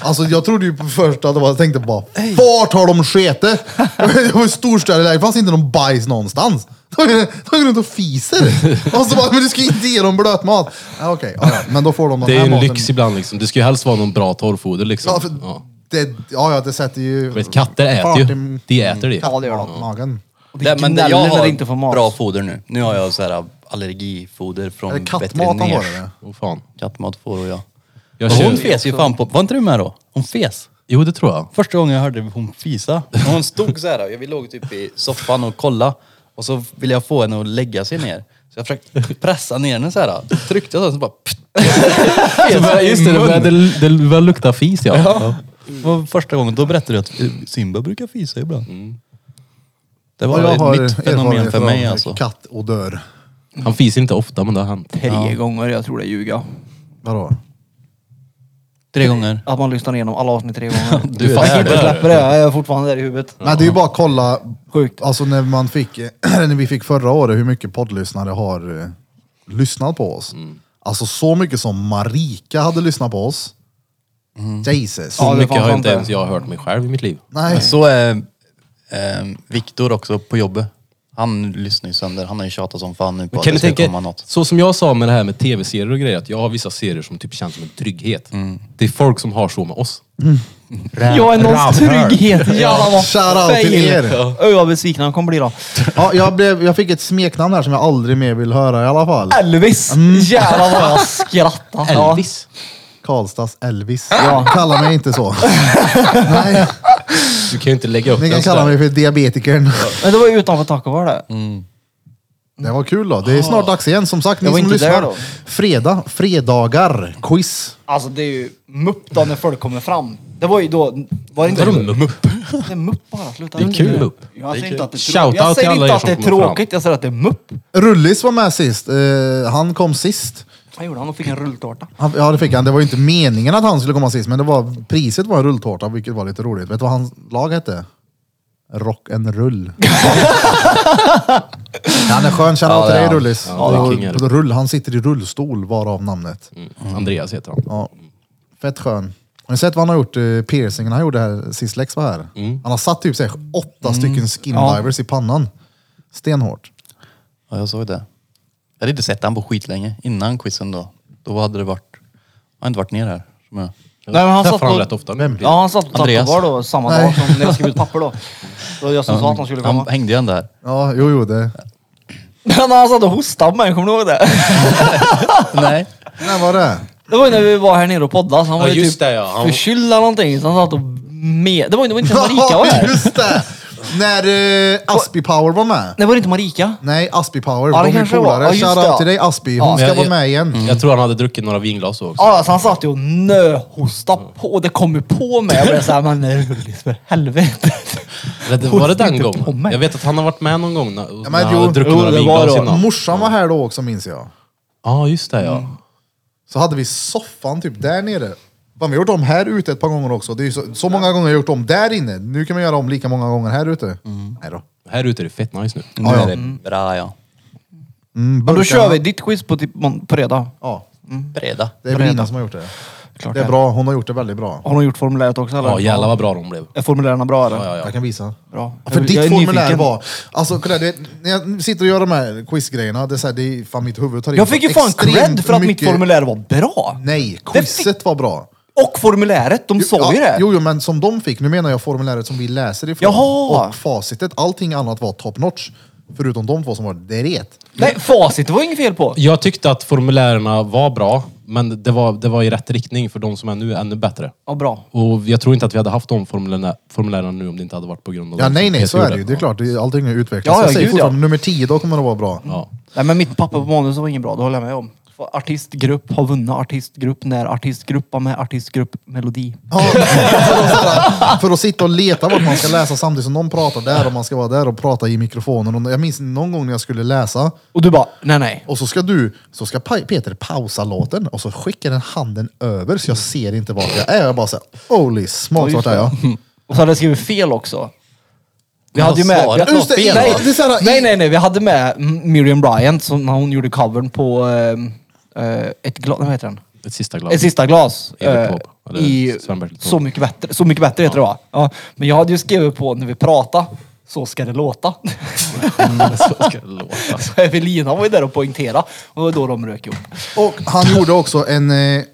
Speaker 1: alltså jag trodde ju på första att det var, jag tänkte bara, vart har de sketet? Det var ju storstäderläge, det fanns inte någon bajs någonstans. De de går runt och fiser. Och så bara, men du ska ju inte ge dem blötmat. Ja, Okej, ja, ja, men då får de den
Speaker 3: Det är
Speaker 1: här
Speaker 3: ju en
Speaker 1: maten.
Speaker 3: lyx ibland liksom. Det ska ju helst vara någon bra torrfoder liksom.
Speaker 1: Ja, för
Speaker 3: Ja.
Speaker 1: Det, ja, ja, det sätter ju...
Speaker 3: Vet, katter äter ju. De äter det.
Speaker 1: Ja,
Speaker 4: det gör de.
Speaker 1: Magen.
Speaker 4: Och det
Speaker 5: men
Speaker 4: gnäller
Speaker 5: jag
Speaker 4: när
Speaker 5: har
Speaker 4: det inte får mat.
Speaker 5: bra foder nu. Nu har jag så här allergifoder från
Speaker 1: Eller kattmat han
Speaker 5: Mm, veterinär.
Speaker 1: var det. där.
Speaker 3: Åh fan.
Speaker 5: Kattmat får jag.
Speaker 3: Jag
Speaker 5: Men
Speaker 3: kör-
Speaker 5: hon fes ju fan på... Var inte du med då? Hon fes.
Speaker 3: Jo, det tror jag.
Speaker 5: Första gången jag hörde hon fisa. Och Hon stod så här. Vi låg typ i soffan och kollade. Och så ville jag få henne att lägga sig ner. Så jag försökte pressa ner henne så här. Tryckte jag så här, så bara... pff,
Speaker 3: Så började- Just det, det började, det började lukta fis ja.
Speaker 5: Det var första gången. Då berättade du att eh, Simba brukar fisa ibland. Det
Speaker 1: Och
Speaker 5: var
Speaker 1: jag har
Speaker 5: ett nytt fenomen
Speaker 1: erfarenhet
Speaker 5: för mig
Speaker 1: av
Speaker 5: alltså.
Speaker 1: Kattodör.
Speaker 3: Han fiser inte ofta, men det har hänt.
Speaker 4: Tre gånger, jag tror det är ljuga.
Speaker 1: Vadå?
Speaker 5: Tre gånger.
Speaker 4: Att man lyssnar igenom alla avsnitt tre gånger.
Speaker 5: Du
Speaker 4: jag
Speaker 5: är
Speaker 4: kan inte
Speaker 5: där.
Speaker 4: släppa det, jag är fortfarande där i huvudet.
Speaker 1: Nej, det är ju bara att kolla,
Speaker 4: Sjukt.
Speaker 1: alltså när man fick, när vi fick förra året, hur mycket poddlyssnare har eh, lyssnat på oss. Alltså så mycket som Marika hade lyssnat på oss. Jesus.
Speaker 4: Mm. Ja,
Speaker 3: Så
Speaker 4: det
Speaker 3: mycket
Speaker 4: fanns
Speaker 3: har
Speaker 4: sant
Speaker 3: inte
Speaker 4: det.
Speaker 3: ens jag hört mig själv i mitt liv.
Speaker 1: Nej.
Speaker 5: Så är eh, Viktor också på jobbet. Han lyssnar ju sönder. Han har ju tjatat som fan nu på att
Speaker 3: Kan
Speaker 5: det
Speaker 3: ni
Speaker 5: ska
Speaker 3: tänka,
Speaker 5: komma något.
Speaker 3: så som jag sa med det här med tv-serier och grejer, att jag har vissa serier som typ känns som en trygghet. Det är folk som har så med oss.
Speaker 4: Jag är någons trygghet. Jävlar vad
Speaker 1: Shoutout till
Speaker 4: fail.
Speaker 1: er.
Speaker 4: Ja. Öh, vad besviken han kommer bli då.
Speaker 1: Ja, jag, blev, jag fick ett smeknamn här som jag aldrig mer vill höra i alla fall.
Speaker 4: Elvis! Jävlar vad jag skrattar.
Speaker 3: Mm. Elvis.
Speaker 1: Karlstads Elvis. Kalla mig inte så. Nej,
Speaker 3: Du kan ju inte lägga upp
Speaker 1: ni kan
Speaker 3: den
Speaker 1: kalla
Speaker 3: sådär.
Speaker 1: mig för diabetikern.
Speaker 4: Ja. Men det var ju utanför taco var det?
Speaker 3: Mm.
Speaker 1: Det var kul då. Det är snart dags igen. Som sagt, ni
Speaker 4: Jag var
Speaker 1: som
Speaker 4: inte där
Speaker 1: lyssnar.
Speaker 4: då.
Speaker 1: Fredag, fredagar, quiz.
Speaker 4: Alltså det är ju mupp då när folk kommer fram. Det var ju då... Var det inte
Speaker 3: Vadå mupp?
Speaker 4: Det är mupp bara, sluta.
Speaker 3: Det är kul mupp.
Speaker 4: Jag säger inte att det är
Speaker 3: Shoutout till
Speaker 4: tråkigt. Jag säger
Speaker 3: alla er
Speaker 4: inte att det är
Speaker 3: som kommer fram.
Speaker 4: tråkigt, jag säger att det är mupp.
Speaker 1: Rullis var med sist. Eh, han kom sist.
Speaker 4: Vad gjorde han? och fick en rulltårta.
Speaker 1: Han, ja, det fick han. Det var ju inte meningen att han skulle komma sist, men det var, priset var en rulltårta, vilket var lite roligt. Vet du vad hans lag hette? Rock and rull. ja, han är skön. Shoutout
Speaker 5: Ja,
Speaker 1: till
Speaker 5: det är Mm.
Speaker 1: dig
Speaker 5: han.
Speaker 1: Rullis.
Speaker 3: Ja, det är kingen.
Speaker 1: Och rull, han sitter i rullstol, varav namnet.
Speaker 3: Andreas heter han.
Speaker 1: Ja. Fett skön. Har ni sett vad han har gjort? eh, Piercingen han gjorde här sist Lex var här.
Speaker 5: Mm.
Speaker 1: Han har satt typ så här, åtta stycken skin divers i pannan. Stenhårt.
Speaker 5: Ja, jag såg det. Jag hade inte sett han på skitlänge. Innan quizen då. Då hade det varit... Han har inte varit ner här. Som jag.
Speaker 4: Nej, men han
Speaker 3: Träffar
Speaker 4: satt
Speaker 3: han
Speaker 4: på-
Speaker 3: rätt ofta.
Speaker 1: Vem?
Speaker 4: Ja, han satt på
Speaker 5: Andreas.
Speaker 4: tacobar då samma
Speaker 1: Nej.
Speaker 4: dag som när jag skrev ut papper då. Då jag som sa att han skulle komma.
Speaker 5: Han hängde ju ändå här.
Speaker 1: Ja, jo, jo det.
Speaker 4: Men han satt och hostade på mig, kommer du ihåg det?
Speaker 5: Nej.
Speaker 1: När var det?
Speaker 4: Det var ju när vi var här nere och poddade. så Han var
Speaker 3: Ja,
Speaker 4: ju
Speaker 3: just
Speaker 4: typ
Speaker 3: det, ja. Han-
Speaker 4: förkyld eller någonting. Så han satt och med... Det var ju det var inte Marika var här.
Speaker 1: just det! När eh, Aspi Power var med.
Speaker 4: Det var inte Marika.
Speaker 1: Nej, Aspi Power.
Speaker 4: Ja, det
Speaker 1: de är
Speaker 4: kanske det var. Ja,
Speaker 1: polare.
Speaker 4: just
Speaker 1: Shoutout
Speaker 4: det.
Speaker 1: till dig Aspi. Hon
Speaker 4: Ja. Mm.
Speaker 1: ska
Speaker 3: Jag-
Speaker 1: vara
Speaker 3: jag-
Speaker 1: med igen.
Speaker 3: Jag tror han hade druckit några vinglas då också.
Speaker 4: Ja, så han satt ju och nöhostade på och det kom ju på mig. Jag blev såhär, men Rullis för helvete.
Speaker 3: Eller det- Var det
Speaker 4: Hosta
Speaker 3: den
Speaker 4: inte på
Speaker 3: gången?
Speaker 4: mig.
Speaker 3: Jag vet att han har varit med någon gång när,
Speaker 1: men
Speaker 3: när han
Speaker 1: jo,
Speaker 3: hade druckit
Speaker 1: jo,
Speaker 3: några
Speaker 1: det
Speaker 3: vinglas
Speaker 4: var då.
Speaker 3: innan.
Speaker 1: Morsan var här då också minns jag.
Speaker 3: Ja, just det ja.
Speaker 1: Mm. Så hade vi soffan typ där nere. Fan, vi har gjort om här ute ett par gånger också. Det är ju så, så många gånger jag har gjort om där inne. Nu kan man göra om lika många gånger här ute.
Speaker 4: Mm.
Speaker 1: Nej då.
Speaker 3: Här ute är det fett nice nu.
Speaker 5: Nu är det bra ja.
Speaker 1: Mm,
Speaker 4: Men då
Speaker 1: burkarna.
Speaker 4: kör vi ditt quiz på, typ, mån- på fredag.
Speaker 1: Ja,
Speaker 5: Breda.
Speaker 1: det är Brina som har gjort det.
Speaker 4: Klart
Speaker 1: Det är bra, hon har gjort det väldigt bra.
Speaker 4: Har de gjort formuläret också eller?
Speaker 3: Ja, jävlar vad bra de blev.
Speaker 4: Är formulären bra eller?
Speaker 1: Jag kan visa.
Speaker 4: Bra.
Speaker 1: För
Speaker 4: Jag- jag
Speaker 1: ditt
Speaker 4: är
Speaker 1: formulär
Speaker 4: nyfiken.
Speaker 1: var... Alltså kolla, det, när jag sitter och gör de här quizgrejerna, det är så här, det är fan mitt huvud tar in
Speaker 4: Jag fick ju fan
Speaker 1: extremt
Speaker 4: cred för att mitt
Speaker 1: mycket-
Speaker 4: formulär var bra.
Speaker 1: Nej,
Speaker 4: Det
Speaker 1: quizet var bra.
Speaker 4: Och formuläret, de sa ju
Speaker 1: ja,
Speaker 4: det.
Speaker 1: Jo, jo, men som de fick. Nu menar jag formuläret som vi läser ifrån.
Speaker 4: Jaha!
Speaker 1: Och facitet. Allting annat var top notch. Förutom de två som var dret.
Speaker 4: Nej, facit var inget fel på.
Speaker 3: Jag tyckte att formulärerna var bra, men det var, det var i rätt riktning för de som är nu ännu bättre.
Speaker 4: Ja, bra.
Speaker 3: Och jag tror inte att vi hade haft de formulärerna, formulärerna nu om det inte hade varit på grund av
Speaker 1: Ja,
Speaker 3: de
Speaker 1: nej,
Speaker 3: som
Speaker 1: nej,
Speaker 3: Peter
Speaker 1: så är det
Speaker 3: gjorde.
Speaker 1: ju. Det är klart, det är- allting har ju utvecklats.
Speaker 4: Ja, ja,
Speaker 1: jag säger
Speaker 4: gud,
Speaker 1: fortfarande,
Speaker 4: ja.
Speaker 1: nummer tio, då kommer det vara bra.
Speaker 3: Ja.
Speaker 4: Nej, men mitt papper på manus var inget bra, det håller jag med om. Artistgrupp har vunnit artistgrupp när artistgrupp var med artistgrupp melodi.
Speaker 1: Ja, för, att, sådär, för att sitta och leta vart man ska läsa samtidigt som någon pratar där och man ska vara där och prata i mikrofonen. Och jag minns någon gång när jag skulle läsa
Speaker 4: Och du bara, nej nej.
Speaker 1: och så ska du, så ska Pa- Peter pausa låten och så skickar den handen över så jag ser inte vart jag är. Jag bara såhär, holy smokes, vart är jag?
Speaker 4: Och så hade jag skrivit fel också. Vi hade ju
Speaker 5: Ja,
Speaker 4: med...
Speaker 5: svaret
Speaker 4: vi-
Speaker 5: var
Speaker 1: Just det,
Speaker 5: fel,
Speaker 1: nej,
Speaker 5: va?
Speaker 1: det är såhär,
Speaker 4: Nej, nej, nej. Vi hade med Miriam Bryant som när hon gjorde covern på ehm, eh, ett glas, vad heter den?
Speaker 3: Ett sista glas.
Speaker 4: Ett sista glas.
Speaker 3: Evert
Speaker 4: eh,
Speaker 3: Taube, eller
Speaker 4: I
Speaker 3: Sven-Bertil Taube.
Speaker 4: Så mycket bättre, så mycket bättre heter det va? Ja. Men jag hade ju skrivit på när vi pratade, så ska det låta.
Speaker 3: Så ska det låta.
Speaker 4: så Evelina var ju där och poängterade och det var då de rök ihop.
Speaker 1: Och han gjorde också en, eh, eh,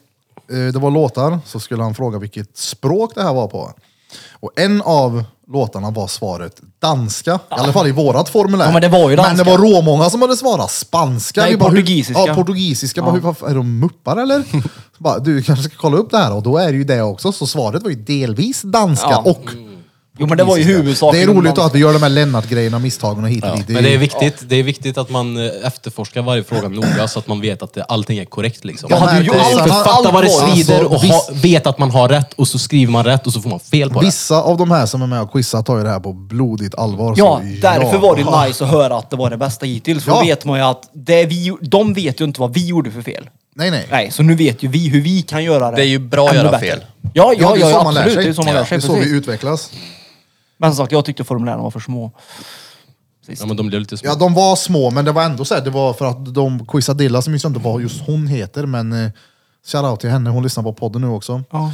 Speaker 1: det var låtar, så skulle han fråga vilket språk det här var på. Och en av låtarna var svaret danska, i alla fall i vårat formulär.
Speaker 4: Ja, men det var ju danska.
Speaker 1: Men det var råmånga som hade svarat spanska.
Speaker 4: Nej,
Speaker 1: Vi bara, hur-
Speaker 4: portugisiska.
Speaker 1: Ja, portugisiska. Bara, hur, vad- är de muppar eller? Så bara, du kanske ska kolla upp det här och då är det ju det också. Så svaret var ju delvis danska
Speaker 4: Ja.
Speaker 1: och
Speaker 4: Jo men det var ju huvudsaken.
Speaker 1: Det är roligt att vi gör de här Lennart-grejerna, misstagen och hit och dit.
Speaker 3: Men det är viktigt, det är viktigt att man eh, efterforskar varje fråga noga så att man vet att det, allting är korrekt liksom.
Speaker 1: Jag
Speaker 4: hade ju
Speaker 1: märker
Speaker 4: allt-
Speaker 1: att-
Speaker 4: allt-
Speaker 3: Fatta vad det
Speaker 1: Alltså,
Speaker 3: svider och ha,
Speaker 1: visst-
Speaker 3: vet att man har rätt och så skriver man rätt och så får man fel på det.
Speaker 1: Vissa av de här som är med och quizar tar ju det här på blodigt allvar.
Speaker 4: Ja,
Speaker 1: så
Speaker 4: därför var det
Speaker 1: Ja.
Speaker 4: nice att höra att det var det bästa hittills. För då
Speaker 1: Ja.
Speaker 4: vet man ju att det vi, de vet ju inte vad vi gjorde för fel.
Speaker 1: Nej, nej.
Speaker 4: Nej, så nu vet ju vi hur vi kan göra det.
Speaker 5: Det är ju bra att
Speaker 4: ännu
Speaker 5: göra
Speaker 4: bättre.
Speaker 5: fel.
Speaker 4: Ja, ja,
Speaker 1: Ja,
Speaker 4: ja,
Speaker 1: det är så man lär
Speaker 4: absolut.
Speaker 1: sig.
Speaker 4: Det är så man lär sig.
Speaker 1: Det är så
Speaker 4: precis.
Speaker 1: vi utvecklas.
Speaker 4: Men som sagt, jag tyckte formulären var för små.
Speaker 3: Ja, men de blir lite små.
Speaker 1: Ja, de var små, men det var ändå så här, det var för att de quizade Dilla, som minns jag inte vad just hon heter, men eh, shoutout till henne, hon lyssnar på podden nu också.
Speaker 4: Ja.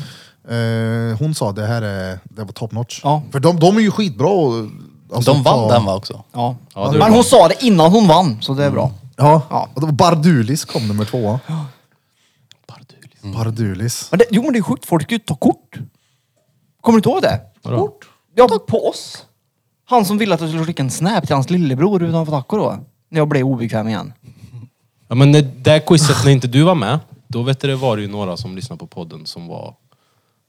Speaker 1: Eh, hon sa det här är, det var top notch.
Speaker 4: Ja.
Speaker 1: För de, de är ju skitbra och, alltså,
Speaker 5: De vann
Speaker 1: ta-
Speaker 5: den va också?
Speaker 4: Ja.
Speaker 3: Ja, det är
Speaker 4: Men
Speaker 3: bra. Mm.
Speaker 4: hon sa det innan hon vann, så det är bra.
Speaker 1: Ja,
Speaker 4: Ja.
Speaker 1: Och det var Bardulis kom nummer två.
Speaker 4: Mm.
Speaker 1: Bardulis.
Speaker 4: Men det, jo, men det är sjukt. Folk kan ju ta kort. Kommer du inte ihåg det? Kort? Ja, på oss. Han som ville att jag skulle skicka en snap till hans lillebror utanför Taco då. När jag blev obekväm igen.
Speaker 3: Ja, men eh, det där quizet när inte du var med, då vet du, det var det ju några som lyssnade på podden som var...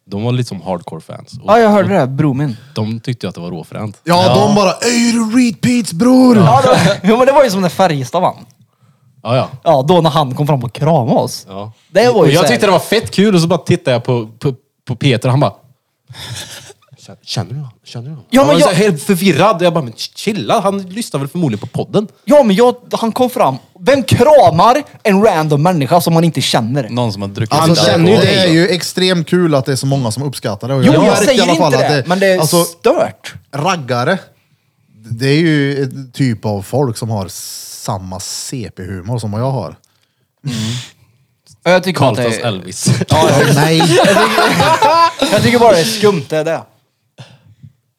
Speaker 3: De var lite som hardcore fans. Och
Speaker 4: Ja, jag hörde det. Bror min.
Speaker 3: De tyckte ju att det var råfränt.
Speaker 1: Ja, de bara Ey du repeats bror!
Speaker 4: Ja, det, jo, men det var ju som när Färjestad vann.
Speaker 3: Ja, ja.
Speaker 4: Ja, då när han kom fram och kramade oss.
Speaker 3: ja.
Speaker 4: Det var
Speaker 3: och
Speaker 4: ju
Speaker 3: jag
Speaker 4: så här-
Speaker 3: tyckte det var fett kul och så bara tittade jag på, på, på Peter och han bara... "Känner- Känner du honom? Känner du honom?
Speaker 4: Ja,
Speaker 3: han
Speaker 4: men
Speaker 3: var så
Speaker 4: jag-
Speaker 3: här helt förvirrad. Jag bara, men chilla, han lyssnar väl förmodligen på podden.
Speaker 4: Ja, men jag, han kom fram. Vem kramar en random människa som man inte känner?
Speaker 5: Någon som har druckit
Speaker 3: Han
Speaker 5: lite
Speaker 3: Alltså, känner ju
Speaker 5: alkohol.
Speaker 1: Alltså, det är ju extremt kul att det är så många som uppskattar det. Och
Speaker 4: Jo,
Speaker 1: märkte
Speaker 4: jag
Speaker 1: i alla
Speaker 4: säger
Speaker 1: fall
Speaker 4: inte
Speaker 1: att
Speaker 4: det, men det är
Speaker 1: alltså,
Speaker 4: stört.
Speaker 1: raggare, det är ju en typ av folk som har samma CP-humor som vad jag har.
Speaker 4: Ja, Jag tycker, att
Speaker 3: Carltons
Speaker 4: det,
Speaker 3: Elvis.
Speaker 1: Nej,
Speaker 4: jag tycker bara det är skumt, det är det.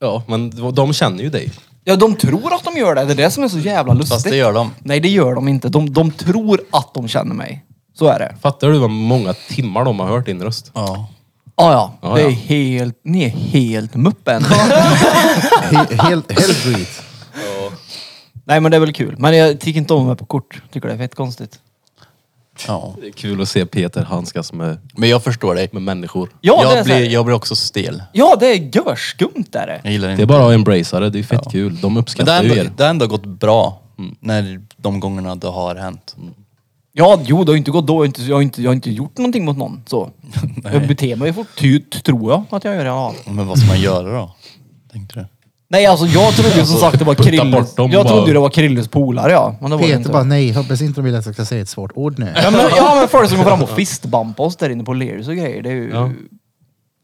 Speaker 3: Ja, men de- de känner ju dig.
Speaker 4: Ja, de tror att de gör det. Det är det som är så jävla lustigt.
Speaker 5: Fast det gör de.
Speaker 4: Nej, det gör de inte. De, de tror att de känner mig. Så är det.
Speaker 3: Fattar du vad många timmar de har hört din röst?
Speaker 5: Ja.
Speaker 4: Ah, Ja, ja.
Speaker 5: Ah,
Speaker 3: Ja,
Speaker 4: Det är
Speaker 3: ja.
Speaker 4: helt... Ni är helt muppen.
Speaker 1: he- helt, helt skit.
Speaker 4: Nej, men det är väl kul. Men jag tycker inte om mig på kort. Tycker det är fett konstigt.
Speaker 5: ja.
Speaker 3: Det är kul att se Peter handskas med,
Speaker 5: Men jag förstår dig.
Speaker 3: med människor.
Speaker 4: Ja, det är
Speaker 5: jag,
Speaker 4: så här-
Speaker 5: blir, jag blir också stel.
Speaker 4: Ja, det är görskumt är det.
Speaker 5: Jag gillar
Speaker 3: Det
Speaker 5: inte.
Speaker 3: är bara att embracea det, det är fett kul. De
Speaker 5: Men det, har
Speaker 3: uppskattar ju
Speaker 5: ändå,
Speaker 3: er.
Speaker 5: det har ändå gått bra mm, när de gångerna det har hänt.
Speaker 4: Ja, jo, det har ju inte gått då. Jag har inte, jag har inte, jag har inte gjort någonting mot någon. Så. jag beter mig fort, ty- tror jag att jag gör. Ja.
Speaker 5: Men vad ska man göra då? Tänkte du?
Speaker 4: Nej, alltså jag trodde ju som sagt det var
Speaker 3: putta
Speaker 4: Krilles...
Speaker 3: bort dem
Speaker 4: Jag
Speaker 3: bara.
Speaker 4: trodde ju det var Krilles polare ja. Men det var det
Speaker 1: Peter
Speaker 4: inte.
Speaker 1: bara, nej, hoppas inte de vill att jag ska säga ett svårt ord nu.
Speaker 4: Ja men, ja, men folk som går fram och fistbumpar oss där inne på Lears och grejer. Det är ju... Ja,
Speaker 3: Ja.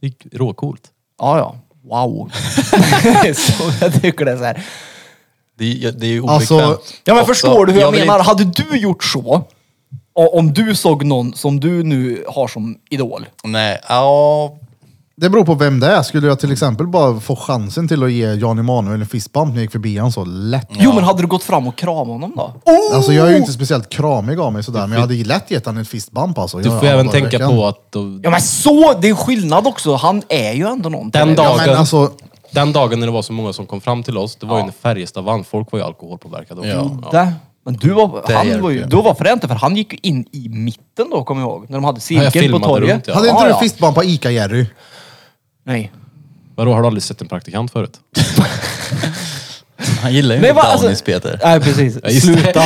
Speaker 3: Det är råcoolt.
Speaker 4: ja. Wow. så jag tycker det är så här.
Speaker 5: Det, är ju- det är ju obekvämt.
Speaker 1: Alltså,
Speaker 4: Ja men
Speaker 5: också.
Speaker 4: förstår du hur jag,
Speaker 5: vill
Speaker 4: menar?
Speaker 5: inte-
Speaker 4: Hade du gjort så, och om du såg någon som du nu har som idol.
Speaker 5: Nej, ja.
Speaker 1: Det beror på vem det är. Skulle jag till exempel bara få chansen till att ge Jan Emanuel en fistbump när jag gick förbi han så lätt.
Speaker 4: Jo men hade du gått fram och kramat honom då?
Speaker 1: Alltså jag är ju inte speciellt kramig av mig sådär, men jag hade ju lätt gett han en fistbump alltså.
Speaker 3: Du får även tänka på att... då-
Speaker 4: Ja men så, det är skillnad också. Han är ju ändå någonting.
Speaker 3: Den
Speaker 1: Ja,
Speaker 3: dagen,
Speaker 1: men alltså,
Speaker 3: Den dagen när det var så många som kom fram till oss, det var ju när Färjestad vann. Folk var ju alkoholpåverkade också.
Speaker 5: Ja.
Speaker 3: Ja.
Speaker 4: Där. Men du var,
Speaker 5: Det
Speaker 4: han
Speaker 5: hjälper
Speaker 4: var ju,
Speaker 5: ju.
Speaker 4: då var fränt för han gick ju in i mitten då kommer jag ihåg. När de hade
Speaker 3: jag
Speaker 4: cirkel på
Speaker 3: filmade
Speaker 4: torget.
Speaker 3: runt, ja.
Speaker 1: Hade inte
Speaker 4: Ja,
Speaker 1: du
Speaker 4: ja.
Speaker 1: fistbump på Ica-Jerry?
Speaker 4: Nej.
Speaker 3: Vadå, har du aldrig sett en praktikant förut?
Speaker 5: Han gillar ju
Speaker 4: Nej,
Speaker 5: inte
Speaker 4: va, alltså-
Speaker 5: Downies Peter.
Speaker 4: Nej precis.
Speaker 3: Ja, just det.
Speaker 4: Sluta.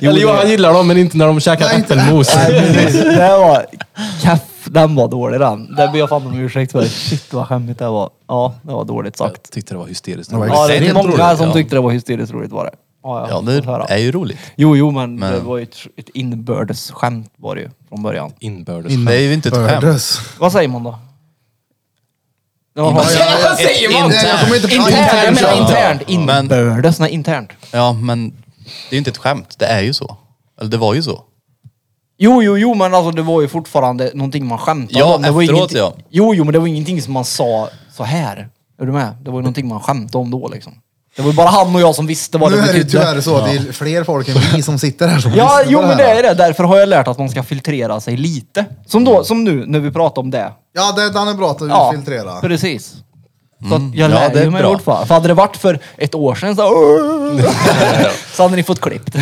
Speaker 3: Eller jo,
Speaker 4: det-
Speaker 3: han gillar dem, men inte när de käkar äppelmos.
Speaker 4: det var... Kaff, den var dålig den. Den ber jag fan om ursäkt för. Shit vad skämmigt det var. Ja, det var dåligt
Speaker 3: Jag
Speaker 4: sagt.
Speaker 3: tyckte det var hysteriskt.
Speaker 1: Det var
Speaker 4: Ja, det
Speaker 1: extremt
Speaker 4: är många
Speaker 1: roligt,
Speaker 4: som
Speaker 5: ja.
Speaker 4: tyckte det var hysteriskt roligt var det. Ja,
Speaker 5: Ja,
Speaker 4: ja.
Speaker 5: det
Speaker 4: får höra.
Speaker 5: är ju roligt.
Speaker 4: Jo, jo, men, det
Speaker 5: Men-
Speaker 4: var ju ett, ett inbördes skämt var det ju från början.
Speaker 3: Inbördes.
Speaker 5: Det är ju inte ett skämt.
Speaker 1: Hördes.
Speaker 4: Vad säger man då? Ja, vad säger man?
Speaker 1: Nej, jag kommer inte på
Speaker 4: Internt, jag menar
Speaker 1: Ja.
Speaker 4: internt.
Speaker 5: Men-
Speaker 4: Inbördes, nej internt.
Speaker 5: Ja, men det är ju inte ett skämt. Det är ju så. Eller det var ju så.
Speaker 4: Jo, jo, jo, men alltså det var ju fortfarande någonting man skämtade
Speaker 5: Ja,
Speaker 4: om. Det var
Speaker 5: efteråt,
Speaker 4: ingenting-
Speaker 5: ja.
Speaker 4: Jo, jo, men det var ingenting som man sa så här. Är du med? Det var ju någonting man skämtade om då liksom. Det var ju bara han och jag som visste vad
Speaker 1: Nu
Speaker 4: det
Speaker 1: är det
Speaker 4: betydde.
Speaker 1: tyvärr så att det är fler folk än vi som sitter här som
Speaker 4: Ja,
Speaker 1: lyssnar på
Speaker 4: jo men det
Speaker 1: här.
Speaker 4: är det. Därför har jag lärt att man ska filtrera sig lite. Som, då, som nu när vi pratar om det.
Speaker 1: Ja, det, den är bra att du filtrerar.
Speaker 4: precis. Så att jag
Speaker 5: Mm. Ja,
Speaker 4: lär
Speaker 5: det är
Speaker 4: ju mig
Speaker 5: bra.
Speaker 4: fortfarande. För hade det varit för ett år sedan så, så hade ni fått klippt.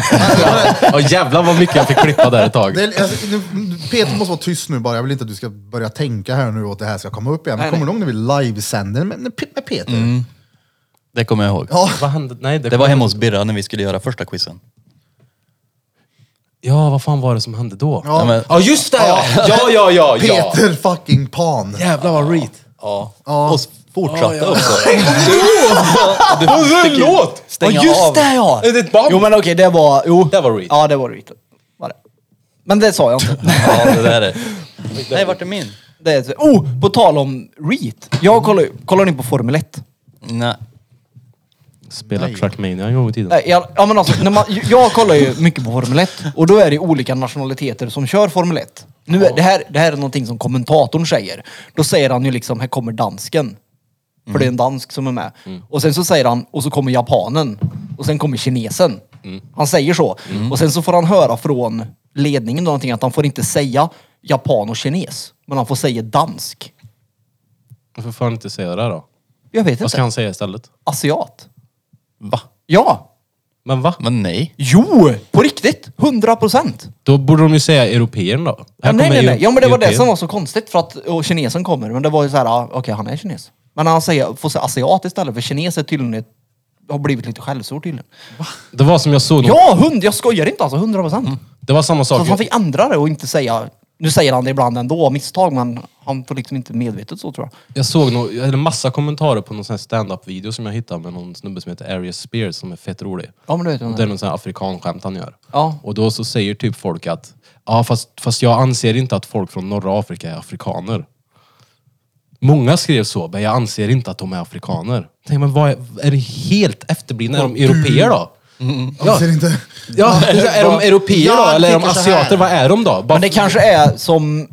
Speaker 3: Ja, jävlar vad mycket jag fick klippa där ett tag.
Speaker 1: Det är, alltså, nu, Peter måste vara tyst nu bara. Jag vill inte att du ska börja tänka här nu och att det här ska komma upp igen. Men
Speaker 4: Nej,
Speaker 1: kommer
Speaker 4: nej.
Speaker 1: du ihåg när vi livesänder med, med Peter?
Speaker 5: Det kommer jag ihåg.
Speaker 1: Ja.
Speaker 3: Vad hände? Nej,
Speaker 5: Det var hemma hos Birra när vi skulle göra första quizen.
Speaker 3: Ja, vad fan var det som hände då?
Speaker 1: Ja.
Speaker 5: men,
Speaker 3: Ja, just det! Ja, ja, ja, ja. ja.
Speaker 1: Peter fucking Pan.
Speaker 3: Jävlar vad reet.
Speaker 5: ja. Och s- fortsatte också.
Speaker 3: Vilken låt!
Speaker 4: Ja
Speaker 5: Stänga
Speaker 4: just
Speaker 5: av.
Speaker 4: det ja!
Speaker 3: Är det ett band?
Speaker 4: Jo men okej det var... Jo.
Speaker 3: Det var Reed.
Speaker 4: Ja det var Reed. Var det. Men det sa jag inte.
Speaker 5: Ja, det där är Nej, vart är min?
Speaker 4: det är, oh! På tal om Reed. Jag kollar, kollar ni på Formel 1?
Speaker 5: Nej.
Speaker 3: Spelar Trackmania en gång i tiden.
Speaker 4: Nej, jag- Ja men alltså, när man, jag kollar ju mycket på Formel 1 och då är det olika nationaliteter som kör Formel 1. Nu är, det, här, det här är någonting som kommentatorn säger. Då säger han ju liksom, här kommer dansken. För det är
Speaker 3: Mm.
Speaker 4: en dansk som är med. Och sen så säger han, och så kommer japanen. Och sen kommer kinesen.
Speaker 3: Mm.
Speaker 4: Han säger så. Och sen så får han höra från ledningen någonting att han får inte säga japan och kines. Men han får säga dansk.
Speaker 3: Varför får han inte säga det då?
Speaker 4: Jag vet
Speaker 3: Vad
Speaker 4: inte.
Speaker 3: ska han säga istället?
Speaker 4: Asiat.
Speaker 5: Va?
Speaker 4: Ja!
Speaker 3: Men va?
Speaker 5: Men nej.
Speaker 4: Jo! På riktigt! 100 procent!
Speaker 3: Då borde de ju säga européen då. Här
Speaker 4: Ja, nej,
Speaker 3: kommer
Speaker 4: nej, nej.
Speaker 3: eu-
Speaker 4: Ja, men det var det
Speaker 3: europeen.
Speaker 4: som var så konstigt för att och kinesen kommer. Men det var ju så här, ah, okej, han är kines. Men han säger, får säga asiat istället för kines är tydligen ett, har blivit lite skällsord tydligen.
Speaker 3: Det var som jag såg någon-
Speaker 4: Ja, hund, jag skojar inte alltså, 100 procent.
Speaker 3: Det var samma
Speaker 4: Så att
Speaker 3: sak.
Speaker 4: han fick ändra det och inte säga, nu säger han det ibland ändå av misstag, men han får liksom inte medvetet så tror jag.
Speaker 3: Jag såg nog, jag hade massa kommentarer på någon sån här stand-up video som jag hittade med någon snubbe som heter Arias Spears som är fett rolig.
Speaker 4: Ja, men du vet vem
Speaker 3: Och
Speaker 4: det
Speaker 3: det är
Speaker 4: är.
Speaker 3: någon sån här afrikanskämt han gör.
Speaker 4: Ja.
Speaker 3: Och då så säger typ folk att, ja fast, fast jag anser inte att folk från norra Afrika är afrikaner. Många skrev så, men jag anser inte att de är afrikaner. Tänk, men vad är, är det helt efterblivna? Är de europeer då?
Speaker 1: Jag ser inte.
Speaker 3: Ja, är de europeer då?
Speaker 1: Jag
Speaker 3: Eller är de
Speaker 1: tycker så här.
Speaker 3: asiater? Vad är de då? Bara
Speaker 4: Men det kanske är som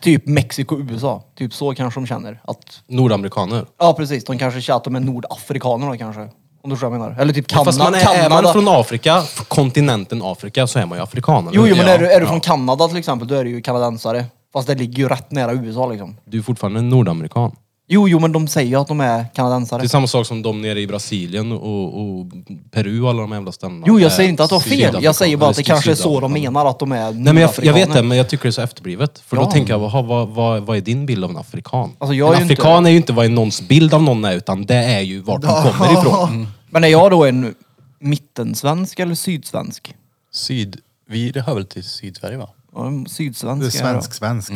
Speaker 4: typ Mexiko och USA. Typ så kanske de känner. Att,
Speaker 3: nordamerikaner.
Speaker 4: ja, precis. De kanske känner att de är nordafrikaner då kanske. Om du förstår vad jag menar. Eller typ Kanada.
Speaker 3: Fast man är, är
Speaker 4: Kanada.
Speaker 3: man från Afrika, f- kontinenten Afrika, så är man ju afrikan. eller?
Speaker 4: Jo, jo men
Speaker 5: Ja,
Speaker 4: är du, är du
Speaker 5: ja.
Speaker 4: från Kanada till exempel, då är du ju kanadensare. Fast det ligger ju rätt nära USA liksom.
Speaker 3: Du är fortfarande en nordamerikan.
Speaker 4: Jo, jo, men de säger ju att de är kanadensare.
Speaker 3: Det är samma sak som de nere i Brasilien och, och Peru och alla de jävla ställena.
Speaker 4: Jo,
Speaker 3: Är
Speaker 4: jag säger inte att de har fel. Jag
Speaker 3: sydafrikaner,
Speaker 4: säger bara att det
Speaker 3: eller
Speaker 4: kanske är så de
Speaker 3: sydafrikaner.
Speaker 4: menar att de är
Speaker 3: Nej, men jag, jag vet det,
Speaker 4: nordafrikaner.
Speaker 3: men jag tycker det är så efterblivet. För
Speaker 4: Ja.
Speaker 3: då tänker jag, aha, vad, vad, vad är din bild av en afrikan?
Speaker 4: Alltså, jag är
Speaker 3: en
Speaker 4: ju inte-
Speaker 3: afrikan är ju inte vad någons bild av någon är, utan det är ju vart de kommer ifrån. Mm.
Speaker 4: Men är jag då en mittensvensk eller sydsvensk?
Speaker 5: Syd... Vi hör väl till Sydsverige va?
Speaker 4: Ja, en Sydsvensk
Speaker 1: Du är
Speaker 4: är jag då.
Speaker 1: svensk, svensk.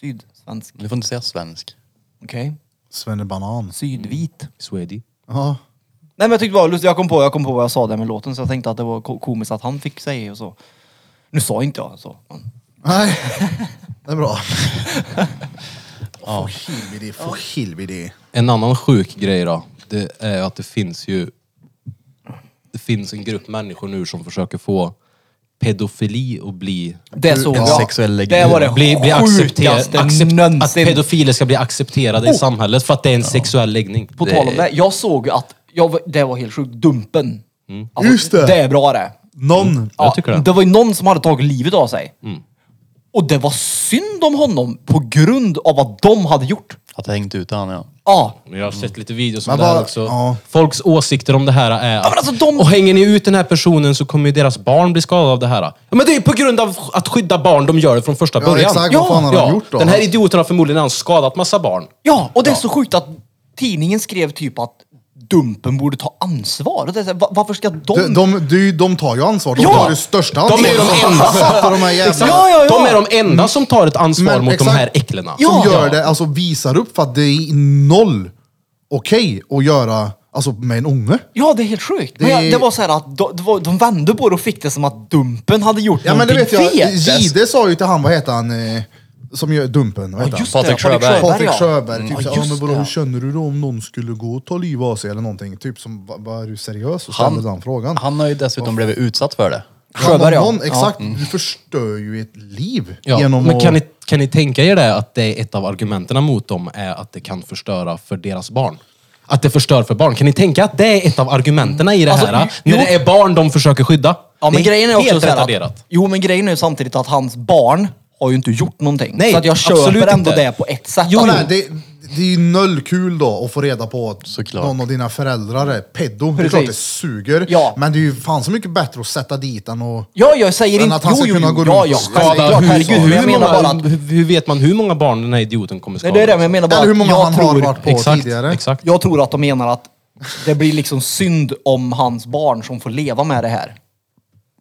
Speaker 4: Sydsvensk.
Speaker 5: Du får inte säga svensk.
Speaker 4: Okej.
Speaker 1: Svennebanan.
Speaker 4: Sydvit.
Speaker 3: Mm. Swedi.
Speaker 1: Ja.
Speaker 4: Nej men jag tyckte det var lustigt. Jag kom på, jag kom på vad jag sa där med låten så jag tänkte att det var ko- komiskt att han fick säga och så. Nu sa inte jag så. men-
Speaker 1: Nej, det är bra. Få helvete, få helvete.
Speaker 3: En annan sjuk grej då, det är att det finns ju... Det finns en grupp människor nu som försöker få pedofili att bli...
Speaker 4: Det såg
Speaker 5: en
Speaker 4: jag.
Speaker 5: sexuell legend.
Speaker 4: Det var det
Speaker 3: Bli, bli
Speaker 4: sjukaste
Speaker 3: accepter, accept, att
Speaker 4: någonsin. Oh!
Speaker 3: pedofiler ska bli accepterade i samhället för att det är en sexuell läggning.
Speaker 4: På tal om det, jag såg ju att, jag, var- det var helt sjukt, Dumpen. Alltså,
Speaker 1: Just det.
Speaker 4: Det är bra det.
Speaker 1: Någon.
Speaker 4: Ja,
Speaker 3: Jag tycker det.
Speaker 4: det var ju någon som hade tagit livet av sig. Och det var synd om honom på grund av vad de hade gjort.
Speaker 5: Att jag hängt ut han ja.
Speaker 4: Ja.
Speaker 3: Men jag har sett lite videos om
Speaker 1: Men
Speaker 3: det här
Speaker 1: bara-
Speaker 3: också.
Speaker 1: ja.
Speaker 3: Folks åsikter om det här är att...
Speaker 4: alltså de-
Speaker 3: Och hänger ni ut den här personen så kommer ju deras barn bli skadade av det här. Ja, men det är ju på grund av att skydda barn de gör det från första
Speaker 1: Ja,
Speaker 3: början.
Speaker 1: exakt. Vad fan har de gjort då?
Speaker 3: Den här idioten har förmodligen redan skadat massa barn.
Speaker 4: Ja, och det är så sjukt att tidningen skrev typ att Dumpen borde ta ansvar. Och det är så här, va- varför ska de...
Speaker 1: De, de, de, de tar ju ansvar. De
Speaker 4: Ja!
Speaker 1: tar det största ansvaret.
Speaker 3: är de
Speaker 1: som
Speaker 3: enda.
Speaker 1: satt på de här jävla...
Speaker 4: Ja, ja, ja.
Speaker 3: De är de enda som tar ett ansvar
Speaker 1: Mm. Men
Speaker 3: mot de
Speaker 1: exakt.
Speaker 3: här äcklena.
Speaker 4: Ja.
Speaker 1: Som gör det, alltså visar upp för att det är noll okej att göra alltså, med en unge.
Speaker 4: Ja, det är helt sjukt. Men
Speaker 1: Det-
Speaker 4: jag, det var så här att de, det var- de vände på det och fick det som att Dumpen hade gjort
Speaker 1: Ja men det
Speaker 4: någonting
Speaker 1: vet jag,
Speaker 4: fel.
Speaker 1: Gide sa ju till han, vad heter han, eh, som gör Dumpen? Vad heter
Speaker 4: Just
Speaker 1: han?
Speaker 4: det,
Speaker 5: Patrik
Speaker 4: Patrik
Speaker 5: Sjöberg.
Speaker 1: Patrik
Speaker 4: ja. Mm.
Speaker 1: Sjöberg. Typ,
Speaker 4: Ja,
Speaker 1: såhär, ja,
Speaker 4: just
Speaker 1: men vadå,
Speaker 4: det.
Speaker 1: hur känner du då om någon skulle gå och ta livet av sig eller någonting? Typ som, va- va, är du seriös? Och ställde den frågan.
Speaker 5: Han har ju dessutom blivit utsatt för det.
Speaker 4: Sjöberg, ja.
Speaker 1: någon,
Speaker 4: Ja. Mm.
Speaker 1: Exakt, du förstör ju ett liv
Speaker 3: Ja,
Speaker 1: genom
Speaker 3: men
Speaker 1: att...
Speaker 3: kan ni, kan ni tänka er det, att det är ett av argumenten mot dem är att det kan förstöra för deras barn? Att det förstör för barn. Kan ni tänka att det är ett av argumenten i det
Speaker 4: Alltså,
Speaker 3: här?
Speaker 4: jo.
Speaker 3: När det är barn de försöker skydda?
Speaker 4: Ja, men
Speaker 3: det
Speaker 4: grejen är också
Speaker 3: helt
Speaker 4: så här
Speaker 3: retarderat.
Speaker 4: att, Jo, men grejen är ju samtidigt att hans barn har ju inte gjort någonting.
Speaker 3: Nej,
Speaker 4: så att jag
Speaker 3: absolut
Speaker 4: köper ändå
Speaker 3: inte.
Speaker 4: det på ett sätt.
Speaker 3: Jo,
Speaker 4: Att-
Speaker 1: Ja, nej, det, det är ju noll kul då att få reda på att
Speaker 5: Såklart.
Speaker 1: någon av dina föräldrar är pedo. Det är
Speaker 4: Precis.
Speaker 1: klart det suger,
Speaker 4: Ja.
Speaker 1: men det är ju fan så mycket bättre att sätta dit än att...
Speaker 4: Ja, jag säger
Speaker 1: Men
Speaker 4: inte...
Speaker 1: att han ska
Speaker 4: jo,
Speaker 1: kunna
Speaker 4: jo,
Speaker 1: gå
Speaker 4: ja,
Speaker 1: runt
Speaker 4: ja,
Speaker 1: och skada
Speaker 4: självklart.
Speaker 1: hus-
Speaker 4: Herregud, men jag
Speaker 3: hur,
Speaker 4: menar bara
Speaker 3: många,
Speaker 4: att...
Speaker 3: hur, hur vet man hur många barn den här idioten kommer skada?
Speaker 4: Nej, det är det, men jag menar bara
Speaker 1: Eller hur många
Speaker 4: att jag
Speaker 1: han
Speaker 4: tror,
Speaker 1: har varit på
Speaker 3: Exakt,
Speaker 1: tidigare.
Speaker 3: exakt.
Speaker 4: Jag tror att de menar att det blir liksom synd om hans barn som får leva med det här.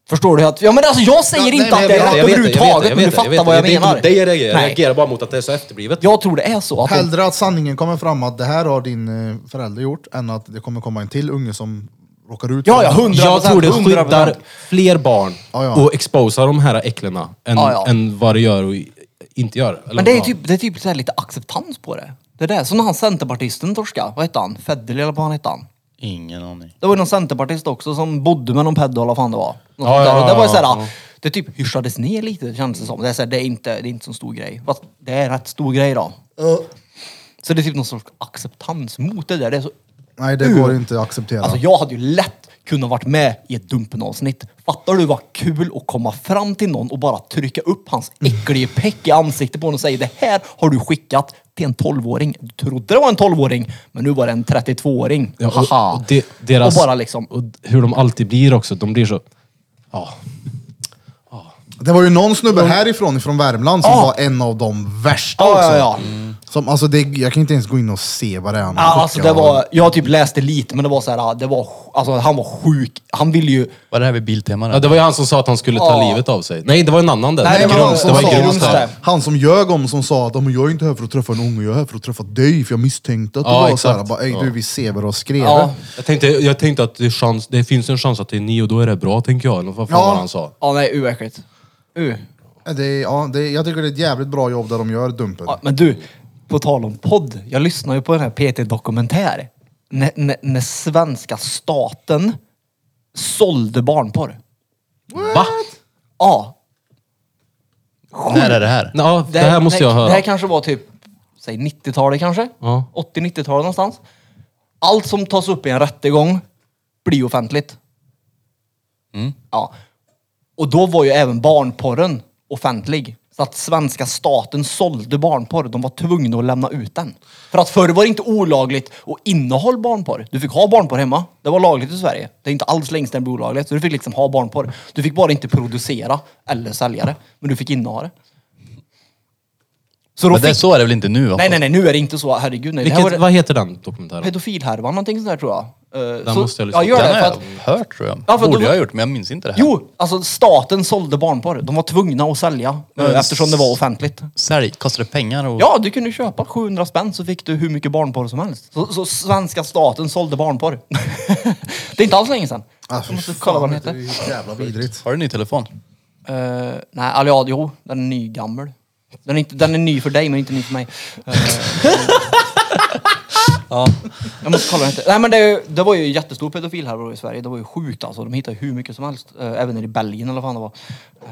Speaker 4: Förstår du? Att, ja, men alltså, jag säger
Speaker 1: Ja, nej,
Speaker 4: inte
Speaker 1: men
Speaker 4: att
Speaker 1: jag
Speaker 4: det
Speaker 1: vet,
Speaker 4: är rätt
Speaker 1: jag vet,
Speaker 4: överhuvudtaget, men du fattar vad jag menar.
Speaker 3: Det är det jag
Speaker 4: Nej.
Speaker 3: reagerar bara mot att det är så efterblivet.
Speaker 4: Jag tror det är så. Att de,
Speaker 1: Hellre att sanningen kommer fram att det här har din eh, förälder gjort, än att det kommer komma en till unge som råkar ut
Speaker 4: Ja, ja,
Speaker 1: det.
Speaker 4: hundra
Speaker 3: Jag tror det skyddar
Speaker 4: 100%.
Speaker 3: fler barn
Speaker 1: Ja, ja.
Speaker 3: och exposar de här äcklena än,
Speaker 4: Ja, ja.
Speaker 3: än vad det gör och i- inte gör. Eller
Speaker 4: men det är
Speaker 3: vad?
Speaker 4: typ, det är typ så här lite acceptans på det. Det är det. Som när han centerpartisten torska. Vad hette han? Federley eller vad han hette han?
Speaker 5: Ingen aning.
Speaker 4: Det var ju någon centerpartist också som bodde med någon pedo eller vad fan det var. Något
Speaker 3: Ja,
Speaker 4: sånt där.
Speaker 3: ja,
Speaker 4: Och det var ju
Speaker 3: ja,
Speaker 4: såhär,
Speaker 3: ja.
Speaker 4: det typ hyschades ner lite kändes det som. Det är, såhär, det är inte, det är inte så stor grej. Fast det är rätt stor grej då. Så det är typ någon sorts acceptans mot det där. Det är så,
Speaker 1: Nej, det går inte att acceptera.
Speaker 4: alltså jag hade ju lätt kunnat varit med i ett Dumpen-avsnitt. Fattar du vad kul att komma fram till någon och bara trycka upp hans
Speaker 3: Mm.
Speaker 4: äckliga peck i ansiktet på honom och säga det här har du skickat till en 12-åring. Du trodde det var en 12-åring, men nu var det en 32-åring.
Speaker 3: Ja, och-
Speaker 4: Haha.
Speaker 3: och de- deras-
Speaker 4: och bara liksom...
Speaker 3: Och hur de alltid blir också. De blir så... Ja.
Speaker 1: Det var ju någon snubbe härifrån, från Värmland, som
Speaker 4: Ja.
Speaker 1: var en av de värsta
Speaker 4: Ah. Ja,
Speaker 1: också.
Speaker 4: ja, ja.
Speaker 1: Som, alltså, det, jag kan inte ens gå in och se vad det är han
Speaker 4: Ja,
Speaker 1: har
Speaker 4: alltså
Speaker 1: skickat.
Speaker 4: det var, jag typ läste lite, men det var så här, ah, det var, sj- alltså han var sjuk. Han ville ju...
Speaker 5: Var det här vid Biltema?
Speaker 3: ja,
Speaker 5: där?
Speaker 3: det var ju han som sa att han skulle ta
Speaker 4: Ja.
Speaker 3: livet av sig. Nej, det var en annan där.
Speaker 4: Nej,
Speaker 1: Nej,
Speaker 3: det
Speaker 1: men
Speaker 3: var
Speaker 1: han,
Speaker 3: Grums.
Speaker 1: som
Speaker 3: Det var
Speaker 1: sa,
Speaker 3: Grums
Speaker 4: Grums
Speaker 3: där.
Speaker 4: där.
Speaker 1: han som ljög om som sa att "Ja, men jag är inte här för att träffa en unge, jag är här för att träffa dig för jag misstänkte att du
Speaker 3: Ja,
Speaker 1: var
Speaker 3: exakt.
Speaker 1: såhär. Bara, Ej du vi ser vad du har skrivit.
Speaker 4: Ja.
Speaker 3: Jag tänkte, jag tänkte att det, är chans, det finns en chans att det är ni och då är det bra, tänker jag. Eller vad fan
Speaker 1: Ja.
Speaker 3: var han sa?
Speaker 4: Ja, nej, uäckligt. Uh.
Speaker 1: Det, är- ja, det, är- jag tycker det är ett jävligt bra jobb där de gör Dumpen.
Speaker 4: Ja, men du, på tal om podd. Jag lyssnar ju på den här PT Dokumentär. När, när, när svenska staten sålde barnporr.
Speaker 3: Va?
Speaker 4: Ja.
Speaker 5: När är det här?
Speaker 3: Ja, det här måste jag höra.
Speaker 4: Det här kanske var typ, säg 90-talet kanske?
Speaker 3: Ja.
Speaker 4: 80-90-talet någonstans. Allt som tas upp i en rättegång blir offentligt. Ja. Och då var ju även barnporren offentlig. Så att svenska staten sålde barnporr. De var tvungna att lämna ut den. För att förr var det inte olagligt att innehålla barnporr. Du fick ha barnporr hemma. Det var lagligt i Sverige. Det är inte alls länge sedan det blev olagligt. Så du fick liksom ha barnporr. Du fick bara inte producera eller sälja det. Men du fick inneha det. Så då
Speaker 5: Men det,
Speaker 4: fick...
Speaker 5: så är det väl inte nu? Va?
Speaker 4: Nej, nej, nej. Nu är det inte så. Herregud. Nej. Det här
Speaker 3: Vilket,
Speaker 4: var
Speaker 3: vad heter den dokumentären?
Speaker 4: pedofilhärvan, någonting sånt där tror jag. Uh,
Speaker 3: Den måste jag lyssna
Speaker 4: ja,
Speaker 3: på.
Speaker 4: gör
Speaker 5: Den
Speaker 4: det.
Speaker 5: har
Speaker 4: För
Speaker 5: jag
Speaker 4: att
Speaker 5: hört tror jag.
Speaker 4: Ja, för
Speaker 5: Borde
Speaker 4: då-
Speaker 5: jag ha gjort, men jag minns inte det här.
Speaker 4: Jo, alltså staten sålde barnporr. De var tvungna att sälja eh,
Speaker 5: Men-
Speaker 4: eftersom det var offentligt.
Speaker 5: Sälj, kostar det pengar? Och...
Speaker 4: Ja, du kunde köpa 700 spänn så fick du hur mycket barnporr som helst. Så, så svenska staten sålde barnporr. det är inte alls länge sedan.
Speaker 1: Ah, fy
Speaker 4: jag måste
Speaker 1: fan,
Speaker 4: kolla vad den
Speaker 1: det är
Speaker 4: heter.
Speaker 1: ju Jävla vidrigt.
Speaker 5: Har du en ny telefon?
Speaker 4: Eh, nej, eller ja, jo, den är nygammal. Den är, inte, den är ny för dig men inte ny för mig. Eh, ja, jag måste kolla vad den heter. Nej men det, är ju- det var ju en jättestor pedofil här i Sverige. Det var ju sjukt alltså. De hittade hur mycket som helst. Eh, även nere i Belgien eller vad fan det var.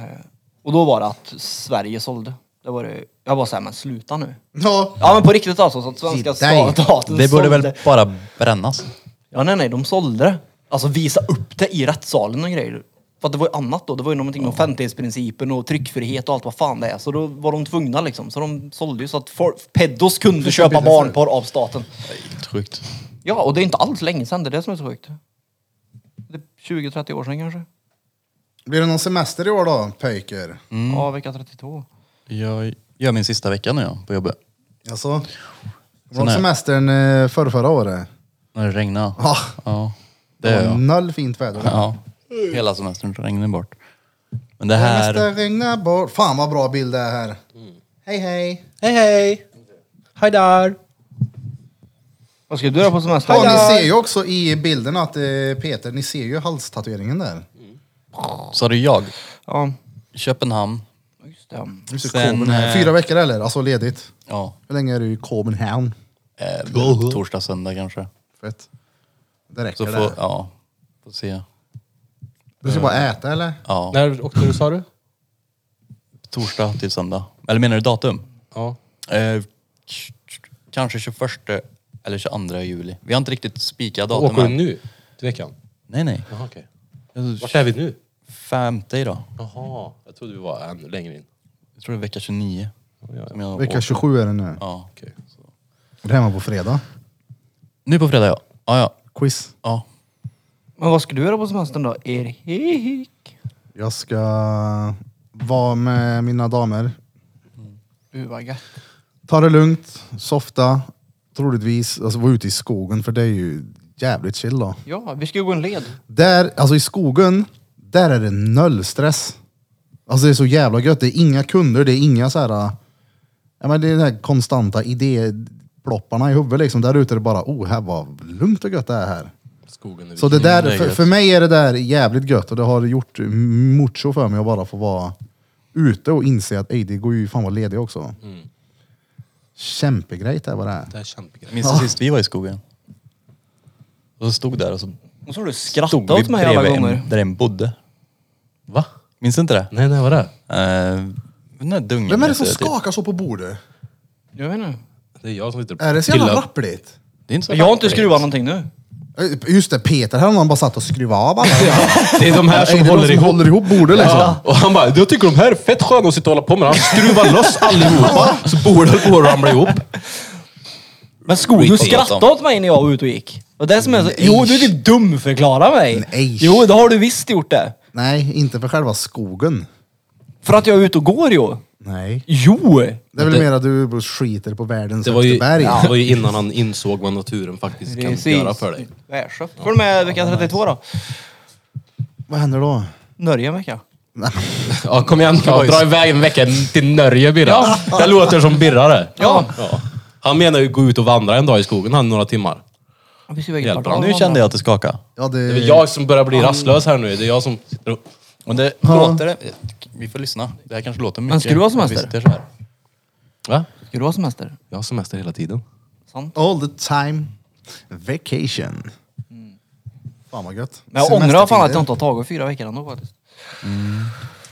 Speaker 4: Eh, och då var det att Sverige sålde. Det var det, jag bara såhär, men sluta nu.
Speaker 1: Ja.
Speaker 4: Ja men på riktigt alltså, så att svenska
Speaker 1: Titta i.
Speaker 4: staten
Speaker 5: Det borde
Speaker 4: sålde.
Speaker 5: väl bara brännas?
Speaker 4: Ja nej nej, de sålde det. Alltså visa upp det i rättssalen och grejer. För att det var ju annat då. Det var ju någonting med offentlighetsprincipen och tryckfrihet och allt vad fan det är. Så då var de tvungna liksom. Så de sålde ju så att folk, pedos kunde köpa barnporr av staten.
Speaker 5: Helt sjukt.
Speaker 4: Ja, och det är inte alls länge sedan. Det är det som är så sjukt. Det är 20-30 år sedan kanske.
Speaker 1: Blir det någon semester i år då, pöjker?
Speaker 5: Mm.
Speaker 4: Ja, vecka 32.
Speaker 5: Jag gör min sista vecka nu ja, på jobbet.
Speaker 1: Alltså, var
Speaker 5: Sån
Speaker 1: det
Speaker 5: här.
Speaker 1: semestern eh, förra, förra året?
Speaker 5: När det regnar.
Speaker 1: Ah.
Speaker 5: Ja, det
Speaker 1: Det
Speaker 5: gör
Speaker 1: var
Speaker 5: jag.
Speaker 1: noll fint väder.
Speaker 5: Ja. Hela semestern regnar bort. Men det
Speaker 1: Nästa
Speaker 5: här...
Speaker 1: regna bort. Fan vad bra bild det är här. Mm. Hej hej.
Speaker 3: Hej hej! Hej där!
Speaker 4: Vad ska du göra på semester?
Speaker 1: Ja, ni ser ju också i bilden att eh, Peter, ni ser ju halstatueringen där.
Speaker 5: Sa du jag?
Speaker 4: Ja,
Speaker 5: Köpenhamn.
Speaker 4: just det.
Speaker 1: Du ser
Speaker 5: Sen,
Speaker 1: Copenhagen.
Speaker 5: eh,
Speaker 1: Fyra veckor eller? Alltså ledigt.
Speaker 5: Ja.
Speaker 1: Hur länge är du i Copenhagen?
Speaker 5: Eh, torsdag, söndag kanske.
Speaker 1: Fett. Det räcker
Speaker 5: Så
Speaker 1: det.
Speaker 5: får, ja, får se.
Speaker 1: Du ska bara äta eller?
Speaker 5: Ja,
Speaker 3: När åkte du sa du?
Speaker 5: torsdag till söndag. Eller menar du datum?
Speaker 3: Ja.
Speaker 5: Eh, k- kanske 21 eller 22 juli. Vi har inte riktigt spikat datum
Speaker 3: Åker du
Speaker 5: än.
Speaker 3: nu? Till veckan?
Speaker 5: Nej, nej.
Speaker 3: Jaha okej. Vart är vi nu?
Speaker 5: Femte idag.
Speaker 3: Jaha, jag trodde vi var ännu längre in.
Speaker 5: Jag tror det är vecka 29. som jag åker.
Speaker 1: Vecka 27 är det nu.
Speaker 5: Ja.
Speaker 3: Okej.
Speaker 1: Och det här var på fredag.
Speaker 5: Nu på fredag ja. Ja, ja.
Speaker 1: Quiz.
Speaker 5: ja.
Speaker 4: Men vad ska du göra på semestern då, Erik?
Speaker 1: Jag ska vara med mina damer.
Speaker 4: Du vad gött.
Speaker 1: Ta det lugnt, softa, troligtvis. Alltså vara ute i skogen för det är ju jävligt chill då.
Speaker 4: Ja, vi ska ju gå en led.
Speaker 1: Där, alltså i skogen, där är det noll stress. Alltså det är så jävla gött. Det är inga kunder, det är inga så här... äh, Ja men det är de här konstanta idéplopparna i huvudet liksom. Där ute är det bara, oh här vad lugnt och gött det är här.
Speaker 3: Skogen är
Speaker 1: Så det där,
Speaker 5: det är
Speaker 1: för,
Speaker 5: gött.
Speaker 1: för mig är det där jävligt gött och det har gjort mucho för mig att bara få vara ute och inse att ey, det går ju fan vara ledig också. Mm. Kämpegrejt är vad det är.
Speaker 3: Det här känns begrepp.
Speaker 5: Minns du sist vi var i skogen? Och så stod där och så
Speaker 4: Och så har du
Speaker 5: stod
Speaker 4: skrattat
Speaker 5: vi
Speaker 4: åt mig alla
Speaker 5: bredvid
Speaker 4: gånger.
Speaker 5: en, där en bodde.
Speaker 3: Va?
Speaker 5: Minns du inte det?
Speaker 3: Nej, när var det?
Speaker 5: Eh, den där dungen.
Speaker 1: Vem är det som
Speaker 5: heter
Speaker 3: typ.
Speaker 1: skakar så på bordet?
Speaker 4: Jag vet inte.
Speaker 3: Det är jag som sitter och
Speaker 1: Är det så jävla rappligt?
Speaker 5: Det är inte så
Speaker 4: Jag har inte
Speaker 5: farligt.
Speaker 4: skruvat någonting nu.
Speaker 1: Eh, Just det, Peter här har någon bara satt och skruvat av alla.
Speaker 3: Det är de här som,
Speaker 1: Ey, det är de
Speaker 3: håller,
Speaker 1: som
Speaker 3: ihop.
Speaker 1: håller ihop bordet liksom.
Speaker 3: Ja. Och han bara, jag tycker de här är fett sköna att sitta och hålla på med. Han skruvar loss allihopa, så bordet höll på att ramla ihop.
Speaker 4: Men skogen, du
Speaker 5: Skit på
Speaker 4: skrattade
Speaker 5: gatan.
Speaker 4: åt mig när jag var ute och gick. Och det som är så, jo, du typ dumförklarar mig.
Speaker 1: Nej.
Speaker 4: Jo, det har du visst gjort det.
Speaker 1: Nej, inte för själva skogen.
Speaker 4: För att jag är ute och går jo.
Speaker 1: Nej.
Speaker 4: Jo!
Speaker 1: Det är väl
Speaker 3: Det-
Speaker 1: mer att du skiter på världens
Speaker 3: Det var,
Speaker 1: högsta
Speaker 3: ju,
Speaker 1: berg.
Speaker 3: det var ju innan han insåg vad naturen faktiskt kan göra för dig.
Speaker 4: Världsköp. Får du med vecka 32 då?
Speaker 1: Vad händer då?
Speaker 4: Norge en vecka.
Speaker 3: Ja, kom igen. Ja, dra iväg en vecka till Norge, Birra. Det låter som Birra det.
Speaker 4: Ja.
Speaker 3: Han menar ju gå ut och vandra en dag i skogen, han några timmar.
Speaker 4: Vi ska iväg i
Speaker 3: Hjälper
Speaker 4: kvartal.
Speaker 3: han?
Speaker 5: Nu kände jag att det skakade.
Speaker 1: Ja, det...
Speaker 3: Det är väl jag som börjar bli rastlös här nu. Det är jag som sitter och...
Speaker 5: Och det
Speaker 1: Ja.
Speaker 5: låter det. Vi får lyssna. Det här kanske låter mycket.
Speaker 4: ska du ha semester?
Speaker 5: Vi sitter så här.
Speaker 3: Va?
Speaker 4: Ska du ha semester?
Speaker 3: Jag har semester hela tiden.
Speaker 4: Sant.
Speaker 1: All the time vacation. Fan vad gött.
Speaker 4: Men jag ångrar fan att
Speaker 1: Semestertider.
Speaker 4: jag inte har tagit fyra veckor ändå faktiskt.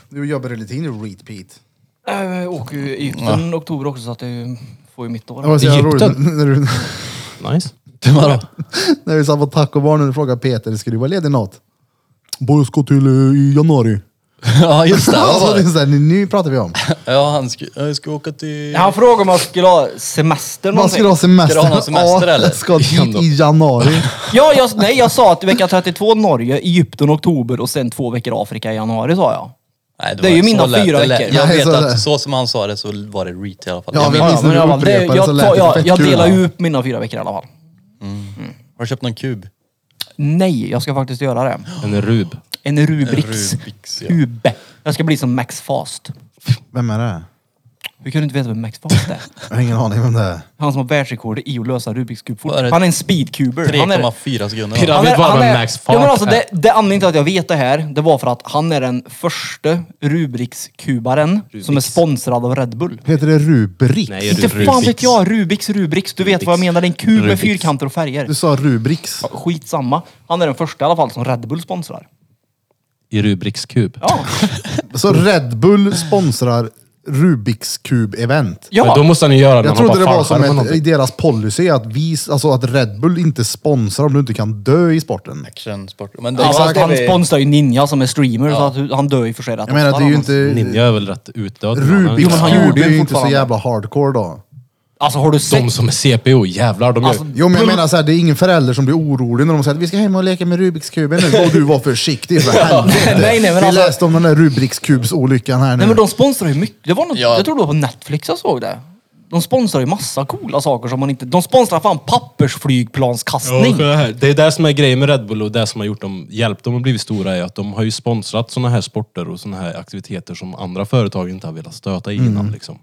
Speaker 1: Du jobbar hela tiden i repeat.
Speaker 4: Äh, Jag åker ju i Egypten i oktober också så att jag får ju mitt år.
Speaker 1: Det var så jävla roligt
Speaker 3: Egypten?
Speaker 1: när du,
Speaker 3: Nice.
Speaker 1: när vi satt på tacobarn och frågade Peter, ska du vara ledig något? Bara jag ska till eh, i januari.
Speaker 5: Ja just det. vad
Speaker 1: Alltså,
Speaker 5: var
Speaker 1: det är
Speaker 5: det?
Speaker 1: så här, nu- nu pratar vi om.
Speaker 5: Ja han ska, jag ska åka till...
Speaker 4: Han frågade om jag skulle ha semester
Speaker 1: Man ska du ha
Speaker 4: någonting.
Speaker 1: semester.
Speaker 5: Ska du ha någon semester,
Speaker 1: ja,
Speaker 5: eller?
Speaker 1: jag ska dit
Speaker 5: Igen då.
Speaker 1: i januari.
Speaker 4: Ja, jag, nej, jag sa att vecka 32 Norge, Egypten oktober och sen två veckor Afrika i januari sa jag.
Speaker 5: Nej,
Speaker 4: Det är
Speaker 5: var
Speaker 4: ju
Speaker 5: så
Speaker 4: mina
Speaker 5: lätt.
Speaker 4: fyra
Speaker 5: Det lät-
Speaker 4: veckor.
Speaker 5: Jag
Speaker 1: Nej,
Speaker 5: vet
Speaker 1: så det-
Speaker 5: att så som han sa det så var det reet i alla fall.
Speaker 1: Ja,
Speaker 5: Jag
Speaker 1: vi
Speaker 5: menar-
Speaker 1: minns när
Speaker 4: men
Speaker 1: du
Speaker 4: jag, bara, det,
Speaker 1: upprepade
Speaker 4: jag,
Speaker 1: så lät
Speaker 4: tar,
Speaker 1: det
Speaker 4: jag,
Speaker 1: fett
Speaker 4: jag
Speaker 1: kul,
Speaker 4: delar
Speaker 1: ja.
Speaker 4: ju upp mina fyra veckor i alla fall.
Speaker 5: Har du köpt någon kub?
Speaker 4: Nej, jag ska faktiskt göra det.
Speaker 3: En rub.
Speaker 4: En Rubriks.
Speaker 5: En Rubiks, ja.
Speaker 4: Hube. Jag ska bli som Max Fast.
Speaker 1: Vem är det?
Speaker 4: Hur kan du inte veta vem Max Fast är?
Speaker 1: Jag har ingen aning vem det är.
Speaker 4: Han som har världsrekordet i att lösa Rubiks kub fort.
Speaker 5: Vad är det?
Speaker 4: Han är en speedcuber. Han är,
Speaker 5: 3,4 sekunder.
Speaker 3: Pirra-
Speaker 5: Ja.
Speaker 3: vet bara vem Max Fast
Speaker 4: ja, men alltså,
Speaker 3: är.
Speaker 4: det, det anledningen till att jag vet det här, det var för att han är den första Rubrikskubaren som är sponsrad av Red Bull.
Speaker 1: Heter det Rubriks?
Speaker 3: Nej,
Speaker 4: Inte
Speaker 3: Rubiks.
Speaker 4: fan vet jag, Rubiks, Rubriks. Du vet vad jag menar, det är en kub med
Speaker 5: Rubiks.
Speaker 4: fyrkanter och färger.
Speaker 1: Du sa Rubriks.
Speaker 4: Skitsamma. Han är den första i alla fall som Red Bull sponsrar.
Speaker 3: I Rubriks kub.
Speaker 4: Ja.
Speaker 1: Så Red Bull sponsrar Rubiks kub-event.
Speaker 3: Men då
Speaker 4: Ja,
Speaker 3: måste han ju göra
Speaker 1: Jag
Speaker 3: han
Speaker 1: trodde det var
Speaker 3: fallskärm
Speaker 1: som
Speaker 3: eller
Speaker 1: ett, i
Speaker 3: någonting.
Speaker 1: deras policy att, vi, alltså att Red Bull inte sponsrar om du inte kan dö i sporten.
Speaker 5: Actionsport. Men det,
Speaker 4: ja fast han
Speaker 5: det,
Speaker 4: sponsrar ju Ninja som är streamer så att han dör ju för sig rätt
Speaker 1: Jag menar, det är ju inte...
Speaker 3: Ninja är väl rätt utdöd.
Speaker 1: Rubiks
Speaker 4: men han
Speaker 1: kub
Speaker 4: gjorde ju
Speaker 1: är ju inte så
Speaker 4: fortfarande.
Speaker 1: jävla hardcore då.
Speaker 4: Alltså har du sett?
Speaker 3: De som är CPO, jävlar. De
Speaker 4: Alltså,
Speaker 3: gör...
Speaker 1: Jo men jag menar såhär, det är ingen förälder som blir orolig när de säger att vi ska hem och leka med Rubiks kuben nu. Och du var försiktig för helvete.
Speaker 4: Nej, nej, men
Speaker 1: Vi
Speaker 4: alltså-
Speaker 1: läste om den där Rubiks kubs-olyckan här nu.
Speaker 4: Nej men de sponsrar ju mycket. Det var något,
Speaker 5: Ja.
Speaker 4: Jag tror det var på Netflix jag såg det. De sponsrar ju massa coola saker som man inte... De sponsrar fan pappersflygplanskastning.
Speaker 3: det, här. det är det som är grejen med Red Bull och det som har gjort dem, hjälpt dem att bli stora är att de har ju sponsrat såna här sporter och såna här aktiviteter som andra företag inte har velat stöta i
Speaker 1: Mm.
Speaker 3: innan. Liksom.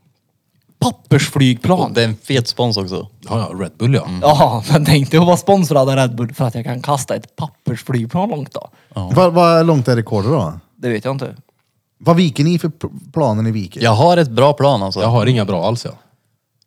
Speaker 4: Pappersflygplan.
Speaker 5: och det är en fet spons också.
Speaker 3: Ja, ja, Red Bull ja.
Speaker 1: Mm.
Speaker 4: Ja, men tänk dig att vara sponsrad av Red Bull för att jag kan kasta ett pappersflygplan långt då.
Speaker 1: Vad vad långt är rekordet då?
Speaker 4: Det vet jag inte.
Speaker 1: Vad viker ni för p- planen i viket?
Speaker 5: Jag har ett bra plan alltså.
Speaker 3: Jag har inga bra alls ja.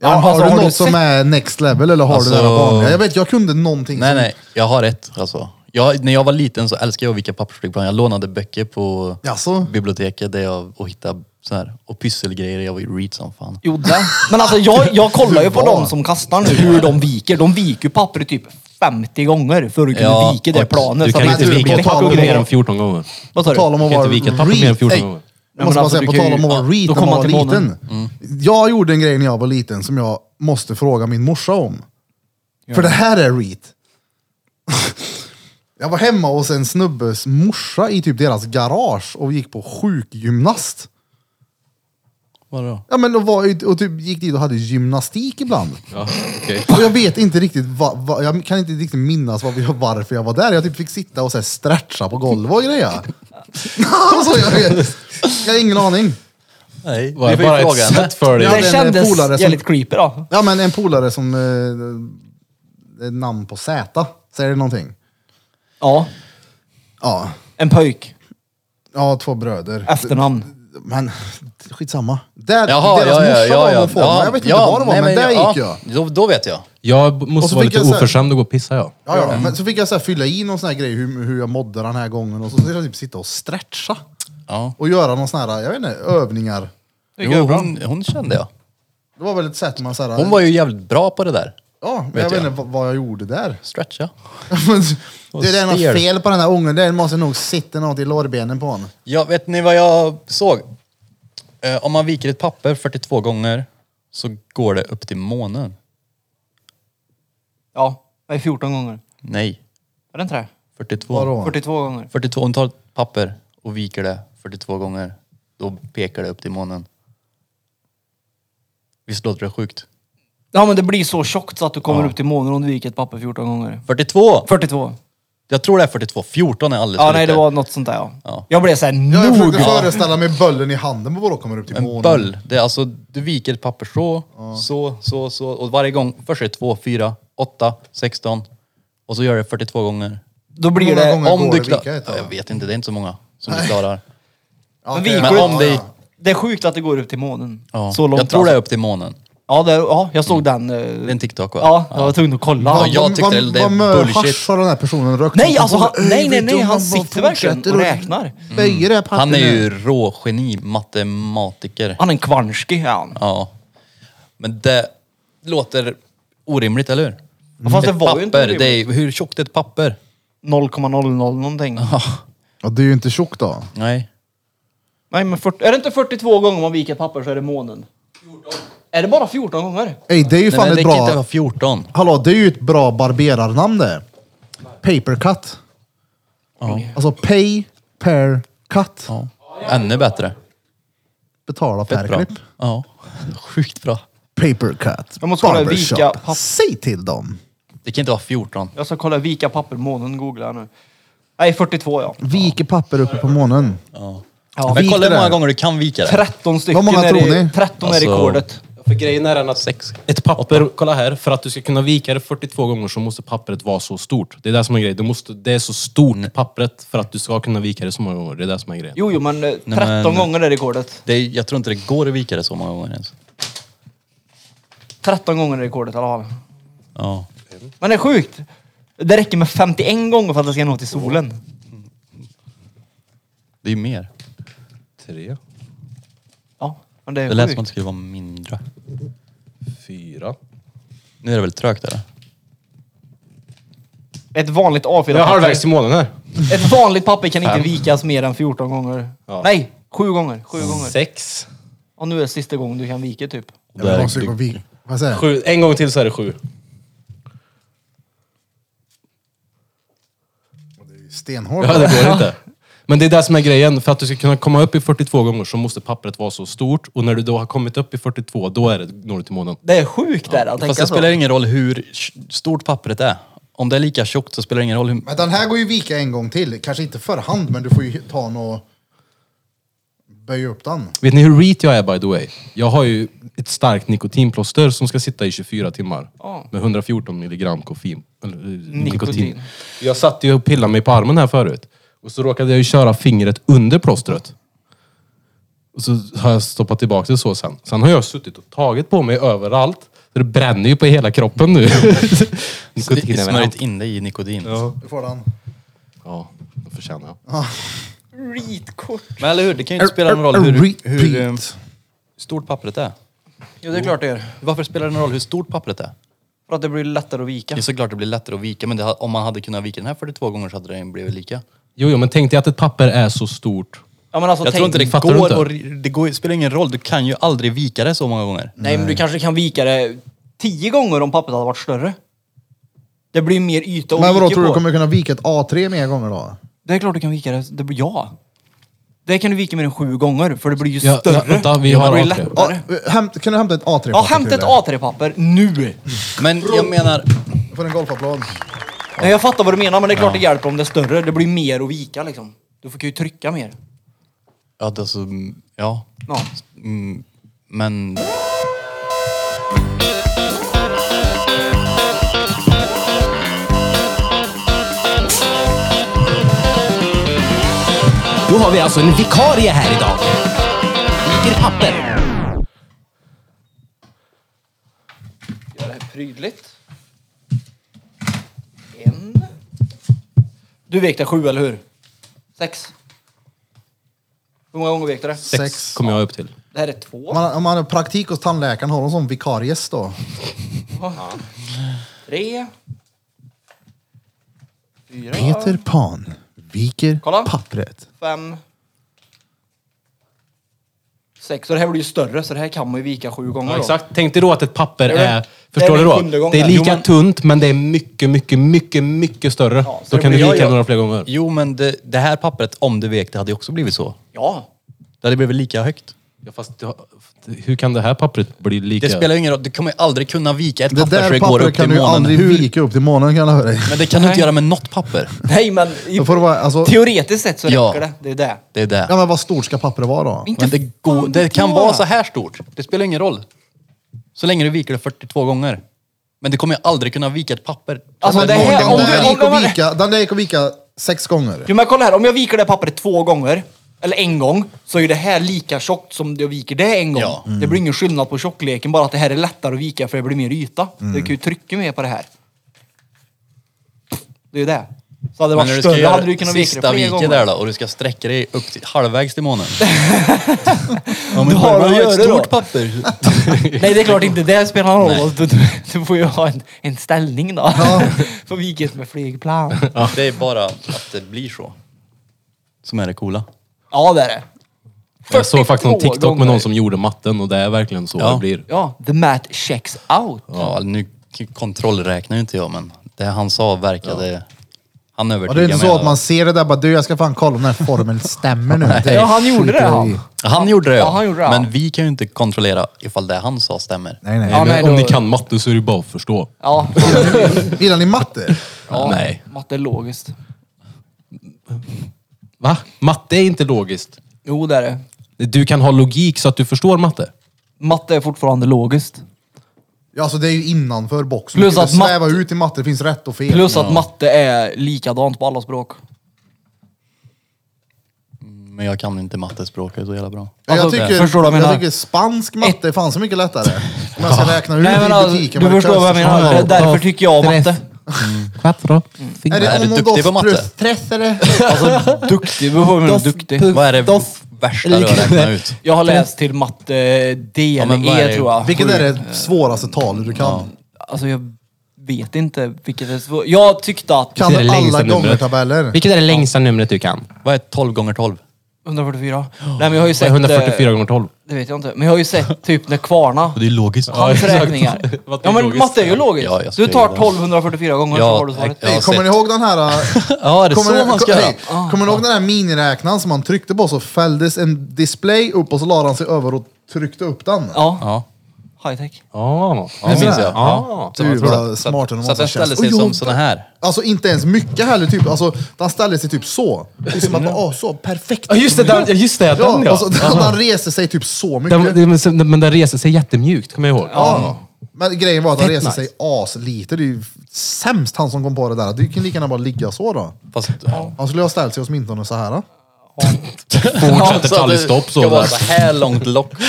Speaker 1: Ja,
Speaker 4: Ja,
Speaker 1: har
Speaker 4: alltså,
Speaker 1: du
Speaker 4: har
Speaker 1: något
Speaker 4: du
Speaker 1: som
Speaker 4: sett-
Speaker 1: är next level eller har
Speaker 5: Alltså-
Speaker 1: du det där vanliga? Jag vet, jag kunde någonting
Speaker 5: Nej,
Speaker 1: som...
Speaker 5: nej. Jag har ett alltså. Jag, när jag var liten så älskade jag att vika pappersflygplan. Jag lånade böcker på
Speaker 1: Jaså?
Speaker 5: biblioteket där jag, och hittade så här, och pysselgrejer. Jag var ju read som fan.
Speaker 4: Jo, det. Men alltså jag, jag kollar ju på dem som kastar nu hur de viker. De viker ju papper typ 50 gånger för att kunna
Speaker 5: Ja,
Speaker 4: vika det
Speaker 5: och
Speaker 4: planet.
Speaker 3: Du
Speaker 4: så
Speaker 3: kan
Speaker 4: att
Speaker 3: inte
Speaker 4: det-
Speaker 1: du,
Speaker 3: vika
Speaker 1: på
Speaker 3: ett
Speaker 1: tal om-
Speaker 3: papper mer än 14 gånger.
Speaker 4: Vad sa
Speaker 1: På tal
Speaker 4: du?
Speaker 1: om att
Speaker 3: Kan
Speaker 1: vara
Speaker 3: inte vika ett papper mer än
Speaker 1: reet-
Speaker 3: 14
Speaker 1: Ey,
Speaker 3: gånger.
Speaker 1: Jag
Speaker 4: men
Speaker 1: måste bara
Speaker 4: alltså,
Speaker 1: säga, på
Speaker 4: du kan
Speaker 1: tal om
Speaker 4: ju-
Speaker 1: att vara
Speaker 4: ja,
Speaker 1: reet
Speaker 4: då
Speaker 1: när man
Speaker 4: kommer
Speaker 1: var
Speaker 4: man Mm. till
Speaker 1: liten. Jag gjorde en grej när jag var liten som jag måste fråga min morsa om. För det här är reet. jag var hemma hos en snubbes morsa i typ deras garage och gick på sjukgymnast.
Speaker 5: Vadå?
Speaker 1: Ja men och, var, ju- och typ gick dit och hade gymnastik ibland.
Speaker 3: Ja, okej.
Speaker 1: Och jag vet inte riktigt, va, va, jag kan inte riktigt minnas vad vi- varför jag var där. Jag typ fick sitta och så här stretcha på golvet och grejer. alltså, jag, vet. jag har ingen aning.
Speaker 5: Nej,
Speaker 3: Var
Speaker 5: vi
Speaker 3: det
Speaker 5: får ju
Speaker 3: bara
Speaker 5: fråga
Speaker 3: ett
Speaker 5: henne.
Speaker 3: sätt för dig?
Speaker 1: Jag hade
Speaker 4: Det
Speaker 1: en
Speaker 4: kändes
Speaker 1: polare som-
Speaker 4: jävligt creepy då.
Speaker 1: Ja men en polare som... Eh, eh, namn på Z. Säger det någonting?
Speaker 4: Ja,
Speaker 1: Ja.
Speaker 4: en pojk.
Speaker 1: Ja, två bröder.
Speaker 4: Efternamn.
Speaker 1: Men skitsamma. Där,
Speaker 5: Jaha,
Speaker 1: deras
Speaker 5: ja, ja,
Speaker 1: morsa
Speaker 5: ja,
Speaker 1: var
Speaker 5: ja.
Speaker 1: någon form.
Speaker 5: ja,
Speaker 1: Jag vet inte
Speaker 5: ja,
Speaker 1: vad det var,
Speaker 5: nej,
Speaker 1: men, där
Speaker 5: ja,
Speaker 1: gick jag.
Speaker 5: Då, då vet jag.
Speaker 3: Jag
Speaker 1: Och så
Speaker 3: måste vara
Speaker 1: fick
Speaker 3: lite
Speaker 1: jag så här-
Speaker 3: oförskämd och gå och pissa ja.
Speaker 1: Ja, ja. Men så fick jag så här fylla i någon sån här grej, hur, hur jag mådde den här gången. Och så skulle jag typ sitta och stretcha.
Speaker 5: Ja.
Speaker 1: Och göra någon sån här, jag vet inte, övningar.
Speaker 5: Jo, hon, hon kände jag.
Speaker 1: Det var väl ett sätt man såhär...
Speaker 5: Hon var ju jävligt bra på det där.
Speaker 1: Ja, men
Speaker 5: vet
Speaker 1: jag vet
Speaker 5: jag.
Speaker 1: inte vad- vad jag gjorde där.
Speaker 5: Stretcha.
Speaker 1: det är
Speaker 5: stel.
Speaker 1: något fel på den här ungen, det måste nog sitta något i lårbenen på honom.
Speaker 5: Ja, vet ni vad jag såg? Eh, om man viker ett papper 42 gånger så går det upp till månen.
Speaker 4: Ja, det är 14 gånger.
Speaker 5: Nej,
Speaker 4: Är det inte det?
Speaker 5: 42.
Speaker 1: Vadå?
Speaker 4: 42 gånger.
Speaker 5: 42, om du tar ett papper och viker det 42 gånger, då pekar det upp till månen. Visst låter det sjukt?
Speaker 4: Ja men det blir så tjockt så att du kommer upp till månen om du viker ett papper 14 gånger.
Speaker 5: 42!
Speaker 4: 42.
Speaker 5: Jag tror det är 42. 14 är alldeles
Speaker 4: Ja
Speaker 5: för
Speaker 4: nej det
Speaker 5: lite.
Speaker 4: var något sånt där ja.
Speaker 5: Ja.
Speaker 4: Jag blev såhär
Speaker 1: Ja, Jag försökte
Speaker 4: nog.
Speaker 1: föreställa mig böllen i handen på vad då kommer upp till
Speaker 5: En
Speaker 1: månen.
Speaker 5: böll. Det är alltså, du viker ett papper så, så, så, så. Och varje gång, först är det 2, 4, 8, 16. Och så gör det 42 gånger.
Speaker 4: Då
Speaker 1: Hur
Speaker 4: blir
Speaker 1: många
Speaker 4: det...
Speaker 1: gånger
Speaker 5: Om
Speaker 1: går
Speaker 5: du
Speaker 1: det
Speaker 5: klarar...
Speaker 1: vika ett tag?
Speaker 5: Jag vet inte, det är inte så många som du klarar.
Speaker 1: Ja,
Speaker 4: Men
Speaker 1: okej.
Speaker 4: vi-
Speaker 5: Men
Speaker 4: Ja,
Speaker 5: om det...
Speaker 4: Det är sjukt att det går upp till månen.
Speaker 5: Ja.
Speaker 4: Så långt
Speaker 5: jag tror det är
Speaker 4: alltså.
Speaker 5: upp till månen.
Speaker 4: Ja, det, ja jag såg den. eh,
Speaker 5: Det är en TikTok va?
Speaker 4: Ja, jag var tvungen att kolla.
Speaker 5: Ja, jag tyckte det- det är bullshit.
Speaker 1: har den här personen rökt?
Speaker 4: Nej,
Speaker 1: Som
Speaker 4: alltså,
Speaker 1: bara,
Speaker 4: han- nej,
Speaker 1: "Ey,
Speaker 4: nej,
Speaker 1: vet
Speaker 4: nej,
Speaker 1: du,
Speaker 4: han
Speaker 1: bara
Speaker 4: sitter verkligen
Speaker 1: fortsätter
Speaker 4: och räknar.
Speaker 1: Böjer det här pappret
Speaker 5: Han är
Speaker 1: nu.
Speaker 5: ju rågeni, matematiker.
Speaker 4: Han är en kvarnski är han.
Speaker 5: Ja. Men det låter orimligt, eller hur?
Speaker 4: Ja, Fast det
Speaker 5: Ett
Speaker 4: var ju inte
Speaker 5: papper,
Speaker 4: orimligt.
Speaker 5: det är, hur tjockt är ett papper?
Speaker 4: 0,00 någonting.
Speaker 1: Ja, det är ju inte tjockt då.
Speaker 5: Nej.
Speaker 4: Nej men 40, är det inte 42 gånger man viker ett papper så är det månen? 14. Är det bara 14 gånger?
Speaker 1: Ey, det är ju
Speaker 5: Nej,
Speaker 1: fan
Speaker 5: men det
Speaker 1: ett
Speaker 5: kan inte vara
Speaker 1: bra...
Speaker 5: 14.
Speaker 1: Hallå, det är ju ett bra barberarnamn det. Papercut. Alltså pay per cut.
Speaker 5: Ja. Ännu bättre.
Speaker 1: Betala per
Speaker 5: Fett bra.
Speaker 1: klipp.
Speaker 5: Ja. Sjukt bra.
Speaker 1: Papercut.
Speaker 4: Jag måste kolla vika papp-
Speaker 1: Säg till dem.
Speaker 5: Det kan inte vara 14.
Speaker 4: Jag ska kolla vika papper månen, googlar jag nu. Nej 42 ja.
Speaker 1: Vike papper uppe på månen.
Speaker 4: ja
Speaker 5: Men
Speaker 1: Vik
Speaker 5: kolla
Speaker 1: det
Speaker 5: hur många
Speaker 1: där.
Speaker 5: gånger du kan vika det.
Speaker 4: 13 stycken
Speaker 1: Vad många
Speaker 4: är,
Speaker 1: tror
Speaker 4: i-
Speaker 1: ni?
Speaker 4: 13
Speaker 5: Alltså-
Speaker 4: är rekordet.
Speaker 3: För grejen är den att
Speaker 5: Sex.
Speaker 3: Ett papper, kolla här, för att du ska kunna vika det 42 gånger så måste pappret vara så stort. Det är det som är grejen. Det, måste, det är så stort pappret för att du ska kunna vika det så många gånger. Det är det som är grejen.
Speaker 4: Jo, jo men eh, 13
Speaker 5: Nej, men-
Speaker 4: gånger är rekordet.
Speaker 5: Det är, jag tror inte det går att vika det så många gånger ens.
Speaker 4: 13 gånger är rekordet i alla fall.
Speaker 5: Ja.
Speaker 4: Men det är sjukt. Det räcker med 51 gånger för att det ska nå till solen.
Speaker 5: Det är ju mer.
Speaker 3: Tre.
Speaker 4: Ja, men Men det är
Speaker 5: Det lät
Speaker 4: sjukt.
Speaker 5: som att det skulle vara mindre.
Speaker 3: Fyra.
Speaker 5: Nu är det väl trögt eller?
Speaker 4: Ett vanligt A4-papper.
Speaker 3: Jag är halvvägs till månen här.
Speaker 4: Ett vanligt papper kan inte vikas mer än 14 gånger.
Speaker 3: Ja.
Speaker 4: Nej, sju gånger. Sju gånger.
Speaker 3: Sex.
Speaker 4: Och nu är det sista gången du kan vika typ.
Speaker 1: Jag vill också gå vid- Vad säger jag?
Speaker 3: Sju. En gång till så är det sju.
Speaker 1: Stenhård.
Speaker 3: Ja, det går inte. Men det är det som är grejen. För att du ska kunna komma upp i 42 gånger så måste pappret vara så stort. Och när du då har kommit upp i 42, då är det når du till månen.
Speaker 4: Det är sjukt där att
Speaker 5: Fast
Speaker 4: tänka
Speaker 5: det spelar
Speaker 4: så.
Speaker 5: ingen roll hur stort pappret är. Om det är lika tjockt så spelar det ingen roll hur...
Speaker 1: Men den här går ju vika en gång till. Kanske inte för hand, men du får ju ta den och böja upp den.
Speaker 3: Vet ni hur reet jag är by the way? Jag har ju ett starkt nikotinplåster som ska sitta i 24 timmar.
Speaker 4: Ja.
Speaker 3: Med 114 milligram koffein. Eller, eh, nikotin.
Speaker 4: Nikotin.
Speaker 3: Jag satt ju och pillade mig på armen här förut. Och så råkade jag ju köra fingret under plåstret. Och så har jag stoppat tillbaka det så sen. Sen har jag suttit och tagit på mig överallt. Så det bränner ju på hela kroppen nu. Nikotin är väl
Speaker 5: Smörjt in dig i nikotin.
Speaker 1: Du får den.
Speaker 3: Ja, det förtjänar jag.
Speaker 4: Ritkort.
Speaker 5: Men eller hur, det kan ju inte spela någon roll hur,
Speaker 1: Repeat.
Speaker 5: hur eh, stort pappret är.
Speaker 4: Jo, det är klart det är.
Speaker 5: Varför spelar det någon roll hur stort pappret är?
Speaker 4: För att det blir lättare att vika.
Speaker 5: Det är såklart det blir lättare att vika, men det, ha- om man hade kunnat vika den här 42 gånger så hade den blivit lika.
Speaker 3: Jo, jo, men tänk dig att ett papper är så stort.
Speaker 4: Ja, men alltså,
Speaker 5: jag
Speaker 4: tänk,
Speaker 5: tror inte det
Speaker 3: fattar du
Speaker 5: går,
Speaker 3: inte?
Speaker 5: och det går, ju- spelar ingen roll, du kan ju aldrig vika det så många gånger.
Speaker 4: Nej, men du kanske kan vika det tio gånger om pappret hade varit större. Det blir mer yta att
Speaker 1: Men vadå,
Speaker 4: vika
Speaker 1: tror du
Speaker 4: på.
Speaker 1: kommer kunna vika ett A3 mer gånger då?
Speaker 4: Det är klart du kan vika det. det blir, ja. Det kan du vika mer än sju gånger för det blir ju
Speaker 3: Ja,
Speaker 4: större.
Speaker 3: ja, vänta, vi
Speaker 4: Det
Speaker 3: har
Speaker 4: blir
Speaker 3: A3.
Speaker 1: Ja,
Speaker 4: lättare.
Speaker 1: hämt, kan du hämta ett A3?
Speaker 4: Ja, hämta ett A3-papper nu!
Speaker 5: Men jag menar,
Speaker 1: Får en golfapplåd.
Speaker 4: Nej, jag fattar vad du menar, men det är klart det hjälper om det är större. Det blir mer att vika liksom. Du får kan ju trycka mer.
Speaker 5: ja, det är så- mm, ja.
Speaker 4: Ja.
Speaker 5: Mm, men
Speaker 2: Då har vi alltså en vikarie här idag. Viker papper.
Speaker 4: Gör det här prydligt. En. Du vekte sju, eller hur? Sex. Hur många gånger vekte det?
Speaker 1: Sex.
Speaker 3: Kommer jag upp till.
Speaker 4: Det här är två,
Speaker 1: Om man, om man har praktik hos tandläkaren, har de sån vikaries då?
Speaker 4: tre, fyra,
Speaker 1: Peter Pan viker
Speaker 4: Kolla.
Speaker 1: pappret.
Speaker 4: fem, sex. Och det här blir ju större, så det här kan man ju vika sju gånger
Speaker 3: Ja,
Speaker 4: då.
Speaker 3: exakt. Tänk dig då att ett papper
Speaker 4: Det är väl-
Speaker 3: är...
Speaker 4: det är
Speaker 3: Förstår
Speaker 4: väl
Speaker 3: du
Speaker 4: sjunde
Speaker 3: då?
Speaker 4: gången.
Speaker 3: Det är lika
Speaker 4: Jo, men-
Speaker 3: tunt, men det är mycket, mycket, mycket, mycket större.
Speaker 4: så
Speaker 3: då
Speaker 4: det
Speaker 3: kan du
Speaker 4: blir-
Speaker 3: vika
Speaker 4: ja, ja.
Speaker 3: några fler gånger.
Speaker 5: jo, men det, det här pappret, om du vek det, hade ju också blivit så.
Speaker 4: Ja.
Speaker 5: Det hade blivit lika högt.
Speaker 3: Ja, fast, det har- hur kan det här pappret bli lika?
Speaker 5: Det spelar ju ingen roll, du kommer ju aldrig kunna vika ett
Speaker 1: Det
Speaker 5: papper så
Speaker 1: där
Speaker 5: det går upp
Speaker 1: pappret kan
Speaker 5: till
Speaker 1: du ju
Speaker 5: månen.
Speaker 1: aldrig
Speaker 5: Hur-
Speaker 1: vika upp till månen kan jag höra dig.
Speaker 5: Men det kan du inte göra med något papper.
Speaker 4: Nej, men i,
Speaker 1: Då får det vara, alltså,
Speaker 4: teoretiskt sett så
Speaker 5: Ja.
Speaker 4: räcker det. Det är det.
Speaker 5: Det är det.
Speaker 1: ja, men vad stort ska pappret vara då?
Speaker 4: Inte
Speaker 5: Men det,
Speaker 4: fan
Speaker 5: går, det
Speaker 4: vet
Speaker 5: kan
Speaker 4: jag.
Speaker 5: vara så här stort. Det spelar ingen roll. Så länge du viker det 42 gånger. Men du kommer ju aldrig kunna vika ett papper.
Speaker 4: Alltså, det här-
Speaker 1: Den
Speaker 4: om
Speaker 1: där
Speaker 4: du- om
Speaker 1: gick att
Speaker 4: du-
Speaker 1: vika, den där gick att vika sex gånger.
Speaker 4: Jo men kolla här, om jag viker det här pappret två gånger, eller en gång, så är ju det här lika tjockt som jag viker det en gång.
Speaker 5: Ja. Mm.
Speaker 4: Det blir ingen skillnad på tjockleken, bara att det här är lättare att vika för det blir mer yta.
Speaker 5: Mm.
Speaker 4: Du kan ju trycka mer på det här. Det är ju det. Så hade det
Speaker 5: Men när
Speaker 4: varit
Speaker 5: du ska
Speaker 4: större
Speaker 5: göra
Speaker 4: hade du kunnat vika det
Speaker 5: sista
Speaker 4: fler
Speaker 5: viket
Speaker 4: gånger.
Speaker 5: där då och du ska sträcka dig upp till, halvvägs till månen. ja,
Speaker 4: Du har
Speaker 5: bara
Speaker 4: att
Speaker 5: ett
Speaker 4: göra
Speaker 5: stort
Speaker 4: då.
Speaker 5: papper.
Speaker 4: Nej det är klart inte, det spelar någon roll. Du, du, du får ju ha en, en ställning då. För viket med flygplan.
Speaker 5: Det är bara att det blir så. Som är det coola.
Speaker 4: Ja det är det.
Speaker 3: jag såg faktiskt någon
Speaker 4: 42
Speaker 3: TikTok med
Speaker 4: gånger.
Speaker 3: någon som gjorde matten och det är verkligen så
Speaker 5: Ja.
Speaker 3: det blir.
Speaker 4: Ja, the math checks out.
Speaker 5: Ja, nu k- kontrollräknar ju inte jag men det han sa verkade... Han
Speaker 1: Och det är
Speaker 5: övertygade
Speaker 1: inte
Speaker 5: mig
Speaker 1: så att
Speaker 5: då.
Speaker 1: man ser det där bara, du jag ska fan kolla om den här formeln stämmer nu. Det
Speaker 4: Ja, han
Speaker 1: skiter
Speaker 4: gjorde det,
Speaker 1: jag i.
Speaker 4: han.
Speaker 5: Han gjorde det
Speaker 4: Ja, han gjorde det, ja.
Speaker 5: Men vi kan ju inte kontrollera ifall det han sa stämmer.
Speaker 1: Nej, nej.
Speaker 4: Ja,
Speaker 3: Men
Speaker 4: nej,
Speaker 3: om
Speaker 4: då-
Speaker 3: ni kan matte så är det bara att förstå.
Speaker 4: Ja,
Speaker 1: Gillar ni matte?
Speaker 4: ja.
Speaker 3: Nej.
Speaker 4: matte är logiskt.
Speaker 3: Va? Matte är inte logiskt.
Speaker 4: Jo, det är det.
Speaker 3: Du kan ha logik så att du förstår matte.
Speaker 4: Matte är fortfarande logiskt.
Speaker 1: Ja, alltså det är ju innanför boxen.
Speaker 4: Plus
Speaker 1: Plus att
Speaker 4: att matte-
Speaker 1: sväva ut i matte, det finns rätt och fel.
Speaker 4: Plus att matte är likadant på alla språk.
Speaker 5: Men jag kan inte mattespråket så jävla bra.
Speaker 1: Ja, jag,
Speaker 4: Alltså,
Speaker 1: tycker,
Speaker 4: förstår du vad jag
Speaker 1: jag,
Speaker 4: menar?
Speaker 1: tycker spansk matte är fan så mycket lättare. Om jag ska räkna ut i
Speaker 4: alltså,
Speaker 1: butiken.
Speaker 4: du
Speaker 1: vad det
Speaker 4: förstår vad jag
Speaker 1: kostar.
Speaker 4: menar. Det- Därför
Speaker 3: Dos,
Speaker 4: tycker jag om
Speaker 3: tres.
Speaker 4: matte.
Speaker 3: Quattro.
Speaker 1: Är
Speaker 5: Är
Speaker 1: det
Speaker 5: du
Speaker 1: om och
Speaker 5: duktig
Speaker 1: dos
Speaker 5: på matte?
Speaker 1: plus tres eller?
Speaker 4: Duktig, vad menar du duktig?
Speaker 5: Vad är det?
Speaker 3: Dos,
Speaker 5: värsta du har räknat ut.
Speaker 4: Jag har läst till matte eh, D
Speaker 5: Ja,
Speaker 4: eller
Speaker 5: men vad är
Speaker 4: E
Speaker 5: det?
Speaker 4: tror jag.
Speaker 1: Vilket är det svåraste talet du kan?
Speaker 4: Alltså jag vet inte vilket det är svårt. Jag tyckte att...
Speaker 1: Kan
Speaker 3: Det är det
Speaker 1: du alla
Speaker 3: längsta numret.
Speaker 1: gångertabeller?
Speaker 3: Vilket är det längsta numret du kan?
Speaker 5: Vad är 12 gånger 12?
Speaker 4: 144? Nej men jag har ju
Speaker 3: Det är
Speaker 4: sett... eh,
Speaker 3: 144 gånger 12.
Speaker 4: Det vet jag inte. Men jag har ju sett typ när kvarna...
Speaker 5: Det är logiskt.
Speaker 4: Hans räkningar.
Speaker 3: Vad
Speaker 4: Ja men
Speaker 3: logiskt.
Speaker 4: matte är ju logiskt.
Speaker 5: Ja, jag
Speaker 4: du
Speaker 5: skrev
Speaker 4: tar
Speaker 5: det.
Speaker 4: 1244 gånger så
Speaker 5: Ja,
Speaker 4: har du svaret.
Speaker 5: jag har
Speaker 1: Kommer ni
Speaker 5: sett.
Speaker 1: ihåg den här... äh,
Speaker 5: Ja, är det
Speaker 1: Kommer,
Speaker 5: så
Speaker 1: ni-
Speaker 5: man ska
Speaker 1: ko-
Speaker 5: göra?
Speaker 1: hej, kommer ni ihåg den här miniräknaren som man tryckte på så fälldes en display upp och så la han sig över och tryckte upp den?
Speaker 4: Ja,
Speaker 5: Ja,
Speaker 4: high tech.
Speaker 3: Ja,
Speaker 5: ja det minns jag.
Speaker 3: Ja.
Speaker 5: Ja.
Speaker 1: Du
Speaker 5: Så-
Speaker 1: var smartare än
Speaker 5: Så att den ställde sig som såna här.
Speaker 1: Alltså inte ens mycket heller, typ. Alltså, den ställde sig typ så. Det är som att, åh, så perfekt.
Speaker 3: Ja, just det, den- ja, just det, den, ja.
Speaker 1: Alltså, den, den reser sig typ så mycket.
Speaker 3: Den, den, men- men den reser sig jättemjukt, kommer jag ihåg.
Speaker 1: ja. Men grejen var att den
Speaker 3: Fett
Speaker 1: reser
Speaker 3: nice.
Speaker 1: sig aslite. Det är ju sämst han som kom på det där. Du kan lika gärna bara ligga så då.
Speaker 5: Fast, ja.
Speaker 1: Han skulle ha ställt sig åtminstone så här.
Speaker 3: Fortsätter
Speaker 5: Så att det
Speaker 3: talgstopp så.
Speaker 5: ska vara
Speaker 3: där.
Speaker 5: så här långt lock.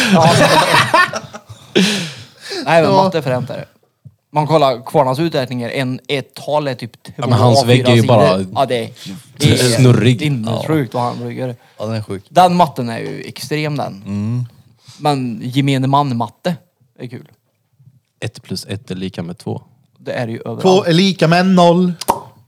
Speaker 4: Nej men matte är fränt är det. Man kollar kvarnas uträkningar, en, ett tal är typ två,
Speaker 3: men hans
Speaker 4: A4
Speaker 3: vägg är ju
Speaker 4: sidor.
Speaker 3: bara-
Speaker 4: Ja det är, det är
Speaker 3: Snurrig.
Speaker 4: Sinnessjukt vad han brukar.
Speaker 5: Ja, den är sjuk.
Speaker 4: Den matten är ju extrem den.
Speaker 3: Mm.
Speaker 4: Men gemene man-matte är kul.
Speaker 3: Ett plus ett är lika med två.
Speaker 4: Det är det ju överallt.
Speaker 1: Två är lika med noll.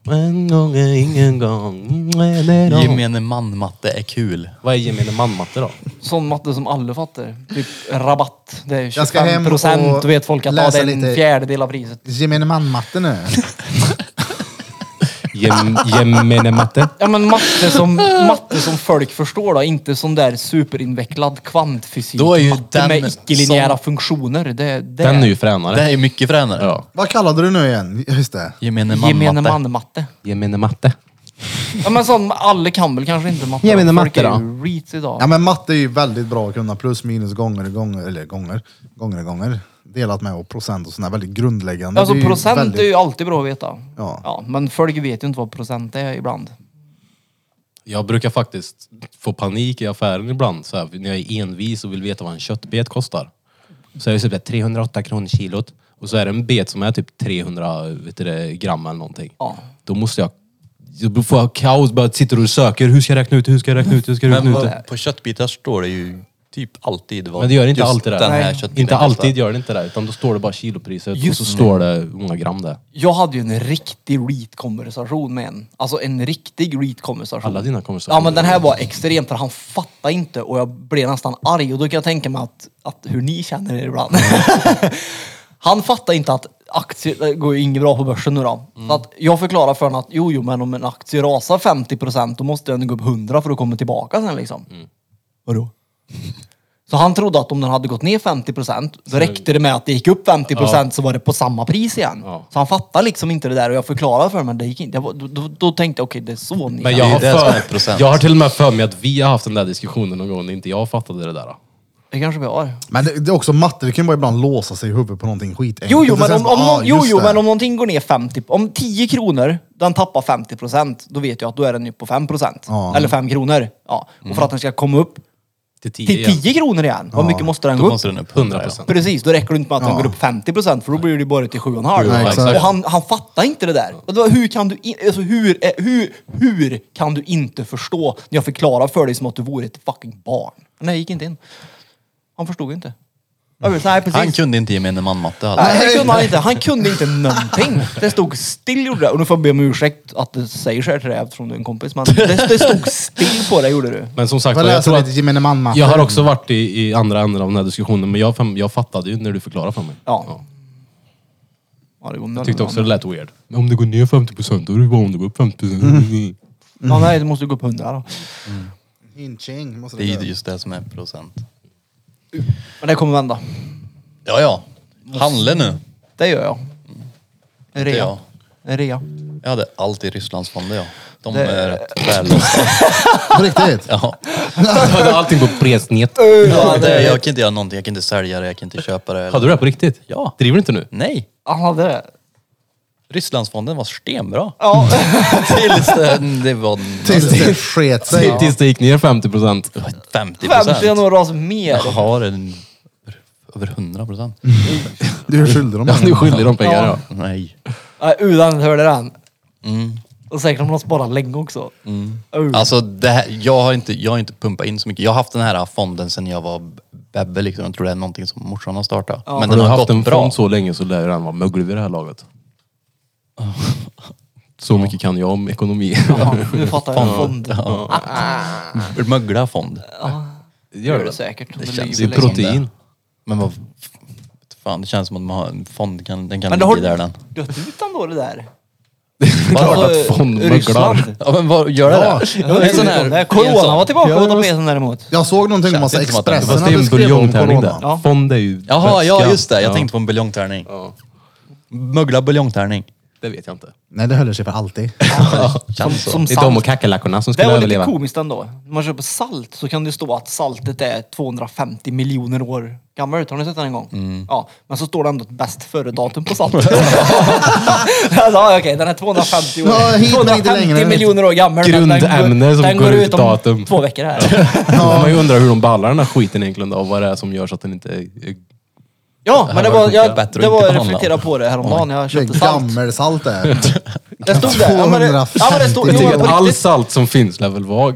Speaker 3: En gång är ingen gång. Nej, nej, nej.
Speaker 5: Gemene man-matte är kul.
Speaker 3: Vad är gemene man-matte då?
Speaker 4: Sån matte som alla fattar. Typ rabatt. Det är
Speaker 1: Jag ska hem
Speaker 4: 25 procent.
Speaker 1: och
Speaker 4: Då vet folk att ah,
Speaker 1: läsa
Speaker 4: det är en
Speaker 1: lite-
Speaker 4: fjärdedel av priset.
Speaker 1: Gemene man-matte nu.
Speaker 3: Gem, gemene matte?
Speaker 4: Ja men matte som, matte som folk förstår då. Inte sån där superinvecklad kvantfysik.
Speaker 5: Då är ju
Speaker 4: matte
Speaker 5: den
Speaker 4: med icke-linjära
Speaker 5: som-
Speaker 4: funktioner. Det, det
Speaker 3: Den är ju
Speaker 5: Det
Speaker 3: fränare.
Speaker 5: är mycket fränare.
Speaker 3: Ja.
Speaker 1: Vad kallade du nu igen? Just det.
Speaker 5: Gemene
Speaker 4: gemene
Speaker 5: man-matte.
Speaker 4: man-matte.
Speaker 3: Gemene matte.
Speaker 4: Ja men sån, alla kan väl kanske inte matte.
Speaker 3: Gemene
Speaker 4: Folk
Speaker 3: matte
Speaker 4: är
Speaker 3: då?
Speaker 4: ju reeds idag.
Speaker 1: Ja men matte är ju väldigt bra att kunna plus minus gånger gånger, eller gånger, gånger gånger. Delat med och procent och sådär väldigt grundläggande.
Speaker 4: Alltså
Speaker 1: Det är ju
Speaker 4: procent
Speaker 1: väldigt-
Speaker 4: är ju alltid bra att veta.
Speaker 1: Ja.
Speaker 4: men folk vet ju inte vad procent är ibland.
Speaker 3: Jag brukar faktiskt få panik i affären ibland så här, när jag är envis och vill veta vad en köttbet kostar. Så är det typ där 308 kronor kilot och så är det en bet som är typ 300 vet du det, gram eller någonting.
Speaker 4: Ja.
Speaker 3: Då måste jag då får jag kaos, bara sitter och söker. Hur ska jag räkna ut det? Hur ska jag räkna ut det? Hur ska jag räkna
Speaker 5: Men
Speaker 3: ut det?
Speaker 5: vad- på köttbitar står det ju typ alltid vad
Speaker 3: Men det gör inte
Speaker 5: just
Speaker 3: alltid det.
Speaker 5: den här
Speaker 4: Nej.
Speaker 5: köttbiten
Speaker 3: Inte
Speaker 5: kostar.
Speaker 3: alltid gör det inte det, utan då står det bara kilopriset
Speaker 4: Just
Speaker 3: och så står det hur många gram det är.
Speaker 4: Jag hade ju en riktig reat-konversation med en. Alltså en riktig reat-konversation.
Speaker 3: Alla dina konversationer.
Speaker 4: Ja men den här var extremt för han fattade inte och jag blev nästan arg och då kan jag tänka mig att, att hur ni känner er ibland. han fattar inte att aktier, det går ju inget bra på börsen nu då.
Speaker 3: Mm.
Speaker 4: Så att jag förklarar för honom att jo, jo men om en aktie rasar 50% då måste den gå upp 100 för att komma tillbaka sen liksom. Vadå? Så han trodde att om den hade gått ner 50% så räckte det med att det gick upp 50% så var det på samma pris igen.
Speaker 3: Ja.
Speaker 4: Så han fattade liksom inte det där och jag förklarade för honom men det gick inte. Det var, då, då, då tänkte jag okej det är så ni
Speaker 3: Men
Speaker 4: känner.
Speaker 3: jag
Speaker 5: Det är
Speaker 3: har,
Speaker 5: ju det som är
Speaker 3: för,
Speaker 5: procent.
Speaker 3: jag har till och med för mig att vi har haft den där diskussionen någon gång när inte jag fattade det där.
Speaker 4: Det kanske vi har.
Speaker 1: Men det, det är också matte, det kan ju bara ibland låsa sig i huvudet på någonting skitenkelt.
Speaker 4: Jo, jo,
Speaker 1: Och
Speaker 4: men
Speaker 1: sen
Speaker 4: om,
Speaker 1: så,
Speaker 4: om,
Speaker 1: ah,
Speaker 4: någon- jo,
Speaker 1: just
Speaker 4: jo
Speaker 1: det.
Speaker 4: men om någonting går ner 50, om 10 kronor, den tappar 50 procent, då vet jag att då är den ju på 5 procent.
Speaker 1: Ja.
Speaker 4: Eller 5 kronor. Ja. Och för att den ska komma upp
Speaker 3: Till 10
Speaker 4: till 10 kronor igen, hur mycket måste den gå
Speaker 5: Då
Speaker 4: upp?
Speaker 5: måste den upp 100
Speaker 3: 100
Speaker 5: procent.
Speaker 3: procent.
Speaker 4: Precis, då räcker det inte med att den
Speaker 1: Ja.
Speaker 4: går upp 50 procent för då blir det bara till 7,5.
Speaker 1: Ja, exakt.
Speaker 4: och han, han fattar inte det där. Och då, hur, kan du i- alltså, hur, eh, hur, hur kan du inte förstå när jag förklarar för dig som att du vore ett fucking barn? Nej, gick inte in. Han förstod inte. Jag vet, nej, precis.
Speaker 5: Han kunde inte gemene man-matte heller.
Speaker 4: Nej, det kunde han inte. Han kunde inte någonting. Det stod still gjorde det. Och nu får jag be om ursäkt att det säger så här till dig eftersom du är en kompis. Men det, det stod still på det gjorde du.
Speaker 3: Men som sagt
Speaker 1: Får
Speaker 3: var,
Speaker 1: jag
Speaker 3: jag tror
Speaker 1: läsa lite
Speaker 3: att
Speaker 1: gemene man-matte?
Speaker 3: jag har också varit i, i andra änden av den här diskussionen, men jag, fam- jag fattade ju när du förklarade för mig.
Speaker 4: Ja. Ja, det går
Speaker 3: Jag tyckte också det lät weird. Men om det går ner 50 procent, då är det bara om det går upp 50 procent.
Speaker 4: Ja, nej, det måste gå upp hundra då.
Speaker 1: Inching, måste
Speaker 5: Det är ju
Speaker 1: göra.
Speaker 5: just det som är procent.
Speaker 4: Men det kommer vända.
Speaker 5: Ja, ja. Handla nu.
Speaker 4: Det gör jag. En
Speaker 5: Inte
Speaker 4: rea.
Speaker 5: jag.
Speaker 4: En rea.
Speaker 5: Jag hade alltid Rysslandsfonder, ja. De
Speaker 4: Det-
Speaker 5: är rätt vällåsta.
Speaker 1: På riktigt?
Speaker 5: Ja.
Speaker 3: hade allting på presnet.
Speaker 5: Ja, det, jag kan inte göra någonting. Jag kan inte sälja det, jag kan inte köpa det.
Speaker 3: Hade du det på riktigt?
Speaker 5: Ja.
Speaker 3: Driver du inte nu?
Speaker 5: Nej.
Speaker 4: Han hade det.
Speaker 5: Rysslandsfonden var stenbra.
Speaker 4: Ja.
Speaker 5: Tills det, det var
Speaker 1: Tills det sket sig.
Speaker 3: Till- Tills det gick ner 50 procent.
Speaker 5: 50
Speaker 4: 50 är
Speaker 5: procent.
Speaker 4: nog ras mer.
Speaker 5: Jag har en, över 100 procent.
Speaker 1: Du är skyldig dem.
Speaker 3: Ja, nu skyller de pengar.
Speaker 4: Ja.
Speaker 3: Ja.
Speaker 5: Nej.
Speaker 4: Nej, Udan hörde den. Och säkert har man sparat länge också. Oh.
Speaker 5: Mm. Alltså, det här, jag, har inte, jag har inte pumpat in så mycket. Jag har haft den här fonden sedan jag var bebbe. Liksom. Jag tror det är någonting som morsan har startat. Men
Speaker 3: Har
Speaker 5: den
Speaker 3: du
Speaker 5: har,
Speaker 3: haft en
Speaker 5: gått
Speaker 3: bra.
Speaker 5: bra.
Speaker 3: så länge så lär ju den vara möglig vid det här laget. Så mycket kan jag om ekonomi.
Speaker 4: Ja, nu fattar jag. Fond.
Speaker 5: Mögla fond.
Speaker 4: Gör
Speaker 3: väl.
Speaker 4: det säkert.
Speaker 5: Det
Speaker 4: Men
Speaker 5: känns
Speaker 3: Det
Speaker 5: ju
Speaker 3: är
Speaker 4: ju
Speaker 5: protein.
Speaker 4: länge.
Speaker 3: protein.
Speaker 5: Men vad fan, det känns som att man har en fond. Kan, den kan
Speaker 4: Men det
Speaker 5: ligga
Speaker 4: har
Speaker 5: där den.
Speaker 4: dött ut ändå det där.
Speaker 3: Det är klart
Speaker 4: Alltså,
Speaker 3: att fond
Speaker 4: Ryssland.
Speaker 3: möglar.
Speaker 5: Ja men vad, gör det där?
Speaker 4: Jag vet inte om det är- Corona var tillbaka på tapeten däremot.
Speaker 1: Jag såg någonting om
Speaker 5: Känns
Speaker 1: massa
Speaker 5: inte som att det-
Speaker 1: Expressen
Speaker 3: Fast det är en
Speaker 1: hade skrev om
Speaker 3: buljongtävling där.
Speaker 1: corona.
Speaker 4: Ja.
Speaker 3: Fond är ju
Speaker 5: Jaha, ja
Speaker 3: väska.
Speaker 5: just det. Jag
Speaker 3: Ja,
Speaker 5: tänkte på en buljongtärning. Mögla buljongtärning.
Speaker 3: Det vet jag inte.
Speaker 1: Nej, det höll sig för alltid.
Speaker 4: Som, som
Speaker 3: Det är de och
Speaker 4: salt.
Speaker 3: kackerlackorna som
Speaker 4: Det
Speaker 3: skulle
Speaker 4: var lite
Speaker 3: överleva.
Speaker 4: komiskt ändå. När man köper salt så kan det stå att saltet är 250 miljoner år gammalt. Har ni sett den en gång?
Speaker 3: Mm.
Speaker 4: Ja. Men så står det ändå ett bäst före-datum på saltet. alltså, ja, okej, den är 250, år,
Speaker 1: Ja, hit men inte längre, vet.
Speaker 4: 250 miljoner år gammal. men den går-
Speaker 3: Grundämne som
Speaker 4: den
Speaker 3: går ut
Speaker 4: om
Speaker 3: datum.
Speaker 4: två veckor här.
Speaker 3: Då får man ju undra hur de ballar den här skiten egentligen och vad det är som gör så att den inte... är-
Speaker 4: Ja, men det var, jag,
Speaker 5: Bättre att
Speaker 4: det var
Speaker 5: inte
Speaker 4: jag
Speaker 5: behandla.
Speaker 4: reflekterade på det häromdagen. Jag
Speaker 1: Det är
Speaker 4: köpte salt.
Speaker 1: gammelsalt det.
Speaker 4: Det stod där. Ja, men det, ja, men det stod,
Speaker 3: Jag
Speaker 4: jo,
Speaker 3: tycker
Speaker 4: men
Speaker 3: att
Speaker 4: på
Speaker 3: all
Speaker 4: riktigt.
Speaker 3: salt som finns lär väl vara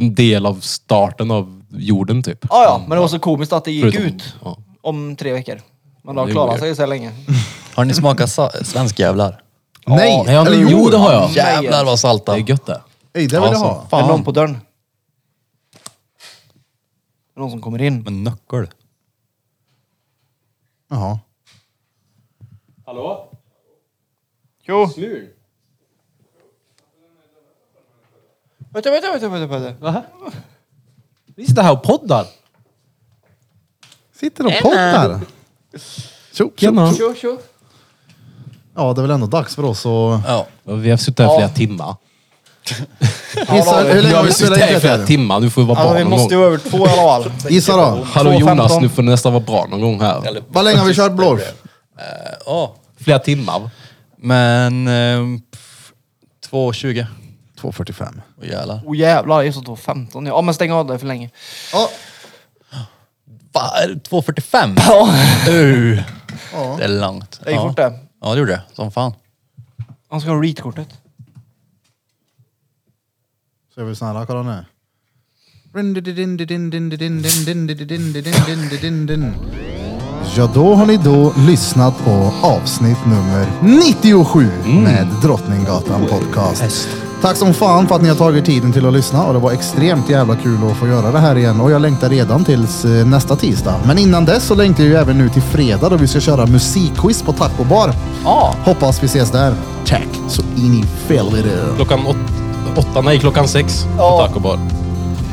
Speaker 3: en del av starten av jorden typ.
Speaker 4: Ja, ja, men det var så komiskt att det gick
Speaker 3: Förutom-
Speaker 4: ut
Speaker 3: ja.
Speaker 4: om tre veckor. Men
Speaker 3: Det
Speaker 4: det har
Speaker 3: är
Speaker 4: klarat
Speaker 3: weird.
Speaker 4: sig så här länge.
Speaker 5: Har ni smakat sa- svenskjävlar?
Speaker 1: Nej,
Speaker 3: Ja,
Speaker 1: eller jo.
Speaker 3: jo, det har jag.
Speaker 5: Jävlar vad salta.
Speaker 3: Det är gött det.
Speaker 1: Ej, det vill jag
Speaker 5: Ja,
Speaker 1: ha.
Speaker 5: som
Speaker 4: Är det någon
Speaker 5: Fan.
Speaker 4: på dörren? Är det någon som kommer in?
Speaker 5: Med nyckel.
Speaker 1: Jaha.
Speaker 4: Jo. Vänta, vänta, vänta, vänta, vänta.
Speaker 3: Vi sitter här och poddar.
Speaker 1: Sitter och poddar. Tjo, tjo,
Speaker 3: Tjena.
Speaker 1: tjo. Ja, det är väl ändå dags för oss att...
Speaker 5: Ja.
Speaker 3: Vi har suttit här i flera timmar.
Speaker 1: Gissa, hur länge har vi spelat
Speaker 3: suttit
Speaker 1: in
Speaker 3: här i
Speaker 1: det
Speaker 3: flera
Speaker 1: här?
Speaker 3: timmar. Nu får vi vara
Speaker 4: Alltså,
Speaker 3: bra
Speaker 4: vi
Speaker 3: någon gång.
Speaker 4: måste ju över två i alla fall.
Speaker 1: Gissa då.
Speaker 3: Hallå
Speaker 4: 2.15.
Speaker 3: Jonas, nu får du nästan vara bra någon gång här.
Speaker 1: Vad länge har vi kört blås?
Speaker 5: Ja.
Speaker 3: Flera timmar.
Speaker 5: Men... Eh, pff, 2,20.
Speaker 1: 2.45.
Speaker 5: Åh jävlar.
Speaker 4: Åh jävlar, just det, 2.15. Ja men stäng av det för länge.
Speaker 1: Ja,
Speaker 5: Va, är det 2,45? Ja. Uh. Det är långt.
Speaker 4: Det gick fort det.
Speaker 5: Ja det gjorde det. Som fan.
Speaker 4: Han ska ha reat-kortet.
Speaker 1: så är vi snälla. Kolla nu. Ja, då har ni då lyssnat på avsnitt nummer 97 med Drottninggatan Podcast. Tack som fan för att ni har tagit tiden till att lyssna och det var extremt jävla kul att få göra det här igen och jag längtar redan tills eh, nästa tisdag. Men innan dess så längtar jag ju även nu till fredag då vi ska köra musikquiz på Taco Bar.
Speaker 4: Ja.
Speaker 1: Hoppas vi ses där. Tack så in i helvete.
Speaker 3: Klockan åt, åtta, nej klockan sex på
Speaker 4: Ja.
Speaker 3: Taco Bar.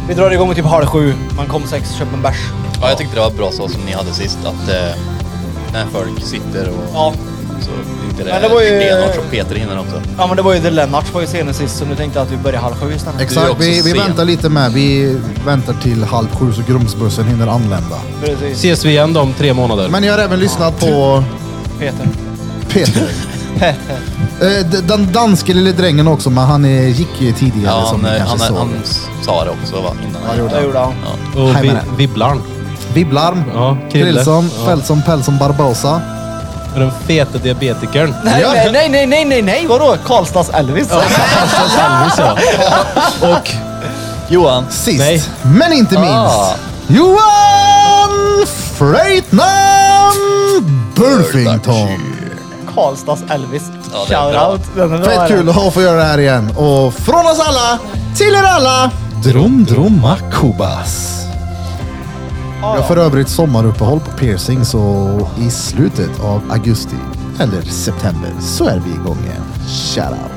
Speaker 4: Vi drar igång typ halv sju. Man kom sex, köper en bärs.
Speaker 5: Ja, jag tyckte det var bra så som ni hade sist att eh, när folk sitter och
Speaker 4: Ja.
Speaker 5: så inte det,
Speaker 4: Men det var ju-
Speaker 5: stenhårt som Peter hinner också.
Speaker 4: Ja men det var ju The Lennarts var ju senare sist så nu tänkte jag att vi börjar halv sju istället.
Speaker 5: Du är
Speaker 1: Exakt,
Speaker 5: också
Speaker 1: vi, vi
Speaker 5: sen.
Speaker 1: väntar lite med. Vi väntar till halv sju så Grumsbussen hinner anlända.
Speaker 4: Typ, Precis.
Speaker 3: Ses vi igen då om tre månader.
Speaker 1: Men jag har även lyssnat på
Speaker 4: Peter.
Speaker 1: Peter. Eh, d- Den danske lille drängen också, men han eh, gick ju tidigare
Speaker 5: Ja,
Speaker 1: som
Speaker 5: han,
Speaker 1: ni
Speaker 5: eh,
Speaker 1: kanske
Speaker 5: han,
Speaker 1: såg.
Speaker 5: han, sa det också va? Innan han
Speaker 4: Det gjorde han.
Speaker 3: Och
Speaker 1: Hej
Speaker 3: vi,
Speaker 1: med det.
Speaker 3: Vibblarn.
Speaker 1: Vibblarm,
Speaker 3: Ja, Krille.
Speaker 1: Krillson,
Speaker 3: Ja.
Speaker 1: Fältson, Pälsson, Barbosa.
Speaker 3: Och Den fete diabetikern.
Speaker 4: Nej,
Speaker 1: Ja.
Speaker 4: nej, nej, nej, nej, nej, nej, vadå? Karlstads Elvis?
Speaker 3: Elvis ja. Och
Speaker 5: Johan.
Speaker 1: Sist,
Speaker 3: Nej.
Speaker 1: men inte minst,
Speaker 5: Ah.
Speaker 1: Johan Freitnam Burfington.
Speaker 4: Karlstads Elvis.
Speaker 5: det är bra.
Speaker 4: Shoutout. Den är bra,
Speaker 1: Fett
Speaker 4: den.
Speaker 1: kul att ha få göra det här igen. Och från oss alla, till er alla, Drom Droma Kubas. Jag har för övrigt sommaruppehåll på piercing så i slutet av augusti eller september så är vi igång igen. Shout out.